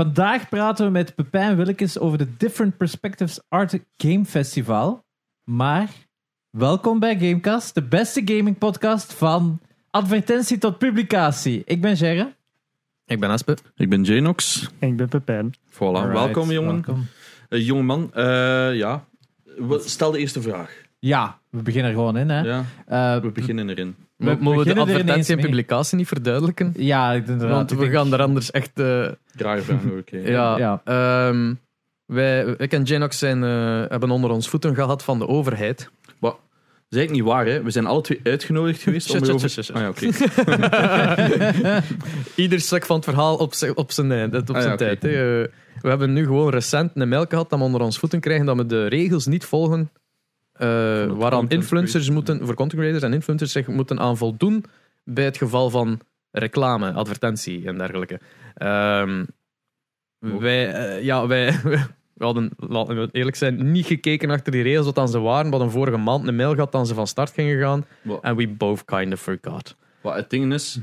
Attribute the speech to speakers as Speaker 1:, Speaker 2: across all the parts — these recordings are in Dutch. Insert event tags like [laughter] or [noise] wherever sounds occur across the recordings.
Speaker 1: Vandaag praten we met Pepijn Willekes over de Different Perspectives Art Game Festival. Maar welkom bij Gamecast, de beste gaming podcast van advertentie tot publicatie. Ik ben Gerre.
Speaker 2: Ik ben Aspe.
Speaker 3: Ik ben Janox.
Speaker 4: En ik ben Pepijn.
Speaker 3: Voilà, welkom jongen.
Speaker 1: Welkom.
Speaker 3: Eh, jongeman, eh, ja. We- Stel de eerste vraag.
Speaker 1: Ja, we beginnen er gewoon in. Hè.
Speaker 3: Ja,
Speaker 1: Eh,
Speaker 3: we beginnen erin.
Speaker 1: We
Speaker 2: Mo- Mogen we de
Speaker 1: beginnen er ineens
Speaker 2: advertentie en
Speaker 1: mee.
Speaker 2: publicatie niet verduidelijken?
Speaker 1: ja, inderdaad.
Speaker 2: Want
Speaker 1: ik
Speaker 2: we
Speaker 1: denk-
Speaker 2: gaan er anders echt... eh,
Speaker 3: Draaier
Speaker 2: [laughs]
Speaker 3: oké.
Speaker 2: ja,
Speaker 1: Ja.
Speaker 2: ehm, wij, ik en Janox zijn, eh, hebben onder ons voeten gehad van de overheid.
Speaker 3: Wat? Dat is eigenlijk niet waar, hè. We zijn alle twee uitgenodigd geweest om
Speaker 2: Shut, shut,
Speaker 3: erover-
Speaker 2: shut, shut.
Speaker 3: Ah ja, oké.
Speaker 2: [laughs]
Speaker 3: Oké,
Speaker 2: Ieder stuk van het verhaal op, zi- op zijn, eind, op
Speaker 3: Ah,
Speaker 2: zijn
Speaker 3: ja, oké.
Speaker 2: tijd. hè. Eh, we hebben nu gewoon recent een mail gehad dat we onder ons voeten krijgen dat we de regels niet volgen eh, waaraan
Speaker 3: content
Speaker 2: influencers
Speaker 3: creators,
Speaker 2: moeten, voor content creators en influencers zich moeten aan voldoen bij het geval van reclame, advertentie en dergelijke. Ehm, wij, eh, ja, wij, [laughs] we hadden, laten we eerlijk zijn, niet gekeken achter die regels wat dan ze waren. We hadden vorige maand een mail gehad dat ze van start gingen gaan.
Speaker 3: Wat?
Speaker 2: En we both kind of forgot.
Speaker 3: Wat het ding is,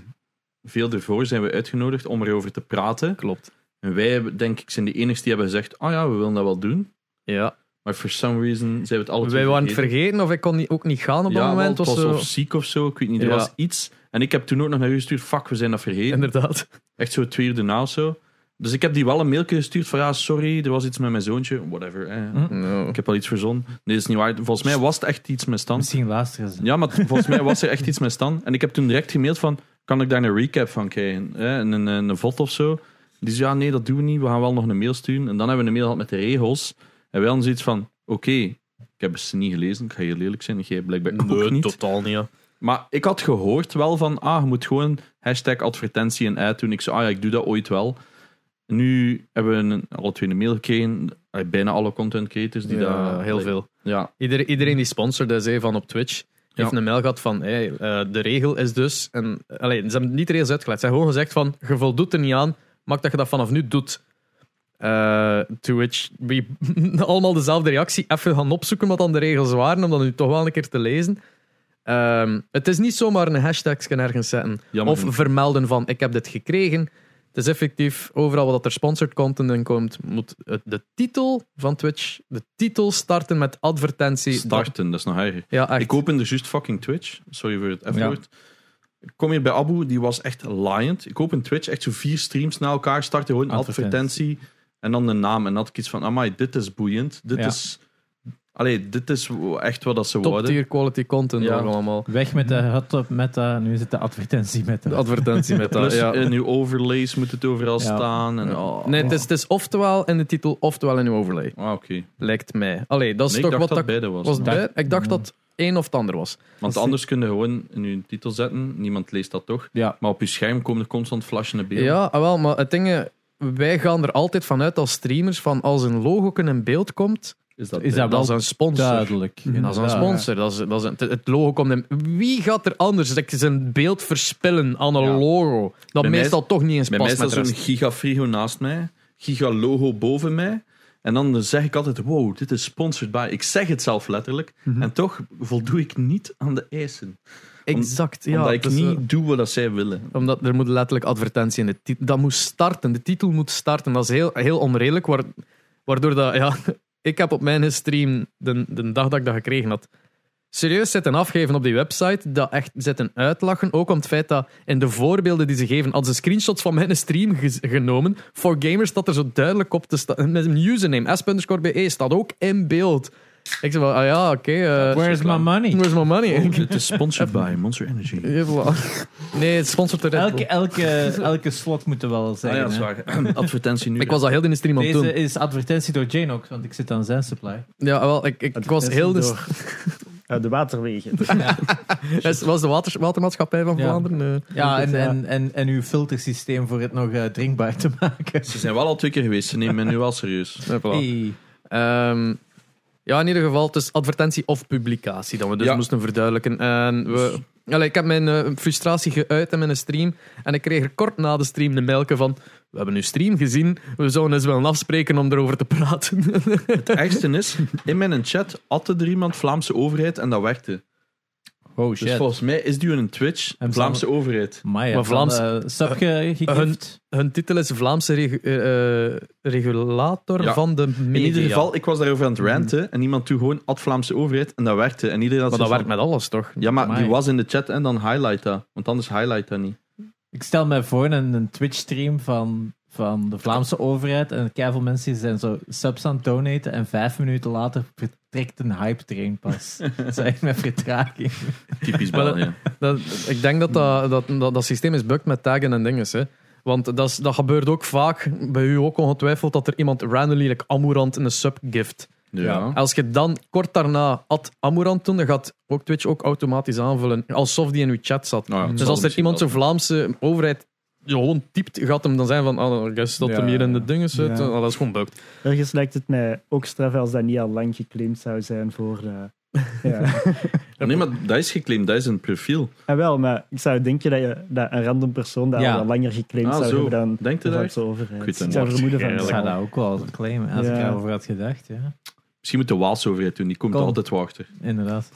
Speaker 3: veel daarvoor zijn we uitgenodigd om erover te praten.
Speaker 2: Klopt.
Speaker 3: En wij, hebben, denk ik, zijn de enigen die hebben gezegd, ah ja, we willen dat wel doen.
Speaker 2: Ja,
Speaker 3: Maar for some reason zijn we het alle twee
Speaker 2: Wij waren het vergeten of ik kon niet, ook niet gaan op dat
Speaker 3: ja,
Speaker 2: moment.
Speaker 3: want
Speaker 2: Of
Speaker 3: het was
Speaker 2: zo.
Speaker 3: of ziek of zo, ik weet niet. Er
Speaker 2: Ja.
Speaker 3: was iets. En ik heb toen ook nog naar u gestuurd, fuck, we zijn dat vergeten.
Speaker 2: Inderdaad.
Speaker 3: Echt zo twee uur daarna of zo. Dus ik heb die wel een mailje gestuurd van ja, sorry, er was iets met mijn zoontje. Whatever. Eh.
Speaker 1: Hm?
Speaker 3: Ik heb al iets verzonnen. Nee, dat is niet waar. Volgens mij was het echt iets met Stan.
Speaker 1: Misschien luisteren ze.
Speaker 3: Ja, maar t- volgens mij was er echt iets met Stan. En ik heb toen direct gemaild van, kan ik daar een recap van krijgen? Eh, en een, een, een vod of zo. Die zei, ja, nee, dat doen we niet. We gaan wel nog een mail sturen. En dan hebben we een mail gehad met de regels. En wij hadden zoiets van, oké, ik heb ze niet gelezen. Ik ga heel lelijk zijn. Jij blijkbaar ook niet.
Speaker 2: totaal niet.
Speaker 3: Maar ik had gehoord wel van, ah, je moet gewoon hashtag advertentie en ad doen. Ik zei, ah ja, ik doe dat ooit wel. Nu hebben we een, alle twee een mail gekregen. Eh, Bijna alle content creators die eh,
Speaker 2: Ja,
Speaker 3: dat...
Speaker 2: heel veel.
Speaker 3: Ja,
Speaker 2: Iedereen, iedereen die sponsort is hè, van op Twitch, heeft een mail gehad van hey, eh, de regel is dus... En, allee, ze hebben het niet de regels uitgelegd. Ze hebben gewoon gezegd van, je voldoet er niet aan, maak dat je dat vanaf nu doet. Eh, to which we [laughs] allemaal dezelfde reactie even gaan opzoeken wat dan de regels waren, om dat nu toch wel een keer te lezen. Ehm, het is niet zomaar een hashtag ergens zetten.
Speaker 3: jammer.
Speaker 2: Of vermelden van ik heb dit gekregen. Het is effectief, overal wat er sponsored content in komt, moet het- de titel van Twitch, de titel starten met advertentie. Dat-
Speaker 3: starten, dat is nog erger.
Speaker 2: Ja, echt.
Speaker 3: Ik open er juist fucking Twitch. Sorry voor het F-woord. Ik kom hier bij Abu, die was echt liant. Ik open Twitch, echt zo vier streams na elkaar starten. Gewoon
Speaker 1: Advertentie.
Speaker 3: advertentie. en dan de naam. En dan had ik iets van, amai, dit is boeiend. Dit
Speaker 1: Ja.
Speaker 3: is... Allee, dit is w- echt wat dat ze
Speaker 2: Top
Speaker 3: worden.
Speaker 2: tier quality content
Speaker 3: Ja.
Speaker 2: nog allemaal.
Speaker 1: Weg met de hot top meta, nu zit de advertentie meta.
Speaker 2: De advertentie met dat,
Speaker 3: Plus,
Speaker 2: ja.
Speaker 3: in uw overlays moet het overal
Speaker 1: Ja.
Speaker 3: staan. En, oh.
Speaker 2: Nee, het is, het is oftewel in de titel, oftewel in uw overlay.
Speaker 3: Ah, oké.
Speaker 2: Lijkt mij. Allee, dat is
Speaker 3: Nee, ik
Speaker 2: toch
Speaker 3: dacht
Speaker 2: wat
Speaker 3: dat
Speaker 2: dat...
Speaker 3: beide was.
Speaker 2: Was het
Speaker 1: Dacht-
Speaker 2: bij? Ik dacht dat het een of het ander was.
Speaker 3: Want anders kun je gewoon in je titel zetten. Niemand leest dat toch.
Speaker 1: Ja.
Speaker 3: Maar op je scherm komen er constant flashende beelden.
Speaker 2: Ja, ah wel, maar het ding, eh, wij gaan er altijd vanuit als streamers van als een logo in beeld komt,
Speaker 3: Is dat,
Speaker 1: Is dat
Speaker 2: dat
Speaker 1: wel
Speaker 2: is een sponsor.
Speaker 1: duidelijk?
Speaker 2: Dat is een
Speaker 1: inderdaad.
Speaker 2: sponsor. Dat is, dat is een- het- het logo komt hem. Wie gaat er anders like, zijn beeld verspillen aan een
Speaker 3: Ja.
Speaker 2: logo? Dat
Speaker 3: Bij mij
Speaker 2: meestal toch niet eens
Speaker 3: Bij mij
Speaker 2: past
Speaker 3: is
Speaker 2: met
Speaker 3: dat
Speaker 2: de
Speaker 3: zo'n
Speaker 2: rest.
Speaker 3: gigafrigo naast mij. Gigalogo boven mij. En dan zeg ik altijd, wow, dit is sponsored by. Ik zeg het zelf letterlijk.
Speaker 2: Mhm.
Speaker 3: En toch voldoe ik niet aan de eisen.
Speaker 2: Exact, ja.
Speaker 3: omdat ik
Speaker 2: het is,
Speaker 3: niet
Speaker 2: eh,
Speaker 3: doe wat dat zij willen.
Speaker 2: omdat er moet letterlijk advertentie in de titel... Dat moet starten. De titel moet starten. Dat is heel, heel onredelijk. waar- waardoor dat... Ja, [laughs] ik heb op mijn stream, de, de dag dat ik dat gekregen had, serieus zitten afgeven op die website. Dat echt zitten uitlachen. Ook om het feit dat in de voorbeelden die ze geven, hadden ze screenshots van mijn stream ge- genomen. Voor gamers dat er zo duidelijk op te staan. Met een username, s.be, staat ook in beeld. Ik zei van, ah ja, oké. eh,
Speaker 1: Where's my money?
Speaker 2: where's my money? [laughs]
Speaker 3: Oh, dit is sponsored by Monster Energy. Ah
Speaker 2: Ja, voilà. Nee, het sponsort de Red
Speaker 1: Elke,
Speaker 2: Bull.
Speaker 3: [laughs]
Speaker 1: elke, elke slot moeten we wel
Speaker 3: Ah ja,
Speaker 1: zeggen.
Speaker 3: dat is
Speaker 1: hè.
Speaker 3: waar. [clears throat] Advertentie nu.
Speaker 2: Ik was al heel in de stream aan het doen.
Speaker 1: Deze is advertentie door Janox, want ik zit aan zijn supply.
Speaker 2: Ja, wel, ik, ik, ik was
Speaker 4: Advertentie
Speaker 2: heel dus- de, [laughs]
Speaker 3: [laughs]
Speaker 4: door, eh, de waterwegen.
Speaker 2: het was de water, watermaatschappij van
Speaker 1: Ja.
Speaker 2: Vlaanderen. eh.
Speaker 1: Ja, en,
Speaker 4: en-
Speaker 1: en, en, en uw filtersysteem voor het nog eh, drinkbaar te
Speaker 3: [laughs]
Speaker 1: maken.
Speaker 3: Ze zijn wel al twee keer geweest. Ze nemen mij nu wel serieus.
Speaker 2: Ja, voilà. eh. Ehm, ja, in ieder geval, het is advertentie of publicatie dat we dus
Speaker 3: Ja.
Speaker 2: moesten verduidelijken. En we, allee, ik heb mijn eh, frustratie geuit in mijn stream. En ik kreeg er kort na de stream de melken van... We hebben uw stream gezien. We zouden eens willen afspreken om erover te praten. [laughs]
Speaker 3: Het ergste is, in mijn chat atte er iemand Vlaamse overheid en dat werkte.
Speaker 1: Oh
Speaker 3: Dus volgens mij is die een Twitch,
Speaker 1: En
Speaker 3: Vlaamse overheid.
Speaker 1: Maar ja,
Speaker 2: Maar Vlaams-
Speaker 1: Vlaams...
Speaker 3: Eh,
Speaker 1: subge
Speaker 2: hun,
Speaker 1: gekift.
Speaker 2: hun titel is Vlaamse regu- eh, eh, regulator
Speaker 3: Ja.
Speaker 2: van de
Speaker 3: In
Speaker 2: media. Hmm.
Speaker 3: ieder geval, ik was daarover aan het ranten en iemand toe gewoon ad Vlaamse overheid en dat werkte. En iedereen had
Speaker 2: maar dat
Speaker 3: zoiets
Speaker 2: werkt met alles, toch?
Speaker 3: van, Ja, maar
Speaker 1: Amai.
Speaker 3: die was in de chat en dan highlight dat. Want anders highlight dat niet.
Speaker 1: Ik stel mij voor een, een Twitch-stream van, van de Vlaamse overheid en keiveel mensen die zijn zo subs aan het donaten en vijf minuten later vertrekt een hype-train
Speaker 3: [laughs]
Speaker 1: pas. dat is echt met vertraging.
Speaker 2: [laughs]
Speaker 3: Typisch
Speaker 2: Maar dat-
Speaker 3: België.
Speaker 2: Dat, ik denk dat dat, dat, dat dat systeem is bugged met taggen en dingen. Hè. Want dat, is, dat gebeurt ook vaak, bij u ook ongetwijfeld, dat er iemand randomly like Amorant een sub gift.
Speaker 3: Ja. Nou
Speaker 2: Als je dan kort daarna ad Amorant doen, dan gaat ook Twitch ook automatisch aanvullen. Alsof die in uw chat zat.
Speaker 3: Nou ja, het
Speaker 2: dus
Speaker 3: zal
Speaker 2: als er
Speaker 3: misschien
Speaker 2: iemand
Speaker 3: wel
Speaker 2: zo'n Vlaamse overheid gewoon typt, gaat hem dan zijn van, ah, ik guess dat
Speaker 1: Ja,
Speaker 2: hem hier in
Speaker 1: ja.
Speaker 2: de dingen zit.
Speaker 1: Ja.
Speaker 2: Ah, dat is gewoon
Speaker 1: [laughs]
Speaker 2: bugged.
Speaker 4: Ergens lijkt het mij ook straf als dat niet al lang geclaimd zou zijn voor... eh, ja.
Speaker 2: [laughs]
Speaker 3: Nee, maar dat is geclaimd, dat is een profiel.
Speaker 4: En wel, maar ik zou denken dat, je, dat een random persoon dat
Speaker 1: Ja.
Speaker 4: al langer geclaimd
Speaker 3: Ah,
Speaker 4: zou
Speaker 3: zo.
Speaker 4: hebben dan
Speaker 3: Denkt
Speaker 4: de
Speaker 3: u daar?
Speaker 4: Vlaamse overheid.
Speaker 3: Ik weet het
Speaker 4: Ik zou
Speaker 3: niet.
Speaker 4: vermoeden
Speaker 1: Ik
Speaker 4: van
Speaker 3: Eigenlijk
Speaker 1: zou
Speaker 4: wel.
Speaker 1: dat ook wel claimen, als ik
Speaker 4: Ja.
Speaker 1: daarover had gedacht. Ja.
Speaker 3: Misschien moet de Waalse overheid doen, die komt
Speaker 1: Kom.
Speaker 3: altijd wel achter.
Speaker 1: Inderdaad.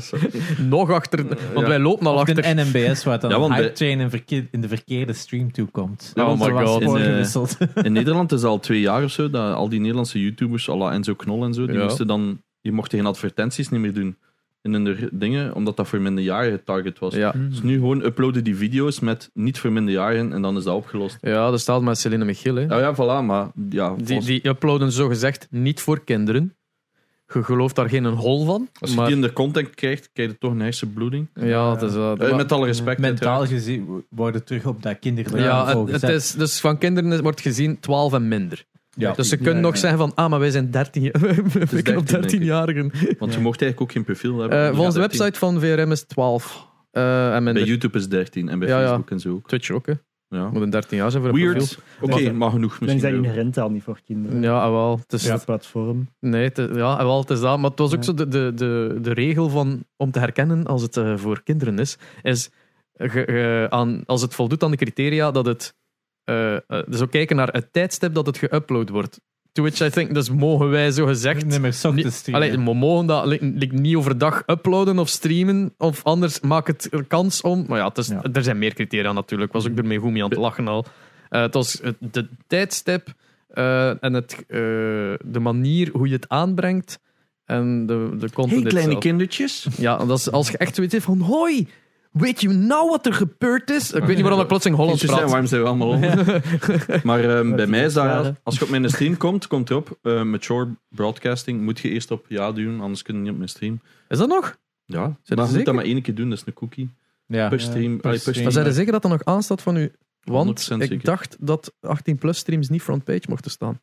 Speaker 3: Sorry.
Speaker 2: Nog achter, want
Speaker 3: Ja.
Speaker 2: wij lopen al
Speaker 1: Of de
Speaker 2: achter.
Speaker 1: NMBS, waar dan
Speaker 3: Ja, want
Speaker 1: een
Speaker 3: de-
Speaker 1: hype-train in, verkeer- in de verkeerde stream toekomt.
Speaker 3: Ja,
Speaker 1: Want
Speaker 3: oh
Speaker 1: er
Speaker 3: my
Speaker 1: was
Speaker 3: god, in, eh,
Speaker 1: voorgewisseld.
Speaker 3: In Nederland is al twee jaar of zo dat al die Nederlandse YouTubers, à la Enzo Knol en zo, die
Speaker 2: Ja.
Speaker 3: moesten dan, die mochten geen advertenties niet meer doen in hun r- dingen, omdat dat voor minderjarigen target was.
Speaker 1: Hm.
Speaker 2: Ja.
Speaker 3: Dus nu gewoon uploaden die video's met niet voor minderjarigen en dan is dat opgelost.
Speaker 2: ja, dat staat met Celine Michiel. Hè.
Speaker 3: Nou ja, voilà, maar ja,
Speaker 2: Die,
Speaker 3: volgens-
Speaker 2: die uploaden zogezegd niet voor kinderen. Je gelooft daar geen een hol van.
Speaker 3: als je
Speaker 2: maar,
Speaker 3: die in de content krijgt, krijg je toch een hersenbloeding.
Speaker 2: ja, het is, wel-
Speaker 3: Eh,
Speaker 2: maar-
Speaker 3: met alle respect. uiteraard.
Speaker 1: Mentaal gezien wo- worden terug op dat kinderlijke
Speaker 2: ja,
Speaker 1: niveau
Speaker 2: het, het
Speaker 1: gezet.
Speaker 2: is, dus van kinderen is- wordt gezien 12 en minder.
Speaker 1: Ja.
Speaker 2: Dus ze kunnen
Speaker 4: Ja,
Speaker 2: nog
Speaker 4: ja.
Speaker 2: zeggen van, ah, maar wij zijn 13, jaar- [laughs] we pikken op
Speaker 3: 13, denk ik.
Speaker 2: 13-jarigen.
Speaker 3: Want je mocht eigenlijk ook geen profiel hebben.
Speaker 2: Eh,
Speaker 3: Je
Speaker 2: volgens de
Speaker 3: gaat 13.
Speaker 2: website van VRM is 12 eh, en minder.
Speaker 3: Bij YouTube is 13 en bij
Speaker 2: Ja, ja.
Speaker 3: Facebook en zo ook.
Speaker 2: Twitch ook, hè.
Speaker 3: Ja.
Speaker 2: Moet een 13 jaar zijn voor een
Speaker 3: Weird. Oké,
Speaker 4: Maar-
Speaker 3: maar genoeg
Speaker 4: Dan is dat
Speaker 3: misschien.
Speaker 4: inherent al niet voor kinderen.
Speaker 2: profiel. Ja, ah, wel. Het is,
Speaker 4: Ja, het platform.
Speaker 2: Nee, het is- ja, ah, wel, het is dat. Maar het was ook zo
Speaker 4: Ja.
Speaker 2: de, de, de, de regel van, om te herkennen als het eh, voor kinderen is, is eh, ge- ge- aan, als het voldoet aan de criteria dat het... eh, eh, dus ook kijken naar het tijdstip dat het geüpload wordt. To which I think, dus mogen wij zo gezegd...
Speaker 1: Niet meer sok te streamen.
Speaker 2: Allee, we mogen dat like, like, niet overdag uploaden of streamen, of anders maakt het er kans om. Maar ja, het is,
Speaker 1: Ja.
Speaker 2: er zijn meer criteria natuurlijk. Was ik ermee goed mee aan het lachen al. Eh, het was het- de tijdstip eh, en het, eh, de manier hoe je het aanbrengt. En de, de content itself.
Speaker 3: kindertjes.
Speaker 2: Ja, dat is, als je echt zoiets hebt van, hoi, weet je nou wat er gebeurd is? Ik weet niet waarom ik plotseling Hollands
Speaker 3: Kindjes zijn,
Speaker 2: praat.
Speaker 3: waarom zijn
Speaker 2: [laughs]
Speaker 3: we allemaal onder? maar ehm, bij mij is dat,
Speaker 4: Verklaren.
Speaker 3: als je op
Speaker 1: [laughs]
Speaker 3: mijn stream komt, komt erop, eh mature broadcasting, moet je eerst op ja doen, anders kun je niet op mijn stream.
Speaker 2: Is dat nog?
Speaker 3: Ja,
Speaker 2: je
Speaker 3: maar je moet
Speaker 2: zeker?
Speaker 3: dat maar één keer doen, dat is een cookie.
Speaker 1: Ja.
Speaker 3: Per stream.
Speaker 1: per
Speaker 3: allee, per
Speaker 1: stream. Nee,
Speaker 2: Maar zijn
Speaker 3: stream.
Speaker 2: er zeker dat er nog aan staat van u? Want
Speaker 3: 100%
Speaker 2: ik
Speaker 3: zeker.
Speaker 2: dacht dat 18-plus streams niet frontpage mochten staan.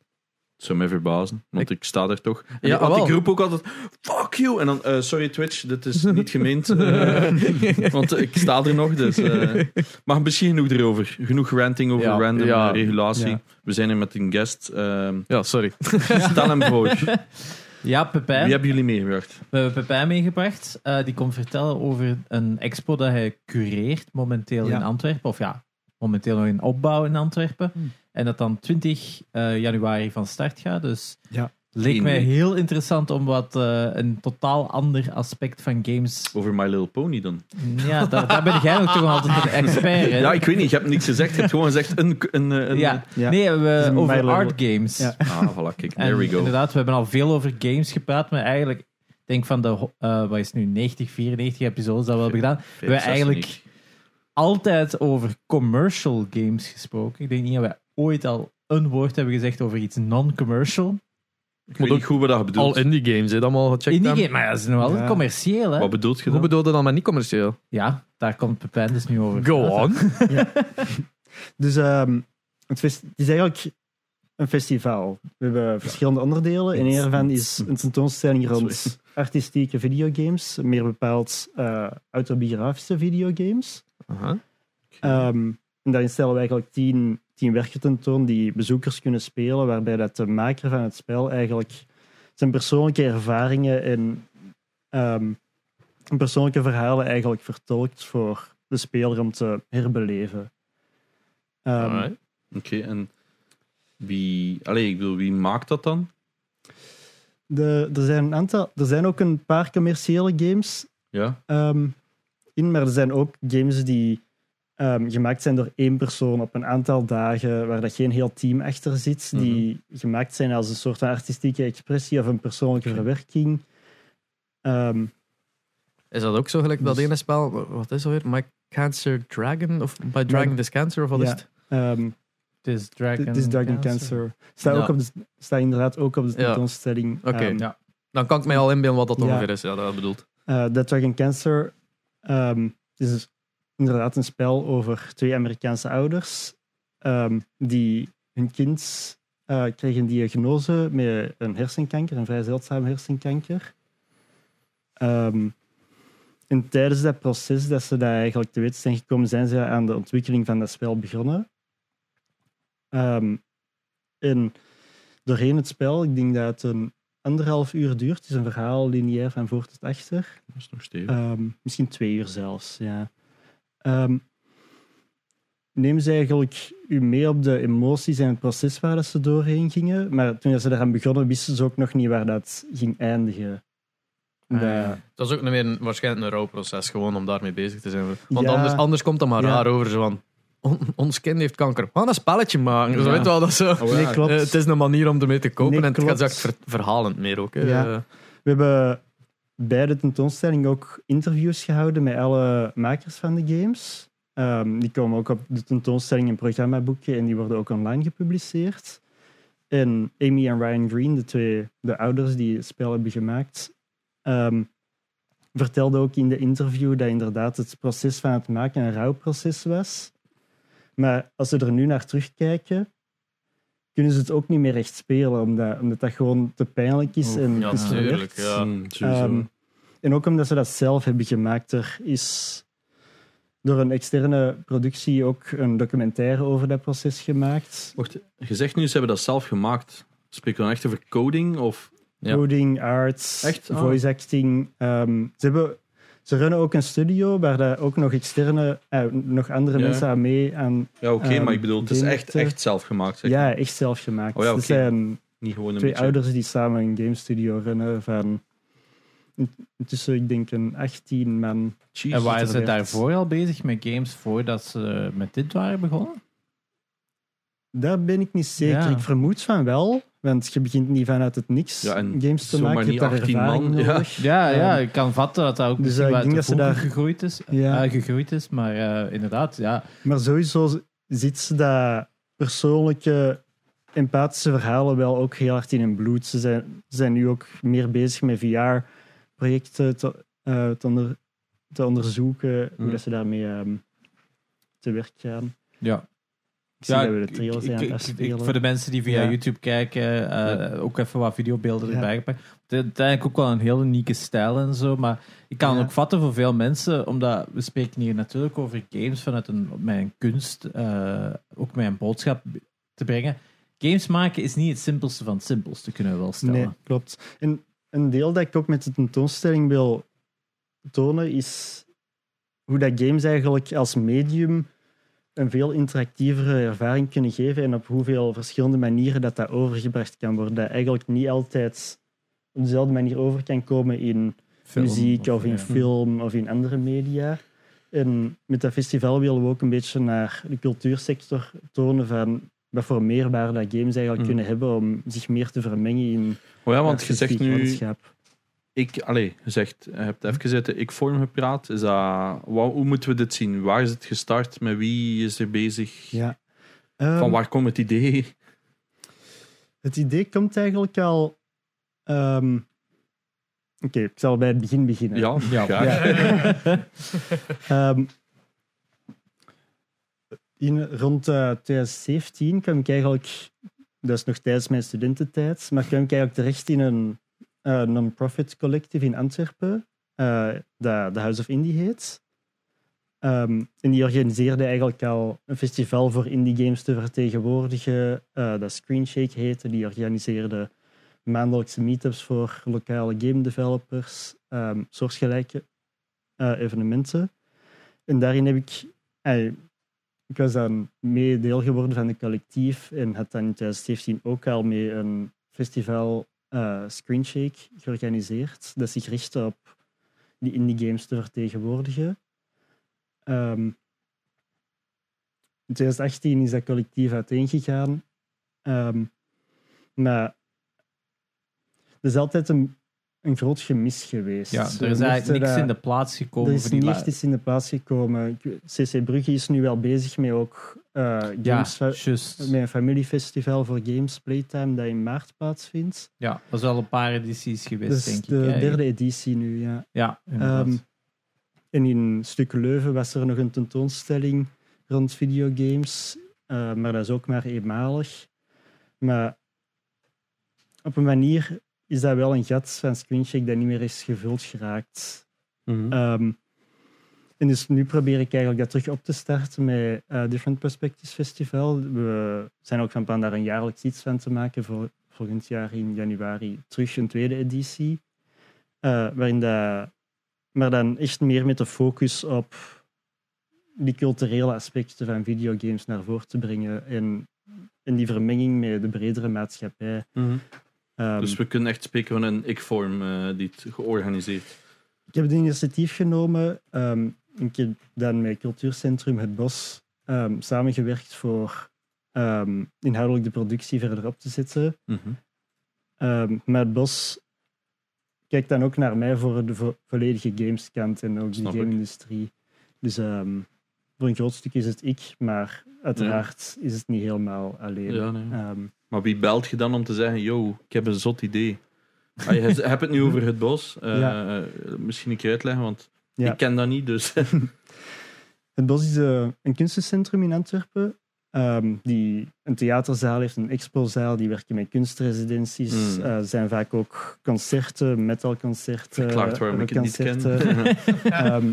Speaker 3: Het zou mij verbazen, want ik, sta daar toch. En
Speaker 2: Ja,
Speaker 3: ik, want
Speaker 2: wel.
Speaker 3: ik roep ook altijd, fuck you! En dan, eh, sorry Twitch, dit is niet gemeend.
Speaker 2: [laughs]
Speaker 3: eh, want ik sta er nog, dus... eh. maar misschien genoeg erover. Genoeg ranting over
Speaker 2: Ja,
Speaker 3: random
Speaker 2: ja.
Speaker 3: eh, regulatie.
Speaker 1: Ja.
Speaker 3: We zijn hier met een
Speaker 2: [laughs]
Speaker 3: guest. ehm,
Speaker 2: Ja, sorry.
Speaker 3: stel hem voor. Wie
Speaker 1: Ja, Pepijn.
Speaker 3: hebben jullie meegebracht?
Speaker 1: We hebben Pepijn meegebracht. Eh, die komt vertellen over een expo dat hij cureert momenteel
Speaker 4: Ja.
Speaker 1: in Antwerpen. Of ja, momenteel nog in opbouw in Antwerpen.
Speaker 4: Hmm.
Speaker 1: En dat dan 20 eh, januari van start gaat. Dus
Speaker 4: Ja.
Speaker 1: leek
Speaker 3: Eén
Speaker 1: mij
Speaker 3: week.
Speaker 1: heel interessant om wat eh, een totaal ander aspect van games...
Speaker 3: Over My Little Pony dan.
Speaker 1: Ja, daar, daar ben jij ook toch altijd een expert in.
Speaker 3: [laughs] Ja, ik weet niet, je hebt niks gezegd. Je hebt gewoon gezegd een... een, eh, een
Speaker 1: Ja.
Speaker 4: Ja.
Speaker 1: Nee, we,
Speaker 4: is een
Speaker 1: over
Speaker 4: Milo-
Speaker 1: art games.
Speaker 4: Ja.
Speaker 3: Ah, voilà, kijk,
Speaker 1: En
Speaker 3: there we go.
Speaker 1: Inderdaad, we hebben al veel over games gepraat, maar eigenlijk, ik denk van de, ho- eh, wat is het nu, 90, 94 episodes dat we hebben gedaan, hebben we eigenlijk
Speaker 3: 96.
Speaker 1: altijd over commercial games gesproken. Ik denk niet dat wij ooit al een woord hebben gezegd over iets non-commercial.
Speaker 3: Ik weet niet goed wat dat bedoelt.
Speaker 2: Al indie games, hè, dat allemaal gecheckt
Speaker 1: In die
Speaker 2: hebben.
Speaker 1: game, maar ja, dat is nog altijd
Speaker 4: Ja.
Speaker 1: commercieel, hè?
Speaker 3: Wat bedoelt je
Speaker 2: Hoe
Speaker 3: dan?
Speaker 2: bedoelde dat maar niet commercieel? Ah,
Speaker 1: Ja, daar komt Pepijn dus nu over.
Speaker 2: Go
Speaker 1: praten.
Speaker 2: [laughs] on.
Speaker 4: Dus ehm, het, fes- het is eigenlijk een festival. We hebben verschillende onderdelen. En een daarvan is een tentoonstelling rond artistieke videogames. Meer bepaald eh, autobiografische videogames. Ehm, en daarin stellen we eigenlijk tien, tien werken tentoon die bezoekers kunnen spelen, waarbij dat de maker van het spel eigenlijk zijn persoonlijke ervaringen en ehm, zijn persoonlijke verhalen eigenlijk vertolkt voor de speler om te herbeleven. Ehm,
Speaker 2: Alright.
Speaker 3: Oké, en wie... Allee, ik bedoel, wie maakt dat dan?
Speaker 4: de, er, zijn een aantal, er zijn ook een paar commerciële games
Speaker 3: Ja.
Speaker 4: ehm, in, maar er zijn ook games die ehm, gemaakt zijn door één persoon op een aantal dagen, waar dat geen heel team achter zit, die
Speaker 2: Mhm.
Speaker 4: gemaakt zijn als een soort van artistieke expressie of een persoonlijke verwerking. Ehm,
Speaker 2: Is dat ook zo gelijk dat
Speaker 4: Dus-
Speaker 2: ene spel? wa- Wat is dat weer? My Cancer Dragon? Of My Dragon is Cancer? Of wat is
Speaker 4: Ja.
Speaker 2: het?
Speaker 4: ehm,
Speaker 1: Het is Dragon,
Speaker 4: Dit is Dragon Cancer. Staat,
Speaker 2: Ja.
Speaker 4: ook op de, staat inderdaad ook op de
Speaker 2: Ja.
Speaker 4: tentoonstelling.
Speaker 2: Oké.
Speaker 4: Ehm,
Speaker 1: Ja.
Speaker 2: Dan kan ik mij al inbeelden wat dat
Speaker 4: Ja.
Speaker 2: ongeveer is. Ja, dat bedoelt.
Speaker 4: eh, Dead Dragon Cancer ehm, is dus inderdaad een spel over twee Amerikaanse ouders ehm, die hun kind eh, kregen een diagnose met een hersenkanker, een vrij zeldzame hersenkanker. Ehm, en tijdens dat proces dat ze daar eigenlijk te weten zijn gekomen, zijn ze aan de ontwikkeling van dat spel begonnen. Ehm, en doorheen het spel, ik denk dat het een anderhalf uur duurt, het is een verhaal lineair van voor tot achter.
Speaker 3: Dat is nog stevig.
Speaker 4: Ehm, misschien twee uur zelfs, ja. Ehm, neem ze eigenlijk u mee op de emoties en het proces waar dat ze doorheen gingen. Maar toen dat ze daaraan begonnen, wisten ze ook nog niet waar dat ging eindigen.
Speaker 2: Ah,
Speaker 4: Dat-
Speaker 2: ja. Dat is ook nog meer een, waarschijnlijk een rouwproces, gewoon om daarmee bezig te zijn. Want
Speaker 4: Ja.
Speaker 2: anders, anders komt dat maar
Speaker 4: Ja.
Speaker 2: raar over. Zo van, "On- ons kind heeft kanker. We gaan een spelletje maken. Dus
Speaker 3: Ja.
Speaker 2: weet je wel, dat zo.
Speaker 3: Oh, ja.
Speaker 4: Nee, klopt.
Speaker 2: Eh, het is een manier om ermee te kopen
Speaker 4: Nee,
Speaker 2: en het
Speaker 4: klopt.
Speaker 2: gaat ook ver- verhalend meer ook. hè.
Speaker 4: Ja.
Speaker 2: Eh,
Speaker 4: We hebben bij de tentoonstelling ook interviews gehouden met alle makers van de games. Ehm, die komen ook op de tentoonstelling een programmaboekje en die worden ook online gepubliceerd. En Amy en Ryan Green, de twee de ouders die het spel hebben gemaakt, ehm, vertelden ook in de interview dat inderdaad het proces van het maken een rouwproces was. Maar als we er nu naar terugkijken, kunnen ze het ook niet meer echt spelen, omdat, omdat dat gewoon te pijnlijk is.
Speaker 3: Oef,
Speaker 4: en
Speaker 2: ja,
Speaker 4: is verwerkt.
Speaker 2: tuurlijk, ja.
Speaker 3: Mm, sowieso.
Speaker 4: Ehm, en ook omdat ze dat zelf hebben gemaakt, er is door een externe productie ook een documentaire over dat proces gemaakt.
Speaker 3: Wacht, je zegt nu, ze hebben dat zelf gemaakt. Spreken we dan echt over coding? Of...
Speaker 2: Ja.
Speaker 4: Coding, arts,
Speaker 3: Echt? Ah.
Speaker 4: voice acting. ehm, ze, hebben, ze runnen ook een studio waar daar ook nog externe, eh, nog andere
Speaker 3: Ja.
Speaker 4: mensen aan mee aan.
Speaker 3: Ja, oké,
Speaker 4: Ehm,
Speaker 3: maar ik bedoel, het is echt,
Speaker 4: Dimitri.
Speaker 3: echt zelf gemaakt. Zeg.
Speaker 4: Ja, echt zelf gemaakt.
Speaker 3: Oh ja,
Speaker 4: Dat
Speaker 3: oké.
Speaker 4: zijn
Speaker 3: Niet gewoon een
Speaker 4: twee
Speaker 3: beetje...
Speaker 4: ouders die samen een game studio runnen van in- intussen, ik denk, een 18 man.
Speaker 3: Jezus.
Speaker 1: En waren ze
Speaker 4: Jezus.
Speaker 1: daarvoor al bezig met games voordat ze met dit waren begonnen?
Speaker 4: Daar ben ik niet zeker.
Speaker 1: Ja.
Speaker 4: Ik vermoed van wel, want je begint niet vanuit het niks
Speaker 3: Ja, en
Speaker 4: games te
Speaker 3: zomaar
Speaker 4: maken. Je hebt
Speaker 3: niet
Speaker 4: daar
Speaker 3: 18
Speaker 4: ervaring
Speaker 3: man, ja.
Speaker 4: nodig.
Speaker 1: Ja,
Speaker 4: Ehm,
Speaker 1: ja, ik kan vatten dat dat ook
Speaker 4: dus,
Speaker 1: misschien
Speaker 4: eh,
Speaker 1: wel
Speaker 4: ik
Speaker 1: uit de
Speaker 4: denk dat ze
Speaker 1: volken gegroeid, is,
Speaker 4: Ja.
Speaker 1: eh, gegroeid is. Maar eh, inderdaad, ja.
Speaker 4: Maar sowieso ziet ze dat persoonlijke, empathische verhalen wel ook heel hard in hun bloed. Ze zijn, ze zijn nu ook meer bezig met VR-projecten te, eh, te, onder- te onderzoeken, hoe
Speaker 3: Mm.
Speaker 4: dat ze daarmee ehm, te werk gaan.
Speaker 1: ja.
Speaker 4: Ik zie dat we de trail
Speaker 1: ik-
Speaker 4: zijn aan
Speaker 1: ik-
Speaker 4: het
Speaker 1: ik-
Speaker 4: afspelen.
Speaker 1: Voor de mensen die via
Speaker 4: Ja.
Speaker 1: YouTube kijken, eh, ook even wat videobeelden
Speaker 4: Ja.
Speaker 1: erbij gepakt. Het is uiteindelijk ook wel een heel unieke stijl en zo. Maar ik kan
Speaker 4: Ja.
Speaker 1: het ook vatten voor veel mensen, omdat we spreken hier natuurlijk over games vanuit een, mijn kunst, eh, ook mijn boodschap te brengen. Games maken is niet het simpelste van het simpelste, kunnen we wel stellen.
Speaker 4: Nee, klopt. En een deel dat ik ook met de tentoonstelling wil tonen is hoe dat games eigenlijk als medium een veel interactievere ervaring kunnen geven en op hoeveel verschillende manieren dat dat overgebracht kan worden. Dat eigenlijk niet altijd op dezelfde manier over kan komen in
Speaker 1: Film eh,
Speaker 4: muziek of in
Speaker 1: ja.
Speaker 4: film of in andere media. En met dat festival willen we ook een beetje naar de cultuursector tonen van wat voor meerwaarde dat games eigenlijk
Speaker 1: Mm.
Speaker 3: Mhm.
Speaker 4: kunnen hebben om zich meer te vermengen in
Speaker 3: Oh ja, want je zegt
Speaker 4: artistiek
Speaker 3: nu...
Speaker 4: landschap.
Speaker 3: Ik, allee, je zegt, je hebt even zitten ik-vorm gepraat. Is dat, wa- hoe moeten we dit zien? Waar is het gestart? Met wie is er bezig?
Speaker 4: Ja.
Speaker 3: Van
Speaker 4: Ehm,
Speaker 3: waar komt het idee?
Speaker 4: Het idee komt eigenlijk al... ehm, Oké, ik zal bij het begin beginnen.
Speaker 3: Ja,
Speaker 1: Ja.
Speaker 3: graag.
Speaker 4: [laughs] Ehm, in, rond eh, 2017 kwam ik eigenlijk, dat is nog tijdens mijn studententijd, maar kwam ik eigenlijk terecht in een eh, non-profit collective in Antwerpen, eh, dat de House of Indie heet. Ehm, en die organiseerde eigenlijk al een festival voor indie games te vertegenwoordigen, eh, dat Screenshake heette. Die organiseerde maandelijkse meetups voor lokale game developers, ehm, soortgelijke eh, evenementen. En daarin heb ik. eh, ik was dan mee deel geworden van het collectief en had dan in 2017 ook al mee een festival eh Screenshake georganiseerd. Dat zich richtte op die indie games te vertegenwoordigen. Ehm, in 2018 is dat collectief uiteengegaan. Ehm, maar er is altijd een, een groot gemis geweest.
Speaker 1: Ja, er is
Speaker 4: We
Speaker 1: eigenlijk
Speaker 4: mochten
Speaker 1: niks
Speaker 4: dat-
Speaker 1: in de plaats gekomen
Speaker 4: eh, er is
Speaker 1: voor die
Speaker 4: niet
Speaker 1: la-
Speaker 4: iets in de plaats gekomen. Ik weet- CC Brugge is nu wel bezig met ook eh,
Speaker 1: Ja,
Speaker 4: games,
Speaker 1: juist.
Speaker 4: met een familiefestival voor games playtime dat in maart plaatsvindt.
Speaker 1: Ja, dat is al een paar edities geweest,
Speaker 4: Dat is
Speaker 1: denk ik.
Speaker 4: Dus de
Speaker 1: eigenlijk.
Speaker 4: derde editie nu, ja.
Speaker 1: Ja, inderdaad.
Speaker 4: Ehm, en in Stuk Leuven was er nog een tentoonstelling rond videogames, eh, maar dat is ook maar eenmalig. Maar op een manier is dat wel een gat van Screenshake dat niet meer is gevuld geraakt.
Speaker 3: Mhm.
Speaker 4: Ehm, en dus nu probeer ik eigenlijk dat terug op te starten met eh, Different Perspectives Festival. We zijn ook van plan daar een jaarlijks iets van te maken voor volgend jaar in januari terug een tweede editie. Eh, waarin dat, maar dan echt meer met de focus op die culturele aspecten van videogames naar voren te brengen en, en die vermenging met de bredere maatschappij. Ehm,
Speaker 3: Mhm. Dus we kunnen echt spreken van een ik-vorm eh, die het georganiseerd.
Speaker 4: Ik heb het initiatief genomen. ehm, ik heb dan met Cultuurcentrum Het Bos ehm, samengewerkt voor ehm, inhoudelijk de productie verder op te zetten. Ehm, maar Het Bos kijkt dan ook naar mij voor de vo- volledige gameskant en ook de
Speaker 3: Snap ik.
Speaker 4: game-industrie. Dus ehm, voor een groot stuk is het ik, maar uiteraard is het niet helemaal alleen.
Speaker 3: Ja, nee.
Speaker 4: Ehm,
Speaker 3: Maar wie belt je dan om te zeggen: yo, ik heb een zot idee? Ah, je hebt
Speaker 4: [laughs]
Speaker 3: het nu over het bos. Eh,
Speaker 4: Ja.
Speaker 3: eh, misschien een keer uitleggen, want
Speaker 4: [laughs] Ja.
Speaker 3: ik ken dat niet. Dus
Speaker 4: Het Bos is eh, een kunstencentrum in Antwerpen. ehm, die een theaterzaal heeft, een expozaal. Die werken met kunstresidenties.
Speaker 3: Mm.
Speaker 4: Er zijn vaak ook concerten, metalconcerten.
Speaker 3: verklaart waarom ik het niet ken. [laughs]
Speaker 4: rockconcerten. Ehm,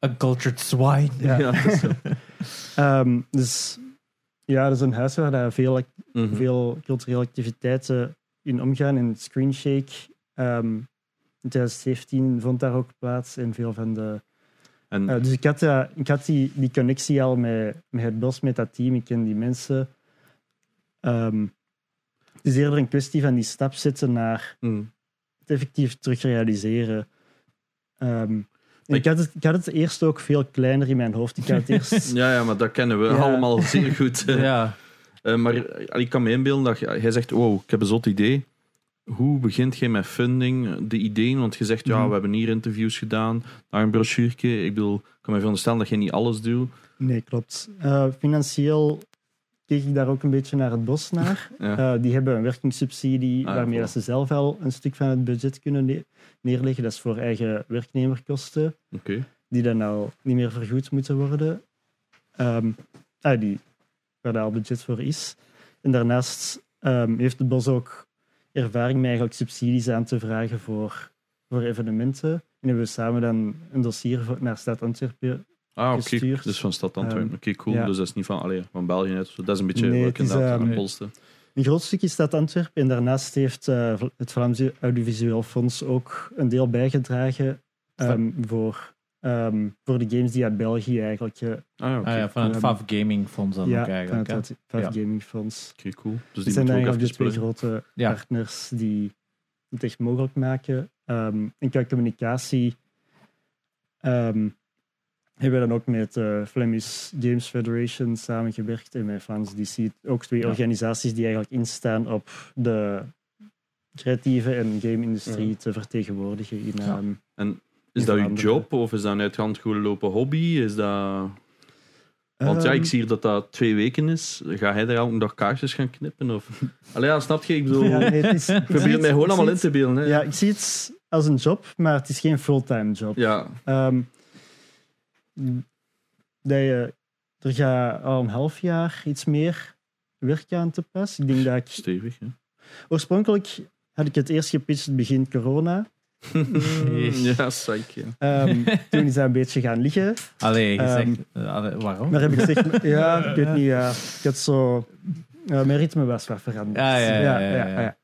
Speaker 1: Uncultured swine.
Speaker 3: [laughs]
Speaker 4: ja.
Speaker 3: Ja, dat is zo.
Speaker 4: ehm, dus ja, dat is een huis waar daar veel, act-
Speaker 3: Mhm.
Speaker 4: veel culturele activiteiten in omgaan. En Screenshake ehm, in 2017 vond daar ook plaats. En veel van de
Speaker 3: En
Speaker 4: eh, dus ik had, eh, ik had die, die connectie al met, met het bos, met dat team. Ik ken die mensen. Ehm, het is eerder een kwestie van die stap zetten naar
Speaker 3: mm,
Speaker 4: het effectief terugrealiseren. Ehm, en
Speaker 3: Ik-
Speaker 4: ik, had het, ik had het eerst ook veel kleiner in mijn hoofd. Ik had het
Speaker 3: [laughs]
Speaker 4: eerst...
Speaker 3: ja, ja, maar dat kennen we
Speaker 4: Ja.
Speaker 3: allemaal zeer
Speaker 4: [laughs]
Speaker 3: goed.
Speaker 1: Ja.
Speaker 3: Eh, maar eh, ik kan me inbeelden dat jij jij zegt: Wow, ik heb een zot idee. Hoe begint jij met funding, eh, de ideeën? Want je zegt: Ja,
Speaker 4: Mhm.
Speaker 3: we hebben hier interviews gedaan, daar een brochuurtje. Ik bedoel, ik kan me veronderstellen dat je niet alles doet.
Speaker 4: Nee, klopt. Eh, financieel keek ik daar ook een beetje naar het
Speaker 3: [laughs]
Speaker 4: bos naar.
Speaker 3: Ja.
Speaker 4: Eh, die hebben een werkingssubsidie
Speaker 3: Ah, ja,
Speaker 4: waarmee
Speaker 3: voilà.
Speaker 4: dat ze zelf al een stuk van het budget kunnen ne- neerleggen. Dat is voor eigen werknemerkosten.
Speaker 3: Oké.
Speaker 4: die dan al niet meer vergoed moeten worden. Ehm, ah, die, waar daar al budget voor is. En daarnaast ehm, heeft het bos ook ervaring met eigenlijk subsidies aan te vragen voor, voor evenementen. En hebben we samen dan een dossier voor, naar Stad Antwerpen.
Speaker 3: Ah, oké.
Speaker 4: Gestuurd.
Speaker 3: Dus van stad Antwerpen.
Speaker 4: Ehm,
Speaker 3: oké, cool.
Speaker 4: ja.
Speaker 3: Dus dat is niet van, allee, van België uit. of zo. Dat is een beetje
Speaker 4: Nee,
Speaker 3: wat ik
Speaker 4: het is,
Speaker 3: inderdaad
Speaker 4: ehm,
Speaker 3: aan
Speaker 4: nee.
Speaker 3: polste.
Speaker 4: Een groot stuk is Stad Antwerpen. En daarnaast heeft eh, het Vlaams Audiovisueel Fonds ook een deel bijgedragen ehm, voor, ehm, voor de games die uit België eigenlijk... eh,
Speaker 3: Ah, ja, oké.
Speaker 1: Ah ja, van het
Speaker 4: Ehm,
Speaker 1: Fav Gaming Fonds dan ook
Speaker 4: ja, van
Speaker 1: eigenlijk.
Speaker 4: het
Speaker 1: hè?
Speaker 4: Audi- van het
Speaker 1: Ja.
Speaker 4: Gaming Fonds.
Speaker 3: Oké, cool. Dus
Speaker 4: Het
Speaker 3: die
Speaker 4: zijn
Speaker 3: moeten we ook
Speaker 4: eigenlijk de
Speaker 3: even
Speaker 4: twee
Speaker 3: spullen.
Speaker 4: grote
Speaker 1: Ja.
Speaker 4: partners die het echt mogelijk maken. Ehm en qua communicatie ehm, hebben we dan ook met eh Flemish Games Federation samengewerkt en met Fans DC. Ook twee
Speaker 1: Ja.
Speaker 4: organisaties die eigenlijk instaan op de creatieve en game-industrie
Speaker 3: Ja.
Speaker 4: te vertegenwoordigen. In,
Speaker 1: Ja.
Speaker 4: ehm,
Speaker 3: Is dat uw
Speaker 4: veranderen.
Speaker 3: job of is dat een uit de hand gelopen hobby? Is dat... Want ja,
Speaker 4: ehm,
Speaker 3: ik zie hier dat dat twee weken is. Ga jij daar elke dag kaarsjes gaan knippen? Of... [laughs] Allee, ja, snap je? Ik bedoel,
Speaker 4: ja,
Speaker 3: [laughs] ik
Speaker 4: nee, het is- ik zie
Speaker 3: probeer
Speaker 4: het-
Speaker 3: mij
Speaker 4: ik
Speaker 3: gewoon
Speaker 4: zie
Speaker 3: allemaal in
Speaker 4: het-
Speaker 3: te beelden. Hè.
Speaker 4: Ja, ik zie het als een job, maar het is geen fulltime job.
Speaker 3: ja.
Speaker 4: Ehm, dat je, er gaat al een half jaar iets meer werk aan te pas. Ik denk dat ik...
Speaker 3: stevig. Hè.
Speaker 4: Oorspronkelijk had ik het eerst gepitcht begin corona.
Speaker 3: [laughs] Ja, psych. Ja.
Speaker 4: Ehm,
Speaker 1: [laughs]
Speaker 4: toen is dat een beetje gaan liggen.
Speaker 1: Allee, je
Speaker 4: Ehm,
Speaker 1: zegt, eh, allee, waarom?
Speaker 4: Maar heb
Speaker 1: [laughs]
Speaker 4: ik gezegd... Ja, ik weet niet. ja. ik had zo... ja, mijn ritme was wat veranderd.
Speaker 1: Ja, ja, ja, ja, ja.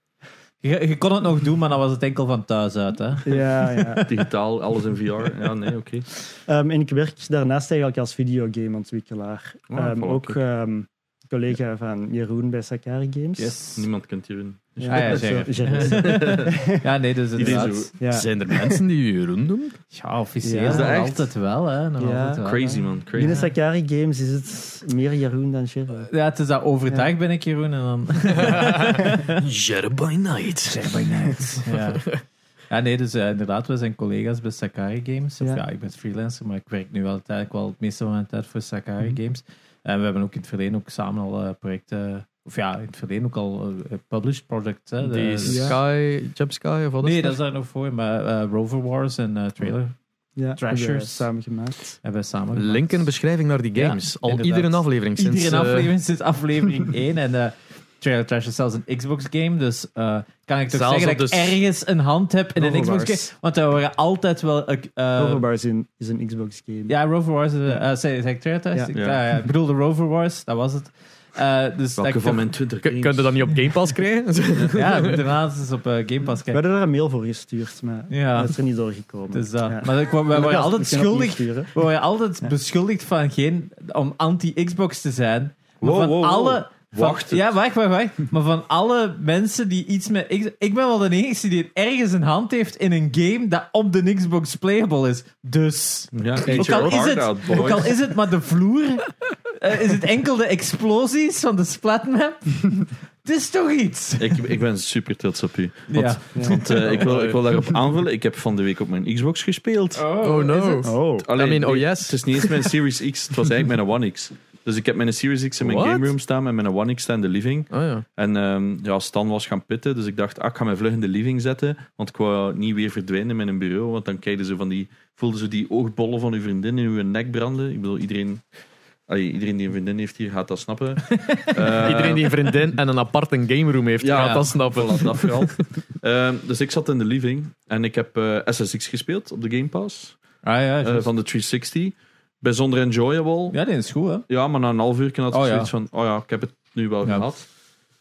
Speaker 1: Je, je kon het nog doen, maar dan was het enkel van thuis uit. Hè?
Speaker 4: ja, ja.
Speaker 3: Digitaal, alles in VR. Ja, nee, oké.
Speaker 4: Ehm, en ik werk daarnaast eigenlijk als videogameontwikkelaar.
Speaker 3: Ah,
Speaker 4: Ehm,
Speaker 3: voilà,
Speaker 4: ook
Speaker 3: kijk.
Speaker 4: ehm, collega van Jeroen bij Sakari Games.
Speaker 1: Yes.
Speaker 3: Niemand kent hierin.
Speaker 1: Ja, ja, zeker. [laughs] ja, nee, dus
Speaker 3: Iedereen
Speaker 1: inderdaad.
Speaker 4: Ja.
Speaker 2: Zijn er mensen die je rund doen?
Speaker 1: Ja, officieel.
Speaker 4: Ja. Is
Speaker 3: dat
Speaker 1: nog
Speaker 3: echt?
Speaker 1: altijd wel, hè. Nog
Speaker 4: Ja.
Speaker 1: altijd wel,
Speaker 3: Crazy,
Speaker 1: hè.
Speaker 3: man. Crazy.
Speaker 4: Binnen Sakari Games is het meer Jeroen dan Gerard.
Speaker 1: Ja, het is dat overdag
Speaker 4: Ja.
Speaker 1: ben ik Jeroen en dan...
Speaker 2: Jer by night.
Speaker 1: [laughs] ja. ja, nee, dus eh, inderdaad, we zijn collega's bij Sakari Games. Of ja.
Speaker 4: Ja.
Speaker 1: ik ben freelancer, maar ik werk nu wel eigenlijk wel het meeste van mijn tijd voor Sakari Games. En we hebben ook in het verleden ook samen al eh, projecten... Of ja, in het verleden ook al eh, published projects. Hè, De-
Speaker 2: Die
Speaker 1: de-
Speaker 2: Sky, Jeb Sky of wat is
Speaker 1: Nee, dat is daar nog voor, maar eh, Rover Wars en eh, Trailer
Speaker 4: Ja,
Speaker 1: Trashers.
Speaker 4: hebben we samen gemaakt.
Speaker 1: hebben we samen gemaakt.
Speaker 2: Link in de beschrijving naar die
Speaker 1: Ja,
Speaker 2: games. Al
Speaker 1: inderdaad.
Speaker 2: iedere aflevering sinds...
Speaker 1: Iedere
Speaker 2: eh,
Speaker 1: aflevering sinds aflevering [laughs] 1. En eh, Trailer Trash is zelfs een Xbox-game. Dus eh, kan ik toch
Speaker 2: Zelfs
Speaker 1: zeggen
Speaker 2: op
Speaker 1: dat ik
Speaker 2: dus-
Speaker 1: ergens een hand heb in een
Speaker 2: Overwars.
Speaker 1: Xbox-game? Want daar waren altijd wel... eh, eh,
Speaker 4: Overbar is een, is een Xbox game.
Speaker 1: ja, Rover Wars. eh, eh, zei zei ik Trailer Trash?
Speaker 4: Ja.
Speaker 1: Ik, ah,
Speaker 3: Ja.
Speaker 1: ja, ja, ik bedoel de Rover Wars, dat was het. Eh, dus dat
Speaker 3: Welke
Speaker 1: ik
Speaker 3: van
Speaker 1: toch-
Speaker 3: mijn 20
Speaker 2: Kun kun je dat niet op Game Pass
Speaker 3: [laughs]
Speaker 2: krijgen?
Speaker 1: [laughs] Ja, daarnaast is op eh, Game Pass
Speaker 4: We
Speaker 1: kijken.
Speaker 4: hadden daar een mail voor gestuurd, maar
Speaker 1: Ja.
Speaker 4: dat is er niet
Speaker 1: [laughs]
Speaker 4: doorgekomen.
Speaker 1: Dus dat.
Speaker 4: Ja.
Speaker 1: Maar ik, we,
Speaker 4: Gelukkig
Speaker 1: waren
Speaker 4: als-
Speaker 1: altijd
Speaker 4: we kunnen opnieuw
Speaker 1: schuldig
Speaker 4: sturen.
Speaker 1: We worden altijd beschuldigd van geen, om anti-Xbox te zijn. Maar
Speaker 3: Wow,
Speaker 1: van
Speaker 3: wow, wow.
Speaker 1: alle... van-
Speaker 3: Wacht het.
Speaker 1: Ja, wacht, wacht, wacht. Maar van alle mensen die iets met... X- Ik ben wel de enige die ergens een hand heeft in een game dat op de Xbox playable is. Dus...
Speaker 3: Ja,
Speaker 1: Ook al, is het, ook al is het maar de vloer,
Speaker 3: [laughs]
Speaker 1: eh, is het enkel de explosies van de splatmap. het is toch iets.
Speaker 3: Ik, ik ben super trots op u. Want,
Speaker 1: Ja.
Speaker 3: want, eh, ik, wil, ik wil daarop aanvullen. Ik heb van de week op mijn Xbox gespeeld.
Speaker 2: Oh no.
Speaker 4: Oh,
Speaker 3: Alleen,
Speaker 2: I mean, oh
Speaker 3: nee,
Speaker 2: yes.
Speaker 3: Het is niet eens mijn Series X, het was eigenlijk mijn One X. Dus ik heb mijn Series X in mijn
Speaker 2: What?
Speaker 3: game room staan en mijn One X staan in de living.
Speaker 2: Oh ja.
Speaker 3: En ehm, ja, Stan was gaan pitten, dus ik dacht, ah, ik ga mijn vlug in de living zetten. Want ik wou niet weer verdwijnen met een bureau, want dan kijken ze van die, voelden ze die oogbollen van uw vriendin in uw nek branden. Ik bedoel, iedereen, allee, iedereen die een vriendin heeft hier gaat dat
Speaker 2: [laughs]
Speaker 3: snappen. Eh,
Speaker 2: Iedereen die een vriendin en een aparte gameroom heeft,
Speaker 3: Ja.
Speaker 2: gaat dat snappen.
Speaker 3: Voilà, dat vooral. Ehm, dus ik zat in de living en ik heb eh, SSX gespeeld op de Game Pass
Speaker 1: Ah ja,
Speaker 3: eh, van de 360. Bijzonder enjoyable. Ja,
Speaker 1: ja, dit is goed, hè.
Speaker 3: maar na een half uur had ik
Speaker 1: Oh, ja.
Speaker 3: zoiets van, oh ja, ik heb het nu wel
Speaker 1: Ja.
Speaker 3: gehad.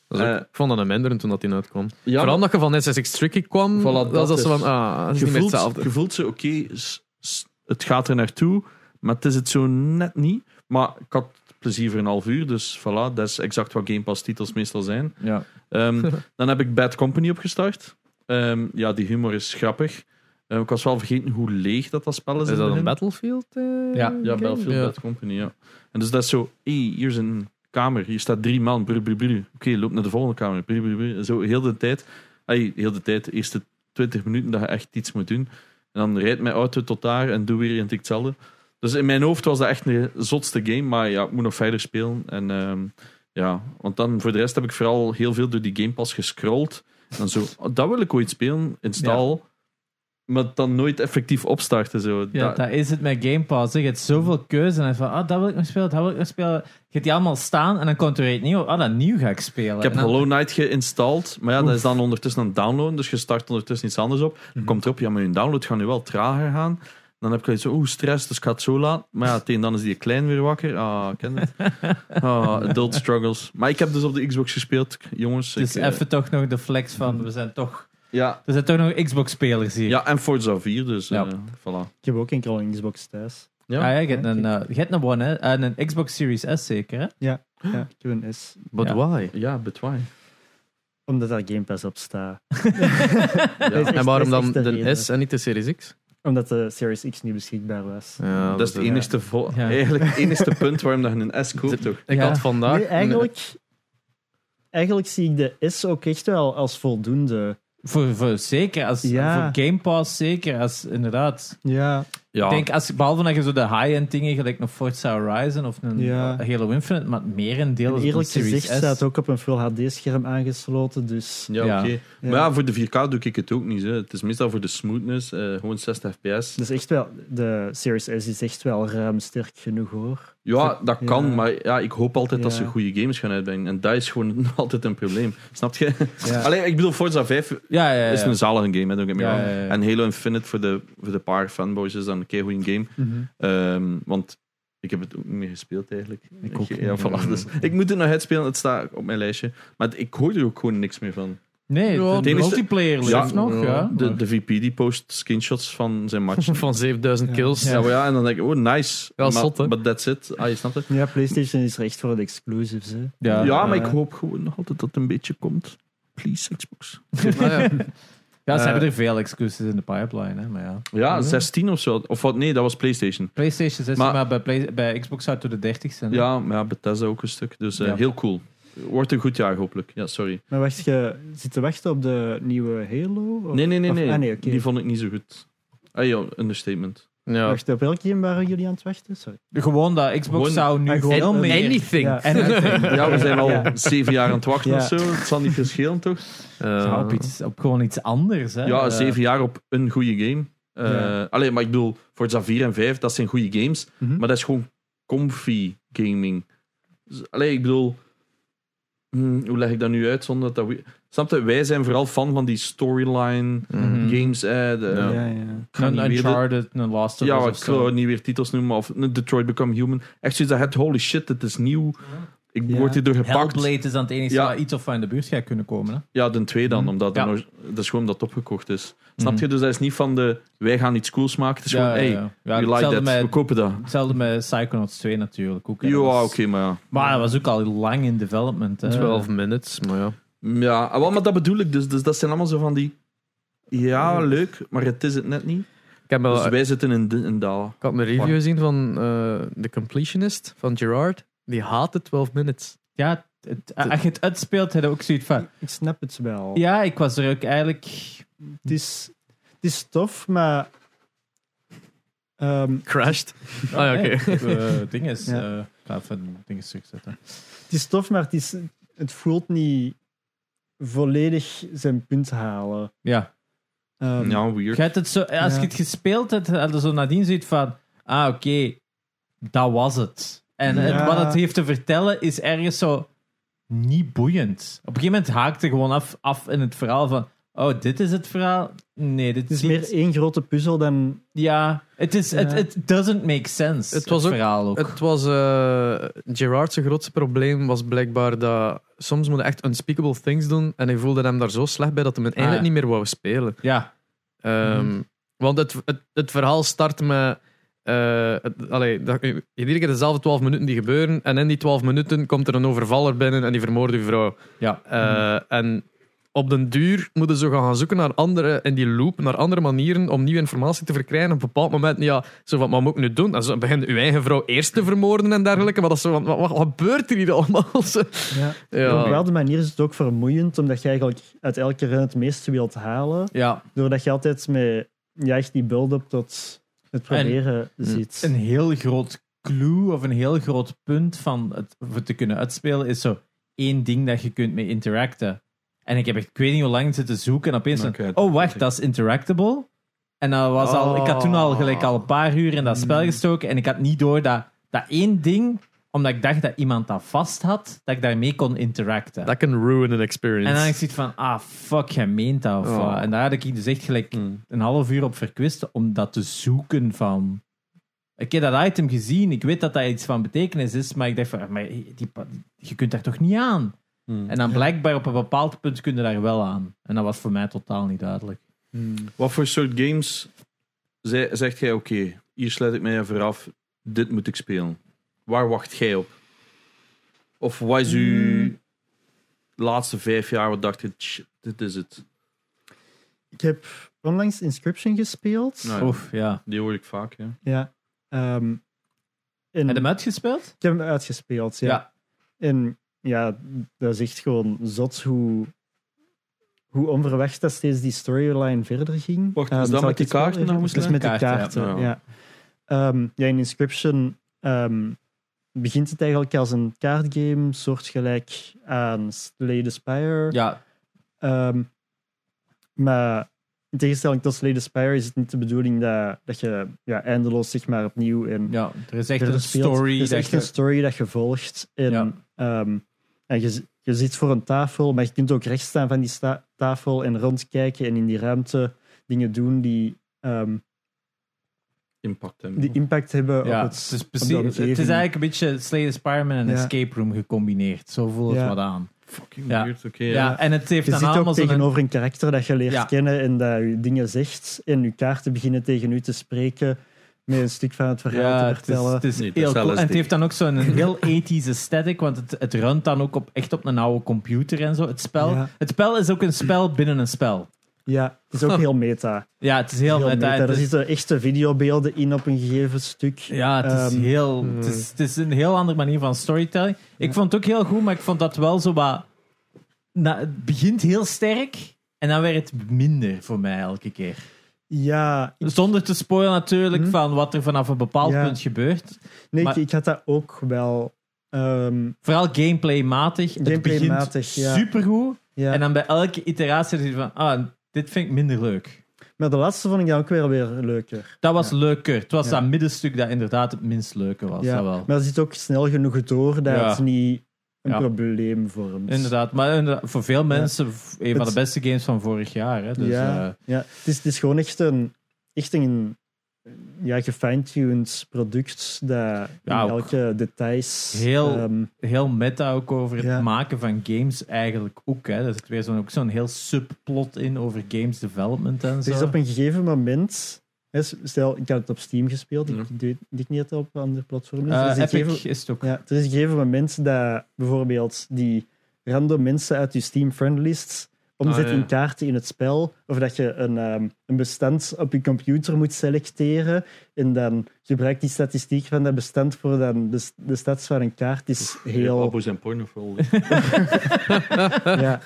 Speaker 2: Dat is ook-
Speaker 3: Eh,
Speaker 2: ik vond dat een minder toen dat die uitkwam.
Speaker 3: Ja,
Speaker 2: Vooral omdat je van SSX Tricky kwam,
Speaker 3: Voilà,
Speaker 2: dat,
Speaker 3: dat
Speaker 2: was
Speaker 3: is-
Speaker 2: zo van, ah, dat is
Speaker 3: je
Speaker 2: niet meer
Speaker 3: voelt,
Speaker 2: hetzelfde.
Speaker 3: je voelt ze, oké, s- s- het gaat er naartoe, maar het is het zo net niet. Maar ik had plezier voor een half uur, dus voilà, dat is exact wat Game Pass titels meestal zijn.
Speaker 1: Ja.
Speaker 3: Ehm, dan heb ik Bad Company opgestart. Ehm, ja, die humor is grappig. Ehm, ik was wel vergeten hoe leeg dat dat spel is.
Speaker 2: Is
Speaker 3: in het
Speaker 2: dat een
Speaker 3: begin.
Speaker 2: Battlefield? eh,
Speaker 1: Ja,
Speaker 2: game?
Speaker 3: Ja, Battlefield
Speaker 2: Ja.
Speaker 3: Bad Company, ja. En dus dat is zo, hé, hier is een kamer, hier staat drie man, brr, brr, brr. Oké, loop naar de volgende kamer, brr, brr, brr. En Zo heel de tijd, ay, heel de tijd, de eerste 20 minuten dat je echt iets moet doen. En dan rijdt mijn auto tot daar en doe weer een tik hetzelfde. Dus in mijn hoofd was dat echt een zotste game, maar ja, ik moet nog verder spelen. En ehm, ja, want dan voor de rest heb ik vooral heel veel door die Game Pass gescrolld. En dan zo, oh, dat wil ik ooit spelen, install. Maar dan nooit effectief opstarten. Zo.
Speaker 1: Ja,
Speaker 3: Dat-
Speaker 1: dat, is het met Game Pass. hè. Je hebt zoveel keuze. En hij van, ah, dat wil ik nog spelen, dat wil ik nog spelen. Je hebt die allemaal staan en dan komt er weer nieuw. Ah, dat nieuw ga ik spelen.
Speaker 3: Ik heb
Speaker 1: En dan-
Speaker 3: Hollow Knight geïnstalleerd, maar ja, dat is dan ondertussen aan het downloaden, dus je start ondertussen iets anders op.
Speaker 1: Mhm.
Speaker 3: Dan komt erop, ja, maar je download gaat nu wel trager gaan. Dan heb ik zoiets van, oeh, stress, dus ik ga het zo laat. Maar ja, tegen dan is die klein weer wakker. Ah, ik ken het.
Speaker 1: [laughs]
Speaker 3: Ah, adult struggles. Maar ik heb dus op de Xbox gespeeld, jongens.
Speaker 1: Dus
Speaker 3: ik, eh,
Speaker 1: even toch nog de flex van, we zijn toch...
Speaker 3: ja.
Speaker 1: Er zijn toch nog Xbox-spelers hier.
Speaker 3: ja, en Forza 4, dus
Speaker 1: Ja.
Speaker 3: eh, voilà.
Speaker 4: ik heb ook enkel een Xbox thuis.
Speaker 1: Ah, ja, je hebt een, eh, je hebt een One, hè. En een Xbox Series S zeker, hè?
Speaker 4: Ja, ik heb een S.
Speaker 2: But
Speaker 1: Ja.
Speaker 2: why?
Speaker 3: Ja, but why?
Speaker 4: Omdat daar Game Pass
Speaker 1: [laughs]
Speaker 4: op staat.
Speaker 3: Ja.
Speaker 4: echt-
Speaker 2: En waarom
Speaker 4: dat is
Speaker 2: dan
Speaker 4: echt de
Speaker 2: de
Speaker 4: reden.
Speaker 2: S en niet de Series X?
Speaker 4: Omdat de Series X niet beschikbaar was.
Speaker 2: Ja,
Speaker 3: dat is het
Speaker 4: ja.
Speaker 3: enigste, vo-
Speaker 1: Ja.
Speaker 3: eigenlijk het enigste punt waarom dat je een S
Speaker 1: [laughs]
Speaker 3: koopt, toch?
Speaker 2: Ik
Speaker 1: Ja.
Speaker 2: had vandaag...
Speaker 4: Nee, eigenlijk, eigenlijk zie ik de S ook echt wel als voldoende.
Speaker 1: Voor, voor zeker, als,
Speaker 4: Ja.
Speaker 1: voor Game Pass zeker, als inderdaad.
Speaker 4: Ja.
Speaker 3: Ja,
Speaker 1: Ik denk, als, behalve dat je zo de high-end dingen, gelijk een Forza Horizon of een
Speaker 4: Ja.
Speaker 1: eh, Halo Infinite, maar het merendeel is een
Speaker 4: eerlijk
Speaker 1: Series
Speaker 4: gezegd
Speaker 1: S.
Speaker 4: staat ook op een Full HD-scherm aangesloten, dus...
Speaker 3: ja,
Speaker 1: Ja.
Speaker 3: oké. Maar ja, voor de 4K doe ik het ook niet. Hè. Het is meestal voor de smoothness, eh, gewoon 60 fps.
Speaker 4: Dus echt wel, de Series S is echt wel ruim sterk genoeg hoor.
Speaker 3: Ja, dat kan,
Speaker 4: Ja.
Speaker 3: maar ja, ik hoop altijd dat
Speaker 4: Ja.
Speaker 3: ze goede games gaan uitbrengen. En dat is gewoon [laughs] altijd een probleem. Snap je?
Speaker 1: Ja.
Speaker 3: Alleen, ik bedoel, Forza 5
Speaker 1: Ja, ja, ja.
Speaker 3: is een zalige game, hè, don't get me
Speaker 1: Ja,
Speaker 3: wrong.
Speaker 1: ja, ja.
Speaker 3: En Halo Infinite voor de, voor de paar fanboys is dan een keer goede game.
Speaker 1: Mhm.
Speaker 3: Ehm, want ik heb het ook niet meer gespeeld eigenlijk. Ik
Speaker 4: ook
Speaker 3: ja,
Speaker 4: niet.
Speaker 3: voilà, dus ik moet het nog uitspelen, het staat op mijn lijstje. Maar ik hoor er ook gewoon niks meer van.
Speaker 1: Nee,
Speaker 2: Ja,
Speaker 1: de
Speaker 2: het
Speaker 3: enige-
Speaker 1: multiplayer
Speaker 3: Ja,
Speaker 1: leeft nog, ja.
Speaker 3: De, de VP die post screenshots van zijn
Speaker 1: [laughs]
Speaker 3: match.
Speaker 2: Van 7000 kills.
Speaker 3: Ja, maar ja, en dan denk ik, oh, nice.
Speaker 2: Ja,
Speaker 3: maar,
Speaker 2: zot, hè?
Speaker 3: but that's it. Ah, je snapt het?
Speaker 4: [laughs] Ja, PlayStation is er echt voor de exclusives. Hè.
Speaker 3: Ja,
Speaker 1: Ja,
Speaker 3: maar
Speaker 4: eh,
Speaker 3: ik hoop gewoon nog altijd dat het een beetje komt. Please, Xbox.
Speaker 1: [laughs]
Speaker 2: ja.
Speaker 1: Ja, ze
Speaker 3: Eh,
Speaker 1: hebben er veel excuses in de pipeline, hè, maar ja.
Speaker 3: Ja, 16 of zo. Of wat? Nee, dat was PlayStation.
Speaker 1: PlayStation 16, maar,
Speaker 3: Maar-
Speaker 1: bij, Play- bij Xbox zou het door de 30 zijn. hè?
Speaker 3: Ja, maar ja, Bethesda ook een stuk. Dus eh,
Speaker 1: Ja.
Speaker 3: heel cool. Wordt een goed jaar, hopelijk. Ja, sorry.
Speaker 4: Maar wacht, je zit te wachten op de nieuwe Halo? Of-
Speaker 3: Nee, nee, nee.
Speaker 4: of-
Speaker 3: nee.
Speaker 4: ah, nee, oké.
Speaker 3: Die vond ik niet zo goed. Ah ja,
Speaker 4: [laughs]
Speaker 3: understatement.
Speaker 2: ja.
Speaker 4: Wacht, op welke game waren jullie aan het wachten? Sorry.
Speaker 1: Gewoon dat Xbox
Speaker 3: Gewoon-
Speaker 1: zou nu
Speaker 4: en gewoon-
Speaker 1: veel
Speaker 4: en-
Speaker 1: meer...
Speaker 2: Anything.
Speaker 4: Ja.
Speaker 1: En
Speaker 3: [laughs] Ja, we zijn al
Speaker 4: Ja.
Speaker 3: zeven jaar aan het wachten
Speaker 4: Ja.
Speaker 3: of zo. Het zal niet verschillen, toch?
Speaker 1: Ja,
Speaker 2: Eh,
Speaker 1: op, iets, op gewoon iets anders. Hè.
Speaker 3: Ja,
Speaker 1: Eh,
Speaker 3: zeven jaar op een goede game. Eh
Speaker 4: Ja.
Speaker 3: Allee, maar ik bedoel, Forza 4 en 5, dat zijn goede games.
Speaker 4: Mhm.
Speaker 3: Maar dat is gewoon comfy gaming. Dus, Allee, ik bedoel... hmm, hoe leg ik dat nu uit zonder dat dat... we- Snap je? Wij zijn vooral fan van die storyline
Speaker 2: mhm.
Speaker 1: Mhm.
Speaker 3: games. Eh, de,
Speaker 2: Ja.
Speaker 4: Ja, ja.
Speaker 3: Ik ga
Speaker 1: Een
Speaker 3: niet weer de-
Speaker 1: Uncharted, een Last of Us
Speaker 3: Ja,
Speaker 1: of
Speaker 3: ik
Speaker 1: zo.
Speaker 3: wil niet weer titels noemen. Of Detroit Become Human. Echt zoiets dat het, holy shit, het is nieuw. Ik
Speaker 4: Ja.
Speaker 3: word hierdoor gepakt.
Speaker 1: Hellblade is dan het enige
Speaker 3: Ja.
Speaker 1: waar iets of van in de buurt gaat kunnen komen. Hè?
Speaker 3: Ja, de twee dan, omdat
Speaker 1: Mhm. Ja. Mhm.
Speaker 3: dat nog- dat is gewoon dat opgekocht is. Snap je? Dus dat is niet van de, wij gaan iets cools maken. Het is gewoon,
Speaker 1: ja.
Speaker 3: hey,
Speaker 1: Ja,
Speaker 3: we like
Speaker 1: hetzelfde,
Speaker 3: that, we
Speaker 1: met,
Speaker 3: kopen dat.
Speaker 1: hetzelfde met Psychonauts 2 natuurlijk. Ook, hè.
Speaker 3: Ja,
Speaker 1: Dat was-
Speaker 3: oké, maar ja.
Speaker 1: Maar dat was ook al lang in development. Hè.
Speaker 2: 12 minutes, maar ja.
Speaker 3: Ja, ah, wel, maar dat bedoel ik dus. Dus dat zijn allemaal zo van die... Ja, leuk, maar het is het net niet.
Speaker 2: Ik, heb wel,
Speaker 3: Dus wij zitten in de- in dalen.
Speaker 2: ik had een review gezien van eh The Completionist, van Gerard. Die haatte 12 minutes.
Speaker 1: Ja, het, als je het uitspeelt, heb je ook zoiets van...
Speaker 4: Ah, Ik snap het wel.
Speaker 1: Ja, ik was er ook eigenlijk...
Speaker 4: Het, is, het is tof, maar... ehm,
Speaker 2: Crashed. Ah ja,
Speaker 1: [laughs]
Speaker 2: oké.
Speaker 1: ding is...
Speaker 4: Ja.
Speaker 1: eh, ik ga even dingen terugzetten.
Speaker 4: het is tof, maar het, is, het voelt niet volledig zijn punt halen.
Speaker 1: Ja.
Speaker 4: Ehm,
Speaker 3: Ja, weird.
Speaker 1: Je hebt het zo, als je
Speaker 4: Ja.
Speaker 1: het gespeeld hebt, had je zo nadien zoiets van... Ah, oké, dat was het. En het-
Speaker 4: Ja.
Speaker 1: wat het heeft te vertellen is ergens zo niet boeiend. Op een gegeven moment haakt het gewoon af, af in het verhaal van... Oh, dit is het verhaal? Nee, dit
Speaker 4: Het is
Speaker 1: niet-
Speaker 4: meer één grote puzzel dan...
Speaker 1: Ja, het is... Het
Speaker 4: Ja.
Speaker 1: it doesn't make sense,
Speaker 2: Het
Speaker 1: het,
Speaker 2: was ook-
Speaker 1: verhaal ook.
Speaker 2: Het was eh Gerard's grootste probleem was blijkbaar dat soms moet hij echt unspeakable things doen en hij voelde hem daar zo slecht bij dat hij het
Speaker 1: Ah,
Speaker 2: eigenlijk
Speaker 1: ja.
Speaker 2: niet meer wou spelen.
Speaker 1: ja,
Speaker 2: Ehm, Want het, het, het verhaal start met. eh, het- allee, dat, iedere keer dezelfde 12 minuten die gebeuren. En in die 12 minuten komt er een overvaller binnen en die vermoordt uw vrouw.
Speaker 1: ja.
Speaker 2: Eh, En op den duur moeten ze gaan zoeken naar andere, in die loop, naar andere manieren om nieuwe informatie te verkrijgen. Op een bepaald moment, ja, zo van, wat moet ik nu doen? En ze beginnen uw eigen vrouw eerst te vermoorden en dergelijke. Maar dat is zo van, wat, wat- wat gebeurt er hier allemaal? [laughs] Zo.
Speaker 4: Ja. Op een
Speaker 2: Ja.
Speaker 4: bepaalde manier is het ook vermoeiend, omdat je eigenlijk uit elke run het meeste wilt halen.
Speaker 1: ja.
Speaker 4: Doordat je altijd met ja, echt die build-up tot het proberen ziet.
Speaker 1: een heel groot clue of een heel groot punt van het voor te kunnen uitspelen is zo één ding dat je kunt mee interacten. En ik heb echt, ik weet niet hoe lang zitten zoeken en opeens
Speaker 3: Nou,
Speaker 1: dan,
Speaker 3: oké,
Speaker 1: oh wacht, dat is interactable. En dat was al, ik had toen al gelijk al een paar uur in dat
Speaker 3: Hmm.
Speaker 1: spel gestoken en ik had niet door dat, dat één ding, omdat ik dacht dat iemand dat vast had, dat ik daarmee kon interacten.
Speaker 2: Dat can ruin an
Speaker 1: En dan
Speaker 2: experience.
Speaker 1: ik zoiets van, ah fuck, jij meent dat of
Speaker 2: Oh.
Speaker 1: wat. En daar had ik dus echt gelijk een half uur op verkwist om dat te zoeken van... Ik heb dat item gezien, ik weet dat dat iets van betekenis is, maar ik dacht van, ah, maar die, pa- je kunt daar toch niet aan? En dan blijkbaar op een bepaald punt kun je daar wel aan. En dat was voor mij totaal niet duidelijk.
Speaker 3: Wat voor soort games ze- zegt jij, oké, hier sluit ik mij even af, dit moet ik spelen? Waar wacht jij op? Of wat is uw laatste vijf jaar, wat dacht je, "Tch, dit is het?
Speaker 4: Ik heb onlangs Inscription gespeeld.
Speaker 3: Nou, ja,
Speaker 1: Oef, ja.
Speaker 3: Die hoor ik vaak, ja.
Speaker 4: Ja. Ehm, en
Speaker 1: Heb je hem uitgespeeld?
Speaker 4: Ik heb hem uitgespeeld, ja.
Speaker 1: Ja.
Speaker 4: En ja, dat is echt gewoon zot hoe, hoe onverwacht dat steeds die storyline verder ging.
Speaker 3: Wacht,
Speaker 4: Ehm,
Speaker 3: is dat
Speaker 4: zal
Speaker 3: met die
Speaker 4: ik het wel
Speaker 3: kaarten
Speaker 4: even-
Speaker 3: nou,
Speaker 4: Dat is met
Speaker 1: moest
Speaker 4: de
Speaker 1: je?
Speaker 4: kaarten,
Speaker 3: Kaarten,
Speaker 4: ja. Ehm, ja, in Inscription ehm, begint het eigenlijk als een kaartgame, soortgelijk aan Slay the Spire.
Speaker 1: Ja.
Speaker 4: Ehm, maar in tegenstelling tot Slay the Spire is het niet de bedoeling dat, dat je ja, eindeloos zeg maar opnieuw in
Speaker 1: ja. Er is echt
Speaker 4: er
Speaker 1: een
Speaker 4: speelt-
Speaker 1: story.
Speaker 4: Er is
Speaker 1: dat
Speaker 4: echt
Speaker 1: je-
Speaker 4: een story dat je volgt. En,
Speaker 1: Ja.
Speaker 4: ehm, en je, z- je zit voor een tafel, maar je kunt ook rechts staan van die sta- tafel en rondkijken en in die ruimte dingen doen die, ehm,
Speaker 3: Impact hebben.
Speaker 4: die impact hebben
Speaker 1: ja,
Speaker 4: op
Speaker 1: het,
Speaker 4: het.
Speaker 1: is
Speaker 4: op de
Speaker 1: precies, het is
Speaker 4: omgeving.
Speaker 1: eigenlijk een beetje Slay the Spider-Man en
Speaker 4: Ja.
Speaker 1: Escape Room gecombineerd. Zo voelt het
Speaker 4: Ja.
Speaker 1: wat aan.
Speaker 3: Fucking
Speaker 1: Ja.
Speaker 3: weird, oké.
Speaker 1: Ja,
Speaker 3: ja.
Speaker 1: en het heeft
Speaker 4: Je
Speaker 1: dan
Speaker 4: zit ook
Speaker 1: allemaal zo'n
Speaker 4: tegenover een karakter dat je leert
Speaker 1: Ja.
Speaker 4: kennen en dat je dingen zegt en je kaarten beginnen tegen u te spreken. met een stuk van het verhaal
Speaker 1: Ja,
Speaker 4: te
Speaker 1: het is,
Speaker 4: vertellen.
Speaker 1: het is
Speaker 3: Nee, dat
Speaker 1: heel
Speaker 3: is
Speaker 1: cool. En het
Speaker 3: LSD.
Speaker 1: heeft dan ook zo'n
Speaker 4: [laughs]
Speaker 1: heel ethische aesthetic, want het, het runt dan ook op, echt op een oude computer en zo. Het spel,
Speaker 4: Ja.
Speaker 1: het spel is ook een spel binnen een spel.
Speaker 4: ja, het is
Speaker 1: [laughs]
Speaker 4: ook heel meta.
Speaker 1: Ja, het is heel,
Speaker 4: Heel
Speaker 1: meta.
Speaker 4: meta.
Speaker 1: Het
Speaker 4: Er
Speaker 1: is-
Speaker 4: zitten echte videobeelden in op een gegeven stuk.
Speaker 1: Ja, het is,
Speaker 4: Ehm,
Speaker 1: heel, het, is, het is een heel andere manier van storytelling. Ik vond het ook heel goed, maar ik vond dat wel zo wat... na- het begint heel sterk en dan werd het minder voor mij elke keer.
Speaker 4: Ja, ik-
Speaker 1: Zonder te spoilen natuurlijk
Speaker 4: Mhm.
Speaker 1: van wat er vanaf een bepaald
Speaker 4: Ja.
Speaker 1: punt gebeurt.
Speaker 4: nee,
Speaker 1: maar-
Speaker 4: ik, ik had dat ook wel. Ehm,
Speaker 1: Vooral gameplaymatig. Het begint
Speaker 4: Gameplaymatig, ja.
Speaker 1: supergoed.
Speaker 4: ja.
Speaker 1: En dan bij elke iteratie zie je van, ah, dit vind ik minder leuk.
Speaker 4: Maar de laatste vond ik dan ook weer, weer leuker.
Speaker 1: Dat was
Speaker 4: Ja.
Speaker 1: leuker. Het was
Speaker 4: Ja.
Speaker 1: dat middenstuk dat inderdaad het minst leuke was.
Speaker 4: ja.
Speaker 1: Dat wel.
Speaker 4: Maar er zit ook snel genoeg door dat
Speaker 1: Ja.
Speaker 4: het niet een
Speaker 1: Ja.
Speaker 4: probleem vormt.
Speaker 1: Inderdaad, maar inderdaad, voor veel mensen v- een van de
Speaker 4: Het-
Speaker 1: beste games van vorig jaar. Hè? Dus,
Speaker 4: ja,
Speaker 1: eh,
Speaker 4: ja. Het, is, het is gewoon echt een, echt een ja, gefine-tuned product dat
Speaker 1: Ja,
Speaker 4: in
Speaker 1: ook
Speaker 4: elke details...
Speaker 1: heel-
Speaker 4: ehm,
Speaker 1: eh, heel meta ook over het
Speaker 4: Ja.
Speaker 1: maken van games eigenlijk ook. Hè? Er zit weer zo'n, ook zo'n heel subplot in over games development en zo.
Speaker 4: er is op een gegeven moment... hè, Stel, ik had het op Steam gespeeld.
Speaker 3: Ja.
Speaker 4: Ik weet ik niet dat het op andere platformen is.
Speaker 1: Mhm.
Speaker 4: dus
Speaker 1: Eh,
Speaker 4: Er is een
Speaker 1: Epic
Speaker 4: gegeven-
Speaker 1: is het ook.
Speaker 4: Ja, er is een gegeven moment dat bijvoorbeeld die random mensen uit je Steam friendlist omzet
Speaker 3: Ah, ja.
Speaker 4: in kaarten in het spel. Of dat je een, ehm, een bestand op je computer moet selecteren. En dan gebruikt die statistiek van dat bestand voor dan de, de stats van een kaart. Het is heel...
Speaker 3: Abbo's en pornoful.
Speaker 4: Ja,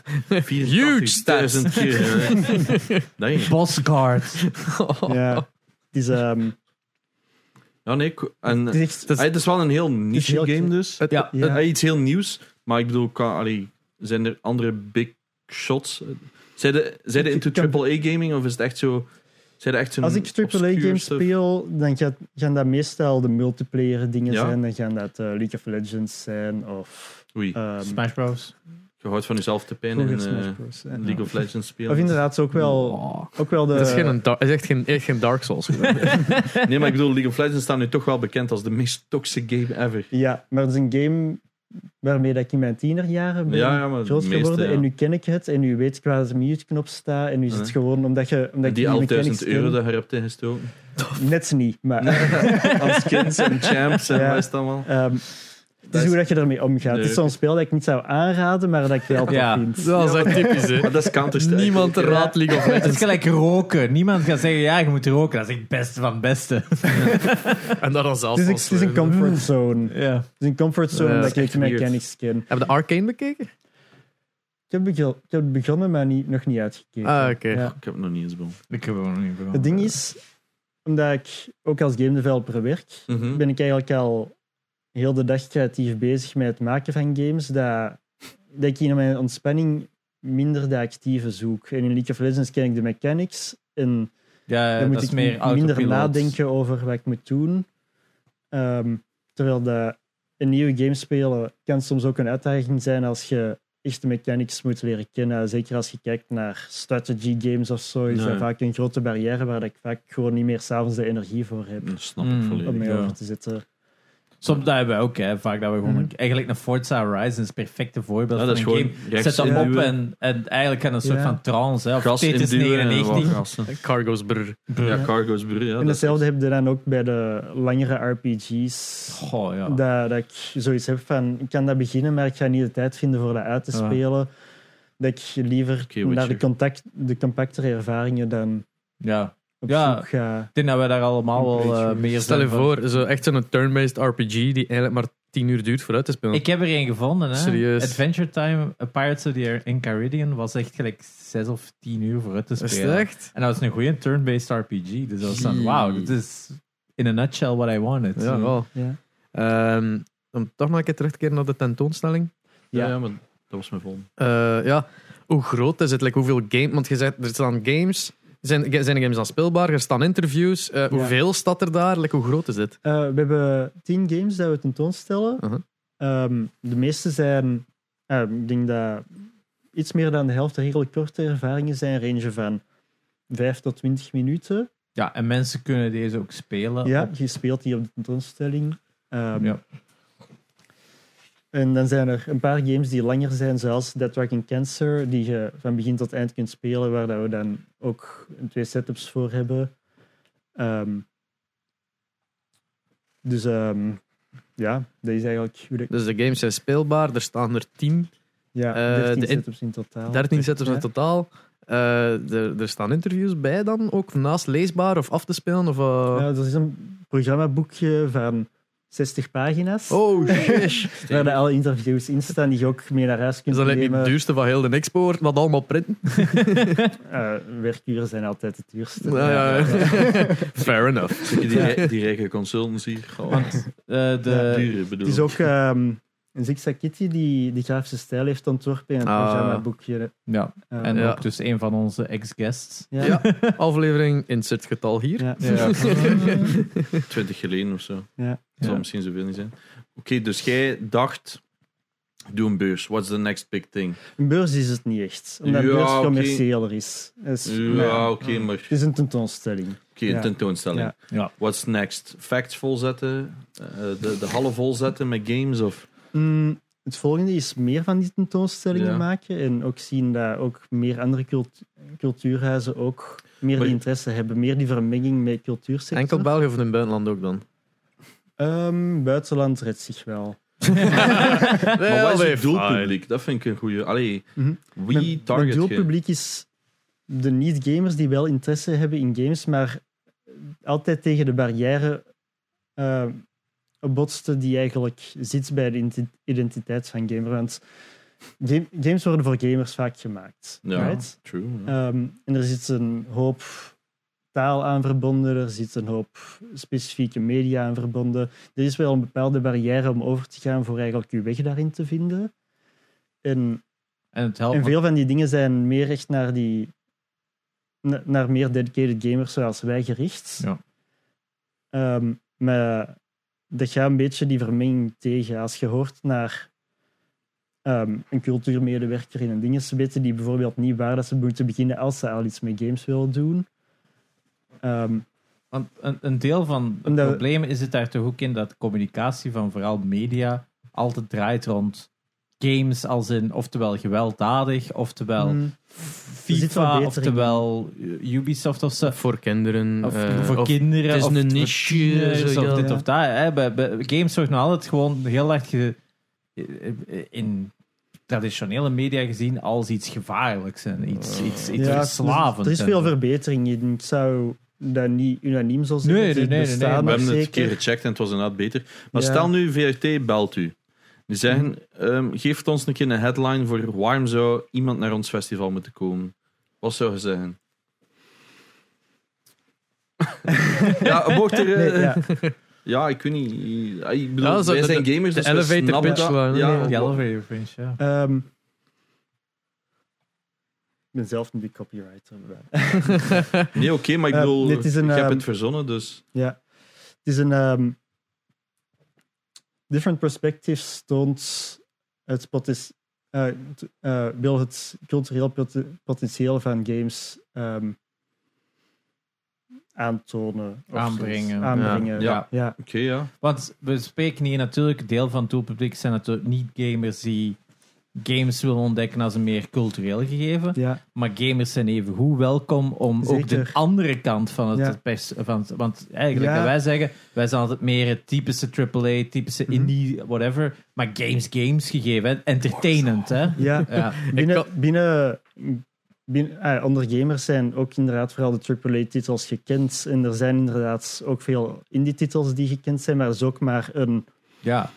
Speaker 2: Huge stats.
Speaker 3: 84.000 keer. hè. Nee.
Speaker 1: Bossguard.
Speaker 3: [laughs] Oh.
Speaker 4: ja. Het is, ehm,
Speaker 3: Ja, nee. ik- En,
Speaker 4: het is echt...
Speaker 3: Ah, het is wel een heel niche
Speaker 4: heel
Speaker 3: game
Speaker 4: cute.
Speaker 3: dus.
Speaker 2: Het-
Speaker 1: Ja.
Speaker 4: Ja.
Speaker 3: Ah, iets heel nieuws. Maar ik bedoel, kan, allee, zijn er andere big shots? Zijn de, zijn de
Speaker 4: Ik-
Speaker 3: into
Speaker 4: ik kan-
Speaker 3: AAA gaming of is het echt zo... Zijn er echt zo'n
Speaker 4: Als ik
Speaker 3: obscure
Speaker 4: AAA-games
Speaker 3: stuff?
Speaker 4: speel, dan gaat, gaan dat meestal de multiplayer dingen
Speaker 3: Ja.
Speaker 4: zijn. Dan gaan dat eh, League of Legends zijn of...
Speaker 3: Oei,
Speaker 4: ehm,
Speaker 1: Smash Bros.
Speaker 3: je houdt van jezelf te pijn in
Speaker 4: vroeger
Speaker 3: eh,
Speaker 4: Smash Bros. hè.
Speaker 3: League of Legends spelen.
Speaker 4: nou, Of inderdaad, ook wel, ook wel de...
Speaker 2: Oh. Het is, geen, een da- het is echt, geen, echt geen Dark Souls.
Speaker 3: Nee, maar ik bedoel, League of Legends staat nu toch wel bekend als de meest toxic game ever.
Speaker 4: Ja, maar het is een game waarmee dat ik in mijn tienerjaren ben
Speaker 3: Ja, ja, maar de
Speaker 4: groot
Speaker 3: meeste,
Speaker 4: geworden.
Speaker 3: ja.
Speaker 4: En nu ken ik het en nu weet ik waar de mute-knop staat. En nu is het
Speaker 3: Ja.
Speaker 4: gewoon omdat je... Omdat
Speaker 3: Die
Speaker 4: ik
Speaker 3: 11.000 euro
Speaker 4: ken.
Speaker 3: dat je hebt ingestoken.
Speaker 4: Net niet, maar...
Speaker 3: [laughs]
Speaker 4: [laughs]
Speaker 3: Als skins en champs en
Speaker 4: Ja.
Speaker 3: wat is dat allemaal.
Speaker 4: ehm, het is hoe dat je ermee omgaat. Het is zo'n spel dat ik niet zou aanraden, maar dat ik wel tof
Speaker 1: Ja.
Speaker 2: [laughs]
Speaker 4: vind.
Speaker 2: Dat is echt typisch, hè.
Speaker 3: Maar dat is Counter-Strike.
Speaker 2: Niemand
Speaker 3: ook, hè.
Speaker 2: raadt League of
Speaker 1: Het is
Speaker 2: Legends.
Speaker 1: gelijk roken. Niemand gaat zeggen, ja, je moet roken. Dat is echt het beste van het beste.
Speaker 2: [laughs] En dat dan zelfs
Speaker 4: Het is, een-
Speaker 2: als eh,
Speaker 4: het is
Speaker 2: sleutel.
Speaker 4: een comfort zone. Het
Speaker 1: Ja.
Speaker 4: is een comfort zone
Speaker 2: Ja, dat
Speaker 4: dat
Speaker 2: is
Speaker 4: ik de
Speaker 3: echt weird.
Speaker 4: mechanics ken. Ik
Speaker 2: [laughs] Hebben we de Arcane bekeken?
Speaker 4: heb, bege- ik heb begonnen, maar niet, nog niet uitgekeken.
Speaker 2: Ah, oké.
Speaker 4: Ja.
Speaker 3: Ik heb het nog niet eens begonnen.
Speaker 1: [laughs] Ik heb er nog niet begonnen.
Speaker 4: Het ding is, omdat ik ook als game developer werk,
Speaker 3: Mhm.
Speaker 4: ben ik eigenlijk al heel de dag creatief bezig met het maken van games, dat, dat ik in mijn ontspanning minder de actieve zoek. En in League of Legends ken ik de mechanics en
Speaker 1: Ja,
Speaker 4: dan
Speaker 1: Eh, dat
Speaker 4: moet
Speaker 1: is
Speaker 4: ik
Speaker 1: meer
Speaker 4: m- minder
Speaker 1: autopilot.
Speaker 4: nadenken over wat ik moet doen. Ehm, terwijl de, een nieuwe game spelen kan soms ook een uitdaging zijn als je echt de mechanics moet leren kennen. Zeker als je kijkt naar strategy games of zo, is
Speaker 3: Nee.
Speaker 4: dat vaak een grote barrière waar ik vaak gewoon niet meer s'avonds de energie voor heb
Speaker 3: Dat snap
Speaker 1: Mm.
Speaker 3: ik
Speaker 4: om
Speaker 3: volledig.
Speaker 4: mee
Speaker 1: Ja.
Speaker 4: over te zitten.
Speaker 1: Soms dat hebben we ook, hè, vaak dat we gewoon...
Speaker 4: Mhm.
Speaker 1: Eigenlijk een Forza Horizon is het perfecte voorbeeld
Speaker 3: Ja,
Speaker 1: van
Speaker 3: dat is
Speaker 1: een
Speaker 3: gewoon
Speaker 1: game.
Speaker 3: rechts
Speaker 1: Zet hem op
Speaker 3: induwen,
Speaker 1: en, en eigenlijk gaan een soort
Speaker 4: Ja.
Speaker 1: van trance. Hè, of
Speaker 3: gas
Speaker 1: Tetris
Speaker 3: induwen en wat
Speaker 1: 99.
Speaker 3: gassen.
Speaker 2: Cargo's, brr.
Speaker 3: Ja, cargo's broer. Ja,
Speaker 4: en
Speaker 3: dat
Speaker 4: hetzelfde heb je dan ook bij de langere RPG's.
Speaker 1: Goh, ja.
Speaker 4: Dat, dat ik zoiets heb van, ik kan dat beginnen, maar ik ga niet de tijd vinden voor dat uit te
Speaker 1: Ja.
Speaker 4: spelen. Dat ik liever
Speaker 3: Oké,
Speaker 4: naar de,
Speaker 3: Witcher.
Speaker 4: contact, de compactere ervaringen dan
Speaker 1: ja. Ik
Speaker 4: op
Speaker 1: Ja.
Speaker 4: zoek ga.
Speaker 1: denk dat we daar allemaal wel eh,
Speaker 4: Witcher.
Speaker 1: meer
Speaker 2: Stel je
Speaker 1: zijn van-
Speaker 2: voor, zo echt zo'n turn-based RPG die eigenlijk maar 10 uur duurt vooruit te spelen.
Speaker 1: Ik heb er een gevonden, hè.
Speaker 2: Serieus?
Speaker 1: Adventure Time, A Pirates of the Air in Caribbean was echt gelijk 6 of 10 uur vooruit te
Speaker 2: is het
Speaker 1: spelen.
Speaker 2: echt?
Speaker 1: En dat was een goede turn-based RPG. Dus dat was dan,
Speaker 2: Jee.
Speaker 1: wauw, dit is in a nutshell what I wanted.
Speaker 2: Ja, wel.
Speaker 4: Ja.
Speaker 2: Ehm, om toch maar een keer terug te keren naar de tentoonstelling.
Speaker 3: Ja,
Speaker 4: Ja.
Speaker 3: ja, maar dat was mijn volgende.
Speaker 2: Eh, ja, hoe groot is het? Like, hoeveel games? Want je zegt, er staan games. Zijn, ga- zijn de games dan speelbaar? Er staan interviews. Eh, Hoeveel staat er daar? Like, hoe groot is dit?
Speaker 4: Eh, we hebben tien games dat we tentoonstellen.
Speaker 2: Uh-huh.
Speaker 4: Ehm, de meeste zijn, eh, ik denk dat iets meer dan de helft redelijk korte ervaringen zijn, een range van 5 tot 20 minuten.
Speaker 1: Ja, en mensen kunnen deze ook spelen.
Speaker 4: Ja,
Speaker 1: op-
Speaker 4: je speelt die op de tentoonstelling. Ehm,
Speaker 1: Ja.
Speaker 4: En dan zijn er een paar games die langer zijn, zoals Dead Walking Cancer, die je van begin tot eind kunt spelen, waar dat we dan ook twee setups voor hebben. Ehm, Dus ehm, ja, dat is eigenlijk hoe dat-
Speaker 2: Dus de games zijn speelbaar. Er staan er 10,
Speaker 4: Ja,
Speaker 2: Eh,
Speaker 4: 13
Speaker 2: de in-
Speaker 4: setups in totaal.
Speaker 2: 13 setups in
Speaker 4: Ja.
Speaker 2: totaal. Eh, er, er staan interviews bij dan ook, naast leesbaar of af te spelen. Of, eh,
Speaker 4: Ja, dus dat is een programmaboekje van 60 pagina's.
Speaker 2: Oh, shit.
Speaker 4: Waar er alle interviews in staan die je ook mee naar huis
Speaker 2: Is
Speaker 4: kunt
Speaker 2: dat niet
Speaker 4: nemen.
Speaker 2: het duurste van heel de export? Dat allemaal printen?
Speaker 4: Eh, werkuren zijn altijd het duurste.
Speaker 2: Nou ja, [laughs] Fair enough.
Speaker 3: Die, die, die rijke consultants hier. Oh,
Speaker 1: Eh, de,
Speaker 4: Ja,
Speaker 3: dure bedoel
Speaker 4: Het is ook ehm een Zigzag Kitty die die grafische stijl heeft ontworpen in het
Speaker 2: Ah.
Speaker 4: programmaboekje.
Speaker 1: ja.
Speaker 4: Eh,
Speaker 1: En
Speaker 2: Ja.
Speaker 1: ook dus een van onze ex-guests.
Speaker 4: ja.
Speaker 2: Ja, aflevering insert getal hier.
Speaker 4: Ja. [laughs]
Speaker 1: Ja. [laughs]
Speaker 3: 20 geleden of zo.
Speaker 4: Ja.
Speaker 3: Dat zal
Speaker 1: Ja.
Speaker 3: misschien zoveel niet zijn. Oké, dus jij dacht, doe een beurs. What's the next big thing?
Speaker 4: Een beurs is het niet echt, omdat een
Speaker 3: Ja,
Speaker 4: beurs
Speaker 3: oké.
Speaker 4: commerciëler is. Dus,
Speaker 3: Ja,
Speaker 4: nou ja,
Speaker 3: oké, maar
Speaker 4: Het is een tentoonstelling.
Speaker 3: oké, een
Speaker 4: Ja.
Speaker 3: tentoonstelling.
Speaker 4: Ja.
Speaker 1: Ja.
Speaker 3: What's next? Facts volzetten? Eh, de, de hallen volzetten met games? Of
Speaker 4: Mm, het volgende is meer van die tentoonstellingen
Speaker 3: Ja.
Speaker 4: maken en ook zien dat ook meer andere cult- cultuurhuizen ook meer
Speaker 3: Maar-
Speaker 4: die interesse hebben, meer die vermenging met cultuursector.
Speaker 2: Enkel België of in het buitenland ook dan?
Speaker 4: Ehm, buitenland redt zich wel.
Speaker 3: maar wat is het doelpubliek? Dat vind ik een goede. Allee,
Speaker 4: Mhm.
Speaker 3: wie
Speaker 4: Mijn-
Speaker 3: target
Speaker 4: Mijn
Speaker 3: je?
Speaker 4: doelpubliek is de niet-gamers die wel interesse hebben in games, maar altijd tegen de barrière eh, botsten die eigenlijk zit bij de inti- identiteit van gamer. Want game- games worden voor gamers vaak gemaakt.
Speaker 3: Ja,
Speaker 4: right?
Speaker 3: true. ja.
Speaker 4: Ehm, en er zit een hoop taal aan verbonden, er zit een hoop specifieke media aan verbonden. Er is wel een bepaalde barrière om over te gaan voor eigenlijk je weg daarin te vinden. En
Speaker 1: En het helpt.
Speaker 4: en veel van die dingen zijn meer echt naar die. na- naar meer dedicated gamers zoals wij gericht.
Speaker 1: Ja.
Speaker 4: Ehm, maar dat gaat een beetje die vermenging tegen. Als je hoort naar ehm, een cultuurmedewerker in een dinges, weten die bijvoorbeeld niet waar dat ze moeten beginnen als ze al iets met games willen doen. Ehm,
Speaker 1: Want een, een deel van het
Speaker 4: Omdat we-
Speaker 1: probleem is het daar toch ook in dat communicatie van vooral media altijd draait rond games als in oftewel gewelddadig, oftewel
Speaker 3: Hmm.
Speaker 4: mm, zit wel
Speaker 1: FIFA,
Speaker 4: beter in.
Speaker 1: oftewel eh, Ubisoft of zo.
Speaker 2: Voor kinderen.
Speaker 1: Of
Speaker 2: eh,
Speaker 1: voor kinderen.
Speaker 2: het is
Speaker 1: of
Speaker 2: een
Speaker 1: voor
Speaker 2: niche, eh,
Speaker 1: tieners,
Speaker 2: zo,
Speaker 1: of
Speaker 2: ja.
Speaker 1: dit
Speaker 4: Ja.
Speaker 1: of dat. Hè. Bij, bij- games wordt nog altijd gewoon heel erg ge- in traditionele media gezien als iets gevaarlijks en iets,
Speaker 2: Eh,
Speaker 1: iets, iets
Speaker 4: Ja,
Speaker 1: verslavends.
Speaker 4: Er is
Speaker 1: en
Speaker 4: veel
Speaker 1: zo.
Speaker 4: verbetering in. Ik zou dat niet unaniem zo
Speaker 1: Nee,
Speaker 4: zeggen.
Speaker 1: nee,
Speaker 4: Het
Speaker 1: nee, nee,
Speaker 4: bestaat
Speaker 1: nee, maar-
Speaker 4: nog
Speaker 3: We hebben het een
Speaker 4: zeker.
Speaker 3: keer gecheckt en het was inderdaad beter. Maar
Speaker 4: Ja.
Speaker 3: stel nu, VRT belt u. Die zeggen, ehm, geef ons een keer een headline voor waarom zou iemand naar ons festival moeten komen. Wat zou je
Speaker 4: [laughs]
Speaker 3: zeggen? ja, mocht er... eh,
Speaker 4: Nee, ja.
Speaker 3: ja, ik weet niet. Ja, Ik bedoel,
Speaker 2: Ja, zo
Speaker 3: wij
Speaker 2: de-
Speaker 3: zijn
Speaker 2: de-
Speaker 3: gamers,
Speaker 2: de
Speaker 3: dus we
Speaker 2: elevator
Speaker 3: snappen
Speaker 2: pitch
Speaker 3: dat.
Speaker 2: gewoon,
Speaker 3: Ja,
Speaker 2: nee,
Speaker 3: wat-
Speaker 1: Die elevator pitch,
Speaker 2: [laughs]
Speaker 1: ja.
Speaker 4: Ehm, ik ben zelf een big copywriter. maar-
Speaker 3: nee oké, maar ik
Speaker 4: Eh,
Speaker 3: bedoel,
Speaker 4: dit is een,
Speaker 3: ik heb
Speaker 4: ehm,
Speaker 3: het verzonnen, dus...
Speaker 4: Ja. Het is een... ehm, different Perspectives toont het potes- eh, t- eh, wil het cultureel pot- potentieel van games ehm, aantonen. of
Speaker 1: Aanbrengen.
Speaker 4: zoiets. Aanbrengen.
Speaker 3: Ja.
Speaker 4: Ja. Ja.
Speaker 3: Oké, ja.
Speaker 1: Want we spreken hier natuurlijk, een deel van het doelpubliek zijn natuurlijk niet gamers die games willen ontdekken als een meer cultureel gegeven.
Speaker 4: ja.
Speaker 1: Maar gamers zijn evengoed welkom om ook de
Speaker 4: Zeker.
Speaker 1: andere kant van het
Speaker 4: Ja.
Speaker 1: pers... Van, het- want eigenlijk,
Speaker 4: Ja.
Speaker 1: dat wij zeggen, wij zijn altijd meer het typische AAA, typische indie, whatever. Maar games, games gegeven. hè. Entertainend, hè.
Speaker 4: ja.
Speaker 1: Ja.
Speaker 4: Binnen,
Speaker 2: kan-
Speaker 4: binnen, binnen- ah, onder gamers zijn ook inderdaad vooral de AAA-titels gekend. En er zijn inderdaad ook veel indie-titels die gekend zijn, maar er is ook maar een,
Speaker 1: ja.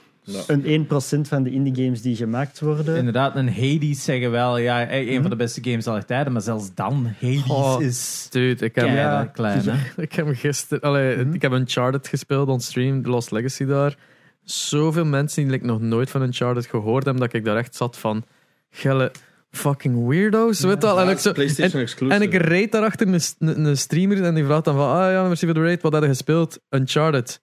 Speaker 4: een 1% van de indie-games die gemaakt worden.
Speaker 1: Inderdaad, een Hades zeggen wel, ja, eh, een van de beste games aller tijden. Maar zelfs dan, Hades
Speaker 2: Oh.
Speaker 1: is
Speaker 2: Dude, ik heb,
Speaker 1: klein,
Speaker 4: Ja.
Speaker 1: hè, klein, hè.
Speaker 2: ik heb gisteren... Allee,
Speaker 3: Mhm.
Speaker 2: Ik heb Uncharted gespeeld on stream, The Lost Legacy daar. Zoveel mensen die like, nog nooit van Uncharted gehoord hebben, dat ik daar echt zat van... Gelle fucking weirdo's, weet je wel. En ik zo- en-
Speaker 3: PlayStation exclusive.
Speaker 2: En ik reed daarachter een, s- een, een streamer en die vraagt dan van, ah ja, merci voor de raid, wat heb je gespeeld? Uncharted.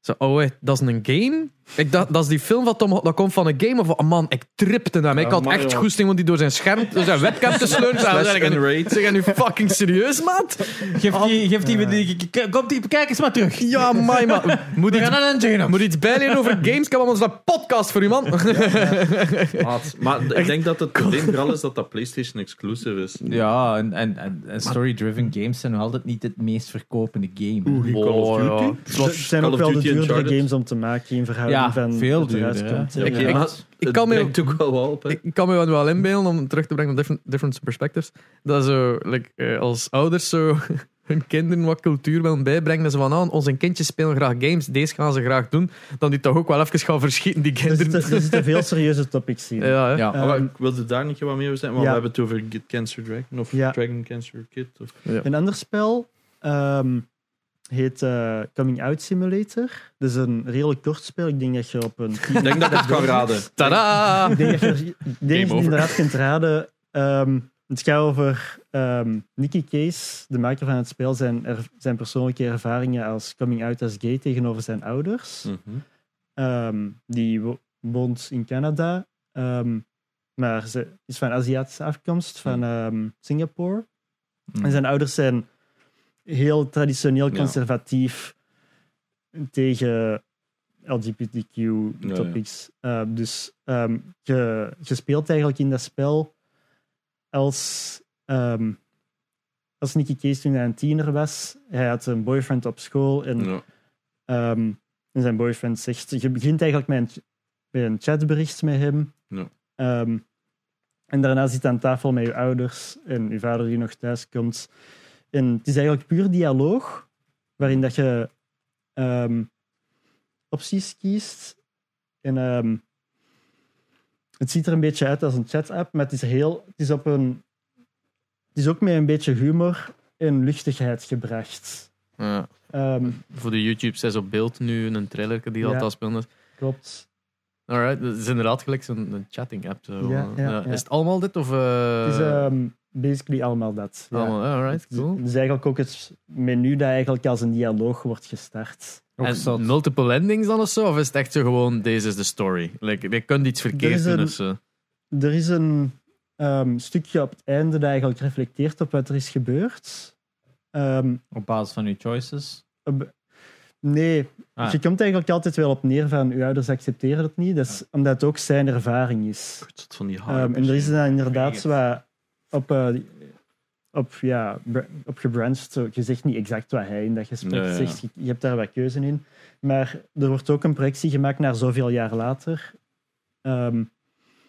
Speaker 2: Zo, oh wait, dat is een game? Ik dacht, dat is die film van Tom Holland, dat komt van een game of... Man, ik tripte hem. ik had
Speaker 3: Mario.
Speaker 2: echt goesting om die door zijn scherm, door zijn webcam
Speaker 3: [laughs]
Speaker 2: te sleuren. Zeg,
Speaker 3: Slash
Speaker 2: zeg, [laughs]
Speaker 3: Unraid.
Speaker 2: zeg, nu fucking serieus, maat?
Speaker 1: Geef die, geef die, die- kom die, kijk eens maar terug.
Speaker 2: Ja, my man. Moet
Speaker 1: We
Speaker 2: iets,
Speaker 1: gaan naar een Jane.
Speaker 2: moet iets bijleren over games? Kan ons een podcast voor u, man?
Speaker 3: Maat, Maar ik denk dat het probleem vooral is dat dat PlayStation exclusive is.
Speaker 1: Ja, en, en, en, en story-driven games zijn nog altijd niet het meest verkopende game.
Speaker 3: Call of Duty?
Speaker 2: ja.
Speaker 4: Het zijn ook wel de duurdere
Speaker 3: Uncharted.
Speaker 4: games om te maken in verhouding
Speaker 1: Ja,
Speaker 4: van
Speaker 1: veel
Speaker 4: wat eruit
Speaker 1: duurder,
Speaker 4: komt.
Speaker 1: hè.
Speaker 4: Ja.
Speaker 3: Oké,
Speaker 2: Ik-
Speaker 3: maar
Speaker 2: ik
Speaker 3: het
Speaker 2: kan me-
Speaker 3: brengt ook wel wat op. hè.
Speaker 2: [laughs] Ik kan me wel inbeelden om terug te brengen op different, different perspectives. Dat zo, like, eh, als ouders zo [laughs] hun kinderen wat cultuur willen bijbrengen. Dat ze van, ah, onze kindjes spelen graag games, deze gaan ze graag doen. Dan die toch ook wel even gaan verschieten, die
Speaker 4: Er
Speaker 2: kinderen.
Speaker 4: zitten- er zitten veel serieuze topics in.
Speaker 2: [laughs] Ja, hè.
Speaker 1: Ja.
Speaker 4: Eh,
Speaker 3: Maar ik wilde daar niet wat meer over zijn, want
Speaker 4: Ja.
Speaker 3: we hebben het over Get Cancer Dragon of
Speaker 4: Ja.
Speaker 3: Dragon Cancer Kid. Of...
Speaker 4: Een ander spel ehm, heet eh, Coming Out Simulator. Dat is een redelijk kort spel. Ik denk dat je op een...
Speaker 3: Ik denk [laughs] dat ik het kan raden.
Speaker 2: Tadaa!
Speaker 4: Ik denk dat je, ik denk dat je het
Speaker 3: over.
Speaker 4: inderdaad kunt raden. Ehm, het gaat over ehm Nicky Case, de maker van het spel, zijn, er, zijn persoonlijke ervaringen als coming out as gay tegenover zijn ouders.
Speaker 3: Mhm.
Speaker 4: Ehm, die wo- woont in Canada, ehm, maar ze is van Aziatische afkomst,
Speaker 3: Hmm.
Speaker 4: van ehm, Singapore.
Speaker 1: Mm.
Speaker 4: En zijn ouders zijn heel traditioneel
Speaker 3: Ja.
Speaker 4: conservatief tegen
Speaker 3: ja.
Speaker 4: LGBTQ-topics. dus ehm, je, je speelt eigenlijk in dat spel als, ehm, als Nicky Case toen hij een tiener was. Hij had een boyfriend op school en
Speaker 3: Ja.
Speaker 4: Ehm, en zijn boyfriend zegt: Je begint eigenlijk met een, met een chatbericht met hem.
Speaker 3: Ja.
Speaker 4: Ehm, en daarna zit je aan tafel met je ouders en je vader die nog thuis komt. En het is eigenlijk puur dialoog, waarin dat je ehm, opties kiest. En ehm, het ziet er een beetje uit als een chat-app, maar het is, heel, het is, op een, het is ook met een beetje humor en luchtigheid gebracht.
Speaker 2: Ja.
Speaker 4: Ehm,
Speaker 2: Voor de YouTube 6 op beeld nu een trailer die
Speaker 4: Ja.
Speaker 2: dat al speelde. is.
Speaker 4: klopt.
Speaker 2: Alright, dat is inderdaad gelijk zo'n een chatting app. Zo.
Speaker 4: Ja, ja, ja.
Speaker 2: Is het allemaal dit? Of, eh,
Speaker 4: Het is ehm, basically allemaal dat. Ja.
Speaker 2: allemaal, alright, cool.
Speaker 4: Het is eigenlijk ook het menu dat eigenlijk als een dialoog wordt gestart.
Speaker 2: En
Speaker 1: zot.
Speaker 2: multiple endings dan of zo? Of is het echt zo gewoon, deze is de story? Like, je kunt iets
Speaker 4: Er
Speaker 2: verkeerd
Speaker 4: is
Speaker 2: doen
Speaker 4: een-
Speaker 2: of zo.
Speaker 4: Er is een ehm, stukje op het einde dat eigenlijk reflecteert op wat er is gebeurd. Ehm,
Speaker 1: Op basis van uw choices.
Speaker 4: op- nee, dus
Speaker 1: Ah.
Speaker 4: je komt eigenlijk altijd wel op neer van je ouders accepteren het niet. Dat
Speaker 2: Ah.
Speaker 4: is omdat het ook zijn ervaring is.
Speaker 3: Kut, dat van die haar.
Speaker 4: Ehm, en er is dan inderdaad
Speaker 1: Vegas.
Speaker 4: wat op, eh, op, ja, br- op gebranched. Zo, Je zegt niet exact wat hij in dat gesprek
Speaker 3: Nee, ja, ja.
Speaker 4: zegt. Je, je hebt daar wat keuze in. Maar er wordt ook een projectie gemaakt naar zoveel jaar later. ehm,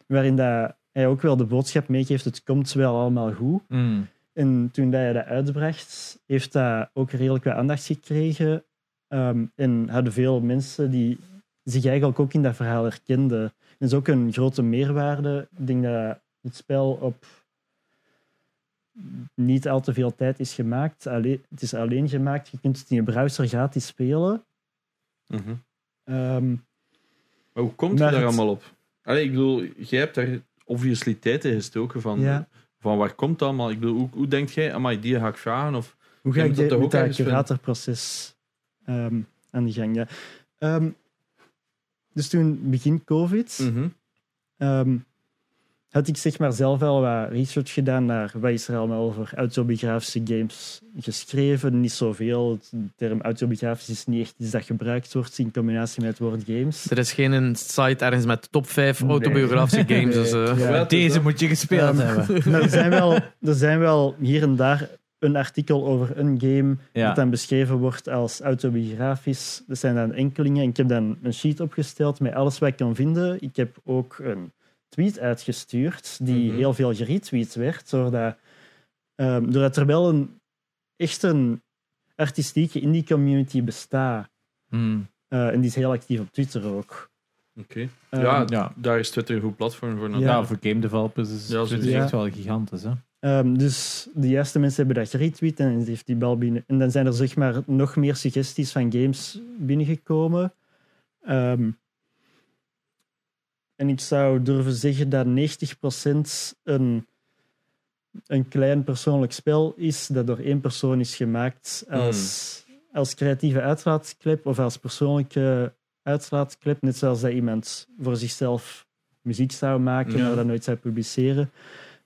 Speaker 4: waarin dat hij ook wel de boodschap meegeeft: het komt wel allemaal goed.
Speaker 1: Mm.
Speaker 4: En toen dat hij dat uitbracht, heeft dat ook redelijk wat aandacht gekregen. Ehm, en hadden veel mensen die zich eigenlijk ook in dat verhaal herkenden. Dat is ook een grote meerwaarde. Ik denk dat het spel op niet al te veel tijd is gemaakt. Alleen, het is alleen gemaakt. Je kunt het in je browser gratis spelen.
Speaker 3: Mhm.
Speaker 4: Ehm,
Speaker 3: Maar hoe komt je
Speaker 4: Maar
Speaker 3: daar
Speaker 4: het-
Speaker 3: allemaal op? Allee, ik bedoel, jij hebt daar obviously tijd in gestoken van,
Speaker 4: Ja.
Speaker 3: van waar komt dat allemaal? Ik bedoel, hoe, hoe denk jij, amai, die ga ik vragen? Of,
Speaker 4: Hoe ga
Speaker 3: Je
Speaker 4: ik
Speaker 3: moet dat
Speaker 4: dit-
Speaker 3: toch
Speaker 4: met
Speaker 3: ook
Speaker 4: dat
Speaker 3: ergens vinden?
Speaker 4: curatorproces ehm, aan de gang? Ja. Ehm, dus toen begin COVID.
Speaker 3: Mhm.
Speaker 4: Ehm, had ik zeg maar zelf al wat research gedaan naar wat is er allemaal over autobiografische games geschreven. Niet zoveel. De term autobiografisch is niet echt iets dat gebruikt wordt in combinatie met het woord games.
Speaker 2: Er is geen een site ergens met top 5
Speaker 4: Nee.
Speaker 2: autobiografische games.
Speaker 4: [laughs] Nee.
Speaker 2: Dus, eh.
Speaker 4: Ja.
Speaker 3: Wel,
Speaker 1: Deze
Speaker 3: dus
Speaker 1: moet je gespeeld
Speaker 4: Ja. [laughs]
Speaker 1: hebben.
Speaker 4: Maar er zijn, wel, er zijn wel hier en daar een artikel over een game
Speaker 1: Ja.
Speaker 4: dat dan beschreven wordt als autobiografisch. Dat zijn dan enkelingen. En ik heb dan een sheet opgesteld met alles wat ik kan vinden. Ik heb ook een tweet uitgestuurd die
Speaker 3: Mhm.
Speaker 4: heel veel geretweet werd. Doordat, ehm, doordat er wel een, echt een artistieke indie community bestaat.
Speaker 1: Mm.
Speaker 4: Eh, en die is heel actief op Twitter ook.
Speaker 3: Oké.
Speaker 4: Ehm,
Speaker 3: ja,
Speaker 1: ja.
Speaker 3: daar is Twitter een goed platform voor.
Speaker 4: Ja.
Speaker 3: natuurlijk.
Speaker 1: Nou, voor game developers is
Speaker 3: Ja,
Speaker 1: het
Speaker 3: sowieso.
Speaker 1: echt wel gigantisch. Hè?
Speaker 4: Ehm, dus de juiste mensen hebben dat geretweet en heeft die bal binnen. En dan zijn er zeg maar nog meer suggesties van games binnengekomen. Ehm, en ik zou durven zeggen dat 90% een, een klein persoonlijk spel is dat door één persoon is gemaakt als, als creatieve uitlaatklep of als persoonlijke uitlaatklep. Net zoals dat iemand voor zichzelf muziek zou maken,
Speaker 3: Ja.
Speaker 4: maar dat nooit zou publiceren.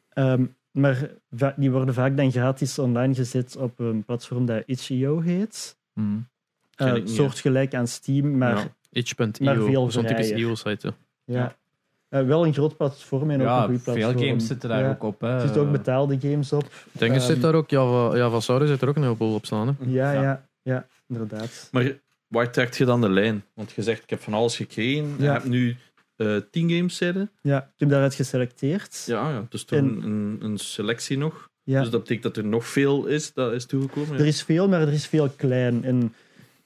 Speaker 4: Ehm, maar va- die worden vaak dan gratis online gezet op een platform dat itch.io heet.
Speaker 1: Mhm.
Speaker 4: Eh,
Speaker 3: Ken ik niet, hè.
Speaker 4: soortgelijk aan Steam, maar
Speaker 3: Ja.
Speaker 4: Maar
Speaker 2: Itch.io,
Speaker 4: veel
Speaker 2: zo'n typisch E
Speaker 4: vrijer.
Speaker 2: IO-site.
Speaker 4: Ja. Eh, wel een groot platform en ook een
Speaker 1: Ja,
Speaker 4: goed platform.
Speaker 1: veel games zitten daar
Speaker 4: Ja.
Speaker 1: ook op. eh. Hè.
Speaker 4: Er zitten ook betaalde games op.
Speaker 2: Dingen
Speaker 4: Ehm,
Speaker 2: zit daar ook, Java, Java Saurus zit er ook een heleboel op staan. Hè.
Speaker 4: Ja,
Speaker 1: Ja.
Speaker 4: ja, ja, inderdaad.
Speaker 3: Maar waar trekt je dan de lijn? Want je zegt, ik heb van alles gekregen. Je
Speaker 4: Ja.
Speaker 3: hebt nu eh tien games, zeiden.
Speaker 4: Ja, ik heb daaruit geselecteerd.
Speaker 3: Ja, ja. Dus toen
Speaker 4: En-
Speaker 3: een, een selectie nog.
Speaker 4: Ja.
Speaker 3: Dus dat betekent dat er nog veel is, dat is toegekomen.
Speaker 4: Er is veel, maar er is veel klein. En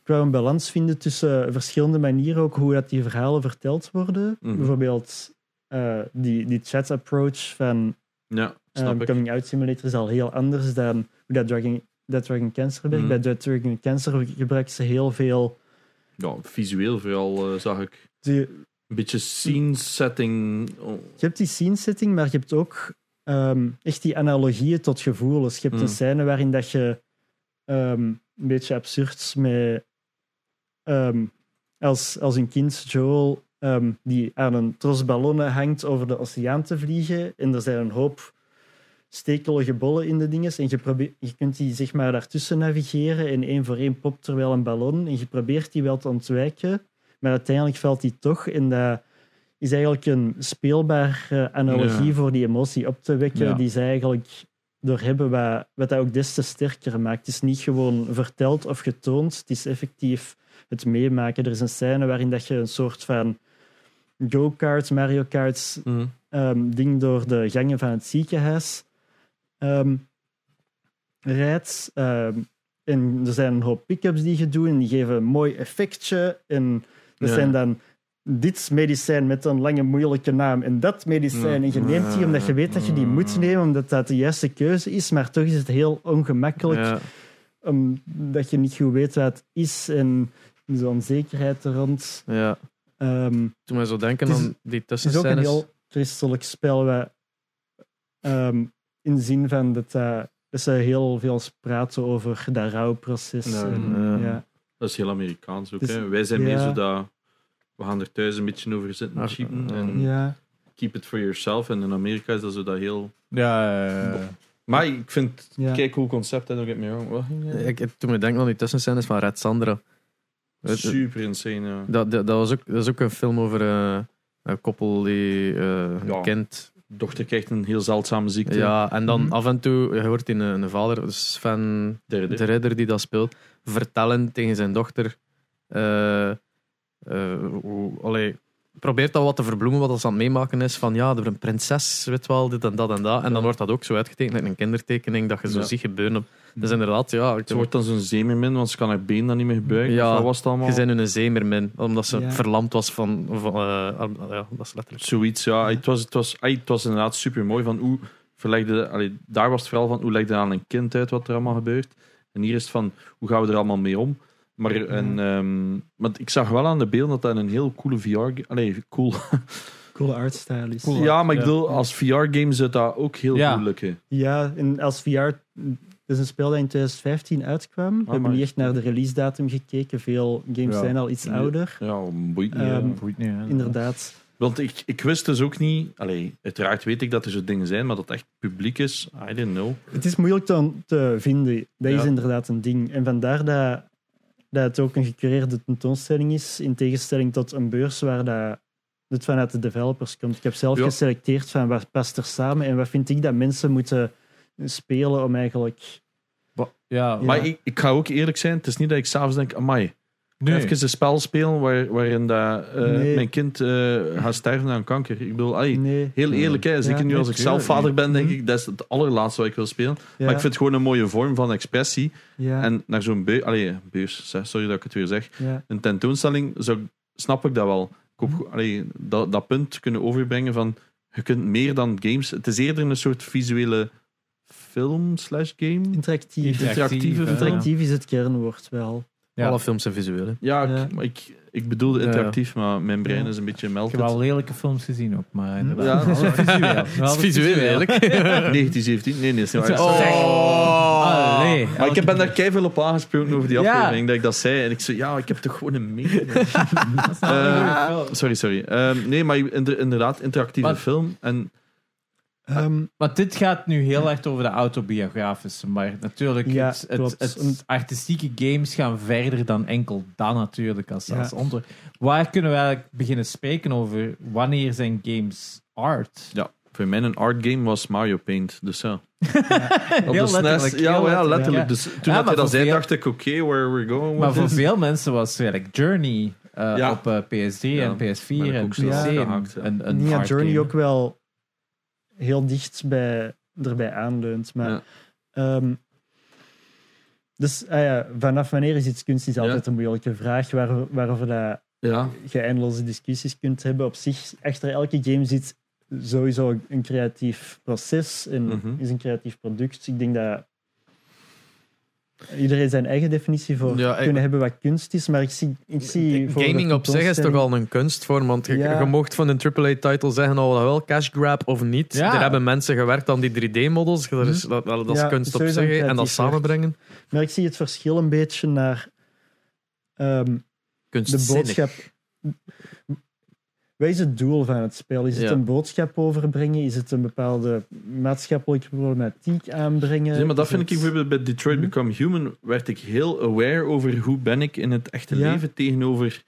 Speaker 4: ik wou een balans vinden tussen verschillende manieren, ook hoe dat die verhalen verteld worden.
Speaker 3: Mhm.
Speaker 4: Bijvoorbeeld eh, die, die chat-approach van
Speaker 3: Ja,
Speaker 4: ehm,
Speaker 3: snap ik.
Speaker 4: Coming Out Simulator is al heel anders dan hoe dat Dragon, dat Dragon Cancer werkt.
Speaker 3: Mhm.
Speaker 4: Bij dat Dragon Cancer gebruiken ze heel veel...
Speaker 3: Ja, visueel vooral eh, zag ik.
Speaker 4: Die,
Speaker 3: Een beetje
Speaker 4: Mm.
Speaker 3: scene setting. Oh,
Speaker 4: Je hebt die scene setting, maar je hebt ook ehm, echt die analogieën tot gevoelens. Je hebt
Speaker 3: Mm.
Speaker 4: een scène waarin dat je ehm, een beetje absurd met. ehm, als, als een kind, Joel, ehm, die aan een tros ballonnen hangt over de oceaan te vliegen. En er zijn een hoop stekelige bollen in de dinges. En je, probeert, je kunt die zeg maar daartussen navigeren. En één voor één popt er wel een ballon. En je probeert die wel te ontwijken. Maar uiteindelijk valt die toch. En dat is eigenlijk een speelbare analogie
Speaker 3: Ja.
Speaker 4: voor die emotie op te wekken.
Speaker 3: Ja.
Speaker 4: Die ze eigenlijk door hebben. Wat, wat dat ook des te sterker maakt. Het is niet gewoon verteld of getoond. Het is effectief het meemaken. Er is een scène waarin dat je een soort van go-kart, Mario Kart
Speaker 3: mhm.
Speaker 4: ehm, ding door de gangen van het ziekenhuis ehm, rijdt. Ehm, en er zijn een hoop pick-ups die je doet en die geven een mooi effectje. En dat
Speaker 3: Ja.
Speaker 4: zijn dan dit medicijn met een lange moeilijke naam en dat medicijn. En je neemt die omdat je weet dat je die moet nemen, omdat dat de juiste keuze is. Maar toch is het heel ongemakkelijk
Speaker 2: Ja.
Speaker 4: omdat je niet goed weet wat het is en de onzekerheid er rond.
Speaker 2: Ja.
Speaker 4: Ehm,
Speaker 2: Toen wij zo denken
Speaker 4: Het is-
Speaker 2: aan die
Speaker 4: het is ook een
Speaker 2: tussenscènes.
Speaker 4: heel christelijk spel wat, ehm, in de zin van dat, eh, dat ze heel veel praten over dat rouwproces.
Speaker 3: Ja,
Speaker 4: en,
Speaker 2: ja.
Speaker 4: ja.
Speaker 3: eh, Dat is heel Amerikaans ook.
Speaker 4: Dus-
Speaker 3: hè. Wij zijn meer
Speaker 4: ja.
Speaker 3: zo dat... We gaan er thuis een beetje over zitten
Speaker 2: Maar-
Speaker 3: cheapen.
Speaker 2: ja.
Speaker 3: En
Speaker 4: Ja.
Speaker 3: keep it for yourself. En in Amerika is dat zo dat heel...
Speaker 1: Ja, ja, ja.
Speaker 3: Maar ik vind het
Speaker 4: Ja.
Speaker 3: kijk cool concept. En ook me wrong. Wat ging jij?
Speaker 2: Ik, ik- toen we denken aan die tussenscènes van Red Sandra. Weet-
Speaker 3: Super insane, ja.
Speaker 2: Dat, dat, dat was ook, dat is ook een film over eh, een koppel die eh
Speaker 3: Ja.
Speaker 2: een kind.
Speaker 3: Dochter krijgt een heel zeldzame ziekte.
Speaker 2: Ja, en dan
Speaker 4: Mhm.
Speaker 2: af en toe, je hoort in een, een vader, Sven
Speaker 3: Derde.
Speaker 2: de ridder die dat speelt, vertellen tegen zijn dochter. eh, eh, hoe- allee, probeert dat wat te verbloemen, wat ze aan het meemaken is. Van ja, er een prinses, weet wel, dit en dat en dat. En dan wordt dat ook zo uitgetekend in een kindertekening, dat je zo
Speaker 3: Ja.
Speaker 2: ziet gebeuren. Op. Dus inderdaad, ja, ik-
Speaker 3: Ze wordt dan zo'n zeemermin, want ze kan haar been dan niet meer gebruiken.
Speaker 2: Ja.
Speaker 3: Ja. Wat was het allemaal?
Speaker 2: je bent een zeemermin, omdat ze
Speaker 4: Ja.
Speaker 2: verlamd was van... van eh, arm- ja, dat is letterlijk.
Speaker 3: Zoiets, ja. Het was, het was, ay, het was inderdaad super mooi. Van hoe verlegde, allee, daar was het vooral van hoe legde aan een kind uit wat er allemaal gebeurt. En hier is het van hoe gaan we er allemaal mee om. Maar, en, ehm, want ik zag wel aan de beelden dat dat een heel coole VR. Allee, cool.
Speaker 4: Coole artstyle is.
Speaker 3: ja, maar ik
Speaker 1: ja.
Speaker 3: bedoel, als VR-game zou dat ook heel
Speaker 1: Ja.
Speaker 3: goed lukken.
Speaker 4: Ja, en als VR... Het is een spel dat in 2015 uitkwam. We hebben
Speaker 3: Ah, maar-
Speaker 4: niet echt naar de release-datum gekeken. Veel games
Speaker 1: Ja.
Speaker 4: zijn al iets
Speaker 3: Ja.
Speaker 4: ouder.
Speaker 3: Ja, boeit niet.
Speaker 4: Ehm,
Speaker 3: ja.
Speaker 1: Boeit niet, hè.
Speaker 4: Inderdaad.
Speaker 3: Want ik, ik wist dus ook niet. Allee, uiteraard weet ik dat er zo dingen zijn, maar dat het echt publiek is. I didn't know.
Speaker 4: Het is moeilijk te, te vinden. Dat is
Speaker 3: Ja.
Speaker 4: inderdaad een ding. En vandaar dat, dat het ook een gecureerde tentoonstelling is, in tegenstelling tot een beurs waar dat, het vanuit de developers komt. Ik heb zelf
Speaker 3: Ja.
Speaker 4: geselecteerd van wat past er samen en wat vind ik dat mensen moeten spelen om eigenlijk...
Speaker 1: Wa- Ja,
Speaker 4: Ja.
Speaker 3: Maar ik, ik ga ook eerlijk zijn, het is niet dat ik s'avonds denk, amai,
Speaker 1: nee.
Speaker 3: even een spel spelen waar, waarin dat, eh,
Speaker 4: Nee.
Speaker 3: mijn kind eh, gaat sterven aan kanker. Ik bedoel, allee,
Speaker 4: Nee.
Speaker 3: heel eerlijk, hè, zeker nu
Speaker 4: nee,
Speaker 3: als ik zelf
Speaker 1: tuurlijk.
Speaker 3: vader ben, denk
Speaker 4: Mhm.
Speaker 3: ik, dat is het allerlaatste wat ik wil spelen.
Speaker 4: Ja,
Speaker 3: Maar ik vind het gewoon een mooie vorm van expressie.
Speaker 4: ja,
Speaker 3: En naar zo'n beu allee, beurs, zeg, sorry dat ik het weer zeg,
Speaker 4: ja.
Speaker 3: een tentoonstelling, zou, snap ik dat wel. Ik
Speaker 1: Mhm.
Speaker 3: hoop, go- allee, dat, dat punt kunnen overbrengen van, je kunt meer dan games. Het is eerder een soort visuele film slash game.
Speaker 1: Interactief,
Speaker 4: Interactief.
Speaker 3: Interactieve
Speaker 1: hè.
Speaker 3: film.
Speaker 4: Interactief is het kernwoord wel.
Speaker 1: Ja.
Speaker 2: Alle films zijn visueel. hè.
Speaker 3: Ja, ik,
Speaker 1: Ja.
Speaker 3: maar ik, ik bedoelde
Speaker 2: Ja.
Speaker 3: interactief, maar mijn brein is een beetje
Speaker 1: Ik
Speaker 3: melted.
Speaker 1: heb
Speaker 3: [laughs]
Speaker 1: al lelijke films gezien ook, maar
Speaker 4: Hmm?
Speaker 1: inderdaad. [laughs]
Speaker 3: Ja, dat is wel
Speaker 1: visueel.
Speaker 2: Het is visueel, eigenlijk.
Speaker 3: [laughs] 1917? Nee, nee, is
Speaker 1: [laughs]
Speaker 3: niet waar.
Speaker 1: Oh. Allee,
Speaker 3: Maar ik heb- ben daar keihard op aangesproken over die
Speaker 1: Ja.
Speaker 3: aflevering, dat ik dat zei. En ik zei, ja, ik heb toch gewoon een
Speaker 1: [laughs]
Speaker 3: mening. Eh, sorry, sorry. Ehm, nee, maar inder- inderdaad, interactieve
Speaker 1: Maar-
Speaker 3: film. En
Speaker 4: Ehm,
Speaker 1: Maar dit gaat nu heel erg over de autobiografische, maar natuurlijk,
Speaker 4: Ja,
Speaker 1: het, het,
Speaker 4: klopt.
Speaker 1: het artistieke games gaan verder dan enkel dat natuurlijk. Als,
Speaker 4: Ja.
Speaker 1: als onder. Waar kunnen we eigenlijk beginnen spreken over wanneer zijn games art?
Speaker 3: ja, voor mij een art game was Mario Paint. Dus ja. Op
Speaker 1: [laughs] Heel
Speaker 4: E
Speaker 3: de
Speaker 1: letterlijk,
Speaker 3: SNES. Ja,
Speaker 1: heel
Speaker 3: maar ja,
Speaker 1: letterlijk,
Speaker 3: letterlijk.
Speaker 1: ja.
Speaker 3: Dus toen
Speaker 1: maar
Speaker 3: dat hij
Speaker 1: voor
Speaker 3: dat zei,
Speaker 1: veel-
Speaker 3: dacht ik, oké, where we're going with
Speaker 1: Maar voor
Speaker 3: this.
Speaker 1: veel mensen was eigenlijk Journey eh,
Speaker 3: Ja.
Speaker 1: op eh, PS3 en
Speaker 3: ben
Speaker 1: PS4
Speaker 3: ik
Speaker 1: en
Speaker 3: ook
Speaker 1: PC
Speaker 3: snel
Speaker 1: een,
Speaker 3: afgehaakt, ja.
Speaker 1: een, een
Speaker 4: ja,
Speaker 1: art
Speaker 4: Journey
Speaker 1: game.
Speaker 4: ook wel heel dicht bij, erbij aanleunt. Maar,
Speaker 3: Ja.
Speaker 4: ehm, dus ah ja, vanaf wanneer is iets kunst is altijd een moeilijke vraag waar, waarover dat
Speaker 3: Ja,
Speaker 4: je eindeloze discussies kunt hebben. Op zich, achter elke game zit sowieso een creatief proces en
Speaker 3: Mhm.
Speaker 4: is een creatief product. Ik denk dat iedereen zijn eigen definitie voor
Speaker 2: Ja, ik-
Speaker 4: kunnen hebben wat kunst is, maar ik zie... Ik zie voor de
Speaker 2: Gaming op zich is toch al een kunstvorm, want je,
Speaker 4: Ja.
Speaker 2: je mocht van een AAA-title zeggen, al wel cash grab of niet.
Speaker 1: Ja.
Speaker 2: Er hebben mensen gewerkt aan die 3D-models, dat is, dat, dat is
Speaker 4: Ja,
Speaker 2: kunst op
Speaker 4: sowieso
Speaker 2: zich, hè. en dat
Speaker 4: creatief werk.
Speaker 2: samenbrengen.
Speaker 4: Maar ik zie het verschil een beetje naar ehm, de
Speaker 2: Kunstzinnig.
Speaker 4: boodschap. Wat is het doel van het spel? Is het
Speaker 2: Ja.
Speaker 4: een boodschap overbrengen? Is het een bepaalde maatschappelijke problematiek aanbrengen?
Speaker 3: Nee, maar dat
Speaker 4: Is
Speaker 3: vind ik
Speaker 4: het-
Speaker 3: bijvoorbeeld bij Detroit
Speaker 4: Mhm.
Speaker 3: Become Human werd ik heel aware over hoe ben ik in het echte
Speaker 4: Ja.
Speaker 3: leven tegenover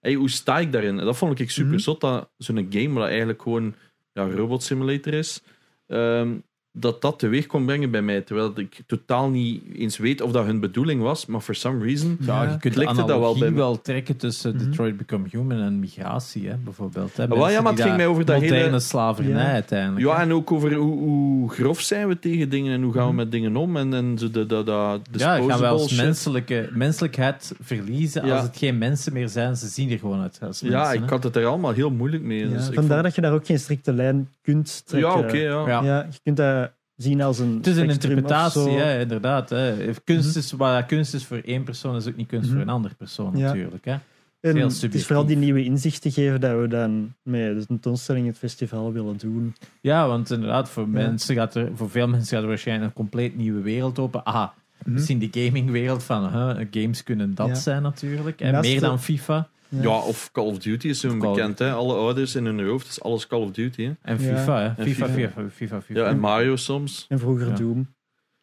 Speaker 3: hey, hoe sta ik daarin. En dat vond ik super
Speaker 4: Mhm.
Speaker 3: zot dat zo'n game waar eigenlijk gewoon ja, een robot simulator is, ehm, dat dat teweeg kon brengen bij mij, terwijl ik totaal niet eens weet of dat hun bedoeling was, maar for some reason
Speaker 1: Ja, je kunt de
Speaker 3: klikte dat wel
Speaker 1: analogie
Speaker 3: bij
Speaker 1: wel,
Speaker 3: me.
Speaker 1: trekken tussen
Speaker 4: Mhm.
Speaker 1: Detroit Become Human en migratie, hè, bijvoorbeeld. Hè.
Speaker 3: Ah, wel, ja,
Speaker 1: Mensen
Speaker 3: maar het
Speaker 1: die
Speaker 3: ging
Speaker 1: daar
Speaker 3: mij over dat
Speaker 1: moderne
Speaker 3: hele...
Speaker 1: slavernij
Speaker 4: Ja.
Speaker 1: uiteindelijk. hè.
Speaker 3: Ja, en ook over hoe, hoe grof zijn we tegen dingen en hoe gaan we met dingen om en, en zo de, de, de, de
Speaker 1: Ja, gaan wij als
Speaker 3: disposable shit.
Speaker 1: menselijke, menselijkheid verliezen
Speaker 3: Ja.
Speaker 1: als het geen mensen meer zijn. Ze zien er gewoon uit als mensen.
Speaker 3: Ja, ik
Speaker 1: hè.
Speaker 3: had het er allemaal heel moeilijk mee.
Speaker 4: Ja,
Speaker 3: dus ik
Speaker 4: vandaar
Speaker 3: vond-
Speaker 4: dat je daar ook geen strikte lijn kunt trekken.
Speaker 3: Ja, oké, ja.
Speaker 1: Ja.
Speaker 4: eh, Ja, je kunt dat zien als een.
Speaker 1: Het is een
Speaker 4: spectrum of
Speaker 1: interpretatie,
Speaker 4: zo.
Speaker 1: hè, inderdaad. Hè. Kunst
Speaker 3: Mhm.
Speaker 1: is, waar kunst is voor één persoon, is ook niet kunst
Speaker 4: Mhm.
Speaker 1: voor een andere persoon
Speaker 4: Ja.
Speaker 1: natuurlijk. Hè.
Speaker 4: En
Speaker 1: Heel
Speaker 4: het is
Speaker 1: subjectief.
Speaker 4: vooral die nieuwe inzichten geven dat we dan met de tentoonstelling het festival willen doen.
Speaker 1: Ja, want inderdaad, voor,
Speaker 4: Ja.
Speaker 1: mensen gaat er, voor veel mensen gaat er waarschijnlijk een compleet nieuwe wereld open. Aha, misschien de gamingwereld van huh, games kunnen dat
Speaker 4: Mhm. Ja.
Speaker 1: zijn natuurlijk. En
Speaker 4: Naast
Speaker 1: meer
Speaker 4: de-
Speaker 1: dan FIFA.
Speaker 3: Ja, of Call of Duty is zo
Speaker 1: Call of
Speaker 3: bekend. Hè? Alle ouders in hun hoofd is alles Call of Duty. Hè?
Speaker 1: En
Speaker 4: Ja.
Speaker 1: FIFA, hè.
Speaker 3: En
Speaker 1: FIFA,
Speaker 3: FIFA.
Speaker 1: FIFA, FIFA, FIFA.
Speaker 3: Ja, en Mario soms.
Speaker 4: En vroeger
Speaker 1: Ja.
Speaker 4: Doom.
Speaker 1: Mhm.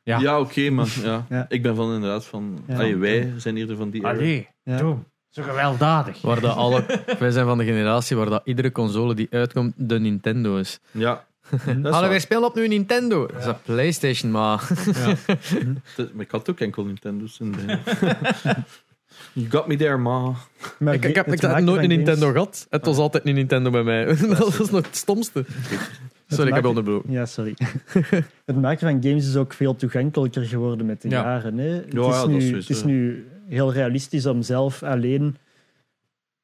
Speaker 1: Ja.
Speaker 3: Ja, oké, maar ja.
Speaker 4: Ja.
Speaker 3: ik ben van inderdaad van...
Speaker 4: Ja.
Speaker 3: Allee, wij zijn eerder van die... era.
Speaker 1: Allee,
Speaker 4: Ja.
Speaker 1: Doom, Ah, zo gewelddadig.
Speaker 2: Waar dat [laughs] alle, wij zijn van de generatie waar dat iedere console die uitkomt de Nintendo is.
Speaker 3: Ja. Dat is
Speaker 2: Hallo,
Speaker 3: waar.
Speaker 2: wij spelen op nu Nintendo. Dat is een PlayStation, maar.
Speaker 3: Dat- Maar ik had ook enkel Nintendo's. In de... [laughs] you got me there, ma.
Speaker 4: Maar
Speaker 2: Ik, ik
Speaker 4: ga-
Speaker 2: heb,
Speaker 4: het
Speaker 2: ik heb nooit
Speaker 4: maken van
Speaker 2: een
Speaker 4: games-
Speaker 2: Nintendo gehad. Het was altijd een Nintendo bij mij. [laughs] Dat is nog het stomste. Sorry, ik heb
Speaker 4: maken-
Speaker 2: onderbroken.
Speaker 4: Ja, sorry. [laughs] het maken van games is ook veel toegankelijker geworden met de
Speaker 1: Ja.
Speaker 4: jaren. Hè? Het,
Speaker 3: ja, dat
Speaker 4: is
Speaker 3: is
Speaker 4: nu, het
Speaker 3: sowieso.
Speaker 4: is nu heel realistisch om zelf alleen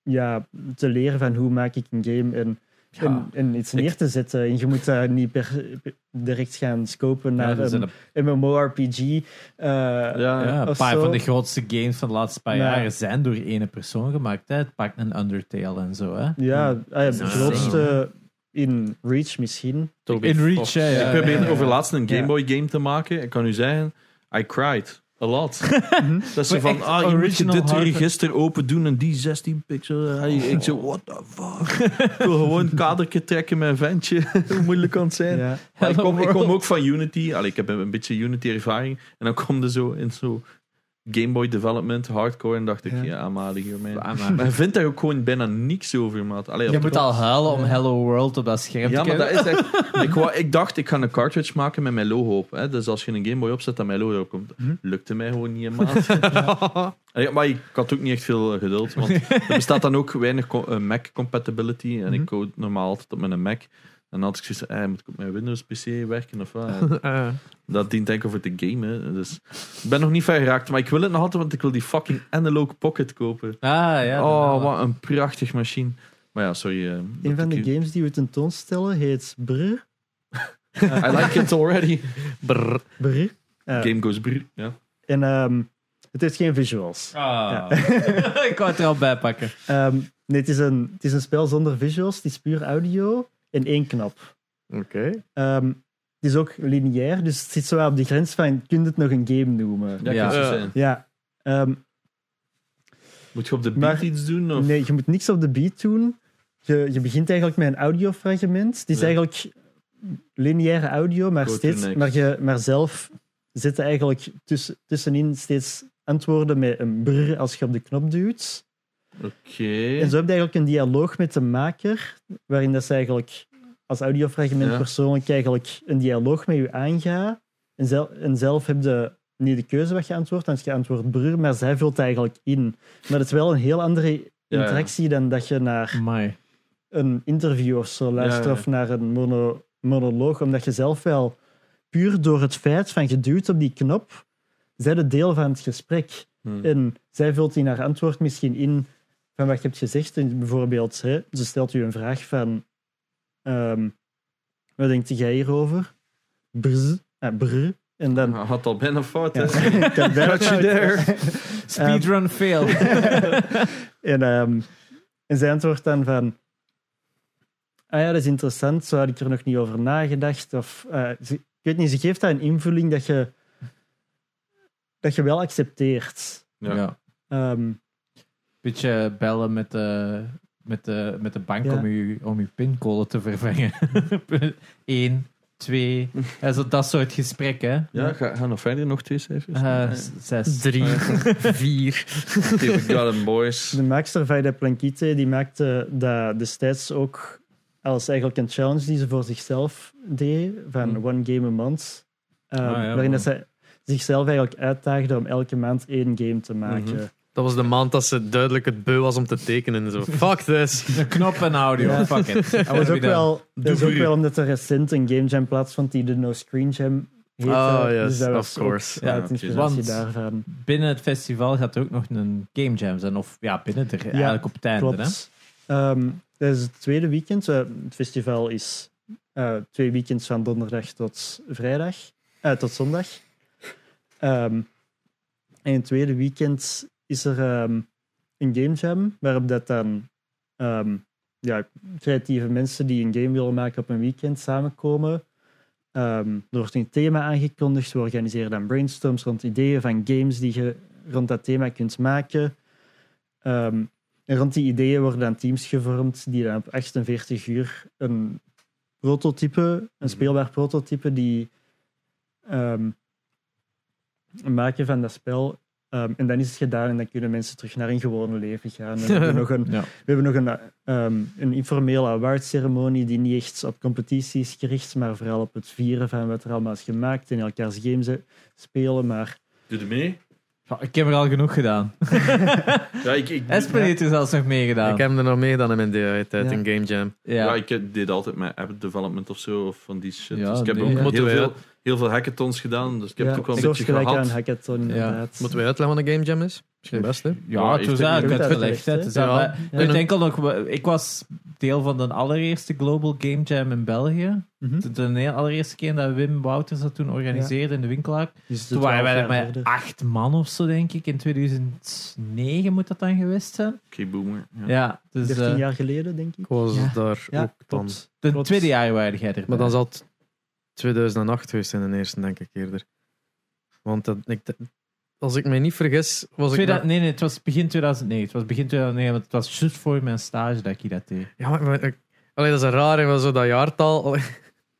Speaker 4: ja, te leren van hoe maak ik een game en, en, en iets neer te zetten. En je moet daar niet per, per- direct gaan scopen
Speaker 1: Ja,
Speaker 4: naar
Speaker 1: dat zijn
Speaker 4: een
Speaker 1: een,
Speaker 4: MMORPG. eh,
Speaker 3: Ja,
Speaker 1: ja, een
Speaker 4: of
Speaker 1: paar
Speaker 4: zo.
Speaker 1: van de grootste games van de laatste paar
Speaker 4: Ja.
Speaker 1: jaren zijn door ene persoon gemaakt. Hè. Het pakt een Undertale en zo. Hè.
Speaker 4: Ja, ah ja, de
Speaker 2: Ja.
Speaker 4: grootste in Reach misschien.
Speaker 3: Toby
Speaker 1: In Reach,
Speaker 3: Fox.
Speaker 1: hè, ja.
Speaker 3: Ik probeer
Speaker 4: Ja, ja, ja.
Speaker 3: over laatst een Game
Speaker 4: Ja.
Speaker 3: Boy game te maken. Ik kan u zeggen, I cried. A
Speaker 1: [laughs]
Speaker 3: lot. dat ze
Speaker 1: Mhm. Maar
Speaker 3: van,
Speaker 1: echt
Speaker 3: ah, je moet je
Speaker 1: original
Speaker 3: dit
Speaker 1: hardware. Oh.
Speaker 3: register open doen en die 16 pixel. Hey, Ik zo, what the fuck? ik wil
Speaker 1: [laughs]
Speaker 3: gewoon een kadertje trekken met een ventje. [laughs] Hoe moeilijk kan het zijn?
Speaker 4: Ja.
Speaker 3: Maar ik, kom,
Speaker 1: [laughs]
Speaker 3: ik
Speaker 1: Hello
Speaker 3: kom
Speaker 1: world.
Speaker 3: ook van Unity. Allee, ik heb een, een beetje Unity-ervaring. En dan kom je zo in zo Game Boy Development, hardcore. En dacht ik,
Speaker 4: Ja.
Speaker 3: ja, amalie hier, man.
Speaker 1: Ah, maar-
Speaker 3: Maar je vindt daar ook gewoon bijna niks over, maat. Allee,
Speaker 1: Je
Speaker 3: op-
Speaker 1: moet al huilen om Hello World op dat scherm
Speaker 3: ja,
Speaker 1: te
Speaker 3: maar dat
Speaker 1: kijken.
Speaker 3: is echt... [laughs] ik, wou- ik dacht, ik ga een cartridge maken met mijn logo op. Hè. Dus als je een Game Boy opzet, dat mijn logo erop komt.
Speaker 4: Mhm.
Speaker 3: Lukte mij gewoon niet,
Speaker 4: [laughs]
Speaker 3: maat. Ja, maar ik had ook niet echt veel eh, geduld, want er bestaat dan ook weinig co- eh, Mac-compatibility. En
Speaker 4: Mhm.
Speaker 3: ik code normaal altijd op mijn Mac. En dan had ik zoiets van, eh, moet ik op mijn Windows-PC werken of wat? En
Speaker 4: [laughs]
Speaker 3: dat dient denk ik over te gamen. Dus ik ben nog niet ver geraakt, maar ik wil het nog altijd, want ik wil die fucking Analog Pocket kopen.
Speaker 1: Ah, ja.
Speaker 3: oh, wat een prachtig machine. Maar ja, sorry. eh, dat
Speaker 4: Een van de
Speaker 3: ik-
Speaker 4: games die we tentoonstellen heet Brr.
Speaker 3: I like it already.
Speaker 4: [laughs] Brr. Eh,
Speaker 3: Game goes brrr. Ja.
Speaker 4: En ehm, Het heeft geen visuals.
Speaker 1: Ah. [laughs] ik wou het er al bij pakken.
Speaker 4: Ehm, nee, het is, een, het is een spel zonder visuals. Het is puur audio in één knap.
Speaker 2: Oké.
Speaker 4: Ehm, het is ook lineair, dus het zit zo op de grens van... Kun je het nog een game noemen?
Speaker 3: Ja,
Speaker 1: Ja.
Speaker 3: kan zo
Speaker 2: Ja.
Speaker 3: zijn.
Speaker 4: Ja. Ehm,
Speaker 3: Eh, Moet je op de beat
Speaker 4: Maar-
Speaker 3: iets doen? Of?
Speaker 4: nee, je moet niks op de beat doen. Je, je begint eigenlijk met een audiofragment. Het is
Speaker 3: Ja.
Speaker 4: eigenlijk lineaire audio, maar,
Speaker 3: Go to
Speaker 4: steeds,
Speaker 3: next.
Speaker 4: maar, je, maar zelf zit er eigenlijk tussen, tussenin steeds antwoorden met een brr als je op de knop duwt.
Speaker 3: Oké.
Speaker 4: En zo heb je eigenlijk een dialoog met de maker, waarin dat ze eigenlijk als audiofragment
Speaker 3: Ja.
Speaker 4: persoonlijk eigenlijk een dialoog met je aangaat. En, zel- en zelf heb je niet de keuze wat je antwoordt, want je antwoordt broer, maar zij vult eigenlijk in. Maar dat is wel een heel andere
Speaker 3: ja.
Speaker 4: interactie dan dat je naar
Speaker 1: Amai.
Speaker 4: een interview of zo luistert
Speaker 3: Ja, ja.
Speaker 4: of naar een mono- monoloog, omdat je zelf wel puur door het feit van geduwd op die knop, zij de deel van het gesprek.
Speaker 3: Hm.
Speaker 4: En zij vult in haar antwoord misschien in van wat je hebt gezegd. En bijvoorbeeld, hè, ze stelt u een vraag van... ehm, wat denkt jij hierover? Brz. Ah, brr. En dan...
Speaker 3: Hij Ah, Had al bijna fout, [laughs]
Speaker 4: [laughs] Ja,
Speaker 3: hè?
Speaker 4: ik heb bijna
Speaker 3: Got you
Speaker 4: fout.
Speaker 3: there.
Speaker 1: Speedrun fail.
Speaker 4: En, ehm, en zij antwoordt dan van... Ah ja, dat is interessant, zo had ik er nog niet over nagedacht. Of, eh, ze- ik weet niet, ze geeft daar een invulling dat je, dat je wel accepteert.
Speaker 3: Ja.
Speaker 1: Ja.
Speaker 4: Ehm,
Speaker 1: Beetje bellen met de, met de, met de bank
Speaker 4: Ja.
Speaker 1: om, je, om je pincode te vervangen. [laughs] Eén, twee. En zo, dat soort gesprekken. hè.
Speaker 3: Ja, ga, ga nog verder, nog twee cijfers.
Speaker 4: [laughs]
Speaker 1: Eh, s- zes. Eh,
Speaker 2: Drie,
Speaker 1: [laughs]
Speaker 2: vier.
Speaker 3: Oké, we got 'em, boys.
Speaker 4: De maakster Vaida Plankite die maakte dat destijds ook als eigenlijk een challenge die ze voor zichzelf deed, van
Speaker 1: Hmm. Ah,
Speaker 4: one game a month. Um,
Speaker 1: ja,
Speaker 4: waarin
Speaker 1: wow.
Speaker 4: dat zij zichzelf eigenlijk uitdaagde om elke maand één game te
Speaker 1: Mhm.
Speaker 4: maken.
Speaker 2: Dat was de maand dat ze duidelijk het beu was om te tekenen.
Speaker 4: [laughs]
Speaker 2: en Zo, fuck this.
Speaker 1: Een knop en audio.
Speaker 4: Ja.
Speaker 1: Fuck it. [laughs]
Speaker 4: Dat was ook wel, dat is ook
Speaker 3: voor u.
Speaker 4: wel omdat er recent een game jam plaatsvond die de No Screen Jam heette.
Speaker 2: Oh,
Speaker 4: Dus
Speaker 2: yes,
Speaker 4: dat
Speaker 2: of
Speaker 4: was ook
Speaker 2: course.
Speaker 4: uit
Speaker 3: Ja, oké.
Speaker 4: inspiratie
Speaker 1: Want-
Speaker 4: daarvan.
Speaker 1: Binnen het festival gaat er ook nog een game jam zijn. Of ja, binnen er eigenlijk op het einde. Hè?
Speaker 4: Klopt. Ehm, dat is het tweede weekend. Eh, het festival is eh, twee weekends van donderdag tot vrijdag. eh, tot zondag. Ehm, en het tweede weekend is er ehm, een game jam, waarop dat dan ehm, ja, creatieve mensen die een game willen maken op een weekend samenkomen. Ehm, er wordt een thema aangekondigd. We organiseren dan brainstorms rond ideeën van games die je rond dat thema kunt maken. Ehm, en rond die ideeën worden dan teams gevormd die dan op 48 uur een prototype, een speelbaar prototype, die ehm, maken van dat spel. Ehm, en dan is het gedaan en dan kunnen mensen terug naar hun gewone leven gaan. En we
Speaker 1: [laughs]
Speaker 4: hebben nog een,
Speaker 1: Ja.
Speaker 4: we hebben nog een, ehm, een informele awardceremonie die niet echt op competities is gericht is, maar vooral op het vieren van wat er allemaal is gemaakt en elkaars games eh, spelen. Maar
Speaker 3: Doe je mee?
Speaker 1: Ja, Ik heb er al genoeg gedaan.
Speaker 3: Ja, ik, ik,
Speaker 1: Espen heeft er zelfs nog meegedaan.
Speaker 2: Ik heb er nog mee dan in de tijd
Speaker 4: Ja.
Speaker 2: in Game Jam.
Speaker 1: ja.
Speaker 3: ja, ik eh, deed altijd mijn app development of zo, of van die shit.
Speaker 1: Ja,
Speaker 3: dus ik heb
Speaker 1: nee.
Speaker 3: ook
Speaker 2: Moeten
Speaker 3: heel
Speaker 2: wij-
Speaker 3: veel, heel veel hackathons gedaan, dus ik heb
Speaker 4: ja,
Speaker 3: het ook wel een
Speaker 4: soort
Speaker 3: beetje
Speaker 4: gelijk
Speaker 3: gehad.
Speaker 4: aan hackathon, inderdaad.
Speaker 2: Moeten we uitleggen wat een Game Jam is? Misschien best, hè?
Speaker 1: Ja, het
Speaker 3: heeft
Speaker 1: was
Speaker 3: het
Speaker 1: eigenlijk
Speaker 4: niet
Speaker 1: uitgelegd. hè. Het is
Speaker 2: Ja.
Speaker 1: eigenlijk-
Speaker 4: Ja.
Speaker 1: Ik weet enkel nog, ik was deel van de allereerste Global Game Jam in België.
Speaker 4: Mhm.
Speaker 1: De, de heel allereerste keer dat Wim Wouters dat toen organiseerde in de winkelaar.
Speaker 4: Dus de
Speaker 1: Toen waren wij
Speaker 4: 12
Speaker 1: er
Speaker 4: jaar
Speaker 1: met
Speaker 4: verder.
Speaker 1: acht man of zo, denk ik. In 2009 moet dat dan geweest zijn.
Speaker 3: Oké, boomer. Ja.
Speaker 1: Ja, dus eh,
Speaker 4: 13 jaar geleden, denk ik.
Speaker 2: Ik was
Speaker 1: Ja.
Speaker 2: daar
Speaker 4: Ja,
Speaker 2: ook dan.
Speaker 4: klopt.
Speaker 1: de
Speaker 4: Klopt.
Speaker 1: tweede jaar waren jij erbij.
Speaker 2: Maar dan zal het 2008 geweest zijn, de eerste, denk ik eerder. Want dat, ik, als ik me niet vergis, was ik...
Speaker 1: Tweede-
Speaker 2: na-
Speaker 1: nee, nee, het was begin 2009. Het was begin 2009, want het was juist voor mijn stage dat ik dat deed.
Speaker 2: Ja, maar, maar ik- allee, dat is raar, hè, maar zo dat jaartal... allee.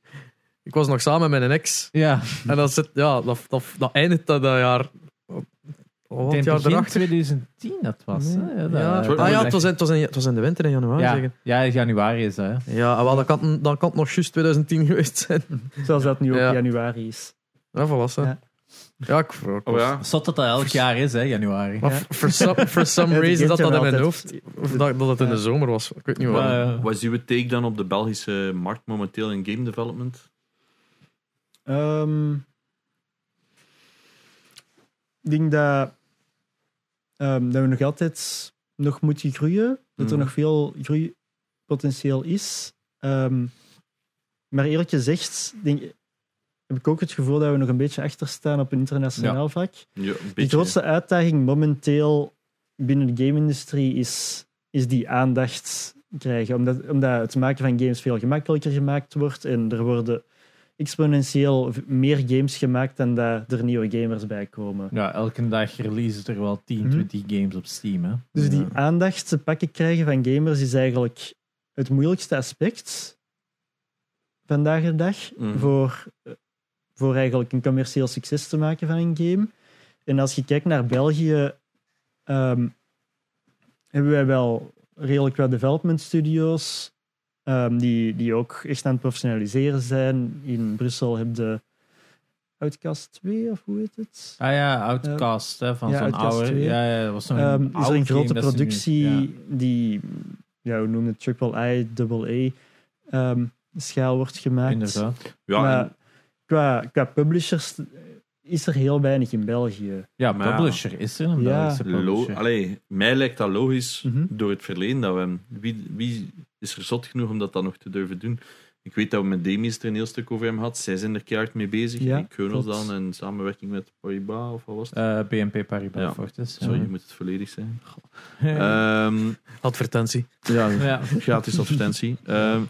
Speaker 2: [laughs] ik was nog samen met een ex.
Speaker 1: Ja,
Speaker 2: En dat, zit, ja, dat, dat, dat eindigt dat, dat jaar... Oh, Wat
Speaker 1: ik
Speaker 2: het
Speaker 1: denk
Speaker 2: jaar
Speaker 1: begin
Speaker 2: erachter?
Speaker 1: 2010 dat was. hè.
Speaker 2: Nee.
Speaker 1: dat-
Speaker 2: Ja,
Speaker 1: dat-
Speaker 2: ah, ja het, was in, het, was in, het was in de winter in januari.
Speaker 1: ja,
Speaker 2: Zeggen.
Speaker 1: ja, januari is dat. Hè.
Speaker 2: ja ah, wel, dat, kan, dat kan nog juist 2010 [laughs] geweest zijn.
Speaker 4: Zoals dat nu ook
Speaker 2: Ja.
Speaker 4: januari is.
Speaker 2: Ja, voilà. zo.
Speaker 4: Ja.
Speaker 2: Ja, ik vroeg.
Speaker 3: Oh ja,
Speaker 1: Zot dat dat elk jaar is, hè, januari.
Speaker 2: Maar
Speaker 4: Ja.
Speaker 2: f- for
Speaker 4: [laughs]
Speaker 2: some, for some
Speaker 4: Ja, die
Speaker 2: reason dat
Speaker 4: kent je
Speaker 2: dat in mijn
Speaker 4: wel
Speaker 2: hoofd, of dat, dat het in de
Speaker 4: Ja.
Speaker 2: zomer was. Ik weet niet waarom.
Speaker 1: Maar, eh,
Speaker 3: wat is uw take dan op de Belgische markt momenteel in game development?
Speaker 4: Ehm, ik denk dat, ehm, dat we nog altijd nog moeten groeien. Dat er
Speaker 3: Mhm.
Speaker 4: nog veel groeipotentieel is. Ehm, maar eerlijk gezegd, denk, heb ik ook het gevoel dat we nog een beetje achterstaan op een internationaal vlak.
Speaker 3: Ja, een
Speaker 4: De
Speaker 3: beetje.
Speaker 4: grootste uitdaging momenteel binnen de game-industrie is, is die aandacht krijgen. Omdat, omdat het maken van games veel gemakkelijker gemaakt wordt en er worden exponentieel v- meer games gemaakt dan dat er nieuwe gamers bij komen.
Speaker 1: Ja, elke dag releasen er wel 10,
Speaker 4: Mhm.
Speaker 1: 20 games op Steam. Hè?
Speaker 4: Dus die
Speaker 1: Ja.
Speaker 4: aandacht te pakken krijgen van gamers is eigenlijk het moeilijkste aspect vandaag de dag
Speaker 3: Mhm.
Speaker 4: voor, eh, voor eigenlijk een commercieel succes te maken van een game. En als je kijkt naar België, ehm, hebben wij wel redelijk wat development studios ehm, die, die ook echt aan het professionaliseren zijn. In Brussel heb je Outcast 2, of hoe heet het?
Speaker 1: Ah ja, Outcast, hè, van
Speaker 4: ja,
Speaker 1: zo'n
Speaker 4: Outcast
Speaker 1: oude...
Speaker 4: 2.
Speaker 1: Ja, ja, dat was zo'n
Speaker 4: Ehm, is
Speaker 1: oude
Speaker 4: er een grote
Speaker 1: game dat ze nu-
Speaker 4: productie
Speaker 1: ja.
Speaker 4: die, ja, hoe noem je het, AAA, AA ehm schaal wordt gemaakt.
Speaker 1: Inderdaad.
Speaker 3: Ja,
Speaker 4: maar
Speaker 3: en-
Speaker 4: qua, qua publishers is er heel weinig in België.
Speaker 1: Ja,
Speaker 3: Maar ja.
Speaker 1: publisher is er een
Speaker 4: Ja.
Speaker 1: Belgische
Speaker 3: Lo
Speaker 1: publisher.
Speaker 3: Allee, mij lijkt dat logisch
Speaker 4: Mhm.
Speaker 3: door het verleden dat we hem- wie, wie is er zot genoeg om dat dan nog te durven doen? Ik weet dat we met Demis er een heel stuk over hem had. Zij zijn er keihard mee bezig.
Speaker 4: Ja,
Speaker 3: Ja, Kronos
Speaker 4: klopt.
Speaker 3: dan in samenwerking met Paribas of wat was het?
Speaker 1: Eh, BNP Paribas
Speaker 3: Ja.
Speaker 1: Fortis.
Speaker 3: Sorry, je
Speaker 1: Ja.
Speaker 3: moet het volledig zijn.
Speaker 1: Ja.
Speaker 3: Ehm,
Speaker 2: Advertentie.
Speaker 4: [laughs]
Speaker 3: ja,
Speaker 1: ja.
Speaker 3: gratis advertentie. Ehm,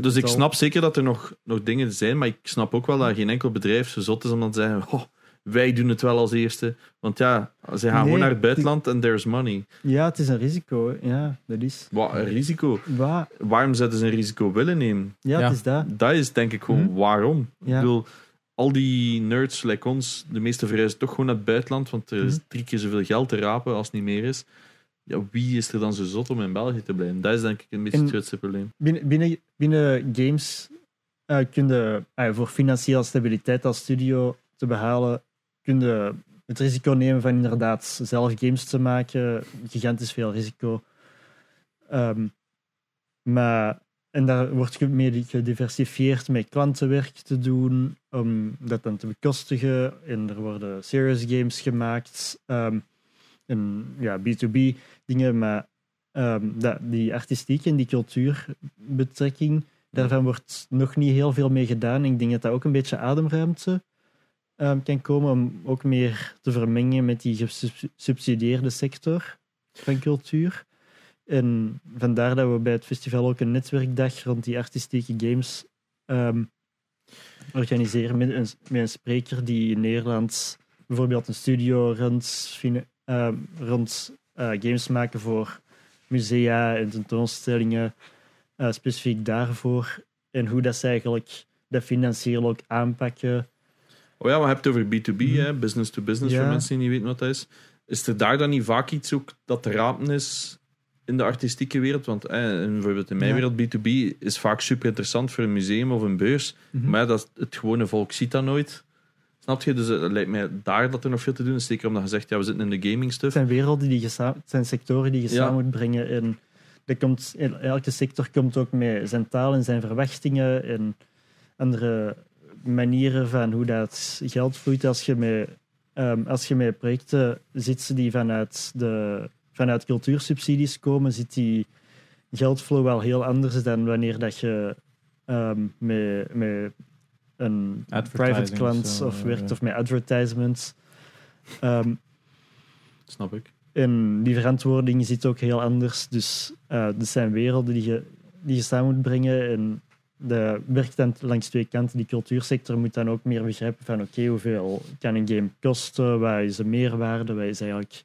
Speaker 3: dus ik snap zeker dat er nog, nog dingen zijn, maar ik snap ook wel dat geen enkel bedrijf zo zot is om dan te zeggen: "Goh, wij doen het wel als eerste. Want ja, zij gaan
Speaker 4: Nee,
Speaker 3: gewoon naar het
Speaker 4: die-
Speaker 3: buitenland en there's money.
Speaker 4: Ja, het is een risico. hè. Ja, dat is.
Speaker 3: Wat een risico.
Speaker 4: Waar?
Speaker 3: Waarom zouden ze een risico willen nemen?
Speaker 4: Ja,
Speaker 1: Ja.
Speaker 4: het is dat.
Speaker 3: Dat is denk ik gewoon waarom.
Speaker 4: Mhm. Ja.
Speaker 3: Ik bedoel, al die nerds, like ons, de meeste verhuizen toch gewoon naar het buitenland, want er is
Speaker 4: Mhm.
Speaker 3: drie keer zoveel geld te rapen als het niet meer is. Ja, wie is er dan zo zot om in België te blijven? Dat is denk ik een beetje
Speaker 4: En-
Speaker 3: het grootste probleem.
Speaker 4: Binnen, binnen, binnen games eh kun je ah, voor financiële stabiliteit als studio te behalen, kun je het risico nemen van inderdaad zelf games te maken. Gigantisch veel risico. Ehm, maar, en daar wordt ge- mee gediversifieerd met klantenwerk te doen, om dat dan te bekostigen. En er worden serious games gemaakt, ehm, en ja, B2B dingen, maar ehm, dat, die artistiek en die cultuurbetrekking, daarvan wordt nog niet heel veel mee gedaan. Ik denk dat dat ook een beetje ademruimte ehm, kan komen om ook meer te vermengen met die gesubsidieerde sector van cultuur. En vandaar dat we bij het festival ook een netwerkdag rond die artistieke games ehm, organiseren met een, met een spreker die in Nederland bijvoorbeeld een studio rond, fina- ehm, rond eh, games maken voor musea en tentoonstellingen, eh, specifiek daarvoor. En hoe dat ze eigenlijk dat financieel ook aanpakken.
Speaker 3: Oh ja, maar je hebt het over B2B, hè, business to business,
Speaker 4: Mhm. Ja.
Speaker 3: voor mensen die niet weten wat dat is. Is er daar dan niet vaak iets ook dat te rapen is in de artistieke wereld? Want eh, in- bijvoorbeeld in mijn
Speaker 4: Ja.
Speaker 3: wereld, B2B is vaak super interessant voor een museum of een beurs,
Speaker 4: Mhm.
Speaker 3: maar dat, het gewone volk ziet dat nooit. Snap je? Dus het lijkt mij daar dat er nog veel te doen is. Zeker omdat je zegt, ja, we zitten in de gaming
Speaker 4: Het
Speaker 3: stuff.
Speaker 4: zijn werelden die je sa- het zijn sectoren die je
Speaker 3: Ja.
Speaker 4: samen moet brengen. En dat komt, el- elke sector komt ook met zijn taal en zijn verwachtingen en andere manieren van hoe dat geld vloeit als je met, ehm, als je met projecten zit die vanuit, de, vanuit cultuursubsidies komen, zit die geldflow wel heel anders dan wanneer dat je ehm, met, met een
Speaker 1: Advertising
Speaker 4: private klant
Speaker 1: of zo,
Speaker 4: of
Speaker 1: ja,
Speaker 4: werkt
Speaker 1: ja.
Speaker 4: of met advertisements. Ehm,
Speaker 3: Snap ik.
Speaker 4: en die verantwoording zit ook heel anders. Dus eh er zijn werelden die je, die je samen moet brengen. En dat werkt dan langs twee kanten. Die cultuursector moet dan ook meer begrijpen van oké, hoeveel kan een game kosten? Wat is de meerwaarde? Wat is eigenlijk,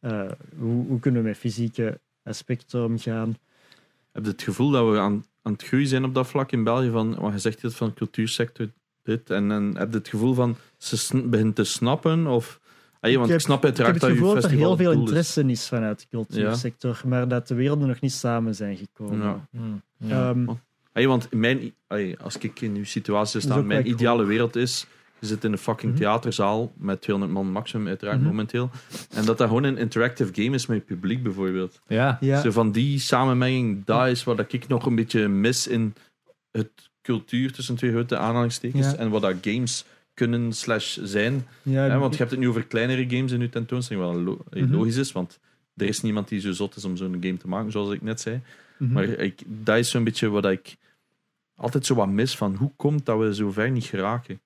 Speaker 4: eh, hoe, hoe kunnen we met fysieke aspecten omgaan?
Speaker 3: Heb je het gevoel dat we aan, aan het groeien zijn op dat vlak in België? Van, wat je zegt dit van cultuursector, dit. En, en heb je het gevoel van, ze sn- begint te snappen? Of, ah, ja, want ik,
Speaker 4: heb-
Speaker 3: snap
Speaker 4: Ik heb
Speaker 3: uiteraard
Speaker 4: het gevoel
Speaker 3: je
Speaker 4: dat er
Speaker 3: festival
Speaker 4: heel veel
Speaker 3: het doel
Speaker 4: interesse is. vanuit de cultuursector, maar dat de werelden nog niet samen zijn
Speaker 3: Is.
Speaker 4: gekomen.
Speaker 3: Ja.
Speaker 1: Hm, ja.
Speaker 4: Ehm,
Speaker 3: Ah, ja, want in mijn, i- ah, ja, als ik in uw situatie
Speaker 4: Dat
Speaker 3: sta,
Speaker 4: is ook
Speaker 3: mijn
Speaker 4: wel
Speaker 3: ideale wereld is... Je zit in een fucking
Speaker 4: Mhm.
Speaker 3: theaterzaal met 200 man maximum, uiteraard
Speaker 4: Mhm.
Speaker 3: momenteel. En dat dat gewoon een interactive game is met het publiek, bijvoorbeeld.
Speaker 1: ja.
Speaker 4: ja.
Speaker 3: Zo van die samenmenging, dat is wat ik nog een beetje mis in het cultuur tussen twee grote aanhalingstekens
Speaker 4: Ja.
Speaker 3: en wat dat games kunnen slash zijn.
Speaker 4: ja,
Speaker 3: Hè, want je hebt het nu over kleinere games in je tentoonstelling, wat lo- eh,
Speaker 4: Mhm.
Speaker 3: logisch is, want er is niemand die zo zot is om zo'n game te maken, zoals ik net zei.
Speaker 4: mhm.
Speaker 3: Maar ik, dat is zo'n beetje wat ik altijd zo wat mis van hoe komt dat we zo ver niet geraken.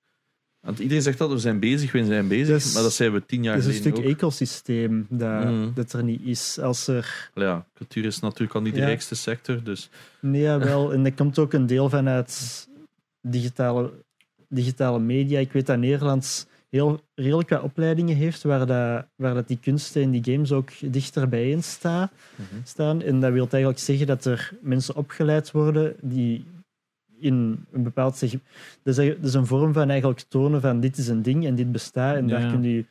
Speaker 3: Want iedereen zegt dat we zijn bezig, we zijn bezig.
Speaker 4: Dus-
Speaker 3: maar dat zijn we tien jaar
Speaker 4: Het is een
Speaker 3: geleden
Speaker 4: stuk
Speaker 3: ook.
Speaker 4: ecosysteem dat,
Speaker 3: Mhm.
Speaker 4: dat er niet is. Als er...
Speaker 3: Allee, Ja, cultuur is natuurlijk al niet de
Speaker 4: Ja.
Speaker 3: rijkste sector, dus
Speaker 4: Nee, wel. En dat komt ook een deel vanuit digitale, digitale media. Ik weet dat Nederland heel, redelijk wat opleidingen heeft waar, dat, waar dat die kunsten en die games ook dichter bijeen sta,
Speaker 3: Mhm.
Speaker 4: staan. En dat wil eigenlijk zeggen dat er mensen opgeleid worden die in een bepaald segment... Dat is, dat is een vorm van eigenlijk tonen van dit is een ding en dit bestaat en
Speaker 1: Ja.
Speaker 4: daar kun je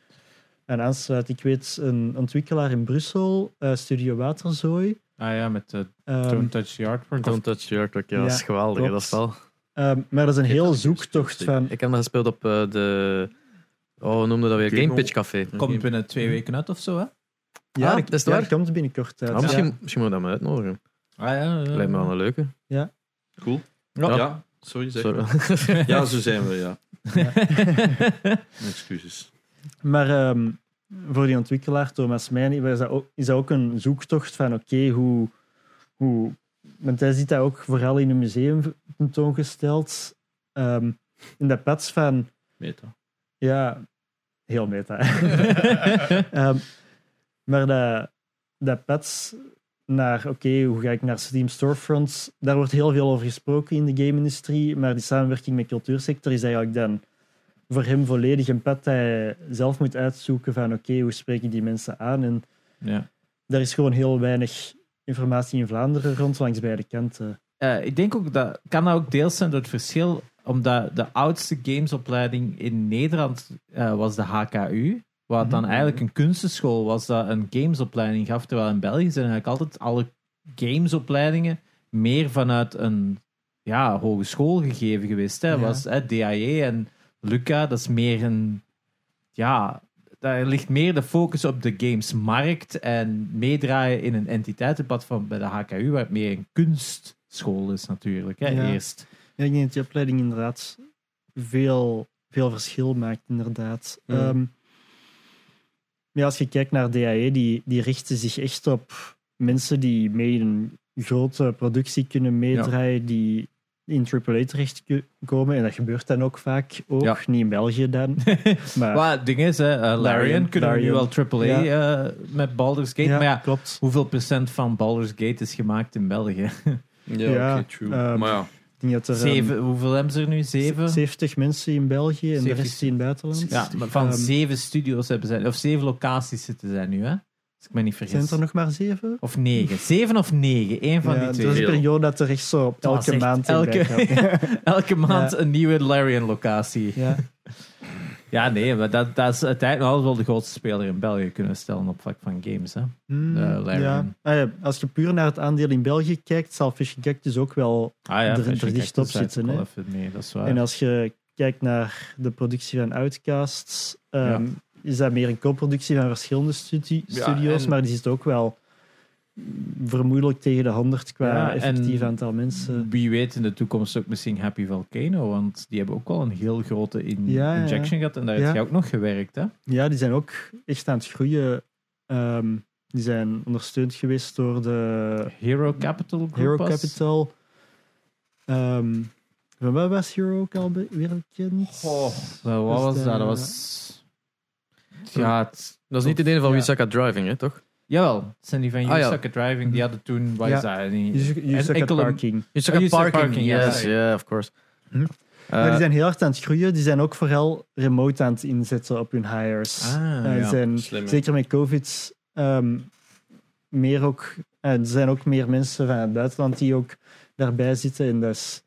Speaker 4: aan aansluiten. Ik weet een ontwikkelaar in Brussel, eh, Studio Waterzooi.
Speaker 1: Ah ja, met de
Speaker 4: Ehm,
Speaker 1: Don't Touch the Artwork.
Speaker 2: Don't Touch Your Artwork, ja,
Speaker 4: Ja,
Speaker 2: dat is geweldig. hè, Dat
Speaker 4: klopt.
Speaker 2: is wel.
Speaker 4: ehm, maar dat is een
Speaker 3: Ik heb
Speaker 4: heel
Speaker 3: dat niet
Speaker 4: zoektocht
Speaker 3: gespeeld,
Speaker 4: van...
Speaker 2: Ik heb dat gespeeld op eh, de. Oh, hoe noemde dat weer?
Speaker 3: Game
Speaker 2: Game Pitch Café.
Speaker 1: Komt binnen twee weken uit of zo, hè?
Speaker 4: Ja,
Speaker 2: Ah,
Speaker 4: dat,
Speaker 2: dat is
Speaker 4: ja,
Speaker 2: waar.
Speaker 4: dat komt binnenkort uit.
Speaker 2: Ah, misschien, misschien moeten we dat maar uitnodigen.
Speaker 1: Ah ja. eh.
Speaker 2: Lijkt me wel een leuke.
Speaker 3: cool.
Speaker 1: Ja.
Speaker 3: Ja, sorry. Zeg.
Speaker 2: Sorry. [laughs]
Speaker 3: Ja, [laughs] zo zijn we, ja. Excuses.
Speaker 4: Maar ehm, voor die ontwikkelaar, Thomas Mijn, was dat ook- is dat ook een zoektocht van oké, hoe, hoe... Want hij ziet dat ook vooral in een museum tentoongesteld. Ehm, in dat pad van...
Speaker 3: Meta.
Speaker 4: Ja, heel meta. Ehm, maar dat, dat pad naar, oké, hoe ga ik naar Steam storefronts? Daar wordt heel veel over gesproken in de game-industrie, maar die samenwerking met cultuursector is eigenlijk dan voor hem volledig een pad dat hij zelf moet uitzoeken van, oké, hoe spreek ik die mensen aan? En
Speaker 1: ja.
Speaker 4: daar is gewoon heel weinig informatie in Vlaanderen rond, langs beide kanten.
Speaker 1: Eh, ik denk ook dat kan dat ook deels zijn door het verschil, omdat de oudste gamesopleiding in Nederland eh, was de HKU, wat dan eigenlijk een kunstenschool was dat een gamesopleiding gaf, terwijl in België zijn eigenlijk altijd alle gamesopleidingen meer vanuit een ja, hogeschool gegeven geweest. Hè?
Speaker 4: Ja.
Speaker 1: Was hè, DAE en Luca, dat is meer een ja, daar ligt meer de focus op de gamesmarkt en meedraaien in een entiteitenplatform bij de HKU, waar het meer een kunstschool is natuurlijk, hè,
Speaker 4: Ja.
Speaker 1: eerst.
Speaker 4: Ja, ik denk dat die opleiding inderdaad veel, veel verschil maakt, inderdaad.
Speaker 3: Mm.
Speaker 4: Ehm, ja, als je kijkt naar DAE, die, die richten zich echt op mensen die mee in een grote productie kunnen meedraaien, die in AAA terechtkomen. En dat gebeurt dan ook vaak, ook
Speaker 1: Ja.
Speaker 4: niet in
Speaker 1: [laughs]
Speaker 4: België dan. Maar
Speaker 1: Maar het ding is, hè, eh, Larian,
Speaker 4: Larian,
Speaker 1: kunnen we nu al
Speaker 4: Larian.
Speaker 1: AAA eh, met Baldur's Gate, maar ja,
Speaker 4: klopt.
Speaker 1: hoeveel procent van Baldur's Gate is gemaakt in België?
Speaker 3: Ja,
Speaker 4: Ja,
Speaker 3: oké, true.
Speaker 4: ehm,
Speaker 3: maar ja,
Speaker 4: Ik denk dat [laughs] er, ehm,
Speaker 1: Zeven, hoeveel hebben ze er nu? Zeven?
Speaker 4: 70 mensen in België en de
Speaker 1: 70.
Speaker 4: rest in het buitenland.
Speaker 1: Ja, maar van
Speaker 4: Ehm,
Speaker 1: zeven studios hebben zij, of zeven locaties zitten zij nu, hè? Als ik me niet
Speaker 4: Zijn
Speaker 1: vergis.
Speaker 4: het er nog maar zeven?
Speaker 1: Of negen. Zeven of negen, één van
Speaker 4: Ja, dus
Speaker 1: die twee.
Speaker 4: dat is een
Speaker 3: Heel.
Speaker 4: periode dat er echt zo
Speaker 1: Dat was
Speaker 4: elke
Speaker 1: echt
Speaker 4: maand in bijkwam.
Speaker 1: elke, [laughs] elke maand
Speaker 4: Ja.
Speaker 1: een nieuwe Larian-locatie.
Speaker 4: [laughs] Ja.
Speaker 1: Ja, nee, maar dat, dat is uiteindelijk nog wel de grootste speler in België kunnen we stellen op vlak van games. Hè?
Speaker 4: Hmm,
Speaker 1: Eh, Larian.
Speaker 4: ja. Ah, ja. Als je puur naar het aandeel in België kijkt, zal Fishing Cactus ook wel.
Speaker 1: Ah
Speaker 4: Er-
Speaker 1: ja,
Speaker 4: er
Speaker 1: Fishing
Speaker 4: dicht
Speaker 1: Cactus
Speaker 4: op
Speaker 1: staat ook
Speaker 4: zitten,
Speaker 1: wel
Speaker 4: hè.
Speaker 1: even mee, dat is waar.
Speaker 4: En als je kijkt naar de productie van Outcasts, ehm, is dat meer een co-productie van verschillende studi-
Speaker 3: Ja,
Speaker 4: studio's,
Speaker 3: en-
Speaker 4: maar die zit ook wel vermoedelijk tegen de 100 qua
Speaker 1: Ja, en-
Speaker 4: effectief aantal mensen.
Speaker 1: Wie weet in de toekomst ook misschien Happy Volcano, want die hebben ook wel een heel grote in-
Speaker 4: Ja, ja.
Speaker 1: injection gehad en daar heb
Speaker 4: Ja.
Speaker 1: je ook nog gewerkt. Hè?
Speaker 4: Ja, die zijn ook echt aan het groeien. Ehm, die zijn ondersteund geweest door de
Speaker 1: Hero Capital Group
Speaker 4: Hero
Speaker 1: was-
Speaker 4: Capital. Ehm, van waar was Hero ook al be- weer bekend?
Speaker 1: Goh, Oh, wat
Speaker 4: Dus
Speaker 1: was
Speaker 4: de-
Speaker 1: dat? Dat was... Ja, het,
Speaker 2: Dat is niet de idee van
Speaker 4: Ja.
Speaker 2: Wisaka Driving, hè, toch?
Speaker 1: Jawel, het zijn die van You
Speaker 2: Ah, ja.
Speaker 1: Suck at Driving, die hadden toen, wat is dat? Die-
Speaker 4: Je,
Speaker 1: en
Speaker 4: zegt
Speaker 1: enkele-
Speaker 4: parking.
Speaker 2: Wisaka
Speaker 1: Oh, Wisaka
Speaker 2: Parking,
Speaker 1: Parking, ja,
Speaker 2: yes,
Speaker 1: ja.
Speaker 2: yeah, of course.
Speaker 4: Hm.
Speaker 2: Eh,
Speaker 4: maar die zijn heel hard aan het groeien. Die zijn ook vooral remote aan het inzetten op hun hires.
Speaker 1: Ah,
Speaker 4: Eh, die
Speaker 1: ja.
Speaker 4: zijn,
Speaker 3: slim. hè.
Speaker 4: zeker met COVID ehm, meer ook, eh, er zijn ook meer mensen van het buitenland die ook daarbij zitten. En dat is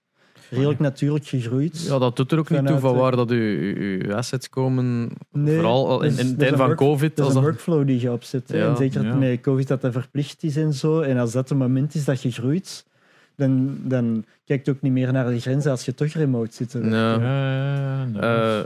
Speaker 4: redelijk natuurlijk gegroeid.
Speaker 2: Ja, dat doet er ook niet toe
Speaker 4: Vanuit,
Speaker 2: van
Speaker 4: eh,
Speaker 2: waar dat uw, uw- uw assets komen.
Speaker 4: Nee,
Speaker 2: Vooral al in, in het
Speaker 4: dus dat is
Speaker 2: tijd
Speaker 4: een
Speaker 2: van
Speaker 4: work-
Speaker 2: COVID.
Speaker 4: Dat
Speaker 2: als
Speaker 4: is een
Speaker 2: dat-
Speaker 4: workflow die je opzet. hè.
Speaker 2: Ja,
Speaker 4: en zeker
Speaker 1: ja.
Speaker 4: met COVID dat dat verplicht is en zo. En als dat het moment is dat je groeit, dan, dan kijk je ook niet meer naar de grenzen als je toch remote zit. te werken.
Speaker 2: Nee.
Speaker 1: Eh, nee.
Speaker 2: Eh,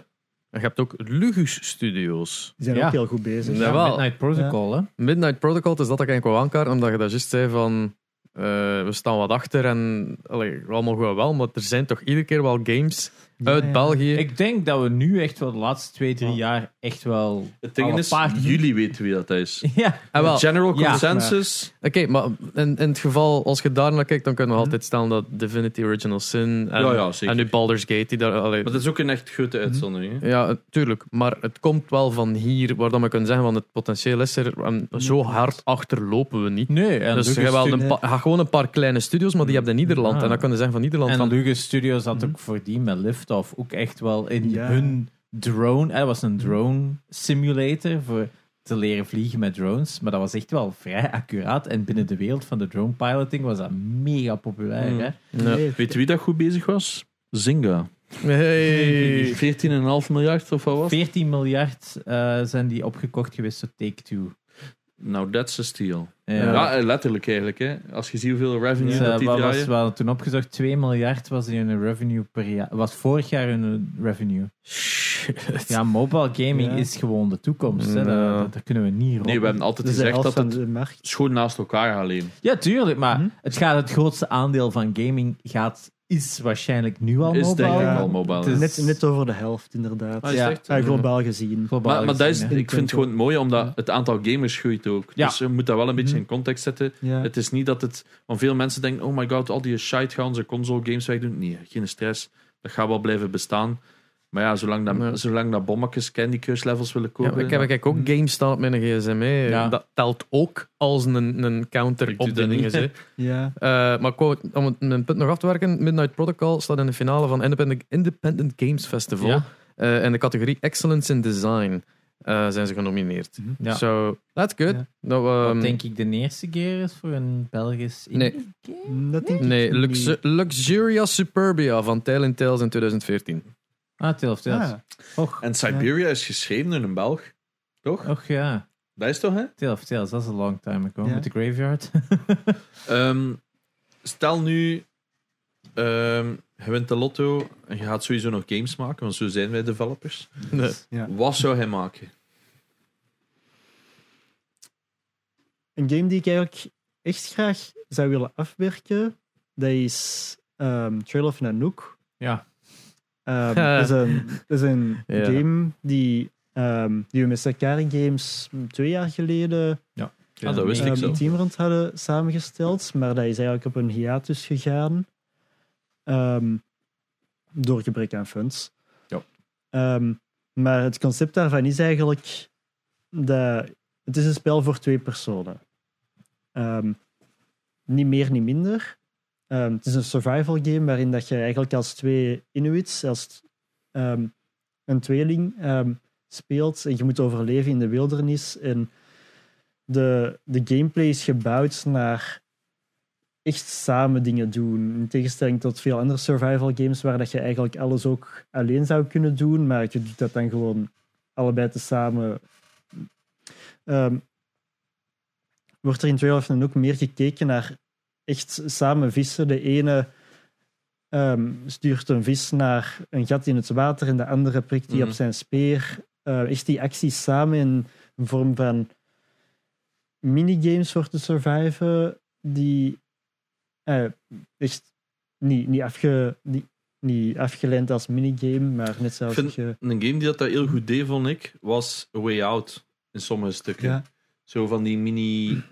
Speaker 2: je hebt ook Lugus Studios.
Speaker 4: Die zijn
Speaker 1: Ja.
Speaker 4: ook heel goed bezig.
Speaker 2: Ja.
Speaker 1: ja,
Speaker 2: Jawel.
Speaker 1: Midnight Protocol, hè?
Speaker 2: Midnight Protocol, het is dat dat ik eigenlijk wou aankaarten, omdat je daar juist zei van... eh, we staan wat achter en... Allee, allemaal goed en wel, maar er zijn toch iedere keer wel games uit
Speaker 4: ja.
Speaker 2: België.
Speaker 1: Ik denk dat we nu echt wel de laatste twee, drie
Speaker 4: Ja.
Speaker 1: jaar echt wel...
Speaker 3: Het ding
Speaker 1: Alle
Speaker 3: is,
Speaker 1: paarden.
Speaker 3: jullie weten wie dat is.
Speaker 1: [laughs] Ja.
Speaker 2: Ah, wel, Oké,
Speaker 3: General
Speaker 1: Ja.
Speaker 3: consensus.
Speaker 2: maar in, in het geval, als je daar naar kijkt, dan kunnen we altijd stellen dat Divinity Original Sin en,
Speaker 3: Ja, ja, zeker.
Speaker 2: en nu Baldur's Gate, die daar... allee,
Speaker 3: Maar dat is ook een echt grote uitzondering. hè.
Speaker 2: Ja, tuurlijk. Maar het komt wel van hier, waar dan we kunnen zeggen, van het potentieel is er. En zo hard achterlopen we niet.
Speaker 1: Nee. En
Speaker 2: dus je
Speaker 1: Lucas
Speaker 2: hebt wel een
Speaker 1: Studio-
Speaker 2: pa- je hebt gewoon een paar kleine studios, maar die hebben in Nederland.
Speaker 1: Ah.
Speaker 2: En dan kunnen ze zeggen van Nederland.
Speaker 1: En
Speaker 2: van, Mhm.
Speaker 1: Lucas Studios had ook voor die met Liftoff ook echt wel in
Speaker 4: Ja.
Speaker 1: hun drone... Er was een drone simulator voor te leren vliegen met drones. Maar dat was echt wel vrij accuraat. En binnen de wereld van de drone piloting was dat mega populair.
Speaker 2: Mhm.
Speaker 3: Mm.
Speaker 1: Hè?
Speaker 2: Ja.
Speaker 4: Nee,
Speaker 3: Weet je wie dat goed bezig was? Zynga.
Speaker 2: Hey.
Speaker 3: 14,5 miljard of wat was? het?
Speaker 1: 14 miljard eh, zijn die opgekocht geweest door Take-Two.
Speaker 3: Nou, that's a steal.
Speaker 1: Ja.
Speaker 3: Ja, eh, letterlijk eigenlijk. Hè. Als je ziet hoeveel revenue
Speaker 1: Dus, eh,
Speaker 3: dat die
Speaker 1: wat was,
Speaker 3: draaien.
Speaker 1: we hadden toen opgezocht, 2 miljard was hun revenue per jaar. Was vorig jaar hun revenue.
Speaker 2: Shit.
Speaker 1: Ja, mobile gaming
Speaker 4: Ja.
Speaker 1: is gewoon de toekomst. Hè.
Speaker 2: Ja.
Speaker 1: Dat, dat- daar kunnen we niet rond.
Speaker 3: Nee, we hebben altijd
Speaker 4: dat is de
Speaker 3: gezegd
Speaker 4: helft
Speaker 3: dat
Speaker 4: van
Speaker 3: het
Speaker 4: de markt.
Speaker 3: schoon naast elkaar gaat leven.
Speaker 1: Ja, tuurlijk, maar
Speaker 3: Hm?
Speaker 4: Mhm.
Speaker 1: het, gaat, het grootste aandeel van gaming gaat, is waarschijnlijk nu al
Speaker 3: Is
Speaker 1: mobile.
Speaker 3: denk ik
Speaker 4: Ja.
Speaker 3: al mobile.
Speaker 1: Het is-
Speaker 4: Net, net over de helft, inderdaad.
Speaker 3: Ah, is
Speaker 1: Ja.
Speaker 3: het echt?
Speaker 4: Ja, globaal gezien.
Speaker 1: Globaal
Speaker 3: Maar, maar dat is,
Speaker 1: gezien, hè.
Speaker 3: ik vind het gewoon mooi, omdat het aantal gamers groeit ook.
Speaker 1: Ja.
Speaker 3: Dus je moet dat wel een beetje in context zetten.
Speaker 4: Ja.
Speaker 3: Het is niet dat het... Want veel mensen denken, oh my god, al die shite gaan ze console games wegdoen. Nee, geen stress. Dat gaat wel blijven bestaan. Maar ja, zolang dat,
Speaker 2: Ja.
Speaker 3: zolang dat bommakjes Candy Crush levels willen
Speaker 2: Ja,
Speaker 3: kopen...
Speaker 2: maar ik heb ik heb ook games staan op mijn gsm. hè.
Speaker 1: Ja.
Speaker 2: Dat telt ook als een, een counter
Speaker 3: Ik doe
Speaker 2: op de
Speaker 3: dat
Speaker 2: dingen.
Speaker 3: niet.
Speaker 2: hè.
Speaker 4: [laughs] Ja.
Speaker 2: Eh, maar ik wou- om het- mijn punt nog af te werken, Midnight Protocol staat in de finale van Independent, Independent Games Festival.
Speaker 1: Ja.
Speaker 2: Eh, in de categorie Excellence in Design eh, zijn ze genomineerd.
Speaker 1: Ja.
Speaker 2: So, that's good.
Speaker 4: Ja.
Speaker 2: Nou, ehm,
Speaker 1: Wat denk ik de eerste keer is voor een Belgisch...
Speaker 2: Nee.
Speaker 4: Dat denk ik
Speaker 2: Nee,
Speaker 4: niet.
Speaker 2: Luxu- Luxuria Superbia van Tale in Tales in 2014.
Speaker 1: Ah, Tales of Tales.
Speaker 4: Ah,
Speaker 1: Och,
Speaker 3: En Siberia is geschreven door een Belg. Toch?
Speaker 1: och ja.
Speaker 3: Dat is toch, hè?
Speaker 1: Tales of Tales, dat is een long time ago.
Speaker 4: Ja.
Speaker 1: Met de Graveyard.
Speaker 3: Ehm, stel nu, ehm, je wint de lotto en je gaat sowieso nog games maken, want zo zijn wij developers.
Speaker 2: Nee.
Speaker 3: Wat zou hij maken?
Speaker 4: Een game die ik eigenlijk echt graag zou willen afwerken, dat is ehm Trail of Nanook.
Speaker 1: Ja.
Speaker 4: Ehm, dat is een, dat is een
Speaker 2: Ja.
Speaker 4: game die, ehm, die we met Sakari Games twee jaar geleden
Speaker 3: Ah, dat wist ik
Speaker 4: ehm,
Speaker 3: zo.
Speaker 4: een team rond hadden samengesteld, maar dat is eigenlijk op een hiatus gegaan ehm, door gebrek aan funds.
Speaker 3: Ja.
Speaker 4: Ehm, maar het concept daarvan is eigenlijk dat het is een spel voor twee personen. Ehm, niet meer, niet minder. Ehm, het is een survival game waarin dat je eigenlijk als twee Inuits, als ehm, een tweeling, ehm, speelt. En je moet overleven in de wildernis. En de, de gameplay is gebouwd naar echt samen dingen doen. In tegenstelling tot veel andere survival games waar dat je eigenlijk alles ook alleen zou kunnen doen, maar je doet dat dan gewoon allebei tezamen. Ehm wordt er in Trail of dan ook meer gekeken naar echt samen vissen. De ene ehm, stuurt een vis naar een gat in het water en de andere prikt die
Speaker 3: Mhm.
Speaker 4: op zijn speer. Eh, echt die acties samen in een vorm van minigames voor te surviven die eh, echt niet, niet, afge, niet, niet afgeleid als minigame, maar net zoals
Speaker 3: Vind-
Speaker 4: je...
Speaker 3: Een game die dat daar heel goed deed, vond ik, was A Way Out in sommige stukken.
Speaker 4: Ja.
Speaker 3: Zo van die mini,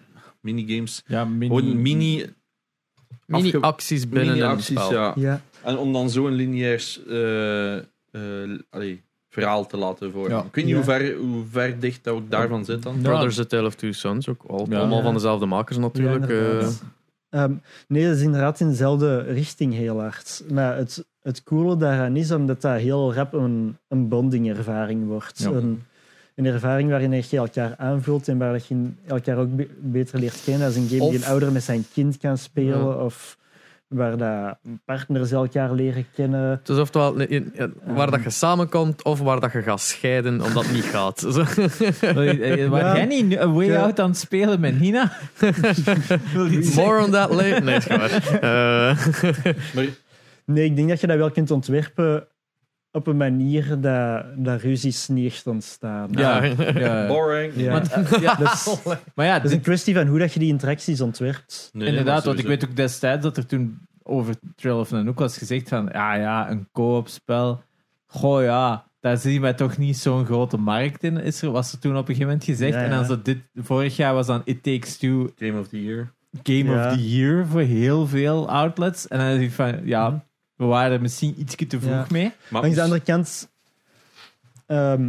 Speaker 3: minigames.
Speaker 1: ja, mini...
Speaker 3: Gewoon mini,
Speaker 2: Mini-acties binnen een
Speaker 3: mini-acties,
Speaker 2: spel.
Speaker 3: ja.
Speaker 4: Ja.
Speaker 3: En om dan zo'n lineair eh, eh, allee, verhaal te laten vormen.
Speaker 1: Ja.
Speaker 3: Ik weet niet
Speaker 4: Ja.
Speaker 3: hoe, ver, hoe ver dicht dat ook daarvan zit dan.
Speaker 1: Ja.
Speaker 2: Brothers A Tale of Two Sons, ook al,
Speaker 1: Ja.
Speaker 2: allemaal van dezelfde makers natuurlijk.
Speaker 4: Ja,
Speaker 2: eh.
Speaker 4: inderdaad. Ehm, nee, dat is inderdaad in dezelfde richting heel hard. Maar het, het coole daaraan is omdat dat heel rap een, een bonding-ervaring wordt.
Speaker 1: Ja.
Speaker 4: Een, een ervaring waarin je elkaar aanvult en waar je elkaar ook be- beter leert kennen. Dat is een game die
Speaker 2: Of-
Speaker 4: een ouder met zijn kind kan spelen. Of waar dat partners elkaar leren kennen.
Speaker 2: Het is oftewel nee, in- in- waar dat je samenkomt of waar dat je gaat scheiden omdat het niet gaat. [laughs]
Speaker 1: [laughs]
Speaker 2: Zo.
Speaker 1: Wil je- eh, Waar
Speaker 4: Ja.
Speaker 1: jij niet nu- A Way
Speaker 4: Ja.
Speaker 1: Out aan het spelen met
Speaker 4: [laughs]
Speaker 1: Nina? Wil je iets
Speaker 2: More on that later. Nee, is Eh, waar.
Speaker 1: [laughs]
Speaker 3: Maar
Speaker 4: Nee, ik denk dat je dat wel kunt ontwerpen op een manier dat, dat ruzies niet echt ontstaan.
Speaker 2: [laughs]
Speaker 1: Ja. Ja.
Speaker 3: boring.
Speaker 4: Ja.
Speaker 1: Want, eh, ja,
Speaker 4: [laughs] Dat is-
Speaker 1: maar ja,
Speaker 4: dat is
Speaker 1: dit-
Speaker 4: een kwestie van hoe dat je die interacties ontwerpt.
Speaker 3: Nee,
Speaker 1: inderdaad,
Speaker 3: maar
Speaker 1: want ik
Speaker 3: sowieso.
Speaker 1: weet ook destijds dat er toen over Trail of Nanook was gezegd van, ja, ja, een co-op spel. Goh, ja, daar zien wij toch niet zo'n grote markt in, is er, was er toen op een gegeven moment gezegd.
Speaker 4: Ja, ja.
Speaker 1: En dan zo dit, vorig jaar was dan It Takes Two
Speaker 3: Game of the Year.
Speaker 1: Game
Speaker 4: Ja.
Speaker 1: of the Year voor heel veel outlets. En dan denk ik van, ja, we waren er misschien ietsje te vroeg
Speaker 4: Mhm. Ja.
Speaker 1: mee.
Speaker 3: Maar
Speaker 4: Langs de andere kant, ehm,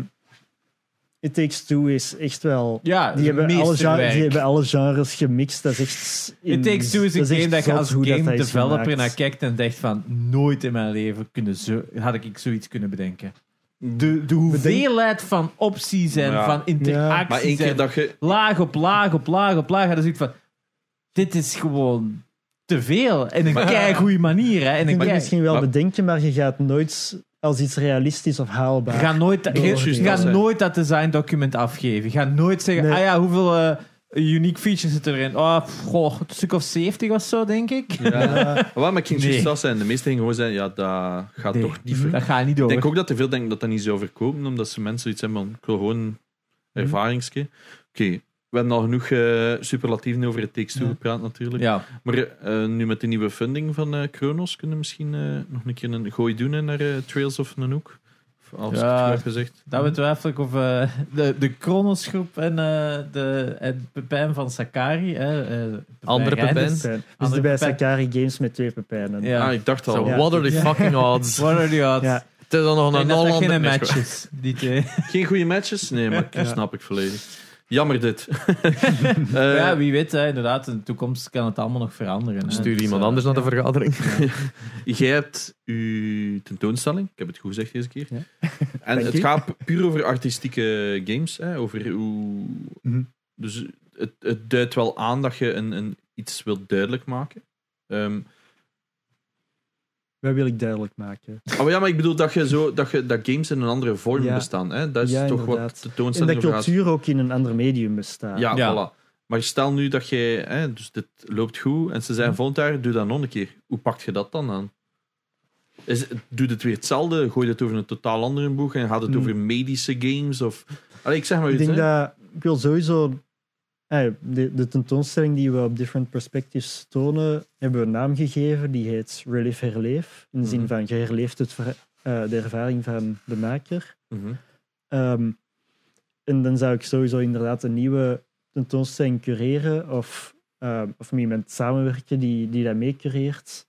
Speaker 4: It Takes Two is echt wel...
Speaker 1: Ja,
Speaker 4: Die hebben, alle gen-
Speaker 1: meesterwerk.
Speaker 4: die hebben alle genres gemixt. Dat is echt... in-
Speaker 1: It Takes Two is een
Speaker 4: dat echt
Speaker 1: game dat je
Speaker 4: zot
Speaker 1: als
Speaker 4: hoe dat
Speaker 1: game
Speaker 4: dat is
Speaker 1: developer
Speaker 4: gemaakt.
Speaker 1: naar kijkt en denkt van nooit in mijn leven kunnen zo, had ik zoiets kunnen bedenken. De, de hoeveelheid van opties en
Speaker 3: Ja.
Speaker 1: van interacties
Speaker 3: Maar één keer
Speaker 1: en
Speaker 3: dat je...
Speaker 1: laag op laag op laag op laag. En dan zoiets van, dit is gewoon te veel. En een
Speaker 3: Maar-
Speaker 1: kei goede manier. Hè. En
Speaker 4: Je
Speaker 1: een
Speaker 4: kunt het
Speaker 1: kei-
Speaker 4: misschien wel
Speaker 3: Maar-
Speaker 4: bedenken, maar je gaat nooit als iets realistisch of haalbaar. [laughs]
Speaker 1: Ga nooit,
Speaker 4: Door-
Speaker 1: je- je
Speaker 4: door-
Speaker 1: gaat
Speaker 3: door-
Speaker 1: nooit dat design document afgeven. Ga nooit zeggen,
Speaker 4: Nee.
Speaker 1: ah ja, hoeveel eh, unique features zitten erin? Oh, pff, goh, een stuk of 70 of zo, denk ik.
Speaker 3: Ja. Wat maar King
Speaker 1: Nee.
Speaker 3: nee. zijn. De meeste dingen gewoon zijn, ja, dat gaat
Speaker 1: Nee, Mhm.
Speaker 3: toch niet ver.
Speaker 1: dat gaat niet
Speaker 3: Ik
Speaker 1: door.
Speaker 3: denk ook dat er veel denken dat dat niet zou verkopen, omdat ze mensen iets hebben van, ik wil gewoon
Speaker 1: Mhm.
Speaker 3: een ervaringske. Oké, we hebben al genoeg eh, superlatieven over het tekst
Speaker 4: Ja.
Speaker 3: gepraat natuurlijk.
Speaker 1: Ja.
Speaker 3: Maar eh, nu met de nieuwe funding van eh Kronos kunnen we misschien eh, nog een keer een gooi doen hè, naar eh, Trails of Nanook. Of Als ik
Speaker 1: Ja.
Speaker 3: het goed heb gezegd.
Speaker 1: Dat betwijfel ik of eh, de, de Kronos groep en eh, de en Pepijn van Sakari. hè, eh, Pepijn
Speaker 2: Andere Pepijn.
Speaker 1: Reinders.
Speaker 4: Pepijn. Dus
Speaker 1: Andere
Speaker 4: de bij
Speaker 1: Pepijn.
Speaker 4: Sakari Games met twee pepijnen.
Speaker 1: Ja.
Speaker 3: Ah, ik dacht al.
Speaker 2: Zo,
Speaker 4: Ja.
Speaker 2: what are the fucking
Speaker 1: [laughs]
Speaker 2: odds?
Speaker 1: What are the odds?
Speaker 4: Ja.
Speaker 1: Ik
Speaker 2: Het is dan nog
Speaker 1: denk
Speaker 2: een
Speaker 1: dat dat
Speaker 2: Holland.
Speaker 1: geen
Speaker 3: nee,
Speaker 1: match is, die twee.
Speaker 3: Geen goede matches? Nee, maar
Speaker 1: [laughs]
Speaker 3: ik snap ik volledig. Jammer dit. Eh,
Speaker 1: ja, wie weet, hè, inderdaad, in de toekomst kan het allemaal nog veranderen. hè.
Speaker 2: Stuur
Speaker 1: Dus,
Speaker 2: iemand
Speaker 1: eh,
Speaker 2: anders naar de vergadering.
Speaker 3: Jij hebt uw tentoonstelling, ik heb het goed gezegd deze keer.
Speaker 4: Ja.
Speaker 3: [laughs] En het
Speaker 4: you.
Speaker 3: gaat puur over artistieke games, hè, over hoe.
Speaker 4: Mhm.
Speaker 3: Dus het, het duidt wel aan dat je een, een, iets wilt duidelijk maken. Ehm,
Speaker 4: Dat wil ik duidelijk maken.
Speaker 3: oh maar ja, maar ik bedoel dat, je zo, dat, je, dat games in een andere vorm
Speaker 4: Ja.
Speaker 3: bestaan. Hè? Dat is
Speaker 4: Ja,
Speaker 3: toch wat
Speaker 4: inderdaad.
Speaker 3: de
Speaker 4: En dat
Speaker 3: tentoonstelling over gaat.
Speaker 4: cultuur ook in een ander medium bestaat.
Speaker 3: Ja,
Speaker 1: Ja.
Speaker 3: voilà. Maar stel nu dat jij, hè, dus dit loopt goed en ze
Speaker 4: Hm.
Speaker 3: zijn volgend jaar, doe dat nog een keer. Hoe pakt je dat dan aan? Is, doe het weer hetzelfde, gooi het over een totaal andere boeg en gaat het
Speaker 4: Hmm.
Speaker 3: over medische games of. Allee, ik zeg maar
Speaker 4: Ik
Speaker 3: iets.
Speaker 4: denk
Speaker 3: hè.
Speaker 4: dat ik wil sowieso. eh, De, de tentoonstelling die we op Different Perspectives tonen, hebben we een naam gegeven. Die heet Relief Herleef. In de zin
Speaker 3: Mhm.
Speaker 4: van je herleeft het ver- eh, de ervaring van de maker.
Speaker 3: Mhm.
Speaker 4: Ehm, en dan zou ik sowieso inderdaad een nieuwe tentoonstelling cureren of, ehm, of met iemand samenwerken die, die dat mee cureert.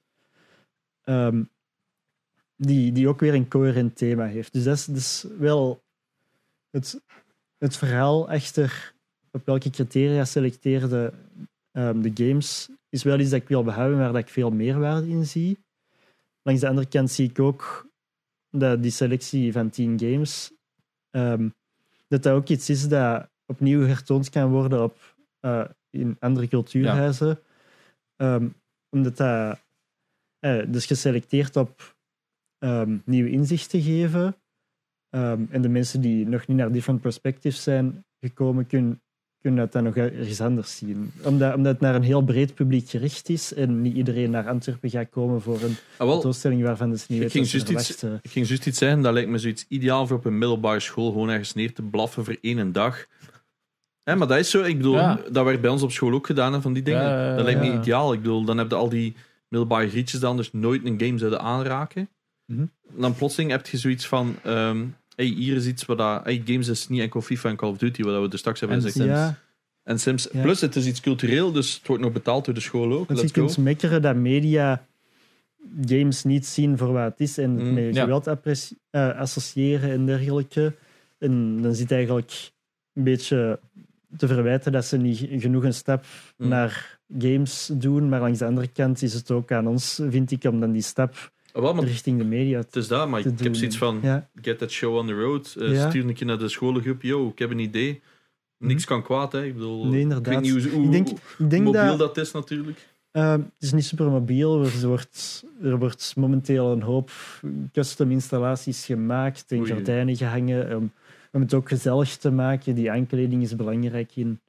Speaker 4: Ehm, die, die ook weer een coherent thema heeft. Dus dat is, dat is wel het, het verhaal achter op welke criteria selecteren de, ehm, de games, is wel iets dat ik wil behouden, maar dat ik veel meerwaarde in zie. Langs de andere kant zie ik ook dat die selectie van 10 games ehm, dat dat ook iets is dat opnieuw hertoond kan worden op, eh, in andere cultuurhuizen. Ehm, omdat dat eh, dus geselecteerd op ehm, nieuwe inzichten geven. Ehm, en de mensen die nog niet naar different perspectives zijn gekomen, kunnen, kunnen dat dan nog ergens anders zien. Omdat, omdat het naar een heel breed publiek gericht is en niet iedereen naar Antwerpen gaat komen voor een
Speaker 3: Ah, wel,
Speaker 4: tentoonstelling waarvan ze niet
Speaker 3: ik
Speaker 4: weten
Speaker 3: ging
Speaker 4: wat ze
Speaker 3: juist iets-
Speaker 4: verwachten.
Speaker 3: ik ging juist iets zeggen, dat lijkt me zoiets ideaal voor op een middelbare school gewoon ergens neer te blaffen voor één dag. Hè, maar dat is zo, ik bedoel,
Speaker 1: Ja.
Speaker 3: dat werd bij ons op school ook gedaan hè, van die dingen.
Speaker 1: Ja, ja, ja,
Speaker 3: dat lijkt me
Speaker 1: ja.
Speaker 3: ideaal. Ik bedoel, dan heb je al die middelbare grietjes die anders nooit een game zouden aanraken.
Speaker 4: Mhm.
Speaker 3: Dan plotseling heb je zoiets van, ehm, hey, hier is iets wat dat, hey, games is niet enkel FIFA en Call of Duty, wat we er straks hebben
Speaker 1: En
Speaker 3: gezegd.
Speaker 4: Ja,
Speaker 3: En Sims.
Speaker 4: Ja.
Speaker 3: Plus, het is iets cultureel, dus het wordt nog betaald door de school ook.
Speaker 4: want Dus je
Speaker 3: Let's go.
Speaker 4: kunt mekkeren dat media games niet zien voor wat het is en het
Speaker 3: Mm,
Speaker 4: met
Speaker 1: ja.
Speaker 4: geweld appreci- eh, associëren en dergelijke. En dan zit eigenlijk een beetje te verwijten dat ze niet genoeg een stap
Speaker 3: Mm.
Speaker 4: naar games doen. Maar langs de andere kant is het ook aan ons, vind ik, om dan die stap
Speaker 3: Ah, wel, maar
Speaker 4: richting de media
Speaker 3: het
Speaker 4: te,
Speaker 3: is dat, maar
Speaker 4: te
Speaker 3: ik
Speaker 4: doen.
Speaker 3: heb zoiets van,
Speaker 4: Ja,
Speaker 3: get that show on the road. Eh,
Speaker 4: Ja. Mhm.
Speaker 3: Stuur een keer naar de scholengroep. Yo, ik heb een idee. Niks kan kwaad, hè. Ik bedoel,
Speaker 4: nee,
Speaker 3: ik weet
Speaker 4: inderdaad.
Speaker 3: niet hoe, hoe-
Speaker 4: ik denk,
Speaker 3: hoe
Speaker 4: ik denk
Speaker 3: mobiel dat...
Speaker 4: dat
Speaker 3: is natuurlijk.
Speaker 4: Ehm, het is niet super mobiel. Er wordt, er wordt momenteel een hoop custom installaties gemaakt en
Speaker 3: Oei.
Speaker 4: gordijnen gehangen. Om, om het ook gezellig te maken. Die aankleding is belangrijk in,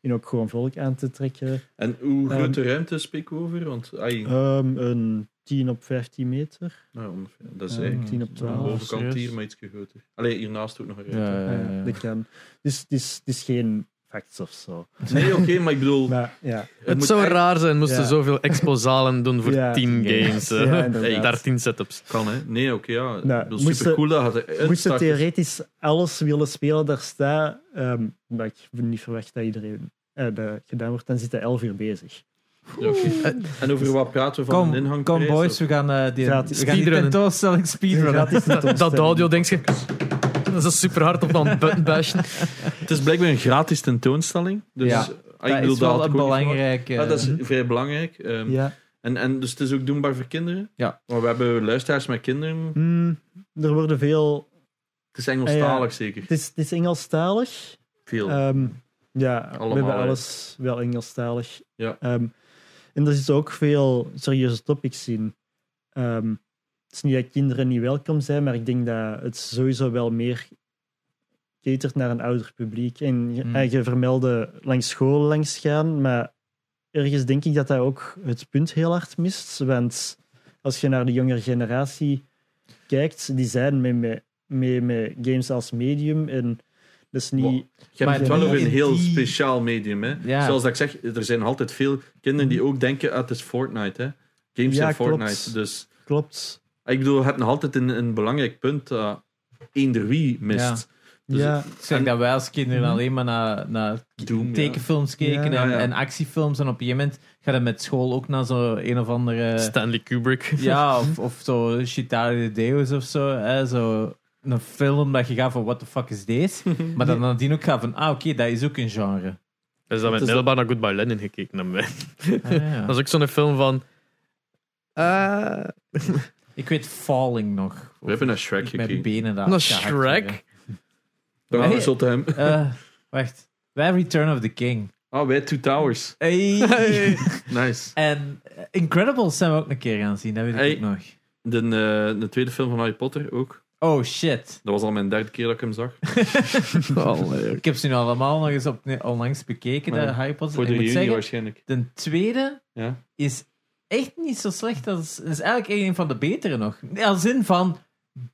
Speaker 4: in ook gewoon volk aan te trekken.
Speaker 3: En hoe
Speaker 4: Ehm,
Speaker 3: grote ruimte spreken we over? Want, ai,
Speaker 4: Ehm, een 10 op 15 meter.
Speaker 3: nou, ongeveer. dat is
Speaker 4: ehm,
Speaker 3: eigenlijk
Speaker 4: 10 op
Speaker 3: aan de
Speaker 4: 12.
Speaker 3: bovenkant
Speaker 1: serieus?
Speaker 3: hier, maar iets groter. Allee, hiernaast ook nog een
Speaker 1: Oh. Ja,
Speaker 3: ruimte.
Speaker 1: ja, ja.
Speaker 4: Ja, dat kan. Dus het is, het is geen facts of zo.
Speaker 3: Nee, oké, maar ik bedoel...
Speaker 4: [laughs] Maar, ja.
Speaker 2: Het
Speaker 3: moet
Speaker 2: zou
Speaker 3: echt-
Speaker 2: raar zijn moesten
Speaker 4: Ja.
Speaker 2: zoveel exposalen doen voor
Speaker 4: Ja.
Speaker 2: 10
Speaker 4: Ja.
Speaker 2: games.
Speaker 4: Ja,
Speaker 2: hè.
Speaker 4: inderdaad.
Speaker 2: 13 setups.
Speaker 3: Kan, hè? Nee, oké, ja.
Speaker 4: Nou,
Speaker 3: ik bedoel,
Speaker 4: moesten-
Speaker 3: supercool. dat had-
Speaker 4: Ik moest
Speaker 3: start-
Speaker 4: theoretisch alles willen spelen daar staat, ehm, maar ik heb niet verwacht dat iedereen eh, dat gedaan wordt, dan zit hij 11 uur bezig.
Speaker 3: Ja, oké.
Speaker 4: Eh,
Speaker 3: En over wat praten we van een
Speaker 1: Kom,
Speaker 3: inhangprijs?
Speaker 1: kom boys, we gaan, eh, die, we
Speaker 4: Gaat
Speaker 1: gaan die
Speaker 2: speedrunnen.
Speaker 1: tentoonstelling speedrunnen.
Speaker 4: Gratis
Speaker 2: [laughs] Dat, dat
Speaker 4: tentoonstelling.
Speaker 2: audio, denk je. Dat is super hard op een button bashen.
Speaker 3: Het is blijkbaar een gratis tentoonstelling. Dus
Speaker 1: Ja,
Speaker 3: ah, ik
Speaker 1: Dat
Speaker 3: bedoel,
Speaker 1: is wel
Speaker 3: had
Speaker 1: een
Speaker 3: ik ook niet
Speaker 1: belangrijk...
Speaker 3: verwacht.
Speaker 1: eh,
Speaker 3: Ah, dat is vrij belangrijk. ehm,
Speaker 4: Ja.
Speaker 3: en, en dus het is ook doenbaar voor kinderen.
Speaker 1: Ja.
Speaker 3: Maar we hebben luisteraars met kinderen.
Speaker 4: Mm, er worden veel...
Speaker 3: Het is Engelstalig zeker.
Speaker 4: Het is, het is Engelstalig.
Speaker 3: Veel.
Speaker 4: Ehm, ja, we
Speaker 3: Allemaal,
Speaker 4: hebben
Speaker 3: hè.
Speaker 4: alles wel Engelstalig.
Speaker 3: Ja.
Speaker 4: Ehm, en er zitten ook veel serieuze topics in. Ehm, het is niet dat kinderen niet welkom zijn, maar ik denk dat het sowieso wel meer catert naar een ouder publiek. En je,
Speaker 1: Hmm.
Speaker 4: en je vermeldde langs school langs gaan, maar ergens denk ik dat dat ook het punt heel hard mist. Want als je naar de jongere generatie kijkt, die zijn mee met mee, met games als medium en dat is niet...
Speaker 3: Wow. Je
Speaker 1: Maar
Speaker 3: hebt het wel
Speaker 1: die-
Speaker 3: over een heel
Speaker 1: die-
Speaker 3: speciaal medium. Hè?
Speaker 1: Ja.
Speaker 3: Zoals dat ik zeg, er zijn nog altijd veel kinderen die ook denken: ah, het is Fortnite. Hè? Games
Speaker 4: Ja,
Speaker 3: zijn Fortnite.
Speaker 4: klopt.
Speaker 3: Dus ah,
Speaker 4: Klopt.
Speaker 3: ik bedoel, je hebt nog altijd een, een belangrijk punt dat eender wie mist. Dus
Speaker 4: ja.
Speaker 1: Ik zeg
Speaker 3: En-
Speaker 1: dat wij als kinderen alleen maar naar, naar
Speaker 3: Doom, ja.
Speaker 1: tekenfilms keken
Speaker 4: Ja.
Speaker 1: en,
Speaker 3: Ja, ja.
Speaker 1: en actiefilms. En op een gegeven moment gaat het met school ook naar zo een of andere...
Speaker 2: Stanley Kubrick.
Speaker 1: Ja, of, of zo Chitari de Deus of zo. Hè, zo een film dat je gaat van what the fuck is this? Maar dan nadien ook gaat van, ah oké, dat is ook een genre.
Speaker 2: Dus dat met
Speaker 3: is-
Speaker 2: middelbaar naar Goodbye Lenin gekeken hebben wij.
Speaker 1: Ah, ja.
Speaker 2: Dat is ook zo'n film van... eh,
Speaker 1: Ik weet Falling nog.
Speaker 3: We hebben naar Shrek
Speaker 1: Ik mijn
Speaker 3: gekeken.
Speaker 1: benen daar
Speaker 2: Naar
Speaker 1: gehakt
Speaker 2: Shrek?
Speaker 3: Dan gaan we
Speaker 1: Nee.
Speaker 3: zo te hem.
Speaker 1: werden. Eh, wacht. Wij Return of the King.
Speaker 3: Ah, wij Two Towers.
Speaker 1: Hey.
Speaker 3: Nice.
Speaker 1: [laughs] En eh, Incredibles zijn we ook een keer gaan zien, dat weet ik
Speaker 3: Hey.
Speaker 1: ook nog.
Speaker 3: De, eh, de tweede film van Harry Potter ook.
Speaker 1: Oh shit.
Speaker 3: Dat was al mijn derde keer dat ik
Speaker 1: [laughs]
Speaker 3: hem zag.
Speaker 1: Ik heb ze nu allemaal nog eens op, onlangs bekeken,
Speaker 3: Maar
Speaker 1: de Harry Potter.
Speaker 3: Voor
Speaker 1: Ik
Speaker 3: de
Speaker 1: moet
Speaker 3: reunie
Speaker 1: zeggen,
Speaker 3: waarschijnlijk.
Speaker 1: de tweede
Speaker 3: Ja.
Speaker 1: is echt niet zo slecht. Dat is, is eigenlijk een van de betere nog. Als in van,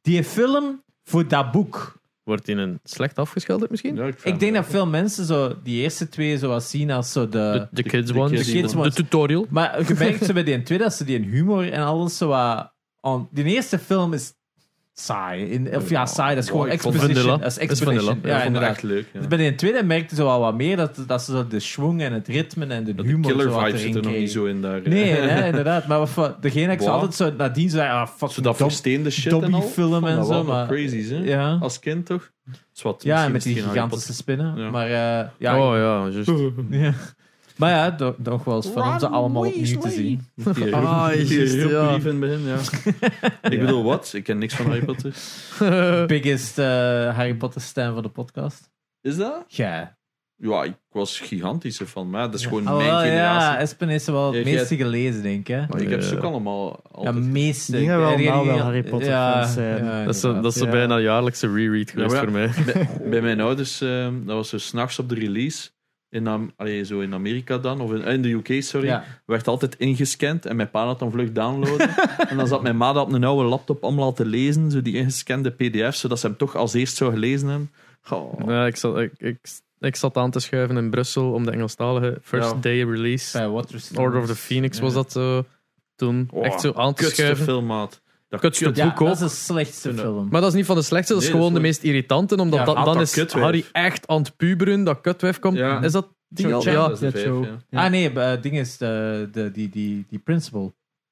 Speaker 1: die film voor dat boek.
Speaker 2: Wordt in een slecht afgeschilderd misschien?
Speaker 3: Ja, vind
Speaker 1: Ik denk
Speaker 3: hem
Speaker 1: dat veel mensen zo die eerste twee zo wat zien als zo de...
Speaker 2: De, de kids
Speaker 3: de
Speaker 2: one.
Speaker 3: kids
Speaker 1: De kids one. one.
Speaker 2: tutorial.
Speaker 1: Maar je merkt zo bij die tweede dat ze die humor en alles zo wat... on- Die eerste film is saai. In, of ja, saai, dat is gewoon
Speaker 3: Oh, ik vond
Speaker 1: exposition.
Speaker 2: vanilla.
Speaker 1: Dat is
Speaker 2: Dat is
Speaker 1: exposition.
Speaker 2: vanilla.
Speaker 3: wel. Ik
Speaker 1: Ja,
Speaker 3: vond hem
Speaker 1: inderdaad.
Speaker 3: echt leuk. ja.
Speaker 1: Dus bij de tweede merkte ze wel wat meer dat, dat ze zo de schwung en het ritme en de
Speaker 3: Dat De
Speaker 1: humor zo
Speaker 3: killer
Speaker 1: wat
Speaker 3: vibe zit er
Speaker 1: erin
Speaker 3: nog niet
Speaker 1: kregen.
Speaker 3: zo in daar.
Speaker 1: Nee,
Speaker 3: [laughs]
Speaker 1: hè, inderdaad. Maar wat voor- degene dat ik zo
Speaker 3: Wow.
Speaker 1: altijd zo nadien zei, ah, fuck,
Speaker 3: Zo dat
Speaker 1: dom-
Speaker 3: versteende shit en al.
Speaker 1: Dobby-film en
Speaker 3: Dat
Speaker 1: zo.
Speaker 3: waren wel
Speaker 1: Maar,
Speaker 3: crazies, hè?
Speaker 1: ja,
Speaker 3: Als kind toch? Is wat,
Speaker 1: ja en
Speaker 3: misschien
Speaker 1: met die
Speaker 3: is het geen Harry
Speaker 1: gigantische spinnen.
Speaker 3: Ja.
Speaker 1: Maar eh, ja,
Speaker 2: Oh ja, juist.
Speaker 3: Potter.
Speaker 1: Ja. [laughs] Maar ja, do- nog wel eens van om ze allemaal opnieuw te
Speaker 3: [laughs]
Speaker 1: zien. [laughs]
Speaker 3: Die
Speaker 2: Ah,
Speaker 3: roep- die
Speaker 2: juist,
Speaker 3: roep
Speaker 2: ja.
Speaker 3: lief in het begin, ja. Ik bedoel, wat? Ik ken niks van Harry Potter.
Speaker 1: Biggest eh, Harry Potter stem van de podcast.
Speaker 3: [laughs] Is dat?
Speaker 1: Ja.
Speaker 3: Ja, ik was gigantische fan, maar dat is
Speaker 1: Ja.
Speaker 3: gewoon
Speaker 1: Ah,
Speaker 3: mijn
Speaker 1: wel, Ja,
Speaker 3: generatie.
Speaker 1: Espen is wel het
Speaker 3: Ja, jij-
Speaker 1: meeste gelezen, denk ik. hè?
Speaker 3: Maar ik heb ze ook
Speaker 2: Ja.
Speaker 3: allemaal
Speaker 1: Ja,
Speaker 3: altijd...
Speaker 1: meeste.
Speaker 4: Ik denk dat we
Speaker 1: Ja,
Speaker 4: allemaal
Speaker 1: degene die-
Speaker 4: wel Harry Potter fans eh. zijn.
Speaker 2: Dat is, zo- dat is zo
Speaker 4: Ja.
Speaker 2: bijna een jaarlijkse reread geweest
Speaker 3: Ja, maar-
Speaker 2: voor mij.
Speaker 3: bij, bij mijn ouders, ehm, dat was zo s'nachts op de release. In, Am- allee, zo in Amerika dan, of in, in de UK, sorry.
Speaker 1: Ja.
Speaker 3: Werd altijd ingescand en mijn pa had dan vlug downloaden.
Speaker 2: [laughs]
Speaker 3: en dan zat mijn ma dat op een oude laptop allemaal al te lezen, zo die ingescande pdf, zodat ze hem toch als eerst zou gelezen hebben. Goh.
Speaker 2: Ja, ik, zat, ik, ik, ik zat aan te schuiven in Brussel om de Engelstalige first
Speaker 3: Ja.
Speaker 2: day release.
Speaker 1: Bij Waterstones.
Speaker 2: Order of the Phoenix was
Speaker 1: Ja.
Speaker 2: dat zo toen.
Speaker 3: Oh,
Speaker 2: Echt zo aan te
Speaker 3: Kutste
Speaker 2: schuiven.
Speaker 3: filmmaat. Dat
Speaker 2: Kutste
Speaker 3: kut-
Speaker 2: film.
Speaker 1: Ja,
Speaker 2: Boek ook.
Speaker 1: dat is de slechtste film.
Speaker 2: Maar dat is niet van de slechtste, dat is
Speaker 3: Nee, dat
Speaker 2: gewoon
Speaker 3: is
Speaker 2: de meest irritante. Omdat
Speaker 1: Ja,
Speaker 2: dat,
Speaker 3: haat
Speaker 2: dan
Speaker 3: dat
Speaker 2: is
Speaker 3: kutwijf.
Speaker 2: Harry echt aan het puberen, dat kutwijf komt.
Speaker 3: Ja.
Speaker 2: Is dat die?
Speaker 3: Ja,
Speaker 2: Ja,
Speaker 3: dat is de
Speaker 4: dat
Speaker 3: vijf,
Speaker 4: zo.
Speaker 3: ja.
Speaker 4: Ja.
Speaker 1: Ah nee, eh, ding is de, de, die, die, die principal. Eh,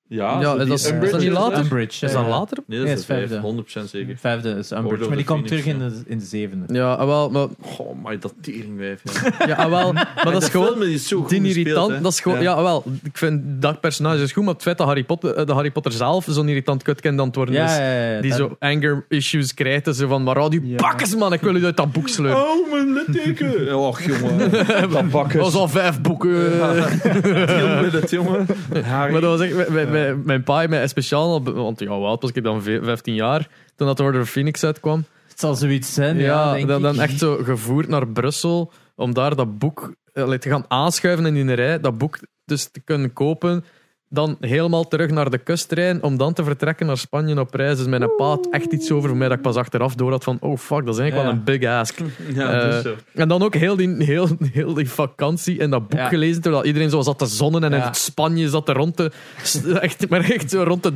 Speaker 3: Ja,
Speaker 2: Ja,
Speaker 3: zo die
Speaker 2: dat is-
Speaker 3: Umbridge
Speaker 2: is dat niet later?
Speaker 1: Umbridge.
Speaker 2: is
Speaker 1: ja,
Speaker 2: dat
Speaker 1: ja.
Speaker 2: later?
Speaker 3: Nee, dat
Speaker 1: Nee,
Speaker 3: is
Speaker 1: het
Speaker 3: de
Speaker 1: is
Speaker 3: vijf,
Speaker 1: vijfde.
Speaker 3: 100% zeker.
Speaker 1: Vijfde is
Speaker 3: Order
Speaker 1: Umbridge.
Speaker 3: of
Speaker 1: Maar die
Speaker 3: the
Speaker 1: komt terug
Speaker 3: Phoenix,
Speaker 1: in de, in de zevende.
Speaker 2: Ja, ah, wel, maar,
Speaker 3: [laughs] Goh, maar dat teringwijf. Ja.
Speaker 2: ja, ah,
Speaker 3: [laughs]
Speaker 2: wel, maar dat is gewoon...
Speaker 3: is zo goed
Speaker 2: Die
Speaker 3: gespeeld,
Speaker 2: irritant,
Speaker 3: hè.
Speaker 2: dat is gewoon...
Speaker 3: Ja.
Speaker 2: Ja, ah, wel, ik vind dat personage is goed, maar het feit dat Harry Potter, eh, dat Harry Potter zelf zo'n irritant kutkind aan het worden is...
Speaker 1: ja, ja,
Speaker 2: Die
Speaker 1: dat-
Speaker 2: zo anger issues krijgt en zo van, maar oh, die
Speaker 4: Ja.
Speaker 2: bakkes, man, ik wil u uit dat boek sleuren.
Speaker 3: Oh, mijn
Speaker 2: [laughs]
Speaker 3: litteken! Och, jongen. Dat bakken.
Speaker 2: Dat was al vijf boeken.
Speaker 3: [laughs] het, [laughs] jongen.
Speaker 2: Maar dat was echt, mijn- mijn, mijn, mijn pa heeft mij speciaal, al be- want ja, hoe oud was ik dan? Ve- 15 jaar, toen dat Order of Phoenix uitkwam.
Speaker 1: Het zal zoiets zijn,
Speaker 2: Ja,
Speaker 1: ja, denk
Speaker 2: dan,
Speaker 1: ik.
Speaker 2: dan echt zo gevoerd naar Brussel om daar dat boek eh, te gaan aanschuiven in die rij, dat boek dus te kunnen kopen. dan helemaal terug naar de kusttrein om dan te vertrekken naar Spanje op reis. Dus mijn pa had echt iets over voor mij dat ik pas achteraf door had van oh fuck, dat is eigenlijk
Speaker 1: Ja.
Speaker 2: wel een big ask.
Speaker 3: Ja, dat is
Speaker 2: Eh,
Speaker 3: zo.
Speaker 2: En dan ook heel die, heel, heel die vakantie en dat boek
Speaker 1: Ja.
Speaker 2: gelezen, terwijl iedereen zo zat te zonnen en in
Speaker 1: Ja.
Speaker 2: het Spanje zat er rond te... [laughs] Echt, maar echt zo rond te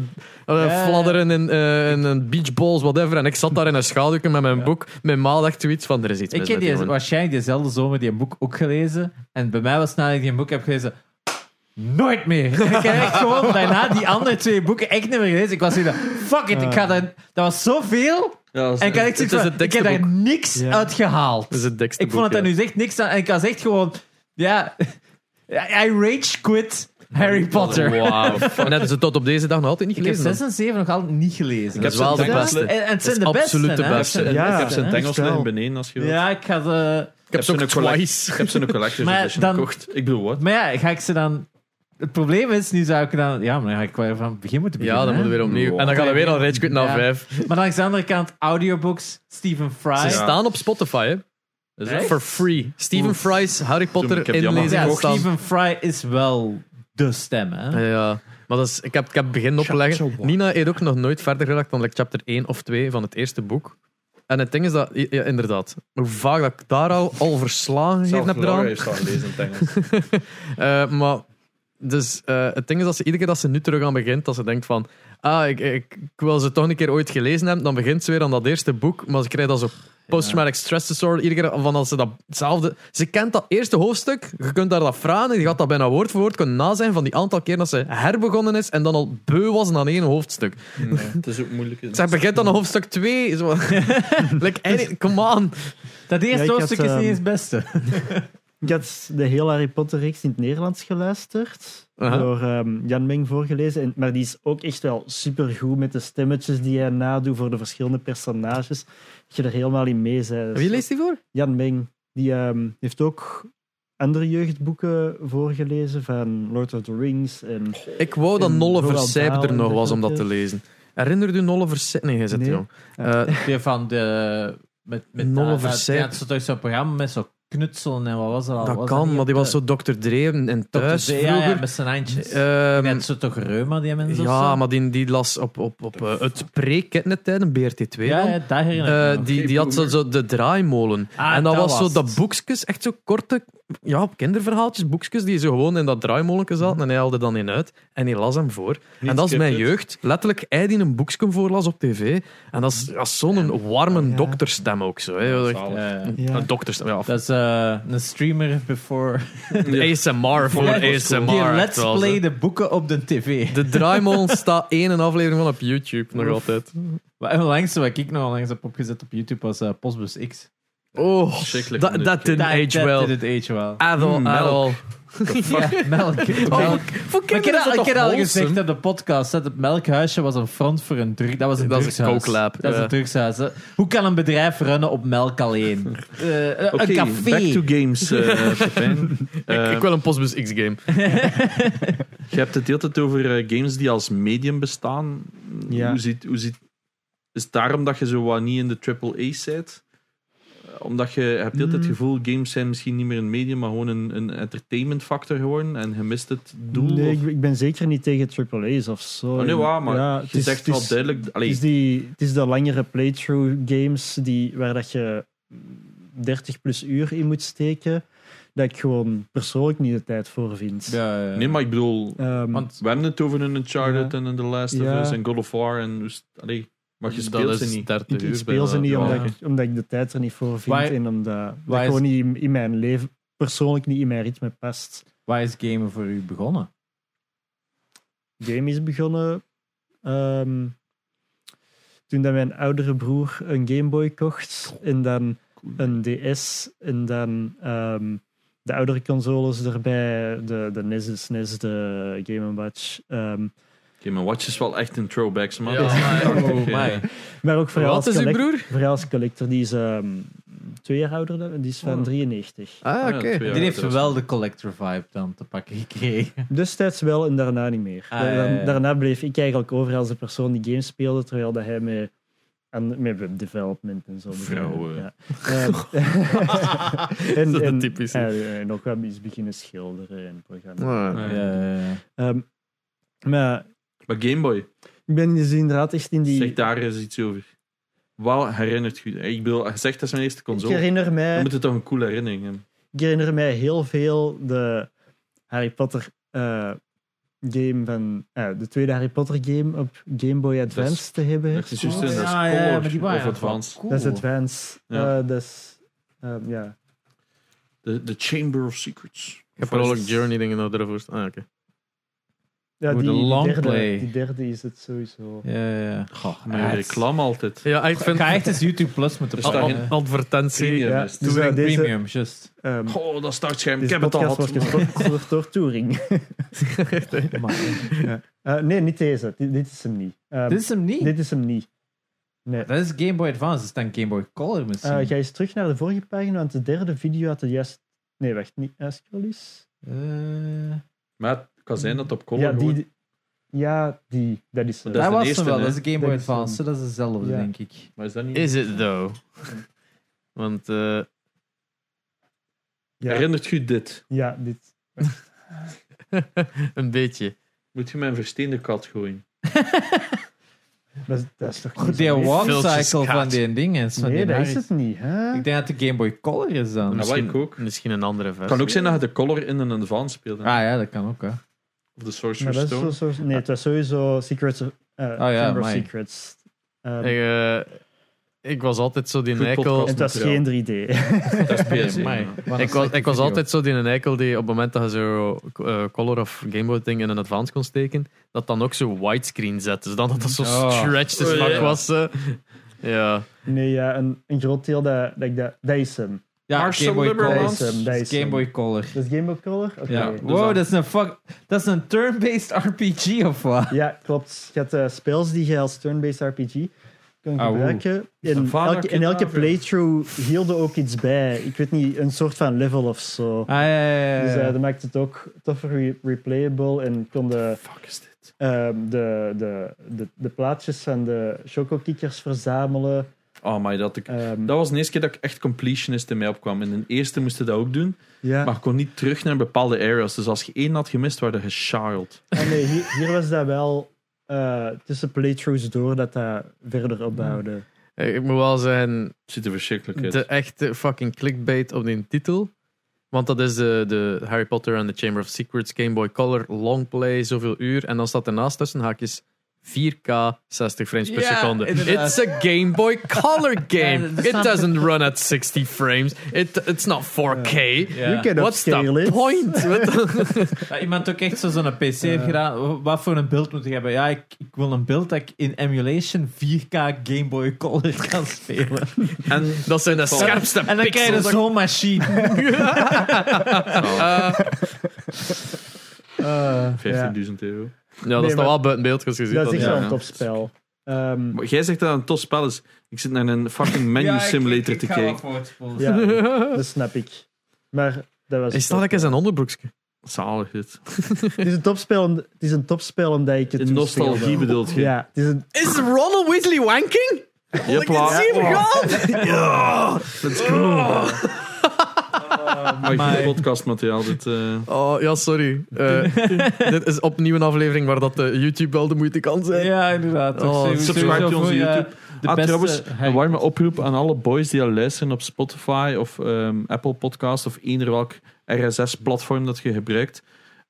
Speaker 2: eh,
Speaker 1: Ja.
Speaker 2: fladderen en, eh, en, en beachballs, whatever. En ik zat daar in een schaduwke met mijn boek. Mijn ma dacht zoiets van, er is iets
Speaker 1: Ik
Speaker 2: mis
Speaker 1: heb
Speaker 2: met
Speaker 1: die,
Speaker 2: jongen.
Speaker 1: waarschijnlijk diezelfde zomer die een boek ook gelezen. En bij mij was het nadat ik die boek heb gelezen... Nooit meer. [laughs] En ik heb echt gewoon daarna die andere twee boeken echt niet meer gelezen. Ik was hier van, fuck it, ik
Speaker 2: Ah.
Speaker 1: ga daar... Dat was zoveel.
Speaker 3: Ja, dat is-
Speaker 1: En ik had echt
Speaker 2: Het
Speaker 1: zoiets
Speaker 2: is
Speaker 1: van,
Speaker 2: het
Speaker 1: ik heb
Speaker 2: dikste
Speaker 1: daar niks
Speaker 4: Ja.
Speaker 1: uit gehaald.
Speaker 2: Dat is het dikste
Speaker 1: Ik vond het
Speaker 2: boek,
Speaker 1: daar
Speaker 2: ja.
Speaker 1: nu echt niks aan. En ik was echt gewoon... Ja... [laughs] I rage quit Harry Potter. [laughs]
Speaker 2: Wauw. En dat is het tot op deze dag nog altijd niet
Speaker 1: Ik heb
Speaker 2: gelezen.
Speaker 1: 6 en 7 nog altijd niet gelezen.
Speaker 2: heb
Speaker 3: ze
Speaker 2: wel
Speaker 3: in het
Speaker 2: de
Speaker 3: Engels
Speaker 2: beste.
Speaker 3: liggen.
Speaker 1: En, en het zijn
Speaker 2: Dat
Speaker 1: de
Speaker 2: is
Speaker 1: beste.
Speaker 2: absoluut de
Speaker 1: hè.
Speaker 2: beste.
Speaker 3: Ik heb ze-
Speaker 4: Ja.
Speaker 3: ik heb ze in het
Speaker 4: Ja,
Speaker 3: Engels
Speaker 4: stel.
Speaker 3: liggen beneden als je wilt.
Speaker 1: Ja, ik ga ze...
Speaker 2: Ik heb ze ook
Speaker 3: een collect-
Speaker 2: twice.
Speaker 3: Ik heb ze een collector's
Speaker 1: Maar
Speaker 3: edition
Speaker 1: dan-
Speaker 3: gekocht. Ik bedoel, wat?
Speaker 1: Maar ja, ga ik ze dan... Het probleem is, nu zou ik dan... Ja, maar dan ga ik wel van het begin moeten
Speaker 2: Ja,
Speaker 1: beginnen.
Speaker 2: dan moeten we weer opnieuw.
Speaker 3: Wow.
Speaker 2: En dan gaan we weer al Rage Quit na
Speaker 1: Ja.
Speaker 2: vijf.
Speaker 1: weer... Maar langs de andere kant, audiobooks, Stephen Fry.
Speaker 2: Ze
Speaker 3: Ja.
Speaker 2: staan op Spotify, hè.
Speaker 3: Dat
Speaker 1: Echt?
Speaker 2: For free. Stephen
Speaker 1: Oef.
Speaker 2: Fry's Harry
Speaker 3: Toen, ik
Speaker 2: Potter
Speaker 3: heb die allemaal
Speaker 2: inlezen
Speaker 1: Ja,
Speaker 2: en staan.
Speaker 1: Stephen Fry is wel de stem, hè?
Speaker 2: Ja, maar dat is, ik heb ik heb begin opleggen. Nina heeft ook nog nooit verder geraakt dan like, chapter 1 of 2 van het eerste boek. En het ding is dat, ja, ja, inderdaad, hoe vaak dat ik daar al, al verslagen gegeven heb eraan.
Speaker 3: heeft staan lezen in het Engels.
Speaker 2: Eh, maar dus, eh, het ding is dat ze iedere keer dat ze nu terug aan begint, dat ze denkt van, ah, ik, ik, ik wil ze toch een keer ooit gelezen hebben, dan begint ze weer aan dat eerste boek, maar ze krijgt dat zo post-traumatic stress disorder, iedere keer van als ze datzelfde... Ze kent dat eerste hoofdstuk, je kunt daar dat vragen, en die gaat dat bijna woord voor woord kunnen nazijn van die aantal keer dat ze herbegonnen is en dan al beu was aan één hoofdstuk.
Speaker 3: Het is ook moeilijk.
Speaker 2: Ze begint dan aan hoofdstuk 2. [laughs] like, hey, come on.
Speaker 1: Dat
Speaker 4: Ja,
Speaker 1: eerste
Speaker 4: ik had,
Speaker 1: hoofdstuk is
Speaker 4: ehm,
Speaker 1: niet eens het beste.
Speaker 4: Ik had de hele Harry Potter-reeks in het Nederlands geluisterd.
Speaker 2: Aha.
Speaker 4: Door ehm, Jan Meng voorgelezen. En, maar die is ook echt wel supergoed met de stemmetjes die hij nadoet voor de verschillende personages. Dat je er helemaal in mee bent.
Speaker 2: Wie leest die voor?
Speaker 4: Jan Meng. Die ehm, heeft ook andere jeugdboeken voorgelezen van Lord of the Rings. En
Speaker 2: Ik wou dat
Speaker 4: En
Speaker 2: Nolle
Speaker 4: Roald
Speaker 2: Versijp er
Speaker 4: Dahl
Speaker 2: nog was om dat
Speaker 4: inderdaad,
Speaker 2: te lezen. Herinner je Nolle Versijp? Nee, jij zit
Speaker 4: Nee.
Speaker 2: jong.
Speaker 4: Ja.
Speaker 2: Eh,
Speaker 1: Die van de... Met, met
Speaker 2: Nolle
Speaker 1: dat- dat-
Speaker 2: Verzeip.
Speaker 1: Ja, het is toch zo'n programma met zo'n knutselen en wat was er al?
Speaker 2: dat
Speaker 1: Was
Speaker 2: kan,
Speaker 1: niet
Speaker 2: maar die
Speaker 1: op
Speaker 2: was
Speaker 1: de-
Speaker 2: zo Dr. Dre en- en
Speaker 1: op de-
Speaker 2: thuis
Speaker 1: ja, Ja,
Speaker 2: vroeger.
Speaker 1: met zijn handjes.
Speaker 2: Ehm,
Speaker 1: Net zo toch reuma, die mensen of
Speaker 2: ja,
Speaker 1: zo?
Speaker 2: maar die, die las op, op, op eh, het pre-ketnettijden, BRT2
Speaker 1: Ja,
Speaker 2: dan.
Speaker 1: ja, daar herinner ik
Speaker 2: Eh,
Speaker 1: me nog.
Speaker 2: die, die had zo, zo de draaimolen.
Speaker 1: Ah,
Speaker 2: en dat,
Speaker 1: dat
Speaker 2: was
Speaker 1: was
Speaker 2: zo dat
Speaker 1: het.
Speaker 2: boekjes, echt zo korte ja, kinderverhaaltjes, boekjes die zo gewoon in dat draaimolen zaten. En hij haalde dan in uit en hij las hem voor. en dat is mijn
Speaker 3: skippen.
Speaker 2: jeugd. Letterlijk, hij die een boekje voorlas op tv. En dat is, dat is zo'n warme
Speaker 4: Ja.
Speaker 2: dokterstem ook zo. Hè. Dat is echt-
Speaker 3: Zalig.
Speaker 1: Ja, ja.
Speaker 4: Ja.
Speaker 2: Een dokterstem, ja. of- [laughs]
Speaker 1: Dat is eh, een streamer before... [laughs]
Speaker 2: ASMR voor
Speaker 1: Ja,
Speaker 2: ASMR.
Speaker 1: Die
Speaker 2: echt
Speaker 1: let's
Speaker 2: wel, zo.
Speaker 1: play de boeken op de tv.
Speaker 2: De draaimolen staat [laughs] één aflevering van op YouTube, nog altijd.
Speaker 1: Maar Het langste wat ik nog langs heb opgezet op YouTube was eh, Postbus X.
Speaker 2: Oh,
Speaker 3: Verschrikkelijk
Speaker 2: dat
Speaker 3: moeilijk.
Speaker 2: dat didn't
Speaker 1: Dat-
Speaker 2: age
Speaker 1: dat
Speaker 2: well.
Speaker 1: did it age well.
Speaker 2: At all,
Speaker 3: Mm,
Speaker 2: at
Speaker 3: melk. [laughs]
Speaker 2: all.
Speaker 1: Ja, melk.
Speaker 2: Oh,
Speaker 1: melk.
Speaker 2: Voor
Speaker 1: Maar ik heb
Speaker 2: kinderen is
Speaker 1: al-
Speaker 2: dat
Speaker 1: ik heb al
Speaker 2: toch
Speaker 1: gezegd
Speaker 2: wholesome?
Speaker 1: op de podcast dat het melkhuisje was een front voor een drug. Dat was een
Speaker 2: Dat is een
Speaker 1: drugshuis.
Speaker 2: coke lab,
Speaker 1: Dat is
Speaker 2: ja.
Speaker 1: een drugshuis. hè. Hoe kan een bedrijf runnen op melk [laughs] alleen? Eh, eh,
Speaker 3: Oké,
Speaker 1: een
Speaker 3: back
Speaker 1: café.
Speaker 3: to games, [laughs] eh, Pepijn.
Speaker 2: Ik, ik wil een Postbus X-game.
Speaker 3: Je hebt het de hele tijd over eh, games die als medium bestaan.
Speaker 4: Ja.
Speaker 3: Hoe ziet, hoe ziet, is het daarom dat je zo wat niet in de AAA zit? Eh, Omdat je je hebt de hele tijd het
Speaker 4: Mm.
Speaker 3: gevoel, games zijn misschien niet meer een medium, maar gewoon een, een entertainment factor geworden. En je mist het doel.
Speaker 4: nee,
Speaker 3: of-
Speaker 4: ik, ik ben zeker niet tegen AAA's of zo.
Speaker 3: Oh, nee, waar, maar
Speaker 4: Ja,
Speaker 3: je zegt wel duidelijk... Allee,
Speaker 4: Het is, die, het is de langere playthrough games die, waar dat je 30 plus uur in moet steken, dat ik gewoon persoonlijk niet de tijd voor vind.
Speaker 1: Ja, ja, ja.
Speaker 3: nee, maar ik bedoel...
Speaker 4: Ehm,
Speaker 1: Want
Speaker 3: We hebben het over een Uncharted en een The Last
Speaker 4: Eh, Ja.
Speaker 3: of Us en God of War. En, dus- allee, maar je
Speaker 2: dat
Speaker 3: speelt
Speaker 2: is
Speaker 3: ze niet.
Speaker 2: 30
Speaker 4: ik, ik
Speaker 2: uur
Speaker 4: speel ze niet
Speaker 2: bijna.
Speaker 4: omdat,
Speaker 2: Ja.
Speaker 4: ik, omdat ik de tijd er niet voor vind
Speaker 1: Waar-
Speaker 4: en omdat dat
Speaker 1: waar is-
Speaker 4: gewoon niet in, in mijn leven persoonlijk niet in mijn ritme past.
Speaker 1: waar is gamen voor u begonnen?
Speaker 4: Game is begonnen ehm, toen dat mijn oudere broer een Game Boy kocht en dan een DS en dan ehm, de oudere consoles erbij, de, de NES, de SNES, de Game Watch. ehm,
Speaker 3: Oké, mijn watch is wel echt een throwback, man.
Speaker 2: Ja,
Speaker 3: [laughs]
Speaker 2: maar-
Speaker 1: [laughs] Oh, my.
Speaker 4: maar ook vooral
Speaker 2: Wat
Speaker 4: als,
Speaker 2: is uw
Speaker 4: collect-
Speaker 2: broer?
Speaker 4: vooral als collector, die is ehm, twee jaar ouder dan die is van
Speaker 3: Oh.
Speaker 4: 93.
Speaker 2: Ah, oké.
Speaker 3: Ja,
Speaker 1: Die heeft
Speaker 3: dat is
Speaker 1: wel de collector vibe dan te pakken gekregen.
Speaker 4: Destijds wel en daarna niet meer.
Speaker 1: Ah,
Speaker 4: Da-
Speaker 1: ja, ja, ja.
Speaker 4: Daarna bleef ik eigenlijk over als de persoon die games speelde, terwijl dat hij met, aan, met web development en zo. begon.
Speaker 3: Vrouwen.
Speaker 4: Ja.
Speaker 3: [laughs]
Speaker 4: Eh, en,
Speaker 2: Dat is de
Speaker 4: en,
Speaker 2: typische.
Speaker 4: en, en ook wel eens beginnen schilderen en programma.
Speaker 2: Ah.
Speaker 1: Ja, ja, ja.
Speaker 4: Ehm, Maar
Speaker 3: Maar Gameboy,
Speaker 4: ik ben dus inderdaad echt in die...
Speaker 3: zeg daar eens iets over. Wat herinnert u? Ik bedoel, je zegt dat is mijn eerste
Speaker 4: ik
Speaker 3: console.
Speaker 4: herinner mij...
Speaker 3: Dan moet het toch een coole herinnering hebben.
Speaker 4: ik herinner mij heel veel de Harry Potter eh, game van eh, de tweede Harry Potter game op Game Boy Advance
Speaker 3: Dat is-
Speaker 4: te hebben.
Speaker 3: Dat is juist,
Speaker 1: Oh,
Speaker 3: dat is
Speaker 1: ja, ja, ja, maar die
Speaker 3: Color
Speaker 1: waren
Speaker 3: of Advanced.
Speaker 1: cool.
Speaker 4: Dat is Advance.
Speaker 3: Ja.
Speaker 4: Eh, dat is ehm, ja.
Speaker 3: De de Chamber of Secrets.
Speaker 2: Ik heb per ongeluk Journey dingen dat ervoor staan. Ah, oké.
Speaker 4: ja,
Speaker 1: Voor
Speaker 4: die,
Speaker 1: de
Speaker 4: die
Speaker 1: long
Speaker 4: derde,
Speaker 1: play.
Speaker 4: die derde is het sowieso.
Speaker 1: Ja, ja, ja.
Speaker 3: Goh,
Speaker 1: Ah,
Speaker 3: mijn
Speaker 1: het-
Speaker 3: reclame altijd.
Speaker 2: Ja, ik
Speaker 1: Ik
Speaker 2: vind
Speaker 1: ga echt eens YouTube Plus moeten
Speaker 3: Er
Speaker 2: Ad-
Speaker 3: staat
Speaker 1: pakken.
Speaker 2: ad-
Speaker 3: geen-
Speaker 1: Eh,
Speaker 2: advertentie.
Speaker 3: Premium
Speaker 4: Ja,
Speaker 3: is het.
Speaker 4: dus eh, Oh, deze,
Speaker 1: Premium, just.
Speaker 4: ehm
Speaker 3: Goh, dat startscherm. Ik
Speaker 4: deze
Speaker 3: heb het al
Speaker 4: podcast wordt
Speaker 3: gehad.
Speaker 4: gesponsord door Touring.
Speaker 1: Maar-
Speaker 4: Eh, nee, niet deze. Dit, dit is hem niet. Ehm,
Speaker 1: Dit is hem niet.
Speaker 4: dit is hem niet. Nee.
Speaker 1: Dat is Game Boy Advance, dat is dan Game Boy Color misschien.
Speaker 4: Eh, ga eens terug naar de vorige pagina, want de derde video had de juist... Nee, wacht. Niet uh, scroll eens.
Speaker 1: Eh,
Speaker 3: Maar het kan zijn dat het op Color
Speaker 4: Ja,
Speaker 3: gewoon-
Speaker 4: die, ja, die. Dat is hem.
Speaker 3: Dat
Speaker 1: dat
Speaker 3: de
Speaker 1: was
Speaker 3: eerste,
Speaker 1: hem wel,
Speaker 3: hè?
Speaker 1: dat is de Game Boy
Speaker 4: Dat is hem.
Speaker 1: Advance, dat is hetzelfde
Speaker 4: Ja.
Speaker 1: denk ik.
Speaker 3: Maar is dat niet...
Speaker 2: Is it though? [laughs] Want eh,
Speaker 4: ja,
Speaker 3: Herinnert u dit?
Speaker 4: ja, dit.
Speaker 2: een beetje.
Speaker 3: Moet je mijn versteende kat gooien?
Speaker 4: Dat is, dat is toch niet
Speaker 1: Goed,
Speaker 4: zo
Speaker 1: die
Speaker 4: leuk?
Speaker 1: walk
Speaker 2: Filtjes
Speaker 1: cycle
Speaker 2: gaat.
Speaker 1: van die ding is. Van
Speaker 4: Nee,
Speaker 1: die
Speaker 4: dat is
Speaker 1: Harris.
Speaker 4: het niet, hè?
Speaker 1: Ik denk dat de Game Boy Color is dan.
Speaker 3: Ja,
Speaker 2: Misschien,
Speaker 3: Nou, ik ook.
Speaker 2: misschien een andere versie.
Speaker 3: kan ook zijn dat je de Color in een Advance speelde.
Speaker 1: Ah ja, dat kan ook. Hè.
Speaker 3: Of de
Speaker 4: Maar
Speaker 3: Sorcerer's
Speaker 4: dat is dus-
Speaker 3: Stone.
Speaker 4: zo- zo- nee, het was sowieso Secrets of, eh, Chamber of
Speaker 1: Ah. amai.
Speaker 4: Secrets. Eh,
Speaker 2: Ik, eh, ik was altijd zo die
Speaker 3: Goed
Speaker 2: eikel.
Speaker 3: podcast.
Speaker 4: en het was geen 3D.
Speaker 3: Dat is PS1.
Speaker 1: Amai,
Speaker 3: ja.
Speaker 1: wat een
Speaker 2: Ik was,
Speaker 1: slechte
Speaker 2: ik was
Speaker 1: video.
Speaker 2: altijd zo die een eikel die op het moment dat je zo eh, Color of Game Boy ding in een Advance kon steken, dat dan ook zo widescreen zet. Dus dan dat dat zo
Speaker 1: Oh.
Speaker 2: stretched as
Speaker 3: Oh,
Speaker 2: fuck
Speaker 3: ja.
Speaker 2: was. eh. Ja.
Speaker 4: [laughs] nee, ja, een, een groot deel dat, dat ik dat. Dat is hem.
Speaker 1: Ja,
Speaker 3: Marcel
Speaker 1: Game Boy
Speaker 3: Liberman.
Speaker 1: Color.
Speaker 4: Dat is hem, dat
Speaker 1: Dat
Speaker 4: is
Speaker 1: is Game
Speaker 4: hem.
Speaker 1: Boy Color.
Speaker 4: Dat is Game Boy Color? Oké. Dus-
Speaker 1: Ja.
Speaker 4: Ja.
Speaker 1: wow, dat is een fuck. Dat is een turn-based [laughs] RPG of wat?
Speaker 4: klopt. Je had eh, spells die je als turn-based RPG kon
Speaker 1: Ah, oeh.
Speaker 4: gebruiken. In
Speaker 3: Vader
Speaker 4: elke, in
Speaker 3: Kid
Speaker 4: elke
Speaker 1: eh.
Speaker 3: Avro.
Speaker 4: playthrough hielden ook iets bij. Ik weet niet, een soort van level of zo.
Speaker 1: Ah, ja, ja, ja,
Speaker 4: Dus eh,
Speaker 1: ja.
Speaker 4: dat maakt het ook toffer re- replayable en kon de,
Speaker 3: Fuck is dit?
Speaker 4: ehm, de, de, de, de plaatjes van de chocokikkers verzamelen.
Speaker 3: Oh, maar dat, ik,
Speaker 4: Ehm,
Speaker 3: dat was de eerste keer dat ik echt completionist in mij opkwam. In de eerste moest je dat ook doen,
Speaker 4: ja.
Speaker 3: maar ik kon niet terug naar bepaalde areas. Dus als je één had gemist, werd je geshareld.
Speaker 4: En Ah, nee, hier, hier was dat wel eh, tussen playthroughs door dat dat verder opbouwde.
Speaker 2: Ik moet wel zeggen,
Speaker 3: Het ziet er verschrikkelijk uit.
Speaker 2: de echte fucking clickbait op die titel. Want dat is de, de Harry Potter and the Chamber of Secrets, Game Boy Color, long play, zoveel uur. En dan staat ernaast tussen haakjes 4K 60 frames per
Speaker 1: Ja,
Speaker 2: seconde.
Speaker 1: inderdaad.
Speaker 2: It's a Game Boy
Speaker 1: [laughs]
Speaker 2: Color game.
Speaker 1: Ja, dat
Speaker 2: It
Speaker 1: staat-
Speaker 2: doesn't run at 60 frames. It, it's not 4K.
Speaker 1: Ja.
Speaker 4: You can
Speaker 2: What's
Speaker 4: upscale
Speaker 2: the
Speaker 4: it.
Speaker 2: [laughs] point?
Speaker 1: Ja, iemand ook echt zo zo'n PC heeft gedaan. Wat voor een beeld moet ik hebben? Ja, ik, ik wil een beeld dat ik in emulation 4K Game Boy Color [laughs] kan spelen.
Speaker 3: En
Speaker 2: dat zijn de scherpste
Speaker 1: En dan krijg je
Speaker 2: pixels.
Speaker 1: zo'n machine.
Speaker 2: Eh,
Speaker 4: Eh,
Speaker 3: 15.000
Speaker 4: ja.
Speaker 3: euro.
Speaker 2: ja, dat
Speaker 4: Nee,
Speaker 2: is dan
Speaker 4: maar-
Speaker 2: wel buiten beeld gezien.
Speaker 4: Dat is echt
Speaker 2: ja.
Speaker 4: wel een topspel. Ehm,
Speaker 3: Maar jij zegt dat het een tof spel is. Ik zit naar een fucking menu simulator te kijken.
Speaker 1: [laughs]
Speaker 4: ja, dat snap ik. Maar dat was.
Speaker 2: Is dat ik eens een onderbroekje?
Speaker 3: Zalig dit.
Speaker 4: Het is een topspel, om- het is een topspel omdat ik het
Speaker 3: In
Speaker 4: toen
Speaker 3: nostalgie
Speaker 4: speelde.
Speaker 3: bedoelt je.
Speaker 4: Ja, het is een,
Speaker 2: Is Ronald Weasley wanking?
Speaker 3: Jepla. Let's go.
Speaker 1: Oh,
Speaker 3: Maar
Speaker 1: my.
Speaker 3: goed podcastmateriaal. Dit, eh.
Speaker 2: Oh, ja, sorry. Eh, [laughs] dit is opnieuw een aflevering waar dat de YouTube wel de moeite kan zijn.
Speaker 1: Ja, inderdaad.
Speaker 2: Oh,
Speaker 1: Sowieso
Speaker 3: subscribe
Speaker 1: voor,
Speaker 3: to onze
Speaker 1: eh,
Speaker 3: YouTube.
Speaker 1: De
Speaker 3: ah,
Speaker 1: beste
Speaker 3: trouwens,
Speaker 1: hack.
Speaker 3: een warme oproep aan alle boys die al luisteren op Spotify of ehm, Apple Podcast of eender welk RSS-platform dat je gebruikt.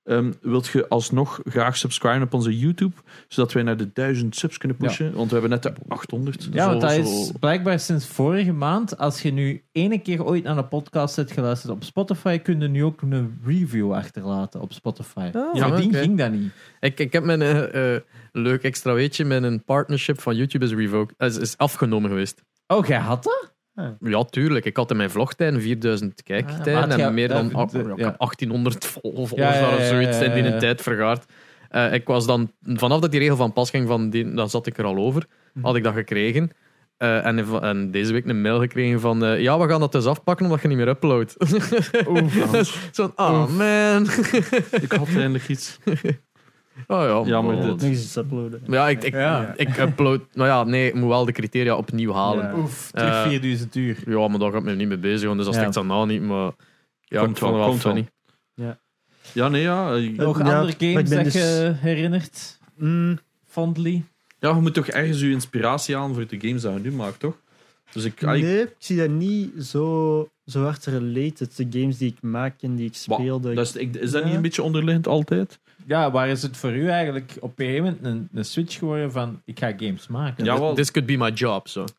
Speaker 3: Ehm, wilt je alsnog graag subscriben op onze YouTube, zodat wij naar de 1000 subs kunnen pushen? Want we hebben net de 800.
Speaker 1: Ja, want
Speaker 3: Zo-
Speaker 1: dat
Speaker 3: zo-
Speaker 1: is blijkbaar sinds vorige maand. Als je nu ene keer ooit naar een podcast hebt geluisterd op Spotify, kun je nu ook een review achterlaten op Spotify.
Speaker 2: Ja,
Speaker 1: ja, die
Speaker 2: oké.
Speaker 1: ging dat niet.
Speaker 2: Ik, ik heb mijn eh, eh, leuk extra weetje. Mijn partnership van YouTube is, revoked, is, is afgenomen geweest.
Speaker 1: Oh, jij had dat?
Speaker 2: Ja, tuurlijk. Ik had in mijn vlogtijden 4000
Speaker 1: Ah,
Speaker 2: kijktijden
Speaker 1: maar had jij-
Speaker 2: en meer dan
Speaker 1: dat-
Speaker 2: ah,
Speaker 1: dat-
Speaker 2: ja, ik
Speaker 1: ja.
Speaker 2: heb 1800 vol- volgers
Speaker 1: Ja, ja, ja,
Speaker 2: of zoiets
Speaker 1: ja, ja,
Speaker 2: zijn die in
Speaker 1: ja.
Speaker 2: een tijd vergaard. Eh, ik was dan, vanaf dat die regel van pas ging, van die, dan zat ik er al over,
Speaker 1: Mhm.
Speaker 2: had ik dat gekregen. Eh, en, v- en deze week een mail gekregen van eh, ja, we gaan dat dus afpakken omdat je niet meer uploadt. [laughs] Zo'n, oh man.
Speaker 3: Ik had eindelijk iets.
Speaker 2: [laughs] Oh ja.
Speaker 3: Jammer
Speaker 2: Oh.
Speaker 3: dit.
Speaker 4: nog eens iets uploaden.
Speaker 2: Ja, ik, ik,
Speaker 1: Ja.
Speaker 2: ik upload... Nou ja, nee, ik moet wel de criteria opnieuw halen.
Speaker 4: Ja.
Speaker 1: Oef,
Speaker 2: terug Eh,
Speaker 1: 4000 uur.
Speaker 2: Ja, maar daar gaat me niet mee bezig, want dus dat
Speaker 1: Ja.
Speaker 2: stikt dan nou niet, maar... Ja,
Speaker 3: Komt
Speaker 2: ik vond
Speaker 3: wel,
Speaker 2: wel
Speaker 3: komt wel.
Speaker 2: funny.
Speaker 4: Ja.
Speaker 3: Ja, nee, ja. eh,
Speaker 1: Nog andere
Speaker 4: Ja, maar ik
Speaker 1: games
Speaker 4: ben
Speaker 1: dat
Speaker 4: dus-
Speaker 1: je herinnert,
Speaker 4: Mm,
Speaker 1: fondly.
Speaker 3: Ja, je moet toch ergens je inspiratie halen voor de games dat je nu maakt, toch? Dus ik... allee,
Speaker 4: nee, ik zie dat niet zo, zo hard related. De games die ik maak en die ik
Speaker 3: wa-
Speaker 4: speelde.
Speaker 3: dat is, ik- is dat
Speaker 4: Ja.
Speaker 3: niet een beetje onderliggend altijd?
Speaker 1: Ja, waar is het voor u eigenlijk op een gegeven moment een, een switch geworden van ik ga games maken?
Speaker 3: Ja. Jawel.
Speaker 2: This could be my job, zo.
Speaker 4: Dat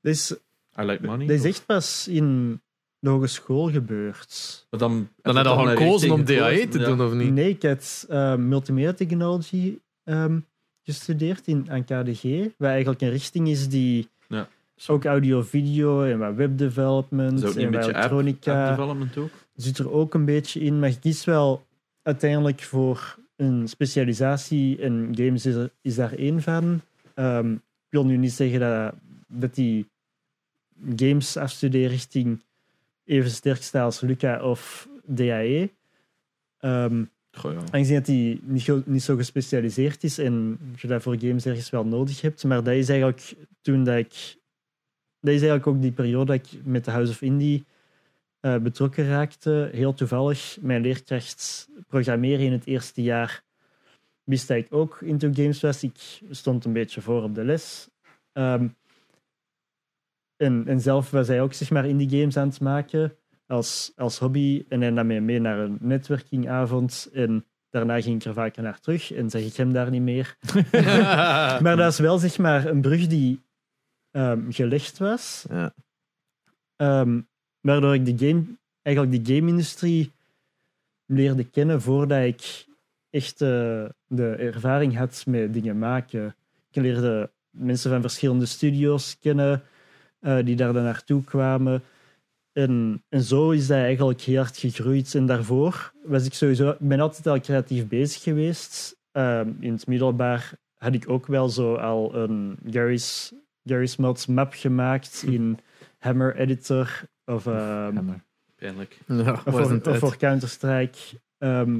Speaker 4: is,
Speaker 3: I like money.
Speaker 4: dat is echt pas in de hogeschool gebeurd.
Speaker 3: Maar dan
Speaker 2: Dan heb je al
Speaker 3: maar
Speaker 2: gekozen om
Speaker 3: tegen
Speaker 2: DAE te
Speaker 3: gekozen, ja.
Speaker 2: doen, of
Speaker 3: [laughs]
Speaker 2: niet? [laughs]
Speaker 4: Nee, ik had eh, multimedia technology ehm, gestudeerd in, aan KDG. Wat eigenlijk een richting is die
Speaker 3: Ja.
Speaker 4: ook audio-video en wat webdevelopment
Speaker 3: Is ook niet
Speaker 4: en
Speaker 3: een
Speaker 4: wat
Speaker 3: beetje app-
Speaker 4: elektronica.
Speaker 3: App development ook.
Speaker 4: zit er ook een beetje in, maar je kiest wel uiteindelijk voor een specialisatie en games is, er- is daar één van. Ehm, ik wil nu niet zeggen dat, dat die games afstudeerrichting even sterk staat als Luca of DAE. Ehm,
Speaker 3: Goh, ja.
Speaker 4: aangezien dat die niet, ge- niet zo gespecialiseerd is en je dat voor games ergens wel nodig hebt. Maar dat is eigenlijk toen dat ik... Dat is eigenlijk ook die periode dat ik met de House of Indie eh, betrokken raakte. Heel toevallig, mijn leerkracht programmeren in het eerste jaar wist dat ik ook into games was. Ik stond een beetje voor op de les. Ehm, en, en zelf was hij ook zeg maar indie games aan het maken als, als hobby. En hij nam mij mee naar een netwerkingavond. En daarna ging ik er vaker naar terug en zeg ik hem daar niet meer.
Speaker 2: Ah.
Speaker 4: Maar dat is wel zeg maar een brug die ehm, gelegd was.
Speaker 2: Ja.
Speaker 4: Ehm, waardoor ik de game, eigenlijk de game-industrie leerde kennen voordat ik echt eh, de ervaring had met dingen maken. Ik leerde mensen van verschillende studio's kennen eh, die daar dan naartoe kwamen. En, en zo is dat eigenlijk heel hard gegroeid. En daarvoor was ik sowieso... Ik ben altijd al creatief bezig geweest. Ehm, in het middelbaar had ik ook wel zo al een Gary's, Gary's Mods map gemaakt in Hammer Editor. Of, ehm,
Speaker 1: Hammer.
Speaker 3: Pijnlijk.
Speaker 2: Ja,
Speaker 4: of
Speaker 2: waar is
Speaker 4: voor,
Speaker 2: een tijd?
Speaker 4: of voor Counter-Strike. ehm,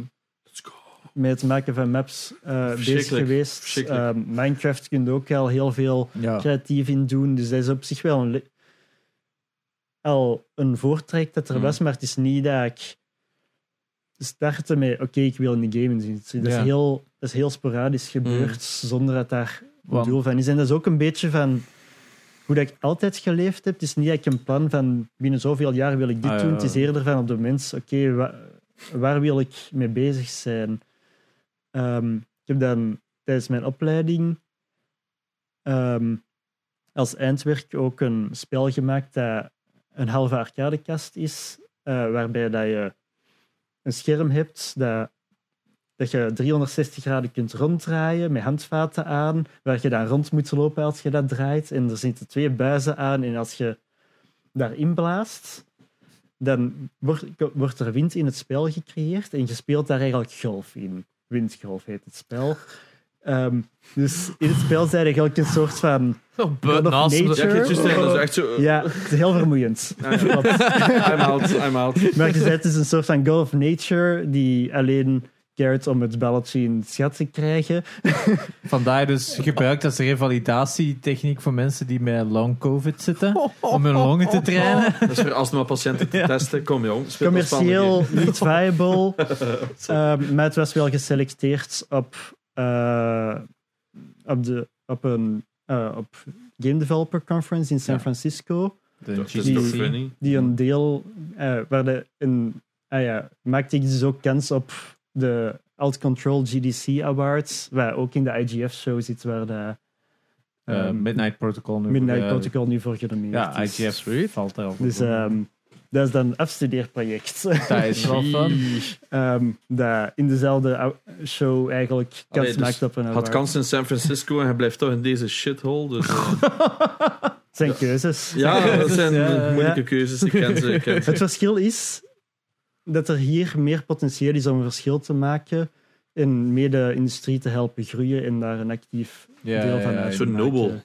Speaker 3: Let's go.
Speaker 4: met het maken van maps eh, bezig
Speaker 3: Verschrikkelijk,
Speaker 4: geweest.
Speaker 3: verschrikkelijk.
Speaker 4: Ehm, Minecraft kun je ook al heel veel
Speaker 1: Ja.
Speaker 4: creatief in doen. Dus dat is op zich wel een le- al een voortrek dat er
Speaker 3: Mm.
Speaker 4: was, maar het is niet dat ik startte met oké, ik wil in de game-industrie. Dat, is
Speaker 1: Ja.
Speaker 4: heel, dat is heel sporadisch gebeurd, zonder dat daar
Speaker 1: Want-
Speaker 4: doel van is. En dat is ook een beetje van hoe dat ik altijd geleefd heb. Het is niet dat ik een plan van binnen zoveel jaar wil ik dit
Speaker 1: Ah, ja,
Speaker 4: doen. Het
Speaker 1: ja.
Speaker 4: is eerder van op de mens, oké, wa- waar wil ik mee bezig zijn? Ehm, ik heb dan tijdens mijn opleiding ehm, als eindwerk ook een spel gemaakt dat een halve arcadekast is, eh, waarbij dat je een scherm hebt dat, dat je 360 graden kunt ronddraaien met handvaten aan, waar je dan rond moet lopen als je dat draait. En er zitten twee buizen aan en als je daarin blaast, dan wordt, wordt er wind in het spel gecreëerd en je speelt daar eigenlijk golf in. Windgolf heet het spel. Ehm, dus in het spel zijn eigenlijk een soort van...
Speaker 2: Oh, buiten
Speaker 4: God of
Speaker 2: naast me.
Speaker 3: Ja,
Speaker 4: Nature.
Speaker 3: ik heb het juist gezegd, dat is echt zo... eh,
Speaker 4: Ja, het is heel vermoeiend.
Speaker 3: [laughs] Ah, ja.
Speaker 4: Klopt.
Speaker 3: I'm out, I'm out.
Speaker 4: Maar je zei, het is een soort van Go of Nature die alleen keert om het balletje in het schat te krijgen.
Speaker 1: Vandaar dus gebruikt als revalidatietechniek voor mensen die met long covid zitten, om hun longen te trainen.
Speaker 3: Dat is voor astma patiënten te testen. Kom jong, speel dat spannend
Speaker 4: Commercieel
Speaker 1: [laughs]
Speaker 4: niet viable, ehm, maar het was wel geselecteerd op, eh, op, de, op een eh, op Game Developer Conference in
Speaker 1: Ja.
Speaker 4: San
Speaker 1: Mm.
Speaker 4: Francisco.
Speaker 1: De
Speaker 3: Dat is
Speaker 1: GDC.
Speaker 3: toch funny?
Speaker 4: die een deel eh, waar de, een, ah ja, maakte ik dus ook kans op de Alt Control GDC Awards, waar ook in de IGF show zit waar de
Speaker 1: Eh,
Speaker 4: ehm,
Speaker 1: Midnight Protocol nu.
Speaker 4: Midnight
Speaker 1: Ja,
Speaker 4: Protocol nu voor genomineerd
Speaker 1: Ja,
Speaker 4: is.
Speaker 1: IGF valt erop.
Speaker 4: Dus ehm, dat is dan een afstudeerproject.
Speaker 1: dat is wel fun.
Speaker 4: Ehm, dat in dezelfde au- show eigenlijk kans
Speaker 3: Allee, dus
Speaker 4: maakt op een award.
Speaker 3: Had kans in San Francisco en hij blijft toch in deze shithole. Dus,
Speaker 4: [laughs]
Speaker 3: eh,
Speaker 4: Het zijn keuzes. [laughs]
Speaker 3: ja, dat zijn
Speaker 1: Ja,
Speaker 3: moeilijke keuzes. Ik ken ze. Ik ken ze.
Speaker 4: Het verschil is dat er hier meer potentieel is om een verschil te maken en meer de industrie te helpen groeien en daar een actief
Speaker 1: Ja,
Speaker 4: deel
Speaker 1: ja,
Speaker 4: van
Speaker 1: ja,
Speaker 4: uit te
Speaker 3: Zo
Speaker 4: maken.
Speaker 3: nobel.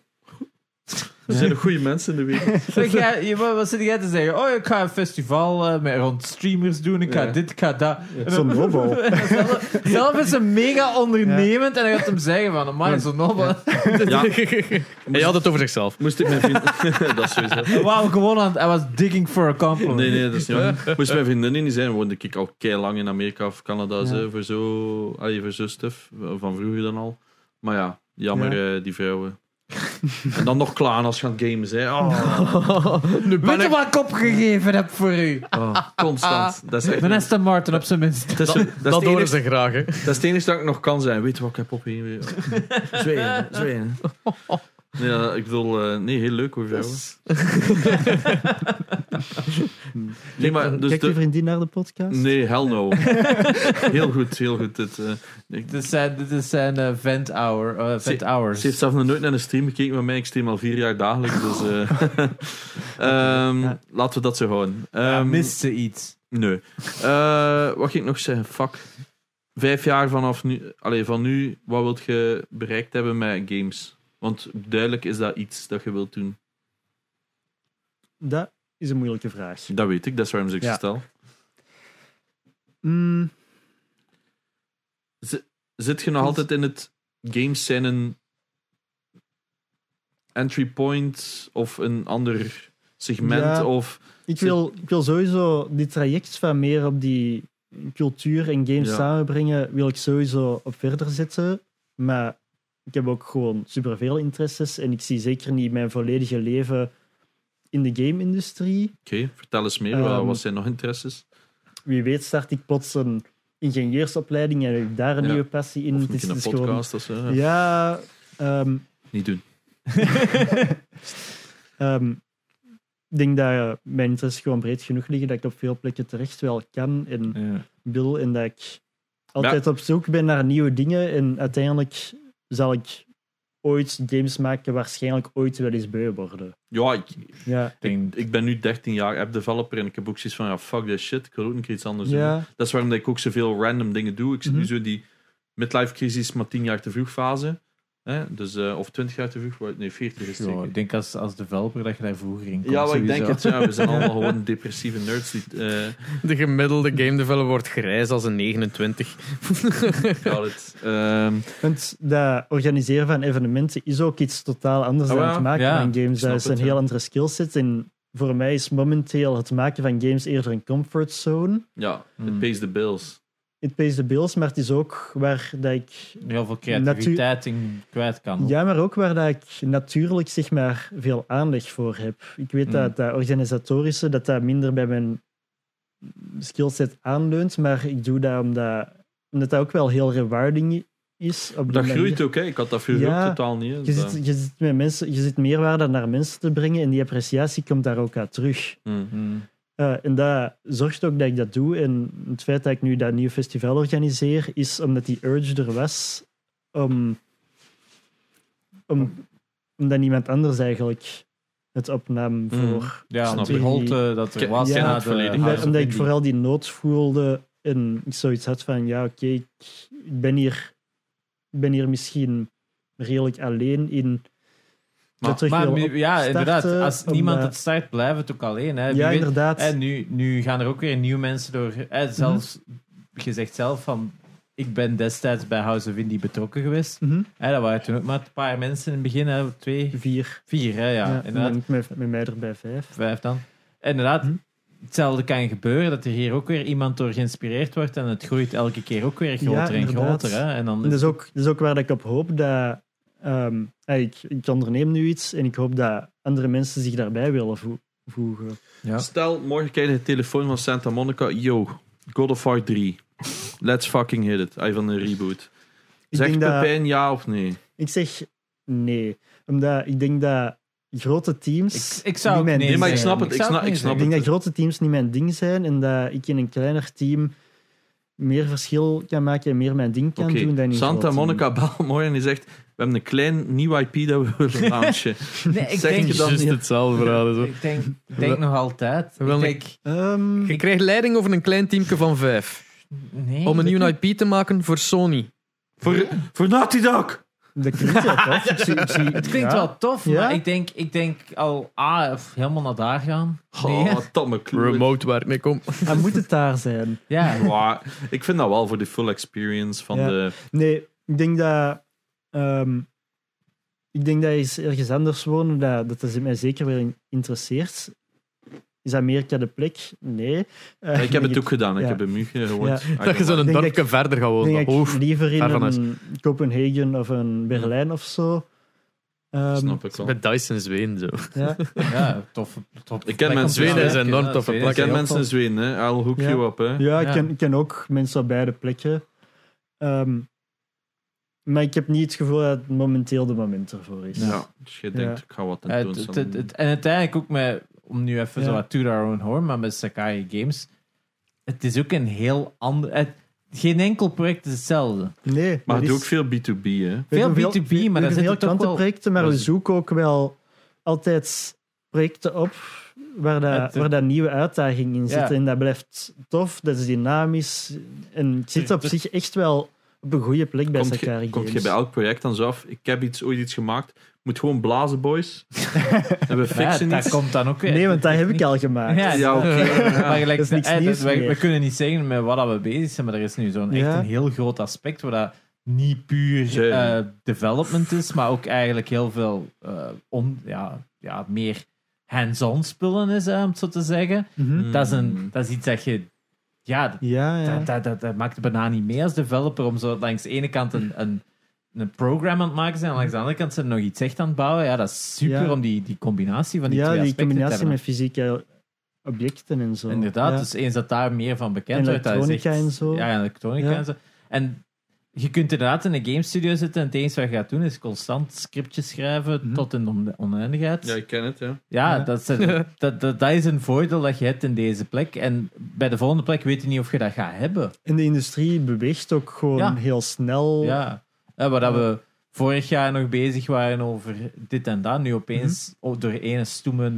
Speaker 3: Er zijn nog goede mensen in de
Speaker 4: [laughs]
Speaker 3: wereld.
Speaker 1: [laughs] Zeg, jij- je- wat wat zit jij te zeggen? Oh, ik ga een festival eh, met, rond streamers doen. Ik ga
Speaker 3: Ja.
Speaker 1: dit, ik ga dat. En
Speaker 4: Zo'n
Speaker 1: dan-
Speaker 4: Nobo.
Speaker 1: [laughs] zelf, zelf is ze mega ondernemend en dan gaat hem zeggen van, man, zo'n Nobo.
Speaker 3: Ja.
Speaker 2: Hij had het over zichzelf.
Speaker 3: Moest ik mijn vriendin... [laughs] dat is sowieso.
Speaker 1: Wauw, gewoon aan het- hij was digging for a compliment.
Speaker 3: Nee, nee, dat is niet [laughs] waar. Moest mijn vriendin niet zijn, woonde ik al kei lang in Amerika of Canada, zo, voor zo... Allee, voor zo stuff, van vroeger dan al. Maar ja, jammer, eh, die vrouwen. [laughs] en dan nog klaar als je aan het gamen bent.
Speaker 4: [laughs]
Speaker 3: Oh,
Speaker 2: Nu
Speaker 1: Weet
Speaker 2: ben
Speaker 1: je
Speaker 2: ik...
Speaker 1: wat ik opgegeven heb voor [laughs] u?
Speaker 3: oh, constant. Dat is echt...
Speaker 1: Mijn Aston Martin op zijn minst.
Speaker 3: Dat is, dat, is
Speaker 2: Dat
Speaker 3: het
Speaker 2: horen
Speaker 3: enige,
Speaker 2: ze graag, hè.
Speaker 3: dat is het enige dat ik nog kan zijn. Weet je wat ik heb opgegeven?
Speaker 4: [laughs]
Speaker 3: Zweden, zweden. Nee, ja, ik bedoel, eh, nee, heel leuk hoor, vrouwen. [laughs] Nee, maar [laughs] dus
Speaker 4: Kijk
Speaker 3: de-
Speaker 4: je vriendin naar de podcast?
Speaker 3: Nee, hell
Speaker 4: [laughs]
Speaker 3: no. heel goed, heel goed. Dit, eh, ik-
Speaker 1: Dit zijn, dit is zijn eh, vent, hour, eh, vent
Speaker 3: Zie-
Speaker 1: hours.
Speaker 3: ze heeft zelf nog nooit naar een stream gekeken van mij. Ik stream al vier jaar dagelijks, dus... eh,
Speaker 4: [laughs]
Speaker 3: ehm,
Speaker 4: Ja.
Speaker 3: Laten we dat zo houden.
Speaker 1: Ja,
Speaker 3: Ehm,
Speaker 1: mist ze iets?
Speaker 3: Nee. Eh, wat ging ik nog zeggen? Fuck. Vijf jaar vanaf nu, allee, van nu, wat wilt je bereikt hebben met games? Want duidelijk is dat iets dat je wilt doen.
Speaker 4: Dat is een moeilijke vraag.
Speaker 3: Dat weet ik, dat is waarom ik ze
Speaker 4: Ja.
Speaker 3: stel.
Speaker 4: Mm,
Speaker 3: Zit je nog
Speaker 4: Klopt.
Speaker 3: altijd in het games zijn een entry point of een ander segment?
Speaker 4: Ja.
Speaker 3: Of,
Speaker 4: ik, wil, ik wil sowieso die traject van meer op die cultuur en games
Speaker 3: Ja.
Speaker 4: samenbrengen, wil ik sowieso op verder zetten. Maar ik heb ook gewoon superveel interesses en ik zie zeker niet mijn volledige leven in de game-industrie.
Speaker 3: oké, vertel eens meer, wat,
Speaker 4: Ehm,
Speaker 3: wat zijn nog interesses?
Speaker 4: Wie weet start ik plots een ingenieursopleiding en heb ik daar een
Speaker 3: Ja.
Speaker 4: nieuwe passie in.
Speaker 3: Of
Speaker 4: Het
Speaker 3: moet
Speaker 4: is-
Speaker 3: je een
Speaker 4: het is gewoon-
Speaker 3: podcast of zo?
Speaker 4: Ja, ehm,
Speaker 3: Niet doen.
Speaker 4: Ehm, ik denk dat eh, mijn interesses gewoon breed genoeg liggen dat ik op veel plekken terecht wel kan en wil en dat ik altijd op zoek ben naar nieuwe dingen en uiteindelijk zal ik ooit games maken waarschijnlijk ooit wel eens beu worden.
Speaker 3: Ja, ik,
Speaker 4: Ja,
Speaker 3: ik ben nu 13 jaar app developer en ik heb ook zoiets van, ja, fuck this shit, ik wil ook een keer iets anders doen.
Speaker 4: ja,
Speaker 3: Dat is waarom dat ik ook zoveel random dingen doe. Ik zit
Speaker 4: Mhm.
Speaker 3: nu zo in die midlife crisis, maar 10 jaar te vroeg fase. Hè? Dus, eh, of 20 jaar te vroeg, wat- nee, 40 is
Speaker 1: Ja,
Speaker 3: zeker.
Speaker 1: ik denk als, als developer dat je daar vroeger in komt.
Speaker 3: Ja, maar ik denk
Speaker 1: sowieso.
Speaker 3: het. Ja, we zijn allemaal gewoon depressieve nerds. Die, eh,
Speaker 2: De gemiddelde game developer wordt grijs als een 29.
Speaker 3: ja, dit, ehm,
Speaker 4: want dat organiseren van evenementen is ook iets totaal anders
Speaker 3: Oh,
Speaker 4: dan
Speaker 3: ja.
Speaker 4: het maken
Speaker 1: Ja,
Speaker 4: van games.
Speaker 3: snap
Speaker 4: Dat is een
Speaker 3: het, ja.
Speaker 4: heel andere skillset en voor mij is momenteel het maken van games eerder een comfortzone.
Speaker 3: ja, het
Speaker 1: Hmm.
Speaker 3: pays the bills.
Speaker 4: It pays the bills, maar het is ook waar dat ik
Speaker 1: Heel veel creativiteit in kwijt
Speaker 3: Oh.
Speaker 1: kan.
Speaker 4: Ja, maar ook waar dat ik natuurlijk zeg maar, veel aanleg voor heb. Ik weet
Speaker 1: Mm.
Speaker 4: dat dat organisatorische dat dat minder bij mijn skillset aanleunt, maar ik doe dat omdat, omdat dat ook wel heel rewarding is. Op die
Speaker 3: Dat
Speaker 4: manier.
Speaker 3: groeit ook, hè. Ik had dat vroeger
Speaker 4: Ja.
Speaker 3: ook totaal niet. hè. Dus
Speaker 4: Je
Speaker 3: Dat-
Speaker 4: zit, je, zit met mensen, je zit meerwaarde naar mensen te brengen en die appreciatie komt daar ook uit terug.
Speaker 3: Hmm.
Speaker 1: Mm.
Speaker 4: Eh, en dat zorgt ook dat ik dat doe. En het feit dat ik nu dat nieuwe festival organiseer, is omdat die urge er was om, om, omdat niemand anders eigenlijk het
Speaker 1: Mm.
Speaker 4: opnam
Speaker 3: Mhm.
Speaker 4: voor.
Speaker 1: Ja,
Speaker 3: Snap
Speaker 1: om
Speaker 3: ik.
Speaker 1: die holte dat er
Speaker 3: Ken-
Speaker 1: was
Speaker 4: ken
Speaker 1: na
Speaker 3: het
Speaker 1: de
Speaker 3: volledig.
Speaker 1: House
Speaker 3: Ah,
Speaker 4: Omdat,
Speaker 1: of
Speaker 4: omdat ik
Speaker 1: Indie.
Speaker 4: vooral die nood voelde en ik zoiets had van, ja oké, ik, ik ben hier, ik ben hier misschien redelijk alleen in.
Speaker 3: Maar-
Speaker 4: dat terug
Speaker 1: Maar
Speaker 4: wil
Speaker 1: mi- ja,
Speaker 4: opstarten,
Speaker 1: inderdaad. Als niemand
Speaker 4: omdat-
Speaker 1: het start, blijft het ook alleen. Hè. Wie
Speaker 4: Ja,
Speaker 1: weet-
Speaker 4: inderdaad. Mhm.
Speaker 1: En nu, nu gaan er ook weer nieuwe mensen door. Hè, zelfs, Je zegt zelf van... Ik ben destijds bij House of Indie betrokken geweest.
Speaker 4: Mhm.
Speaker 1: Hè, dat waren toen ook maar een paar mensen in het begin. Hè, twee,
Speaker 4: Vier.
Speaker 1: vier, hè, ja.
Speaker 4: Ja, en
Speaker 1: inderdaad.
Speaker 4: dan met, met mij erbij vijf.
Speaker 1: vijf dan. Inderdaad,
Speaker 4: Hm.
Speaker 1: hetzelfde kan gebeuren, dat er hier ook weer iemand door geïnspireerd wordt en het groeit elke keer ook weer groter en
Speaker 4: inderdaad.
Speaker 1: groter. Hè? En dan
Speaker 4: En Dat is, ook, dat is ook waar dat ik op hoop dat. ehm, ja, ik, ik onderneem nu iets en ik hoop dat andere mensen zich daarbij willen vo- voegen.
Speaker 1: Ja.
Speaker 3: Stel, morgen krijg je de telefoon van Santa Monica. Yo, God of War 3. Let's fucking hit it. Hij van een reboot.
Speaker 4: Ik,
Speaker 3: Zegt
Speaker 4: denk dat,
Speaker 3: Pepijn ja of nee?
Speaker 4: ik zeg nee, omdat ik denk dat grote teams.
Speaker 1: ik, ik zou ook
Speaker 4: Nee,
Speaker 1: nee
Speaker 4: maar ik
Speaker 1: zeggen.
Speaker 3: snap het, ik
Speaker 1: zou
Speaker 3: snap-
Speaker 1: ook
Speaker 3: ik
Speaker 1: nee
Speaker 3: snap
Speaker 1: zeggen.
Speaker 4: ik denk dat grote teams niet mijn ding zijn en dat ik in een kleiner team meer verschil kan maken en meer mijn ding kan
Speaker 3: Oké.
Speaker 4: doen dan in een groot
Speaker 3: Santa
Speaker 4: team.
Speaker 3: Monica [laughs] bel morgen en die zegt... We hebben een klein nieuw IP dat we
Speaker 4: [laughs]
Speaker 3: willen launchen.
Speaker 1: Nee, ik
Speaker 3: Zeg
Speaker 1: denk, dus
Speaker 3: je dat
Speaker 2: Juist
Speaker 3: niet.
Speaker 2: hetzelfde verhaal. Zo.
Speaker 1: ik denk, ik denk nog altijd.
Speaker 2: Wel,
Speaker 1: ik
Speaker 2: ik-
Speaker 1: denk,
Speaker 4: Ehm,
Speaker 2: Je krijgt leiding over een klein teamje van vijf.
Speaker 1: nee,
Speaker 2: Om een nieuwe IP te maken voor Sony.
Speaker 4: [laughs]
Speaker 3: voor, voor Naughty Dog!
Speaker 4: Dat klinkt wel tof.
Speaker 1: [laughs]
Speaker 4: Ik zie- ik zie-
Speaker 1: Het klinkt
Speaker 4: ja.
Speaker 1: wel tof,
Speaker 4: Ja?
Speaker 1: maar ik denk, ik denk al, ah, of helemaal naar daar gaan. Nee,
Speaker 3: Oh, tamme kloot.
Speaker 2: Remote werk, nee, kom.
Speaker 4: Hij moet het daar zijn.
Speaker 1: Ja,
Speaker 3: [laughs] Ja, ik vind dat wel voor de full experience van
Speaker 4: Ja. [laughs]
Speaker 3: de...
Speaker 4: Nee, ik denk dat... ehm, ik denk dat is ergens anders wonen, dat, dat is mij zeker wel in- interesseert. Is Amerika de plek? Nee. Eh,
Speaker 3: Ik heb
Speaker 4: denk
Speaker 3: het ook gedaan. Ik
Speaker 4: ja.
Speaker 3: heb een Ah, muur gehoord.
Speaker 4: Ja.
Speaker 2: [laughs] Dat je zo'n
Speaker 4: denk
Speaker 2: dorpje
Speaker 4: dat
Speaker 2: verder gaat wonen.
Speaker 4: denk dat
Speaker 2: Hoofd.
Speaker 4: ik liever in
Speaker 2: ver van
Speaker 4: een Kopenhagen of een Berlijn of zo. Ehm,
Speaker 3: Snap ik wel.
Speaker 2: Met Dyson in Zweden, zo.
Speaker 4: Ja.
Speaker 1: ja tof. tof
Speaker 3: Ik ken mensen-
Speaker 2: Zweden is een enorm toffe
Speaker 3: Ik
Speaker 2: plek,
Speaker 3: ken mensen in Zweden, hè. Al hoek
Speaker 4: Ja.
Speaker 3: je op, hè.
Speaker 4: Ja,
Speaker 1: Ja.
Speaker 4: ik ken, ik ken ook mensen op beide plekken. Ehm, maar ik heb niet het gevoel dat het momenteel de moment ervoor is.
Speaker 3: Ja, dus je denkt,
Speaker 4: Ja.
Speaker 3: ik ga wat aan doen.
Speaker 1: Het, het, het- het- en uiteindelijk ook met, om nu even
Speaker 4: Ja.
Speaker 1: zo wat to their own horn, maar met Sakai Games, het is ook een heel ander... het- geen enkel project is hetzelfde.
Speaker 4: Nee,
Speaker 3: Maar
Speaker 4: dat
Speaker 3: het doet
Speaker 4: is-
Speaker 3: ook veel B2B, hè.
Speaker 4: we
Speaker 1: veel
Speaker 4: doen
Speaker 1: B2B,
Speaker 4: we
Speaker 1: maar daar zitten
Speaker 4: doen heel
Speaker 1: toch wel-
Speaker 4: klantenprojecten, maar
Speaker 1: Dat
Speaker 4: we
Speaker 1: is-
Speaker 4: zoeken ook wel altijd projecten op waar dat,
Speaker 1: Het-
Speaker 4: waar dat nieuwe uitdaging in zit.
Speaker 1: Ja.
Speaker 4: En dat blijft tof, dat is dynamisch. En het zit
Speaker 1: dus
Speaker 4: op zich echt wel op een goede plek bij
Speaker 3: Komt
Speaker 4: Sakari
Speaker 3: je, komt je
Speaker 4: Games.
Speaker 3: bij elk project dan zo af, ik heb iets, ooit iets gemaakt, moet gewoon blazen,
Speaker 4: [laughs]
Speaker 3: boys. en we
Speaker 1: Ja,
Speaker 3: fixen
Speaker 1: dat
Speaker 3: iets.
Speaker 1: komt dan ook weer.
Speaker 4: Nee, want dat heb ik al gemaakt.
Speaker 1: Ja,
Speaker 3: Ja, oké.
Speaker 1: [laughs] Maar
Speaker 3: Ja.
Speaker 1: gelijk,
Speaker 4: Dat is niks
Speaker 1: eh, dat-
Speaker 4: nieuws
Speaker 1: wij-
Speaker 4: meer.
Speaker 1: we kunnen niet zeggen met wat dat we bezig zijn, maar er is nu zo'n echt
Speaker 4: Ja.
Speaker 1: een heel groot aspect waar dat niet puur
Speaker 3: Nee.
Speaker 1: eh, development is, maar ook eigenlijk heel veel eh, on, ja, ja, meer hands-on spullen is, eh, om het zo te zeggen.
Speaker 4: Mhm.
Speaker 3: Hmm.
Speaker 1: Dat, is een, dat is iets dat je... Ja, dat-
Speaker 4: Ja, ja.
Speaker 1: dat, dat, dat, dat maakt het bijna niet mee als developer om zo langs de ene kant een, een, een program aan het maken te zijn en langs de andere kant zijn nog iets echt aan het bouwen. Ja, dat is super
Speaker 4: Ja.
Speaker 1: om die, die combinatie van die
Speaker 4: ja,
Speaker 1: twee
Speaker 4: die
Speaker 1: aspecten te
Speaker 4: combinatie
Speaker 1: hebben.
Speaker 4: met fysieke objecten en zo.
Speaker 1: Inderdaad,
Speaker 4: Ja.
Speaker 1: dus eens dat daar meer van bekend wordt, dat is echt...
Speaker 4: Elektronica en zo.
Speaker 1: Ja, elektronica
Speaker 4: Ja.
Speaker 1: en zo. En je kunt inderdaad in een game studio zitten en het enige wat je gaat doen is constant scriptjes schrijven
Speaker 4: Mhm.
Speaker 1: tot in de on- oneindigheid.
Speaker 3: Ja,
Speaker 1: Ja,
Speaker 3: ik ken het, ja.
Speaker 4: Ja.
Speaker 1: Dat,
Speaker 3: [laughs]
Speaker 1: is, dat, dat, dat is een voordeel dat je hebt in deze plek. En bij de volgende plek weet je niet of je dat gaat hebben.
Speaker 4: En de industrie beweegt ook gewoon
Speaker 1: Ja.
Speaker 4: heel snel.
Speaker 1: Ja. Eh, waar dat we vorig jaar nog bezig waren over dit en dat, nu opeens
Speaker 4: Mhm.
Speaker 1: o- door ene stoeme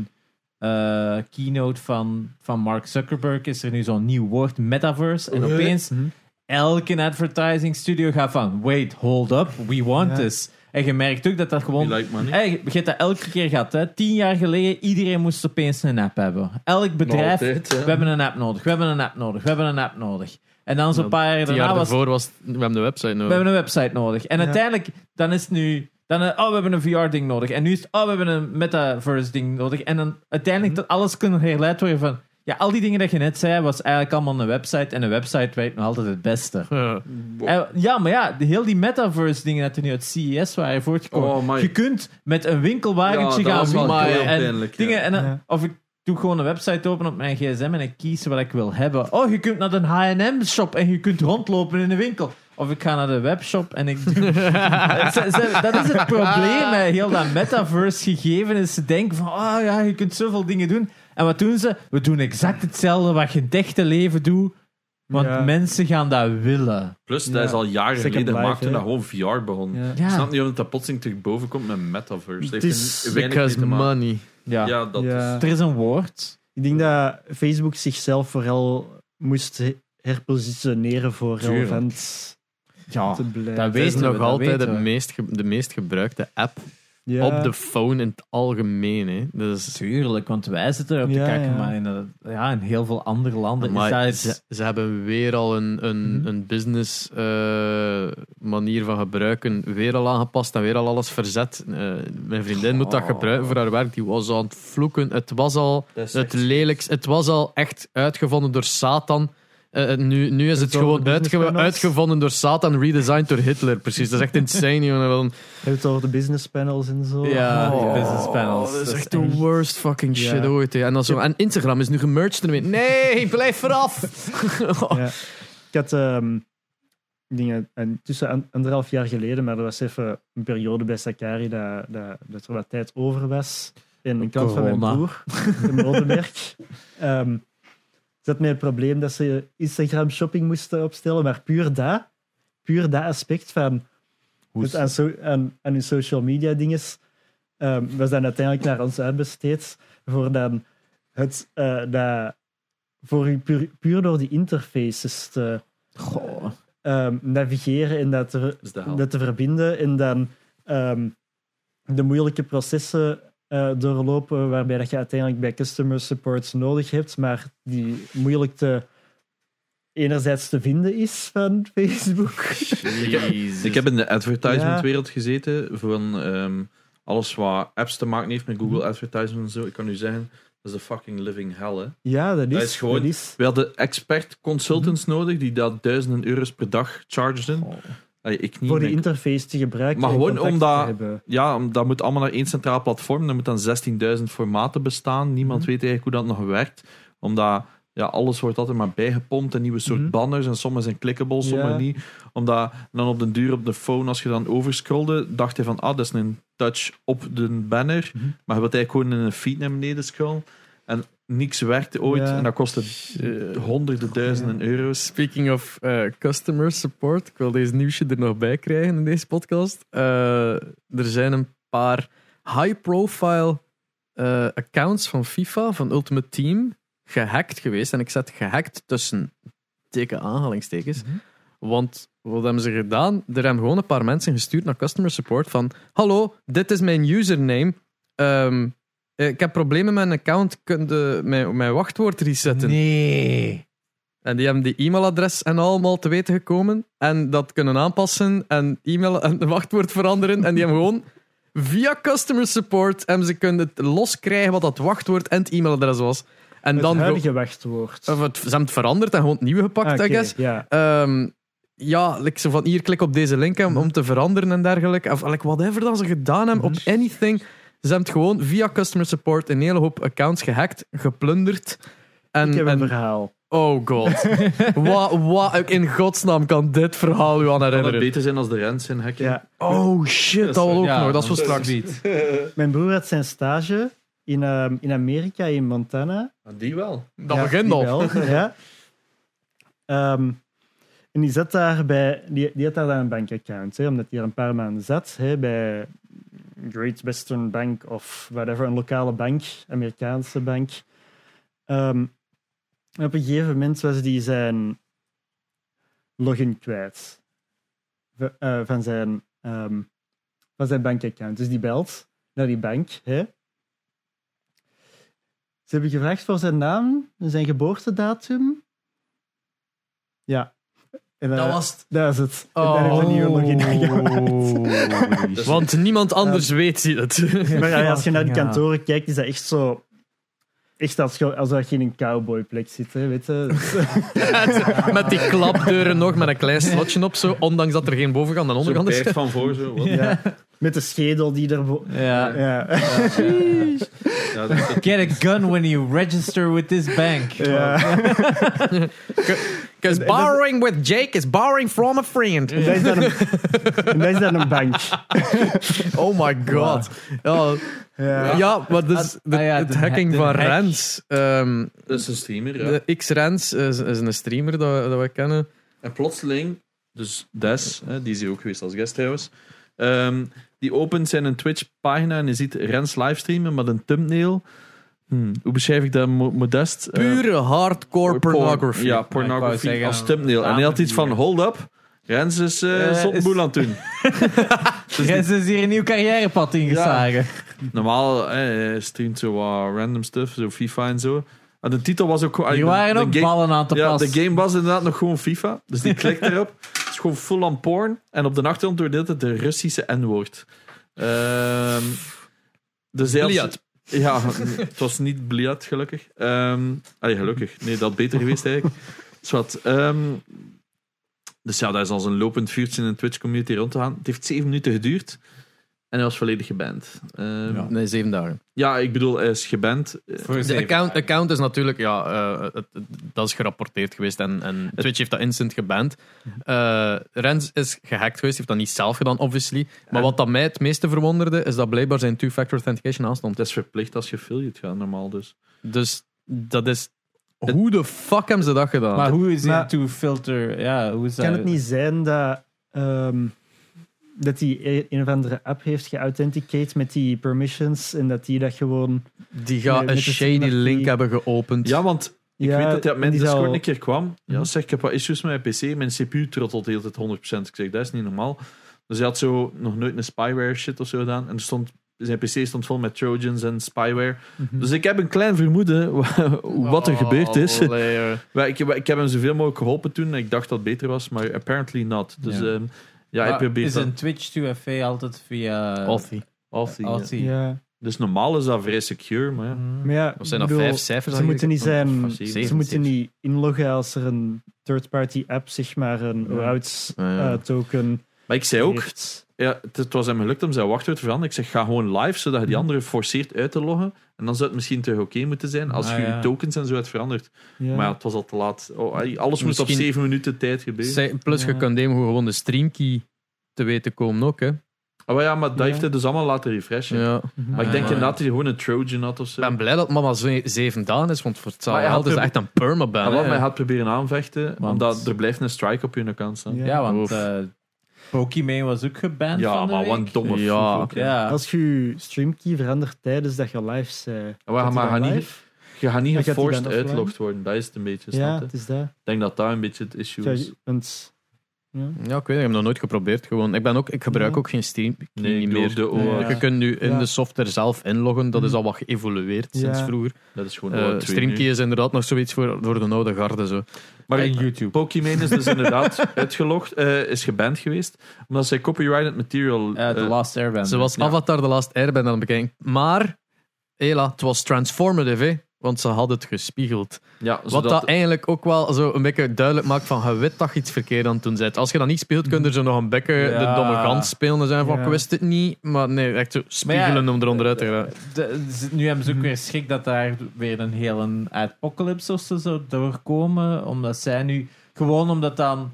Speaker 1: eh, keynote van, van Mark Zuckerberg is er nu zo'n nieuw woord, metaverse. En
Speaker 3: Oei.
Speaker 1: opeens
Speaker 4: Mhm.
Speaker 1: elke advertising studio gaat van, wait, hold up, we want
Speaker 4: Ja.
Speaker 1: this. En je merkt ook dat dat gewoon...
Speaker 3: You like money.
Speaker 1: Hey, je hebt dat elke keer gehad. Hè. Tien jaar geleden, iedereen moest opeens een app hebben. Elk bedrijf,
Speaker 3: altijd, hè.
Speaker 1: we hebben een app nodig, we hebben een app nodig, we hebben een app nodig. En dan zo'n paar jaar
Speaker 2: Tien
Speaker 1: daarna
Speaker 2: jaar
Speaker 1: was
Speaker 2: daarvoor was... We hebben de website
Speaker 1: we
Speaker 2: nodig.
Speaker 1: hebben een website nodig. En
Speaker 4: Ja.
Speaker 1: uiteindelijk, dan is het nu... Dan, eh, oh, we hebben een VR-ding nodig. En nu is het, oh, we hebben een metaverse-ding nodig. En dan uiteindelijk dat alles kunnen herleid worden van... Ja, al die dingen dat je net zei, was eigenlijk allemaal een website. En een website weet nog altijd het beste.
Speaker 2: Ja.
Speaker 1: Eh, ja, maar ja, de, heel die metaverse-dingen dat er nu uit CES waren voortgekomen.
Speaker 3: Oh, my.
Speaker 1: je kunt met een
Speaker 3: Ja,
Speaker 1: winkelwagentje
Speaker 3: dat
Speaker 1: gaan
Speaker 3: was wel
Speaker 1: winkelen
Speaker 3: heel
Speaker 1: en
Speaker 3: pijnlijk, ja.
Speaker 1: dingen. En dan-
Speaker 4: Ja.
Speaker 1: Of ik doe gewoon een website open op mijn gsm en ik kies wat ik wil hebben. Oh, je kunt naar een H&M-shop en je kunt rondlopen in de winkel. Of ik ga naar de webshop en ik
Speaker 4: [laughs]
Speaker 1: doe... Eh, Ze- ze- dat is het probleem met heel dat metaverse gegeven. Is ze denken van, oh ja, je kunt zoveel dingen doen. En wat doen ze? We doen exact hetzelfde wat je in het echte leven doet. Want
Speaker 4: Ja.
Speaker 1: mensen gaan dat willen.
Speaker 3: Plus, dat is al jaren
Speaker 4: Second
Speaker 3: geleden
Speaker 4: Life,
Speaker 3: gemaakt toen
Speaker 4: hè.
Speaker 3: dat gewoon VR begon.
Speaker 4: Ja.
Speaker 1: Ja.
Speaker 3: Ik snap niet waarom dat plotseling terug boven komt met metaverse. Dat
Speaker 4: Het
Speaker 3: heeft
Speaker 4: is
Speaker 3: er weinig mee
Speaker 2: Because
Speaker 3: te maken.
Speaker 2: money.
Speaker 1: Ja.
Speaker 3: Ja, dat
Speaker 4: Ja.
Speaker 3: is...
Speaker 1: Er is een woord.
Speaker 4: Ik denk dat Facebook zichzelf vooral moest he- herpositioneren voor
Speaker 1: Tuurlijk.
Speaker 4: relevant
Speaker 1: Ja,
Speaker 4: te blijven.
Speaker 1: dat
Speaker 2: Het is
Speaker 1: weten we,
Speaker 2: nog
Speaker 1: dat
Speaker 2: altijd
Speaker 1: weten
Speaker 2: het
Speaker 1: we.
Speaker 2: meest ge- de meest gebruikte app
Speaker 4: Ja.
Speaker 2: op de phone in het algemeen. Hè. Dus,
Speaker 1: Tuurlijk, want wij zitten er op te
Speaker 4: Ja,
Speaker 1: kijken,
Speaker 4: ja.
Speaker 1: maar in, eh, ja, in heel veel andere landen
Speaker 2: maar
Speaker 1: is dat
Speaker 2: ze,
Speaker 1: het-
Speaker 2: ze hebben weer al een, een, een business eh, manier van gebruiken weer al aangepast en weer al alles verzet. Eh, mijn vriendin moet dat gebruiken voor haar werk. Die was aan het vloeken. Het was al
Speaker 3: Dat is
Speaker 2: het
Speaker 3: echt-
Speaker 2: lelijkst. Het was al echt uitgevonden door Satan. Eh, eh, nu, nu is het
Speaker 4: over
Speaker 2: gewoon
Speaker 4: de business
Speaker 2: uitge-
Speaker 4: panels?
Speaker 2: uitgevonden door Satan, redesigned door Hitler. Precies, dat is echt insane. jongen. Wel een-
Speaker 4: Heb je het over de business panels en zo?
Speaker 1: Ja,
Speaker 2: Oh,
Speaker 1: eh, business panels. Dus-
Speaker 2: Dat is echt
Speaker 1: een
Speaker 2: de worst fucking
Speaker 4: Ja.
Speaker 2: shit ooit. hè. En, dan zo, en Instagram is nu gemerged ermee. Nee, blijf vooraf.
Speaker 4: Ja. Ik had ehm, dingen en tussen an- anderhalf jaar geleden, maar dat was even een periode bij Sakari dat, dat, dat er wat tijd over was. En een klant van mijn
Speaker 1: Corona.
Speaker 4: broer, in Rodenberg, ehm, zat met het probleem dat ze Instagram shopping moesten opstellen, maar puur dat, puur dat aspect van het aan, so- aan, aan hun social media dinges, ehm, was dan uiteindelijk naar ons uitbesteed voor dan het, eh, dat, voor u puur, puur door die interfaces te
Speaker 1: Goh.
Speaker 4: ehm, navigeren en dat te,
Speaker 3: is de hel.
Speaker 4: dat te verbinden en dan ehm, de moeilijke processen eh, doorlopen, waarbij dat je uiteindelijk bij customer support nodig hebt, maar die moeilijk te enerzijds te vinden is van Facebook.
Speaker 3: Ik heb in de advertisement-wereld gezeten van ehm, alles wat apps te maken heeft met
Speaker 4: Mhm.
Speaker 3: Google Advertisement en zo. Ik kan u zeggen, dat is een fucking living hell. Hè.
Speaker 4: [laughs] Ja, dat is,
Speaker 3: Dat is gewoon-
Speaker 4: dat is-
Speaker 3: We hadden expert consultants
Speaker 4: Mhm.
Speaker 3: nodig die dat duizenden euro's per dag chargeden. Allee, ik niet.
Speaker 4: Oh. voor die
Speaker 3: mijn-
Speaker 4: interface te gebruiken.
Speaker 3: Maar
Speaker 4: en
Speaker 3: gewoon
Speaker 4: contact
Speaker 3: omdat-
Speaker 4: te hebben.
Speaker 3: ja, om- dat moet allemaal naar één centraal platform. Er moeten dan 16.000 formaten bestaan. Niemand
Speaker 4: Mhm.
Speaker 3: weet eigenlijk hoe dat nog werkt. Omdat ja, alles wordt altijd maar bijgepompt. Een nieuwe soort
Speaker 4: Mhm.
Speaker 3: banners. En sommige zijn clickable, sommige
Speaker 4: Ja.
Speaker 3: niet. Omdat dan op den duur op de phone, als je dan overscrolde, dacht je van, ah, dat is een touch op de banner.
Speaker 4: Mhm.
Speaker 3: Maar je wilt eigenlijk gewoon in een feed naar beneden scrollen. En niks werkte ooit.
Speaker 4: Ja.
Speaker 3: En dat kostte eh, honderden duizenden euro's.
Speaker 2: Speaking of eh, customer support, ik wil deze nieuwsje er nog bij krijgen in deze podcast. Eh, er zijn een paar high-profile eh, accounts van FIFA, van Ultimate Team, gehackt geweest. En ik zet gehackt tussen dikke aanhalingstekens. Want wat hebben ze gedaan? Er hebben gewoon een paar mensen gestuurd naar customer support van Hallo, dit is mijn username. Ehm, eh, ik heb problemen met mijn account. Kun je mijn, mijn wachtwoord resetten?
Speaker 1: Nee.
Speaker 2: En die hebben die e-mailadres en allemaal te weten gekomen. En dat kunnen aanpassen en e-mail en de wachtwoord veranderen. En die hebben gewoon via customer support en ze kunnen het loskrijgen wat dat wachtwoord en het e-mailadres was. En
Speaker 4: Het
Speaker 2: dan
Speaker 4: dan
Speaker 2: gewoon-
Speaker 4: huidige wachtwoord.
Speaker 2: of het, ze hebben het veranderd en gewoon het nieuwe gepakt,
Speaker 4: Ah, oké,
Speaker 2: I guess.
Speaker 4: Ja.
Speaker 2: Ehm, ja, like zo van hier klik op deze link om, om te veranderen en dergelijke. Of like whatever dat ze gedaan hebben, op
Speaker 4: Mhm.
Speaker 2: anything. Ze hebben het gewoon via customer support een hele hoop accounts gehackt, geplunderd. En,
Speaker 4: Ik heb een
Speaker 2: en-
Speaker 4: verhaal.
Speaker 2: Oh god. wat, wat in godsnaam kan dit verhaal u aan
Speaker 3: Kan het
Speaker 2: herinneren?
Speaker 3: beter zijn als de rents in hacken?
Speaker 4: Ja.
Speaker 2: Oh shit, dat wil ook
Speaker 1: Ja,
Speaker 2: nog. Dat is voor
Speaker 1: dan-
Speaker 2: straks.
Speaker 1: Zoiets.
Speaker 4: Mijn broer had zijn stage in, ehm, in Amerika, in Montana.
Speaker 3: Ah, Die wel.
Speaker 2: Dat
Speaker 4: Ja,
Speaker 2: begint
Speaker 4: die
Speaker 2: al. [laughs]
Speaker 4: wel, ja. Ehm, en die zat daar bij... Die, die had daar dan een bankaccount, hè, omdat hij er een paar maanden zat. Hè, bij Great Western Bank of whatever, een lokale bank. Amerikaanse bank. Ehm, en op een gegeven moment was hij zijn login kwijt. V- eh, van, zijn, ehm, van zijn bankaccount. Dus die belt naar die bank. Hè. Ze hebben gevraagd voor zijn naam en zijn geboortedatum. Ja. En, eh,
Speaker 2: Dat was Oh. het.
Speaker 4: dat is het. En daar heeft hij een nieuwe login aan gemaakt.
Speaker 2: Want niemand anders weet het.
Speaker 4: [laughs] Maar ja, als je naar die
Speaker 1: Ja.
Speaker 4: kantoren kijkt, is dat echt zo... Echt als, je- als dat je in een cowboyplek zit, hè, weet je. [laughs] Dus, eh,
Speaker 2: met die klapdeuren nog, met een klein slotje op zo. Ondanks dat er geen bovenkant en
Speaker 3: Zo'n
Speaker 2: onderkant is.
Speaker 3: pijp van voor
Speaker 1: [laughs]
Speaker 3: zo. wat?
Speaker 4: Ja. Met de schedel die er...
Speaker 1: Ja.
Speaker 4: Ja.
Speaker 3: Ja, dat is-
Speaker 1: Get a gun when you register with this bank.
Speaker 4: ja.
Speaker 2: Because borrowing with Jake is borrowing from a friend.
Speaker 4: En dat is dan een, en dat is dan een bank.
Speaker 2: Oh my god. Ja,
Speaker 4: Ja.
Speaker 2: ja maar dus
Speaker 1: Ah, ah ja,
Speaker 2: het
Speaker 1: de-
Speaker 2: hacking
Speaker 1: de
Speaker 2: van
Speaker 1: hack.
Speaker 2: Rens. ehm,
Speaker 3: Dat is een streamer, ja.
Speaker 2: de X-Rens is, is een streamer dat, we- dat we kennen.
Speaker 3: En plotseling, dus Des, hè, die is hier ook geweest als guest trouwens, ehm, die opent zijn een Twitch-pagina en je ziet Rens livestreamen met een thumbnail. Hm, hoe beschrijf ik dat mo- modest? Eh,
Speaker 2: Pure hardcore
Speaker 3: porn-
Speaker 2: pornography.
Speaker 3: Ja,
Speaker 1: wou
Speaker 3: pornography
Speaker 1: zeggen,
Speaker 3: als thumbnail. En hij had iets van,
Speaker 1: hier.
Speaker 3: hold up, Rens is eh
Speaker 1: Eh,
Speaker 3: zot
Speaker 1: is-
Speaker 3: boel aan
Speaker 1: [laughs]
Speaker 3: het doen.
Speaker 1: Ja, ze is hier een nieuw carrièrepad ingeslagen.
Speaker 3: Normaal eh, streamt zo wat random stuff, zo FIFA en zo. En de titel was ook gewoon...
Speaker 1: Hier
Speaker 3: de-
Speaker 1: waren
Speaker 3: de
Speaker 1: ook
Speaker 3: game-
Speaker 1: ballen aan te
Speaker 3: Ja,
Speaker 1: pas.
Speaker 3: de game was inderdaad nog gewoon FIFA. Dus die
Speaker 1: [laughs]
Speaker 3: klikt erop. Het is gewoon full on porn. En op de achtergrond doordeelt het de Russische N-woord. Ehm dus hij had-
Speaker 2: Bliat.
Speaker 3: Ja, het was niet bliat, gelukkig. Ehm allee, gelukkig. Nee, dat had beter geweest eigenlijk. Zwat. ehm, dus ja, dat is als een lopend vuurtje in een Twitch-community rond te gaan. Het heeft zeven minuten geduurd. En hij was volledig geband. Ehm, ja.
Speaker 2: Nee, zeven dagen.
Speaker 3: ik bedoel, hij is geband. Eh,
Speaker 1: Voor
Speaker 2: De
Speaker 1: zeven
Speaker 2: account,
Speaker 1: dagen.
Speaker 2: account is natuurlijk, ja, eh, het- het- dat is gerapporteerd geweest en, en Twitch heeft dat instant geband.
Speaker 4: Mhm.
Speaker 2: Eh, Rens is gehackt geweest, heeft dat niet zelf gedaan, obviously. Maar wat dat mij het meeste verwonderde, is dat blijkbaar zijn two-factor authentication aanstond.
Speaker 3: Dat is verplicht als je affiliate gaat, normaal dus.
Speaker 2: Dus dat is. Hoe de fuck hebben ze dat gedaan?
Speaker 1: Maar hoe is
Speaker 4: Maar-
Speaker 1: het to filter? Ja, hoe is dat?
Speaker 3: eh,
Speaker 4: Kan het niet zijn dat... ehm, dat hij e- een of andere app heeft geauthenticate met die permissions en dat die dat gewoon...
Speaker 2: die gaan
Speaker 4: Nee,
Speaker 2: een
Speaker 4: met de
Speaker 2: shady
Speaker 4: team dat
Speaker 2: link
Speaker 4: die-
Speaker 2: hebben geopend.
Speaker 3: Ja, want Ik
Speaker 4: Ja,
Speaker 3: weet dat hij op mijn
Speaker 4: die zal-
Speaker 3: Discord een keer kwam. Ja, zeg, ik heb wat issues met mijn PC. Mijn CPU trottelt de hele tijd 100%. Ik zeg, dat is niet normaal. Dus hij had zo nog nooit een spyware shit of zo gedaan. En er stond, zijn PC stond vol met Trojans en spyware. Dus ik heb een klein vermoeden [laughs] wa-
Speaker 2: Oh,
Speaker 3: wat er gebeurd is. [laughs]
Speaker 2: eh,
Speaker 3: Maar ik, maar ik heb hem zoveel mogelijk geholpen toen. Ik dacht dat het beter was, maar apparently not. Dus
Speaker 1: Ja.
Speaker 3: ja, ja hij
Speaker 1: Maar
Speaker 3: probeert
Speaker 1: Ah, Is
Speaker 3: dat.
Speaker 1: een Twitch 2FA altijd via...
Speaker 3: Alfie, ja.
Speaker 1: Alfie.
Speaker 4: Ja.
Speaker 3: Dus normaal is dat vrij secure, maar ja.
Speaker 1: Hmm.
Speaker 4: Maar ja,
Speaker 2: Of zijn dat
Speaker 4: ik bedoel,
Speaker 2: vijf cijfers?
Speaker 4: Ze moeten niet zijn...
Speaker 3: Zeven,
Speaker 4: Ze
Speaker 2: zeven.
Speaker 4: moeten niet inloggen als er een third-party app, zeg maar, een routes
Speaker 3: Ja, ja.
Speaker 4: eh, token
Speaker 3: Maar ik zei ook,
Speaker 4: heeft.
Speaker 3: ja, het, het was hem gelukt om zijn wachtwoord te veranderen. Ik zeg, ga gewoon live, zodat je die anderen forceert uit te loggen. En dan zou het misschien terug oké moeten zijn, als
Speaker 1: Ah,
Speaker 3: je
Speaker 1: ja.
Speaker 3: je tokens en zo hebt veranderd.
Speaker 4: Ja.
Speaker 3: Maar ja, het was al te laat. Oh, ai, alles moest op
Speaker 2: Misschien-
Speaker 3: zeven minuten tijd gebeuren.
Speaker 2: Zij- Plus, je
Speaker 4: Ja.
Speaker 2: kan hem gewoon de streamkey te weten komen ook. Hè.
Speaker 3: Ah, maar ja, maar dat
Speaker 4: Ja.
Speaker 3: heeft hij dus allemaal laten refreshen.
Speaker 2: Ja.
Speaker 3: Maar ik
Speaker 1: Ah,
Speaker 3: denk
Speaker 1: ja.
Speaker 3: inderdaad dat hij gewoon een Trojan had of zo.
Speaker 2: Ik ben blij dat mama zo zeven dagen is, want voor het
Speaker 3: Maar hij had
Speaker 2: zaal is
Speaker 3: er-
Speaker 2: echt een permaban.
Speaker 3: En wat
Speaker 2: hè.
Speaker 3: mij had proberen aanvechten,
Speaker 1: Want-
Speaker 3: omdat er blijft een strike op je account staan.
Speaker 4: Ja.
Speaker 3: Ja,
Speaker 1: Ja, want
Speaker 2: Oef.
Speaker 1: eh Pokimane was ook geband van de
Speaker 3: maar wat
Speaker 1: week.
Speaker 3: een domme
Speaker 2: Ja.
Speaker 3: foef ook, hè.
Speaker 1: Ja.
Speaker 4: Als je je streamkey verandert tijdens dat je live bent.
Speaker 3: Ja, maar-
Speaker 4: gaat die
Speaker 3: maar
Speaker 4: dan
Speaker 3: ga niet-
Speaker 4: live?
Speaker 3: Je gaat
Speaker 4: Maar
Speaker 3: niet
Speaker 4: gaat die
Speaker 3: geforced
Speaker 4: dan offline?
Speaker 3: uitlogd worden, dat is het een beetje, snap
Speaker 4: Ja,
Speaker 3: je?
Speaker 4: het is dat.
Speaker 3: Ik denk dat daar een beetje het issue
Speaker 4: Ja,
Speaker 3: is.
Speaker 4: je bent- ja.
Speaker 2: Ja, ik weet niet, ik heb nog nooit geprobeerd. Gewoon. Ik, ben ook, ik gebruik
Speaker 4: Ja.
Speaker 2: ook geen streamkey
Speaker 3: Nee, ik
Speaker 2: niet
Speaker 3: bedoel
Speaker 2: meer.
Speaker 3: de OAuth.
Speaker 2: Je kunt nu in
Speaker 4: Ja.
Speaker 2: de software zelf inloggen, dat is
Speaker 4: Mhm.
Speaker 2: al wat geëvolueerd sinds
Speaker 4: Ja.
Speaker 2: vroeger.
Speaker 3: Dat is gewoon
Speaker 2: Eh
Speaker 3: OAuth 2 nu.
Speaker 2: streamkey is inderdaad nog zoiets voor, voor de oude garde. Zo.
Speaker 3: Maar
Speaker 1: en YouTube.
Speaker 3: Pokimane is dus
Speaker 1: [laughs]
Speaker 3: inderdaad uitgelogd, eh, is geband geweest, omdat zij copyrighted material...
Speaker 1: Eh, The
Speaker 3: eh,
Speaker 1: Last Airbender.
Speaker 2: Zoals
Speaker 1: Ja.
Speaker 2: Avatar The Last Airbender aan het bekijken. Maar, hela, het was transformative, hè? want ze hadden het gespiegeld.
Speaker 3: ja,
Speaker 2: Wat
Speaker 3: zodat,
Speaker 2: dat eigenlijk ook wel zo een beetje duidelijk maakt van, je weet dat je iets verkeerd aan het doen bent. Als je dat niet speelt, kun je zo nog een beetje
Speaker 1: Ja.
Speaker 2: de domme gans spelen en zijn van,
Speaker 4: Ja.
Speaker 2: ik wist het niet. Maar nee, echt zo spiegelen om eronder uit te
Speaker 1: eh,
Speaker 2: geraken.
Speaker 1: De- ze- nu hebben ze ook weer schrik dat daar weer een hele apocalypse of zo zou doorkomen. Omdat zij nu... Gewoon omdat dan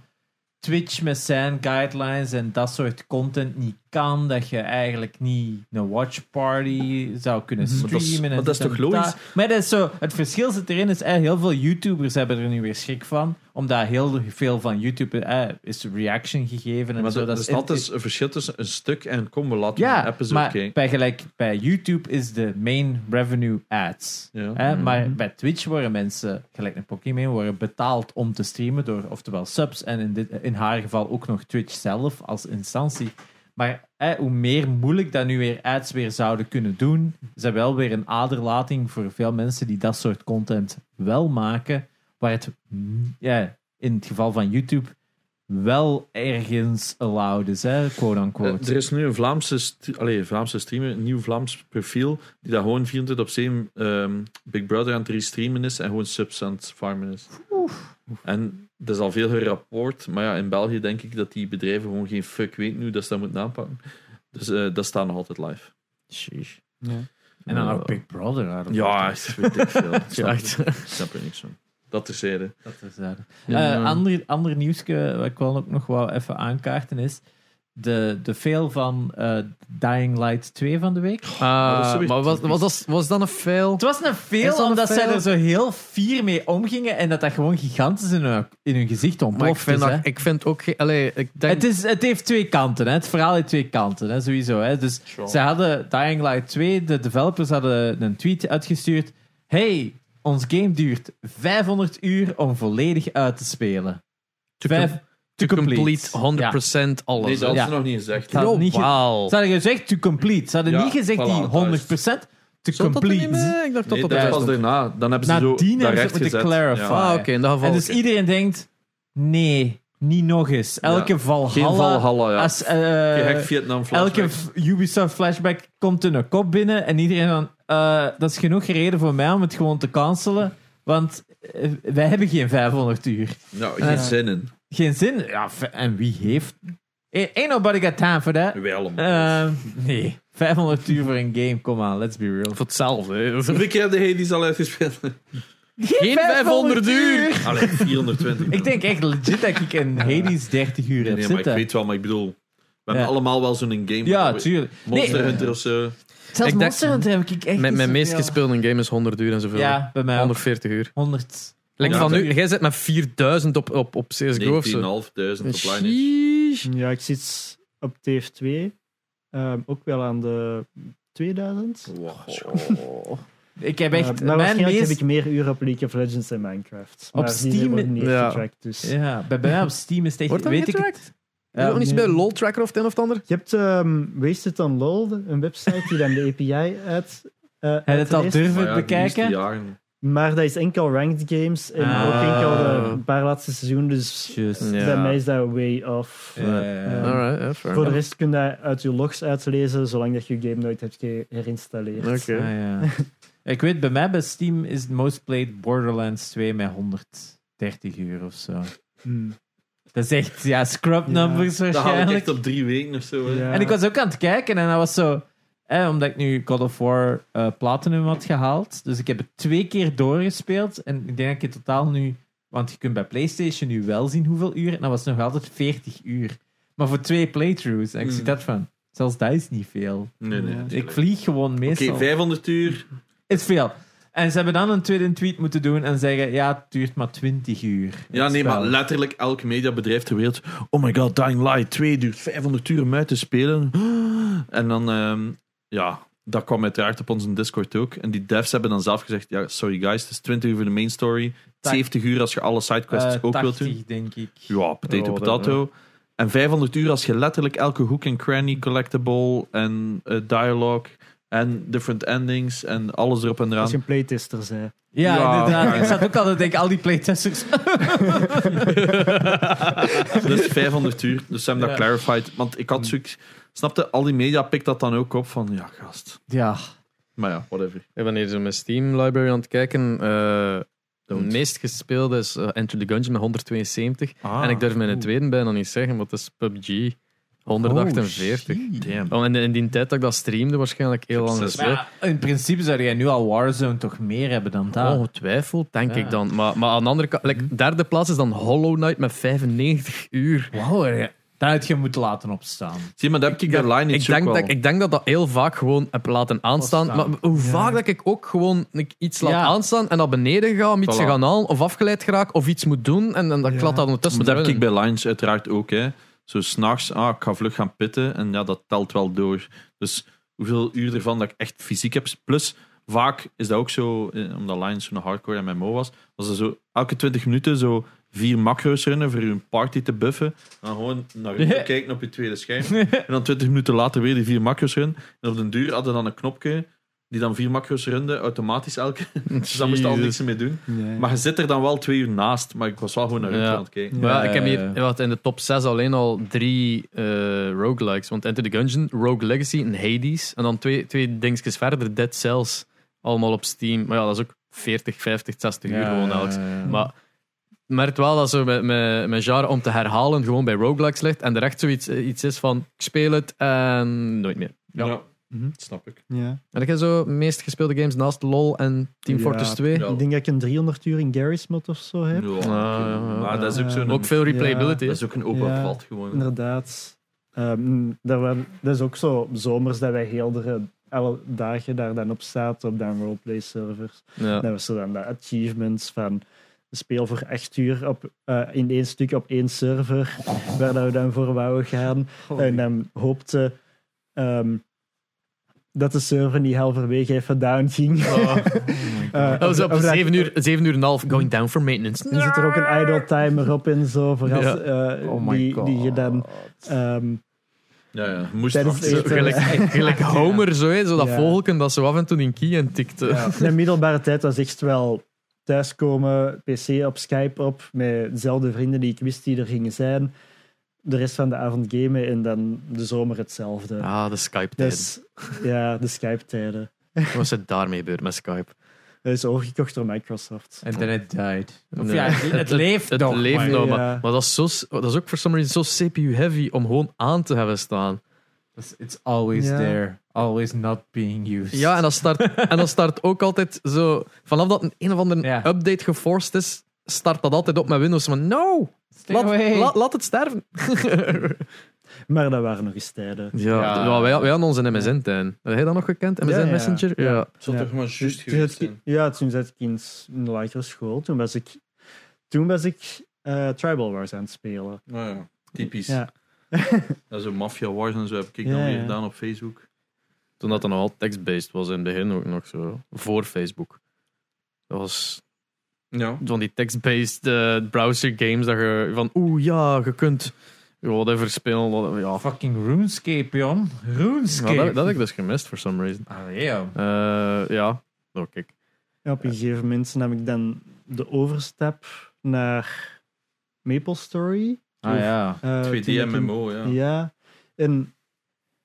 Speaker 1: Twitch met zijn guidelines en dat soort content niet kan. Dat je eigenlijk niet een watch party zou kunnen
Speaker 3: Mhm. Maar dat is-
Speaker 1: streamen. en
Speaker 3: maar dat is
Speaker 1: dit en
Speaker 3: toch logisch?
Speaker 1: dat. Maar dat is zo, het verschil zit erin. Is eigenlijk heel veel YouTubers hebben er nu weer schrik van. Omdat heel veel van YouTube eh, is reaction gegeven. En
Speaker 3: maar
Speaker 1: zo.
Speaker 3: er- er
Speaker 1: is
Speaker 3: is altijd een verschil tussen een stuk en kom, we laten
Speaker 1: ja,
Speaker 3: een app is
Speaker 1: maar
Speaker 3: oké.
Speaker 1: bij, gelijk, bij YouTube is de main revenue ads.
Speaker 3: Ja.
Speaker 1: Hè? Maar bij Twitch worden mensen, gelijk naar Pokémon, worden betaald om te streamen door oftewel subs en in, dit, in haar geval ook nog Twitch zelf als instantie. Maar hè, hoe meer moeilijk dat nu weer ads weer zouden kunnen doen, is dat wel weer een aderlating voor veel mensen die dat soort content wel maken, waar het mm, ja, in het geval van YouTube wel ergens allowed is, hè, quote-unquote.
Speaker 3: Eh, er is nu een Vlaamse, st- allee, Vlaamse streamer, een nieuw Vlaams profiel, die dat gewoon 24 op 7 ehm, Big Brother aan het restreamen is en gewoon subs aan het farmen is. En dat is al veel gerapport, maar ja, in België denk ik dat die bedrijven gewoon geen fuck weten hoe dat ze dat moeten aanpakken. Dus eh, dat staat nog altijd live.
Speaker 1: En dan
Speaker 2: Ja.
Speaker 1: ook Big Brother. out of
Speaker 3: Ja,
Speaker 1: it.
Speaker 3: ik weet ik veel. Ik
Speaker 2: Ja,
Speaker 3: snap,
Speaker 2: echt.
Speaker 3: er- ik snap er niks van. Dat terzijde.
Speaker 1: dat is daar.
Speaker 2: Ja.
Speaker 1: Eh, ander, ander nieuwsje wat ik wel ook nog wel even aankaarten is de, de fail van eh, Dying Light 2 van de week.
Speaker 2: Ah,
Speaker 3: dat is zoiets
Speaker 2: maar was, was, dat, was dat een fail?
Speaker 1: Het was een
Speaker 2: Is
Speaker 1: fail
Speaker 2: dat een
Speaker 1: omdat zij
Speaker 2: fail?
Speaker 1: er zo heel fier mee omgingen en dat dat gewoon gigantisch in hun, in hun gezicht
Speaker 2: Maar ik
Speaker 1: ontploft
Speaker 2: vind,
Speaker 1: is. hè.
Speaker 2: dat, ik vind ook... ge- Allee, ik denk...
Speaker 1: Het, is, het heeft twee kanten. Hè. Het verhaal heeft twee kanten, hè, sowieso. Hè. Dus
Speaker 3: Sure.
Speaker 1: ze hadden Dying Light 2, de developers hadden een tweet uitgestuurd. Hey, ons game duurt 500 uur om volledig uit te spelen.
Speaker 2: to,
Speaker 1: Vijf-
Speaker 2: com- to complete, 100% alles.
Speaker 3: Nee, dat
Speaker 1: Ja.
Speaker 3: is nog niet gezegd.
Speaker 1: Ja.
Speaker 3: hè.
Speaker 1: had
Speaker 2: Yo,
Speaker 1: niet ge-
Speaker 2: wauw.
Speaker 1: Ze hadden gezegd to complete. Ze hadden
Speaker 3: Ja,
Speaker 1: niet gezegd
Speaker 3: voilà,
Speaker 1: die
Speaker 3: juist.
Speaker 1: 100%. To
Speaker 2: Stond dat er niet
Speaker 1: complete.
Speaker 2: mee? Ik dacht
Speaker 3: Nee,
Speaker 2: dat
Speaker 3: dat
Speaker 1: Ja.
Speaker 2: dat
Speaker 3: was
Speaker 2: was.
Speaker 3: daarna. Dan hebben ze zo
Speaker 1: Nadien hebben
Speaker 3: dat
Speaker 1: ze
Speaker 3: recht
Speaker 1: moeten
Speaker 3: gezet.
Speaker 1: clarify.
Speaker 3: Ja.
Speaker 2: Ah, oké, in dat geval.
Speaker 1: En dus iedereen denkt, nee, niet nog eens. Elke
Speaker 3: Ja. Geen
Speaker 1: Valhalla...
Speaker 3: Valhalla, ja.
Speaker 1: Als, eh,
Speaker 3: Je hek Vietnam
Speaker 1: elke
Speaker 3: flashback.
Speaker 1: f- Ubisoft flashback komt in een kop binnen en iedereen van, eh, dat is genoeg reden voor mij om het gewoon te cancelen, want eh, wij hebben geen 500 uur.
Speaker 3: Nou, geen zin in.
Speaker 1: Geen zin. Ja, v- en wie heeft... Eh, Ain't nobody got time for that.
Speaker 3: Wij allemaal.
Speaker 1: Ehm, nee, 500 uur voor een game, kom aan, let's be real.
Speaker 2: Voor hetzelfde. hè.
Speaker 3: Hoeveel keer heb je die al uitgespeeld?
Speaker 2: Geen 500 uur!
Speaker 3: Allee, [laughs] 420.
Speaker 1: Ik denk echt legit dat ik in Hades 30 uur
Speaker 3: Nee,
Speaker 1: heb
Speaker 3: nee, maar ik
Speaker 1: zitten.
Speaker 3: weet wel, maar ik bedoel... We
Speaker 1: Ja.
Speaker 3: hebben allemaal wel zo'n game.
Speaker 1: ja,
Speaker 3: We-
Speaker 1: tuurlijk. Nee,
Speaker 3: Monster Hunter of zo.
Speaker 1: zelfs
Speaker 2: Ik denk-
Speaker 1: Monster Hunter heb ik echt
Speaker 2: Mijn,
Speaker 1: niet
Speaker 2: mijn meest
Speaker 1: zoveel.
Speaker 2: gespeelde game is 100 uur en zoveel.
Speaker 1: Ja, bij mij ook.
Speaker 2: 140 uur.
Speaker 1: 100.
Speaker 2: Like
Speaker 3: Ja,
Speaker 2: van
Speaker 3: dat-
Speaker 2: nu, jij zit met 4000 op, op, op CSGO of zo.
Speaker 3: 19.500 op Lineage.
Speaker 2: Sheesh.
Speaker 4: Ja, ik zit op TF2 ehm, ook wel aan de 2000.
Speaker 1: Ik heb
Speaker 4: Eh,
Speaker 1: echt
Speaker 4: maar
Speaker 1: mijn
Speaker 4: waarschijnlijk
Speaker 1: meest...
Speaker 4: heb ik meer uren op League of Legends en Minecraft. Maar
Speaker 1: Op
Speaker 4: die
Speaker 1: Steam-
Speaker 4: worden niet
Speaker 2: Ja.
Speaker 4: getrackt, dus...
Speaker 1: Ja, bij bij mij op Steam is het echt...
Speaker 2: Wordt dat
Speaker 1: weet ik,
Speaker 2: getrackt? Is er nog niet
Speaker 4: nee.
Speaker 2: bij LOL Tracker of het een of het ander?
Speaker 4: Je hebt ehm, Wasted on LOL, een website die dan [laughs] de API uit. eh,
Speaker 1: Heb je het al
Speaker 3: Maar
Speaker 4: uitleest.
Speaker 1: durven
Speaker 3: ja, de meeste
Speaker 1: bekijken?
Speaker 3: jaren.
Speaker 4: Maar dat is enkel ranked games en
Speaker 1: Ah.
Speaker 4: ook enkel de paar laatste seizoenen. Dus
Speaker 1: Juist.
Speaker 2: Ja.
Speaker 4: bij mij is dat way off.
Speaker 1: Ja, ja, ja.
Speaker 4: Ja.
Speaker 2: Alright, ja, fair
Speaker 4: Voor de
Speaker 2: enough.
Speaker 4: rest kun je dat uit je logs uitlezen, zolang dat je je game nooit hebt ge- herinstalleerd.
Speaker 2: Oké.
Speaker 1: Ah, ja. Ik weet, bij mij bij Steam is het most played Borderlands 2 met 130 uur of zo.
Speaker 4: Hmm.
Speaker 1: Dat is echt, ja, scrub
Speaker 4: Ja.
Speaker 1: numbers
Speaker 3: Dat haal ik
Speaker 1: waarschijnlijk.
Speaker 3: echt op drie weken of zo. hè.
Speaker 4: Ja.
Speaker 1: En ik was ook aan het kijken en dat was zo... Hè, omdat ik nu God of War eh, Platinum had gehaald. Dus ik heb het twee keer doorgespeeld. En ik denk dat ik in totaal nu... Want je kunt bij PlayStation nu wel zien hoeveel uur. En dat was nog altijd 40 uur. Maar voor twee playthroughs. En ik
Speaker 3: Hmm.
Speaker 1: zie dat van... Zelfs dat is niet veel.
Speaker 3: Nee, nee. natuurlijk.
Speaker 1: Ik vlieg gewoon
Speaker 3: Oké,
Speaker 1: meestal.
Speaker 3: 500 uur.
Speaker 1: is veel. En ze hebben dan een tweede tweet moeten doen en zeggen: ja, het duurt maar 20 uur.
Speaker 3: Ja,
Speaker 1: Het
Speaker 3: nee, maar
Speaker 1: spel.
Speaker 3: letterlijk elk mediabedrijf ter wereld. Oh my god, Dying Light 2 duurt 500 uur om uit te spelen. [gasps] En dan, ehm, ja, dat kwam uiteraard op onze Discord ook. En die devs hebben dan zelf gezegd: ja, sorry guys, het is 20 uur voor de main story.
Speaker 1: Ta-
Speaker 3: 70 uur als je alle sidequests
Speaker 1: Eh, Oh,
Speaker 3: ook wilt
Speaker 1: 80,
Speaker 3: doen.
Speaker 1: denk ik.
Speaker 3: Ja, potato,
Speaker 2: Ja, wat
Speaker 3: potato.
Speaker 1: eh.
Speaker 3: En 500 uur als je letterlijk elke hoek en cranny collectible en eh, dialogue en different endings en alles erop en eraan.
Speaker 4: Als je een playtester bent.
Speaker 1: Ja,
Speaker 3: Ja,
Speaker 1: inderdaad.
Speaker 3: ja.
Speaker 1: Ik zat ook altijd te denken: al die playtesters.
Speaker 3: Dus 500 uur. Dus ze hebben dat
Speaker 1: Ja.
Speaker 3: clarified. Want
Speaker 2: Mm.
Speaker 3: ik had zoiets... Snapte, al die media pikt dat dan ook op van... Ja, gast.
Speaker 1: ja,
Speaker 3: Maar ja, whatever.
Speaker 2: Ik ben hier zo mijn Steam library aan het kijken. eh de meest gespeelde is eh, Enter the Gungeon met 172. en ik durf mijn tweede bijna niet zeggen, want dat is PUBG. Oh, 148.
Speaker 3: Damn.
Speaker 2: Oh, en in die tijd dat ik dat streamde, waarschijnlijk heel
Speaker 3: Ik heb
Speaker 2: lang
Speaker 3: zes
Speaker 2: gespeeld.
Speaker 1: Maar in principe zou jij nu al Warzone toch meer hebben dan dat?
Speaker 2: Oh. Ongetwijfeld, denk
Speaker 1: Ja. Hm.
Speaker 2: ik dan. Maar, maar aan de andere kant, like, derde plaats is dan Hollow Knight met 95 uur.
Speaker 1: Wauw, ja. dat had je moeten laten opstaan.
Speaker 3: Zie, maar dat heb ik bij Line
Speaker 2: Ik
Speaker 3: It's ook
Speaker 2: denk,
Speaker 3: wel.
Speaker 2: dat, ik denk dat dat heel vaak gewoon heb laten aanstaan. Maar
Speaker 1: Opstaan.
Speaker 2: hoe vaak dat ik ook gewoon like, iets laat
Speaker 1: Ja.
Speaker 2: aanstaan en naar beneden ga om iets
Speaker 3: Voilà.
Speaker 2: te gaan halen of afgeleid geraak of iets moet doen en, en dat ik laat dat ondertussen
Speaker 3: Maar dat heb ik
Speaker 2: erin.
Speaker 3: bij Lines uiteraard ook, hè. Zo s'nachts, ah, ik ga vlug gaan pitten. En ja, dat telt wel door. Dus hoeveel uur ervan dat ik echt fysiek heb. Plus, vaak is dat ook zo, eh, omdat Lines zo'n hardcore MMO was, was er zo elke 20 minuten zo vier macro's runnen voor hun party te buffen. En dan gewoon naar je kijken op je tweede scherm. En dan 20 minuten later weer die vier macro's runnen. En op den duur hadden we dan een knopje die dan vier macro's runde, automatisch elke. [laughs] Dus daar moest je al
Speaker 2: Jezus.
Speaker 3: niks mee doen.
Speaker 4: Nee.
Speaker 3: Maar je zit er dan wel twee uur naast. Maar ik was wel gewoon naar
Speaker 2: Ja.
Speaker 3: ja. aan het kijken.
Speaker 2: Maar
Speaker 1: Ja,
Speaker 2: ik heb
Speaker 1: ja,
Speaker 2: hier
Speaker 1: ja.
Speaker 2: wat, in de top 6 alleen al drie eh roguelikes. Want Enter the Gungeon, Rogue Legacy en Hades. En dan twee, twee dingetjes verder, Dead Cells. Allemaal op Steam. Maar ja, dat is ook 40, 50, 60 uur gewoon elk. Maar ik merk wel dat zo met, met, met genre om te herhalen gewoon bij roguelikes ligt. En er echt zoiets eh, iets is van, ik speel het en nooit meer.
Speaker 3: Ja,
Speaker 4: Mhm.
Speaker 3: snap ik.
Speaker 4: Ja.
Speaker 2: En ik heb zo meest gespeelde games naast LoL en Team
Speaker 4: Ja.
Speaker 2: Fortress 2.
Speaker 3: Ja.
Speaker 4: Ik denk dat ik een 300 uur in Garry's mod of zo heb.
Speaker 3: Ja,
Speaker 2: ja, ja.
Speaker 3: maar dat is ook
Speaker 4: Ja.
Speaker 3: zo'n...
Speaker 2: Ook veel replayability.
Speaker 3: dat is ook een open
Speaker 4: Ja.
Speaker 3: valt gewoon.
Speaker 4: Inderdaad. Ehm, dat, we- dat is ook zo zomers dat wij heel de alle dagen daar dan op zaten op dan roleplay servers.
Speaker 2: Ja.
Speaker 4: Dan was er dan de achievements van speel voor echt uur op, eh, in één stuk op één server, waar dat we dan voor wouden gaan. En dan hoopte ehm, dat de server niet halverwege even down ging. [laughs] Eh,
Speaker 2: Oh. Dat was op
Speaker 4: of dat-
Speaker 2: 7 uur, 7 uur en een half going down for maintenance.
Speaker 4: Er zit er ook een idle timer op en zo, voor als,
Speaker 2: Ja.
Speaker 4: eh,
Speaker 1: Oh my
Speaker 4: die,
Speaker 1: god.
Speaker 4: die je dan... ehm,
Speaker 3: Ja, ja. Moest
Speaker 4: Tijdens
Speaker 3: achter-
Speaker 2: Zo,
Speaker 4: Eten. [laughs]
Speaker 2: gelijk, gelijk Homer, zo, hè, zo dat
Speaker 4: Ja.
Speaker 2: vogelken dat zo af en toe in Kieën tikte.
Speaker 4: Ja. Mijn middelbare tijd was echt wel thuiskomen, pc op, Skype op, met dezelfde vrienden die ik wist die er gingen zijn. De rest van de avond gamen en dan de zomer hetzelfde.
Speaker 2: Ah, de Skype-tijd.
Speaker 4: dus ja, de Skype-tijden.
Speaker 2: Wat is het daarmee gebeurd met Skype?
Speaker 4: Dat is overgekocht door Microsoft.
Speaker 1: En dan het died. Of
Speaker 2: Nee.
Speaker 1: ja, het, het leeft
Speaker 2: Het
Speaker 1: nog.
Speaker 2: leeft
Speaker 1: maar-
Speaker 2: nog,
Speaker 4: Ja.
Speaker 2: maar, maar dat, is zo, s- dat is ook voor some reason zo CPU-heavy om gewoon aan te hebben staan.
Speaker 1: It's- It's always
Speaker 4: Ja.
Speaker 1: there. Always not being used.
Speaker 2: Ja, en dat
Speaker 4: [laughs]
Speaker 2: start, en dat start ook altijd zo... Vanaf dat een, een of andere
Speaker 1: Ja.
Speaker 2: update geforced is, start dat altijd op met Windows. Maar no!
Speaker 1: Stay
Speaker 2: Laat,
Speaker 1: away.
Speaker 2: laat, laat het sterven.
Speaker 4: Maar dat waren nog eens tijden.
Speaker 2: [laughs] Ja,
Speaker 1: Ja.
Speaker 2: ja, wij, wij hadden onze MSN-tuin. Heb jij dat nog gekend? MSN
Speaker 4: Ja, ja.
Speaker 2: Messenger? Ja.
Speaker 3: Het zal
Speaker 4: Ja.
Speaker 3: toch maar juist
Speaker 4: Toen zat
Speaker 3: geweest
Speaker 4: ik-
Speaker 3: zijn.
Speaker 4: ja, toen zat ik in s- in de lagere school. Toen was ik, toen was ik eh, Tribal Wars aan het spelen.
Speaker 3: Nou ja, typisch.
Speaker 4: Ja.
Speaker 3: Dat is een Mafia Wars en zo heb ik dan
Speaker 4: Ja,
Speaker 3: weer
Speaker 4: ja.
Speaker 3: gedaan op Facebook.
Speaker 2: Toen dat dan nog al text-based was in het begin ook nog zo. Voor Facebook. Dat was
Speaker 3: Ja.
Speaker 2: van die text-based eh, browser games dat je van oeh ja, je kunt Ja, whatever spelen. whatever, ja.
Speaker 1: Oh, Fucking RuneScape, Jan.
Speaker 2: Ja,
Speaker 1: RuneScape. Ah,
Speaker 2: dat, dat heb ik dus gemist, for some reason.
Speaker 1: Allee, joh.
Speaker 2: Eh, ja, oh, kijk.
Speaker 4: En op een gegeven moment heb ik dan de overstap naar MapleStory.
Speaker 1: Ah ja.
Speaker 4: Eh, toen
Speaker 3: 2D
Speaker 4: dat toen-
Speaker 3: MMO, ja.
Speaker 4: Ja. En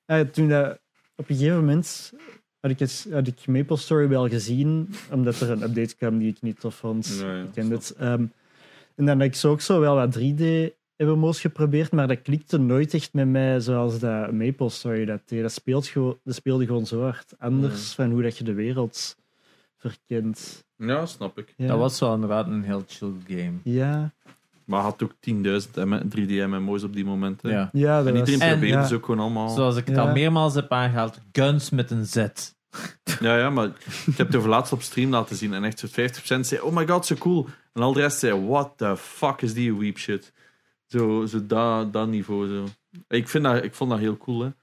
Speaker 4: eh, toen dat, op een gegeven moment had ik, eens, had ik MapleStory wel gezien, omdat er een update kwam die ik niet tof vond.
Speaker 3: Ja, ja,
Speaker 4: ik ken het. Ehm, en dan heb ik zo ook zo wel wat 3D MMO's geprobeerd, maar dat klikte nooit echt met mij zoals dat MapleStory dat deed. Dat, speelt gewoon, dat speelde gewoon zo hard anders van hoe dat je de wereld verkent.
Speaker 3: Ja, snap ik.
Speaker 4: Ja.
Speaker 1: Dat was wel inderdaad een heel chill game.
Speaker 4: Ja,
Speaker 3: Maar had ook 10.000 M- 3D MMO's op die momenten.
Speaker 1: Ja.
Speaker 4: ja dat
Speaker 3: En
Speaker 4: was-
Speaker 3: iedereen
Speaker 1: En-
Speaker 3: probeerde
Speaker 4: ja.
Speaker 3: ze ook gewoon allemaal.
Speaker 1: Zoals ik het
Speaker 4: Ja.
Speaker 1: al meermaals heb aangehaald, guns met een Z.
Speaker 3: Ja, ja, maar ik heb het over laatst op stream laten zien. En echt zo'n 50% zei, oh my god, zo cool. En al de rest zei, what the fuck is die weep shit. Zo, zo dat, dat niveau. Zo. Ik, vind dat, ik vond dat heel cool, hè.
Speaker 4: Ik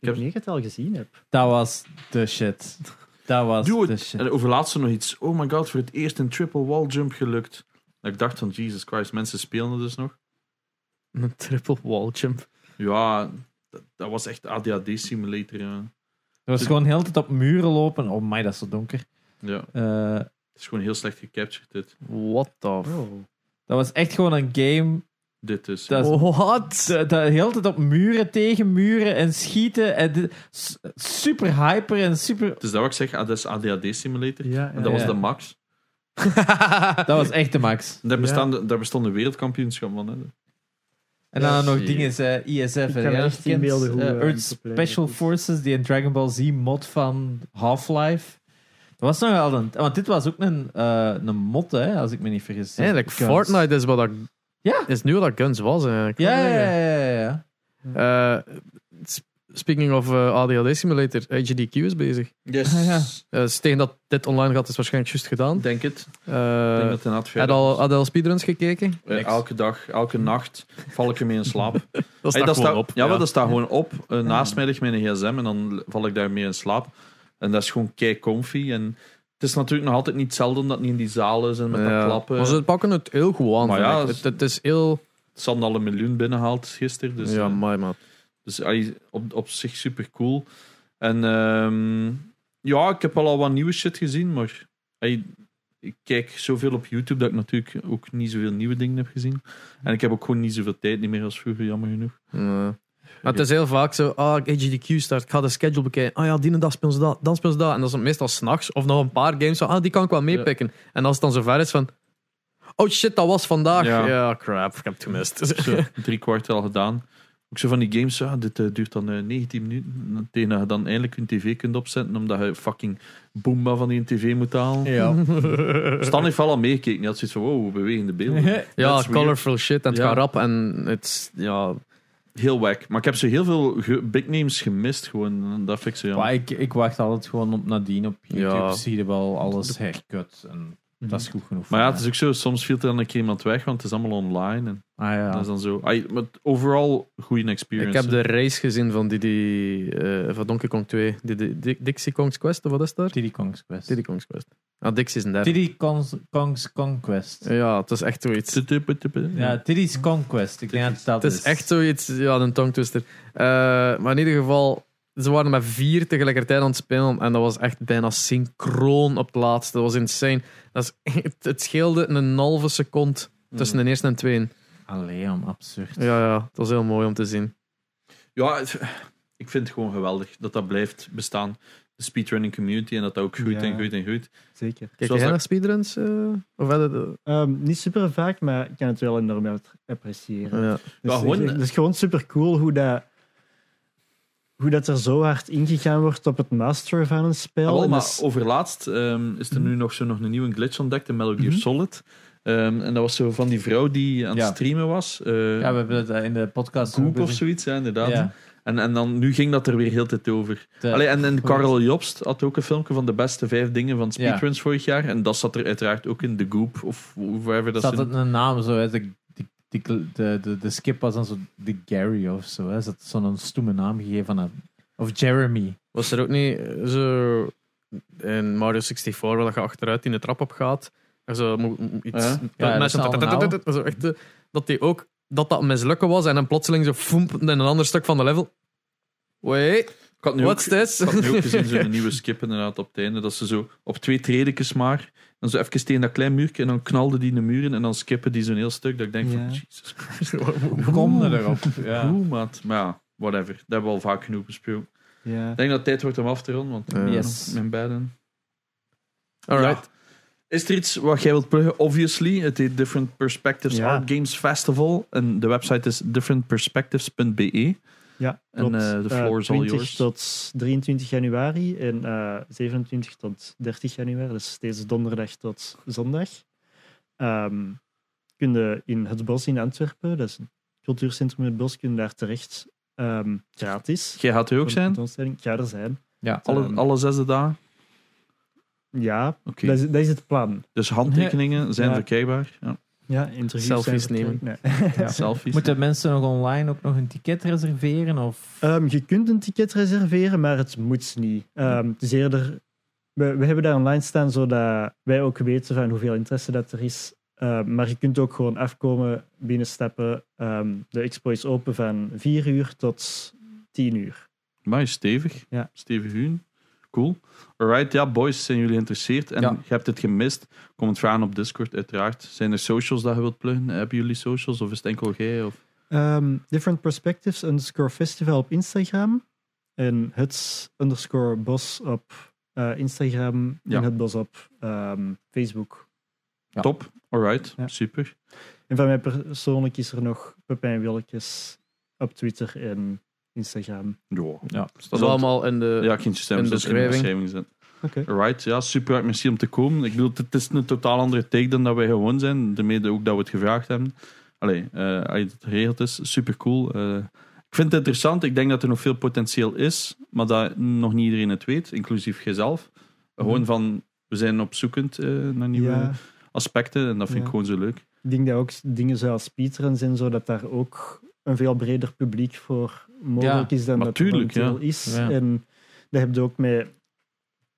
Speaker 4: weet niet of ik het al gezien heb.
Speaker 1: Dat was de shit. Dat was
Speaker 3: Doe
Speaker 1: de
Speaker 3: het.
Speaker 1: shit.
Speaker 3: En over laatst nog iets. Oh my god, voor het eerst een triple wall jump gelukt. Dat ik dacht van, Jesus Christ, mensen spelen het dus nog.
Speaker 2: Een triple wall jump.
Speaker 3: Ja, dat, dat was echt ADHD-simulator, ja.
Speaker 1: Dat was gewoon heel de tijd op muren lopen. Oh my, dat is zo donker.
Speaker 3: ja.
Speaker 1: Eh,
Speaker 3: Het is gewoon heel slecht gecaptured, dit.
Speaker 2: What the f...
Speaker 4: Oh.
Speaker 1: dat was echt gewoon een game.
Speaker 3: Dit dus.
Speaker 1: Dat is
Speaker 2: What?
Speaker 1: de, de hele tijd op muren, tegen muren en schieten. En dit- s- super hyper en super...
Speaker 3: [laughs] Het is dat wat ik zeg, ah, dat is ADHD-simulator.
Speaker 4: Ja,
Speaker 3: En
Speaker 4: ja.
Speaker 3: dat was
Speaker 1: Ja.
Speaker 3: de max.
Speaker 1: Dat was echt de max.
Speaker 3: Daar,
Speaker 4: Ja.
Speaker 3: bestaan, daar bestond een wereldkampioenschap van. Hè.
Speaker 1: En dan
Speaker 3: Ja,
Speaker 1: nog
Speaker 3: zie je.
Speaker 1: dingen, eh, ISF. hè,
Speaker 4: kan
Speaker 1: ja,
Speaker 4: echt niet
Speaker 1: kent,
Speaker 4: beelden hoe,
Speaker 1: eh,
Speaker 4: eh,
Speaker 1: Earth
Speaker 4: multiplayer
Speaker 1: Special
Speaker 4: is.
Speaker 1: Forces, die een Dragon Ball Z mod van Half-Life. Dat was nog wel een... Want dit was ook een, eh, een mod, hè, als ik me niet vergis.
Speaker 2: Eigenlijk,
Speaker 1: Guns.
Speaker 2: Fortnite is, wat dat,
Speaker 1: Ja.
Speaker 2: is nu wat dat Guns was. Eigenlijk.
Speaker 1: Ja, ja, ja, ja, ja, ja.
Speaker 2: Eh, sp- speaking of eh, ADHD Simulator, HDQ is bezig.
Speaker 3: Yes.
Speaker 1: Ah, ja.
Speaker 2: Eh, dus tegen dat dit online gaat, is waarschijnlijk juist gedaan.
Speaker 3: Denk het. Ik
Speaker 2: Eh,
Speaker 3: denk dat het inderdaad
Speaker 2: had
Speaker 3: verder
Speaker 2: al,
Speaker 3: is.
Speaker 2: had al speedruns gekeken?
Speaker 3: Eh, elke dag, elke nacht val ik ermee in slaap. Hey,
Speaker 2: [laughs] Dat staat gewoon op.
Speaker 3: Ja, maar dat staat gewoon op. eh, naast mij ligt mijn gsm en dan l- val ik daarmee in slaap. En dat is gewoon kei comfy. En het is natuurlijk nog altijd niet zelden dat het niet in die zaal is en met
Speaker 2: Ja.
Speaker 3: dat klappen.
Speaker 2: Maar ze pakken het heel goed aan.
Speaker 3: Maar
Speaker 2: vind
Speaker 3: ja,
Speaker 2: ik.
Speaker 3: dat is-
Speaker 2: het, het is heel...
Speaker 3: Sam al een miljoen binnenhaalt gisteren. Dus,
Speaker 2: ja,
Speaker 3: eh,
Speaker 2: mooi man.
Speaker 3: Dus allee, op, op zich super cool. En ehm, ja, ik heb wel al wat nieuwe shit gezien, maar allee, ik kijk zoveel op YouTube dat ik natuurlijk ook niet zoveel nieuwe dingen heb gezien. En ik heb ook gewoon niet zoveel tijd niet meer als vroeger, jammer genoeg.
Speaker 2: Ja. Maar het is heel vaak zo, ah, HDQ start, ik ga de schedule bekijken. Ah ja, die ene dag spelen ze dat, dan spelen ze dat. En dat is meestal s'nachts of nog een paar games. Zo, ah, die kan ik wel meepikken. En als het dan zover is van, oh shit, dat was vandaag. Ja,
Speaker 3: Ja.
Speaker 2: crap, ik heb het gemist. [laughs]
Speaker 3: [laughs] Zo, drie kwart al gedaan. Ook zo van die games, ja, dit eh, duurt dan eh, 19 minuten. En Tegen dat je dan eindelijk je tv kunt opzetten, omdat je fucking Boomba van die tv moet halen. Stan heeft wel al meegekeken. Hij had zoiets van, wow, bewegende beelden.
Speaker 2: eh, [laughs] ja,
Speaker 3: That's weird.
Speaker 2: colorful shit en het
Speaker 3: Ja.
Speaker 2: gaat rap. En het is, ja...
Speaker 3: Heel wack. Maar ik heb zo heel veel ge- big names gemist. Gewoon. En Dat vind ik zo jammer.
Speaker 1: Maar ik, ik wacht altijd gewoon op nadien op YouTube.
Speaker 2: Ja.
Speaker 1: Zie je wel alles herkut. En dat is goed genoeg.
Speaker 3: Mhm. Maar ja,
Speaker 1: voor
Speaker 3: het is ook zo. Soms viel er dan een keer iemand weg, want het is allemaal online. En
Speaker 1: mij. Ah,
Speaker 3: dat
Speaker 1: ja.
Speaker 3: is dan zo. Ai, maar overal goede
Speaker 2: Ik
Speaker 3: experience.
Speaker 2: heb de race gezien van Diddy... eh, van Donkey Kong 2. Diddy, Di- Dixie Kong's Quest, of wat is daar?
Speaker 1: Diddy Kong's Quest.
Speaker 2: Diddy Kong's Quest. Ah, Dixie is een derde.
Speaker 1: Diddy Kong's, Kong's Conquest.
Speaker 2: Ja, het is echt zoiets.
Speaker 1: Ja, Diddy's Conquest. Ik denk dat dat
Speaker 2: Het is echt zoiets, ja, een tongtwister. Eh, maar in ieder geval, ze waren met vier tegelijkertijd aan het spelen. En dat was echt bijna synchroon op het laatste. Dat was insane. Dat is, [laughs] het, het scheelde een halve seconde tussen de eerste en de tweede.
Speaker 1: Allee, om absurd.
Speaker 2: Ja, ja, dat was heel mooi om te zien.
Speaker 3: Ja, het- ik vind het gewoon geweldig dat dat blijft bestaan. De speedrunning community en dat dat ook groeit
Speaker 4: Ja.
Speaker 3: en groeit en groeit.
Speaker 4: Zeker.
Speaker 2: Kijk,
Speaker 3: Zoals
Speaker 2: jij
Speaker 3: dat-
Speaker 2: naar speedruns? eh? of hadden de...
Speaker 4: Ehm, niet super vaak, maar ik kan het wel enorm uit- appreciëren.
Speaker 2: Ja.
Speaker 4: Dus
Speaker 3: Ja, gewoon-
Speaker 4: ik- Het is gewoon super cool hoe dat, hoe dat er zo hard ingegaan wordt op het masteren van een spel.
Speaker 3: Ah, wel,
Speaker 4: En dus-
Speaker 3: maar
Speaker 4: dat is-
Speaker 3: overlaatst ehm, is er nu nog, zo nog een nieuwe glitch ontdekt in Metal Gear Solid. Ehm, en dat was zo van die vrouw die aan het
Speaker 1: Ja.
Speaker 3: streamen was. eh
Speaker 1: Ja, we hebben het in de podcast...
Speaker 3: Coop of zoiets, ja, inderdaad.
Speaker 1: Ja.
Speaker 3: En, en dan, nu ging dat er weer heel de tijd over.
Speaker 1: De-
Speaker 3: Allee, en, en Karel Jobst had ook een filmpje van de beste vijf dingen van speedruns vorig jaar. En dat zat er uiteraard ook in The Goop of wherever dat
Speaker 1: zat
Speaker 3: zat.
Speaker 1: het een naam zo, hè? De, de, de, de, de, de skip was dan zo de Gary of zo. Hè? Ze had zo'n stoeme naam gegeven aan Of Jeremy.
Speaker 2: Was er ook niet eh, zo in Mario 64 waar dat je achteruit in de trap op gaat? Er zo mo- mo- iets.
Speaker 3: Ja.
Speaker 2: dat
Speaker 1: Ja, dat
Speaker 2: mensen-
Speaker 1: is allemaal.
Speaker 2: zo echt, eh, dat die ook dat dat mislukken was en dan plotseling zo foemp in een ander stuk van de level. Wait,
Speaker 3: Ik had nu ook-
Speaker 2: what's this?
Speaker 3: Ik had nu ook gezien, zo'n nieuwe skip inderdaad op het einde, dat ze zo op twee tredekjes maar, dan zo even tegen dat klein muurtje en dan knalde die in de muren en dan skippen die zo'n heel stuk. Dat ik denk
Speaker 1: Ja.
Speaker 3: van, Jesus Christ,
Speaker 1: Hoe kom je [laughs] erop?
Speaker 3: ja.
Speaker 1: Ja.
Speaker 3: hoe maat. Maar ja, whatever. Dat hebben we al vaak genoeg besproken.
Speaker 1: Ja.
Speaker 3: Ik denk dat het tijd wordt om af te ronden, want
Speaker 2: Ja.
Speaker 1: Yes.
Speaker 3: mijn beiden...
Speaker 2: Alright.
Speaker 3: Ja. Is er iets wat jij wilt pluggen? Obviously, het heet Different Perspectives
Speaker 4: Ja.
Speaker 3: Art Games Festival. En de website is differentperspectives.be.
Speaker 4: Ja,
Speaker 3: En,
Speaker 4: klopt.
Speaker 3: eh, the
Speaker 4: Eh,
Speaker 3: floor is all
Speaker 4: 20
Speaker 3: yours.
Speaker 4: tot 23 januari en eh, 27 tot 30 januari, dus steeds donderdag tot zondag. Ehm kun je in het bos in Antwerpen, dat is het cultuurcentrum in het bos, kun je daar terecht ehm, gratis.
Speaker 3: Jij gaat er ook
Speaker 4: Voor de
Speaker 3: zijn?
Speaker 4: tentoonstelling. Ik ga er zijn.
Speaker 2: Ja,
Speaker 3: Alle,
Speaker 4: Ehm,
Speaker 3: alle zesde dagen?
Speaker 4: Ja,
Speaker 3: Oké.
Speaker 4: dat, is, dat is het plan.
Speaker 3: Dus handtekeningen zijn
Speaker 4: Ja.
Speaker 3: verkrijgbaar. Ja.
Speaker 4: Ja, interviews
Speaker 2: Selfies
Speaker 4: zijn verkrijg- Nee. [laughs]
Speaker 1: Ja.
Speaker 3: Selfies.
Speaker 1: Moeten mensen nog online ook nog een ticket reserveren? Of...
Speaker 4: Ehm, je kunt een ticket reserveren, maar het moet niet. Ehm, het is eerder... We, we hebben daar online staan, zodat wij ook weten van hoeveel interesse dat er is. Ehm, maar je kunt ook gewoon afkomen, binnenstappen. Ehm, de expo is open van 4 uur tot 10 uur.
Speaker 3: Maar is stevig.
Speaker 4: Ja.
Speaker 3: Stevig huun. Cool. Alright, ja, boys, zijn jullie geïnteresseerd? En
Speaker 2: Ja.
Speaker 3: je hebt het gemist? Kom het vragen op Discord, uiteraard. Zijn er socials dat je wilt pluggen? Hebben jullie socials? Of is het enkel jij? Of...
Speaker 4: Ehm, different Perspectives underscore festival op Instagram. En het underscore bos op eh, Instagram.
Speaker 3: Ja.
Speaker 4: En het bos op ehm, Facebook.
Speaker 2: Ja.
Speaker 3: Top. Alright,
Speaker 4: Ja.
Speaker 3: super.
Speaker 4: En van mij persoonlijk is er nog Pepijn Wilkes op Twitter en Instagram.
Speaker 3: Ja.
Speaker 1: Ja.
Speaker 2: dat is allemaal in de...
Speaker 3: Ja, kindjes stem,
Speaker 2: in de
Speaker 3: dat is in de
Speaker 2: beschrijving.
Speaker 3: beschrijving zitten.
Speaker 4: Eh, Oké.
Speaker 3: Alright, ja, super hard merci om te komen. Ik bedoel, het is een totaal andere take dan dat wij gewoon zijn. Daarmee ook dat we het gevraagd hebben. Allee, eh, als je het geregeld is, super cool. Eh, ik vind het interessant. Ik denk dat er nog veel potentieel is, maar dat nog niet iedereen het weet, inclusief jijzelf. Gewoon van, we zijn opzoekend eh, naar nieuwe
Speaker 4: Mhm. Ja,
Speaker 3: aspecten en dat vind
Speaker 4: Ja.
Speaker 3: ik gewoon zo leuk.
Speaker 4: ik denk dat ook dingen zoals speedruns en zo, dat daar ook een veel breder publiek voor mogelijk is dan
Speaker 3: maar
Speaker 4: dat
Speaker 3: tuurlijk,
Speaker 4: er momenteel is.
Speaker 1: Ja.
Speaker 4: En dat heb je ook met,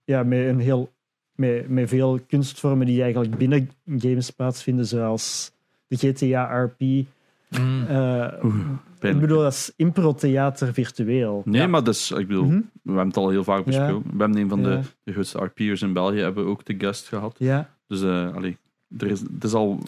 Speaker 4: ja, met, een heel, met, met veel kunstvormen die eigenlijk binnen games plaatsvinden, zoals de GTA RP.
Speaker 1: Mm.
Speaker 4: Eh, ik
Speaker 3: Pijnlijk.
Speaker 4: bedoel, dat is impro-theater virtueel.
Speaker 3: Nee,
Speaker 1: Ja.
Speaker 3: maar dat is, ik bedoel,
Speaker 4: Mhm.
Speaker 3: we hebben het al heel vaak besproken. We hebben een van de,
Speaker 4: Ja.
Speaker 3: de grootste RP'ers in België, hebben we ook de guest gehad.
Speaker 4: Ja.
Speaker 3: Dus eh allee, er is, het is al.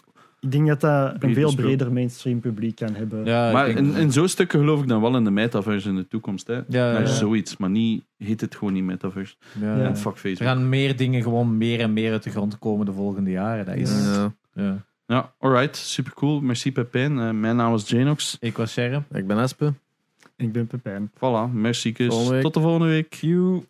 Speaker 4: Ik denk dat dat een
Speaker 3: Breder
Speaker 4: veel
Speaker 3: speel.
Speaker 4: breder mainstream publiek kan hebben.
Speaker 1: Ja,
Speaker 3: maar
Speaker 1: ik denk-
Speaker 3: in, in zo'n stukken geloof ik dan wel in de metaverse in de toekomst. Hè.
Speaker 1: ja,
Speaker 3: Maar
Speaker 1: ja,
Speaker 3: zoiets, maar niet, heet het gewoon niet metaverse.
Speaker 1: ja.
Speaker 4: Ja.
Speaker 3: En fuck
Speaker 1: Er
Speaker 3: Facebook.
Speaker 1: gaan meer dingen gewoon meer en meer uit de grond komen de volgende jaren. Dat is, ja.
Speaker 2: Ja.
Speaker 3: Ja, alright, super cool. Merci Pepijn. Eh, mijn naam is Janox.
Speaker 1: Ik was Sherm.
Speaker 2: Ik ben Espe.
Speaker 4: Ik ben Pepijn.
Speaker 3: Voilà, merci. kus.
Speaker 2: Volgende week.
Speaker 3: Tot de volgende week.
Speaker 1: Pew.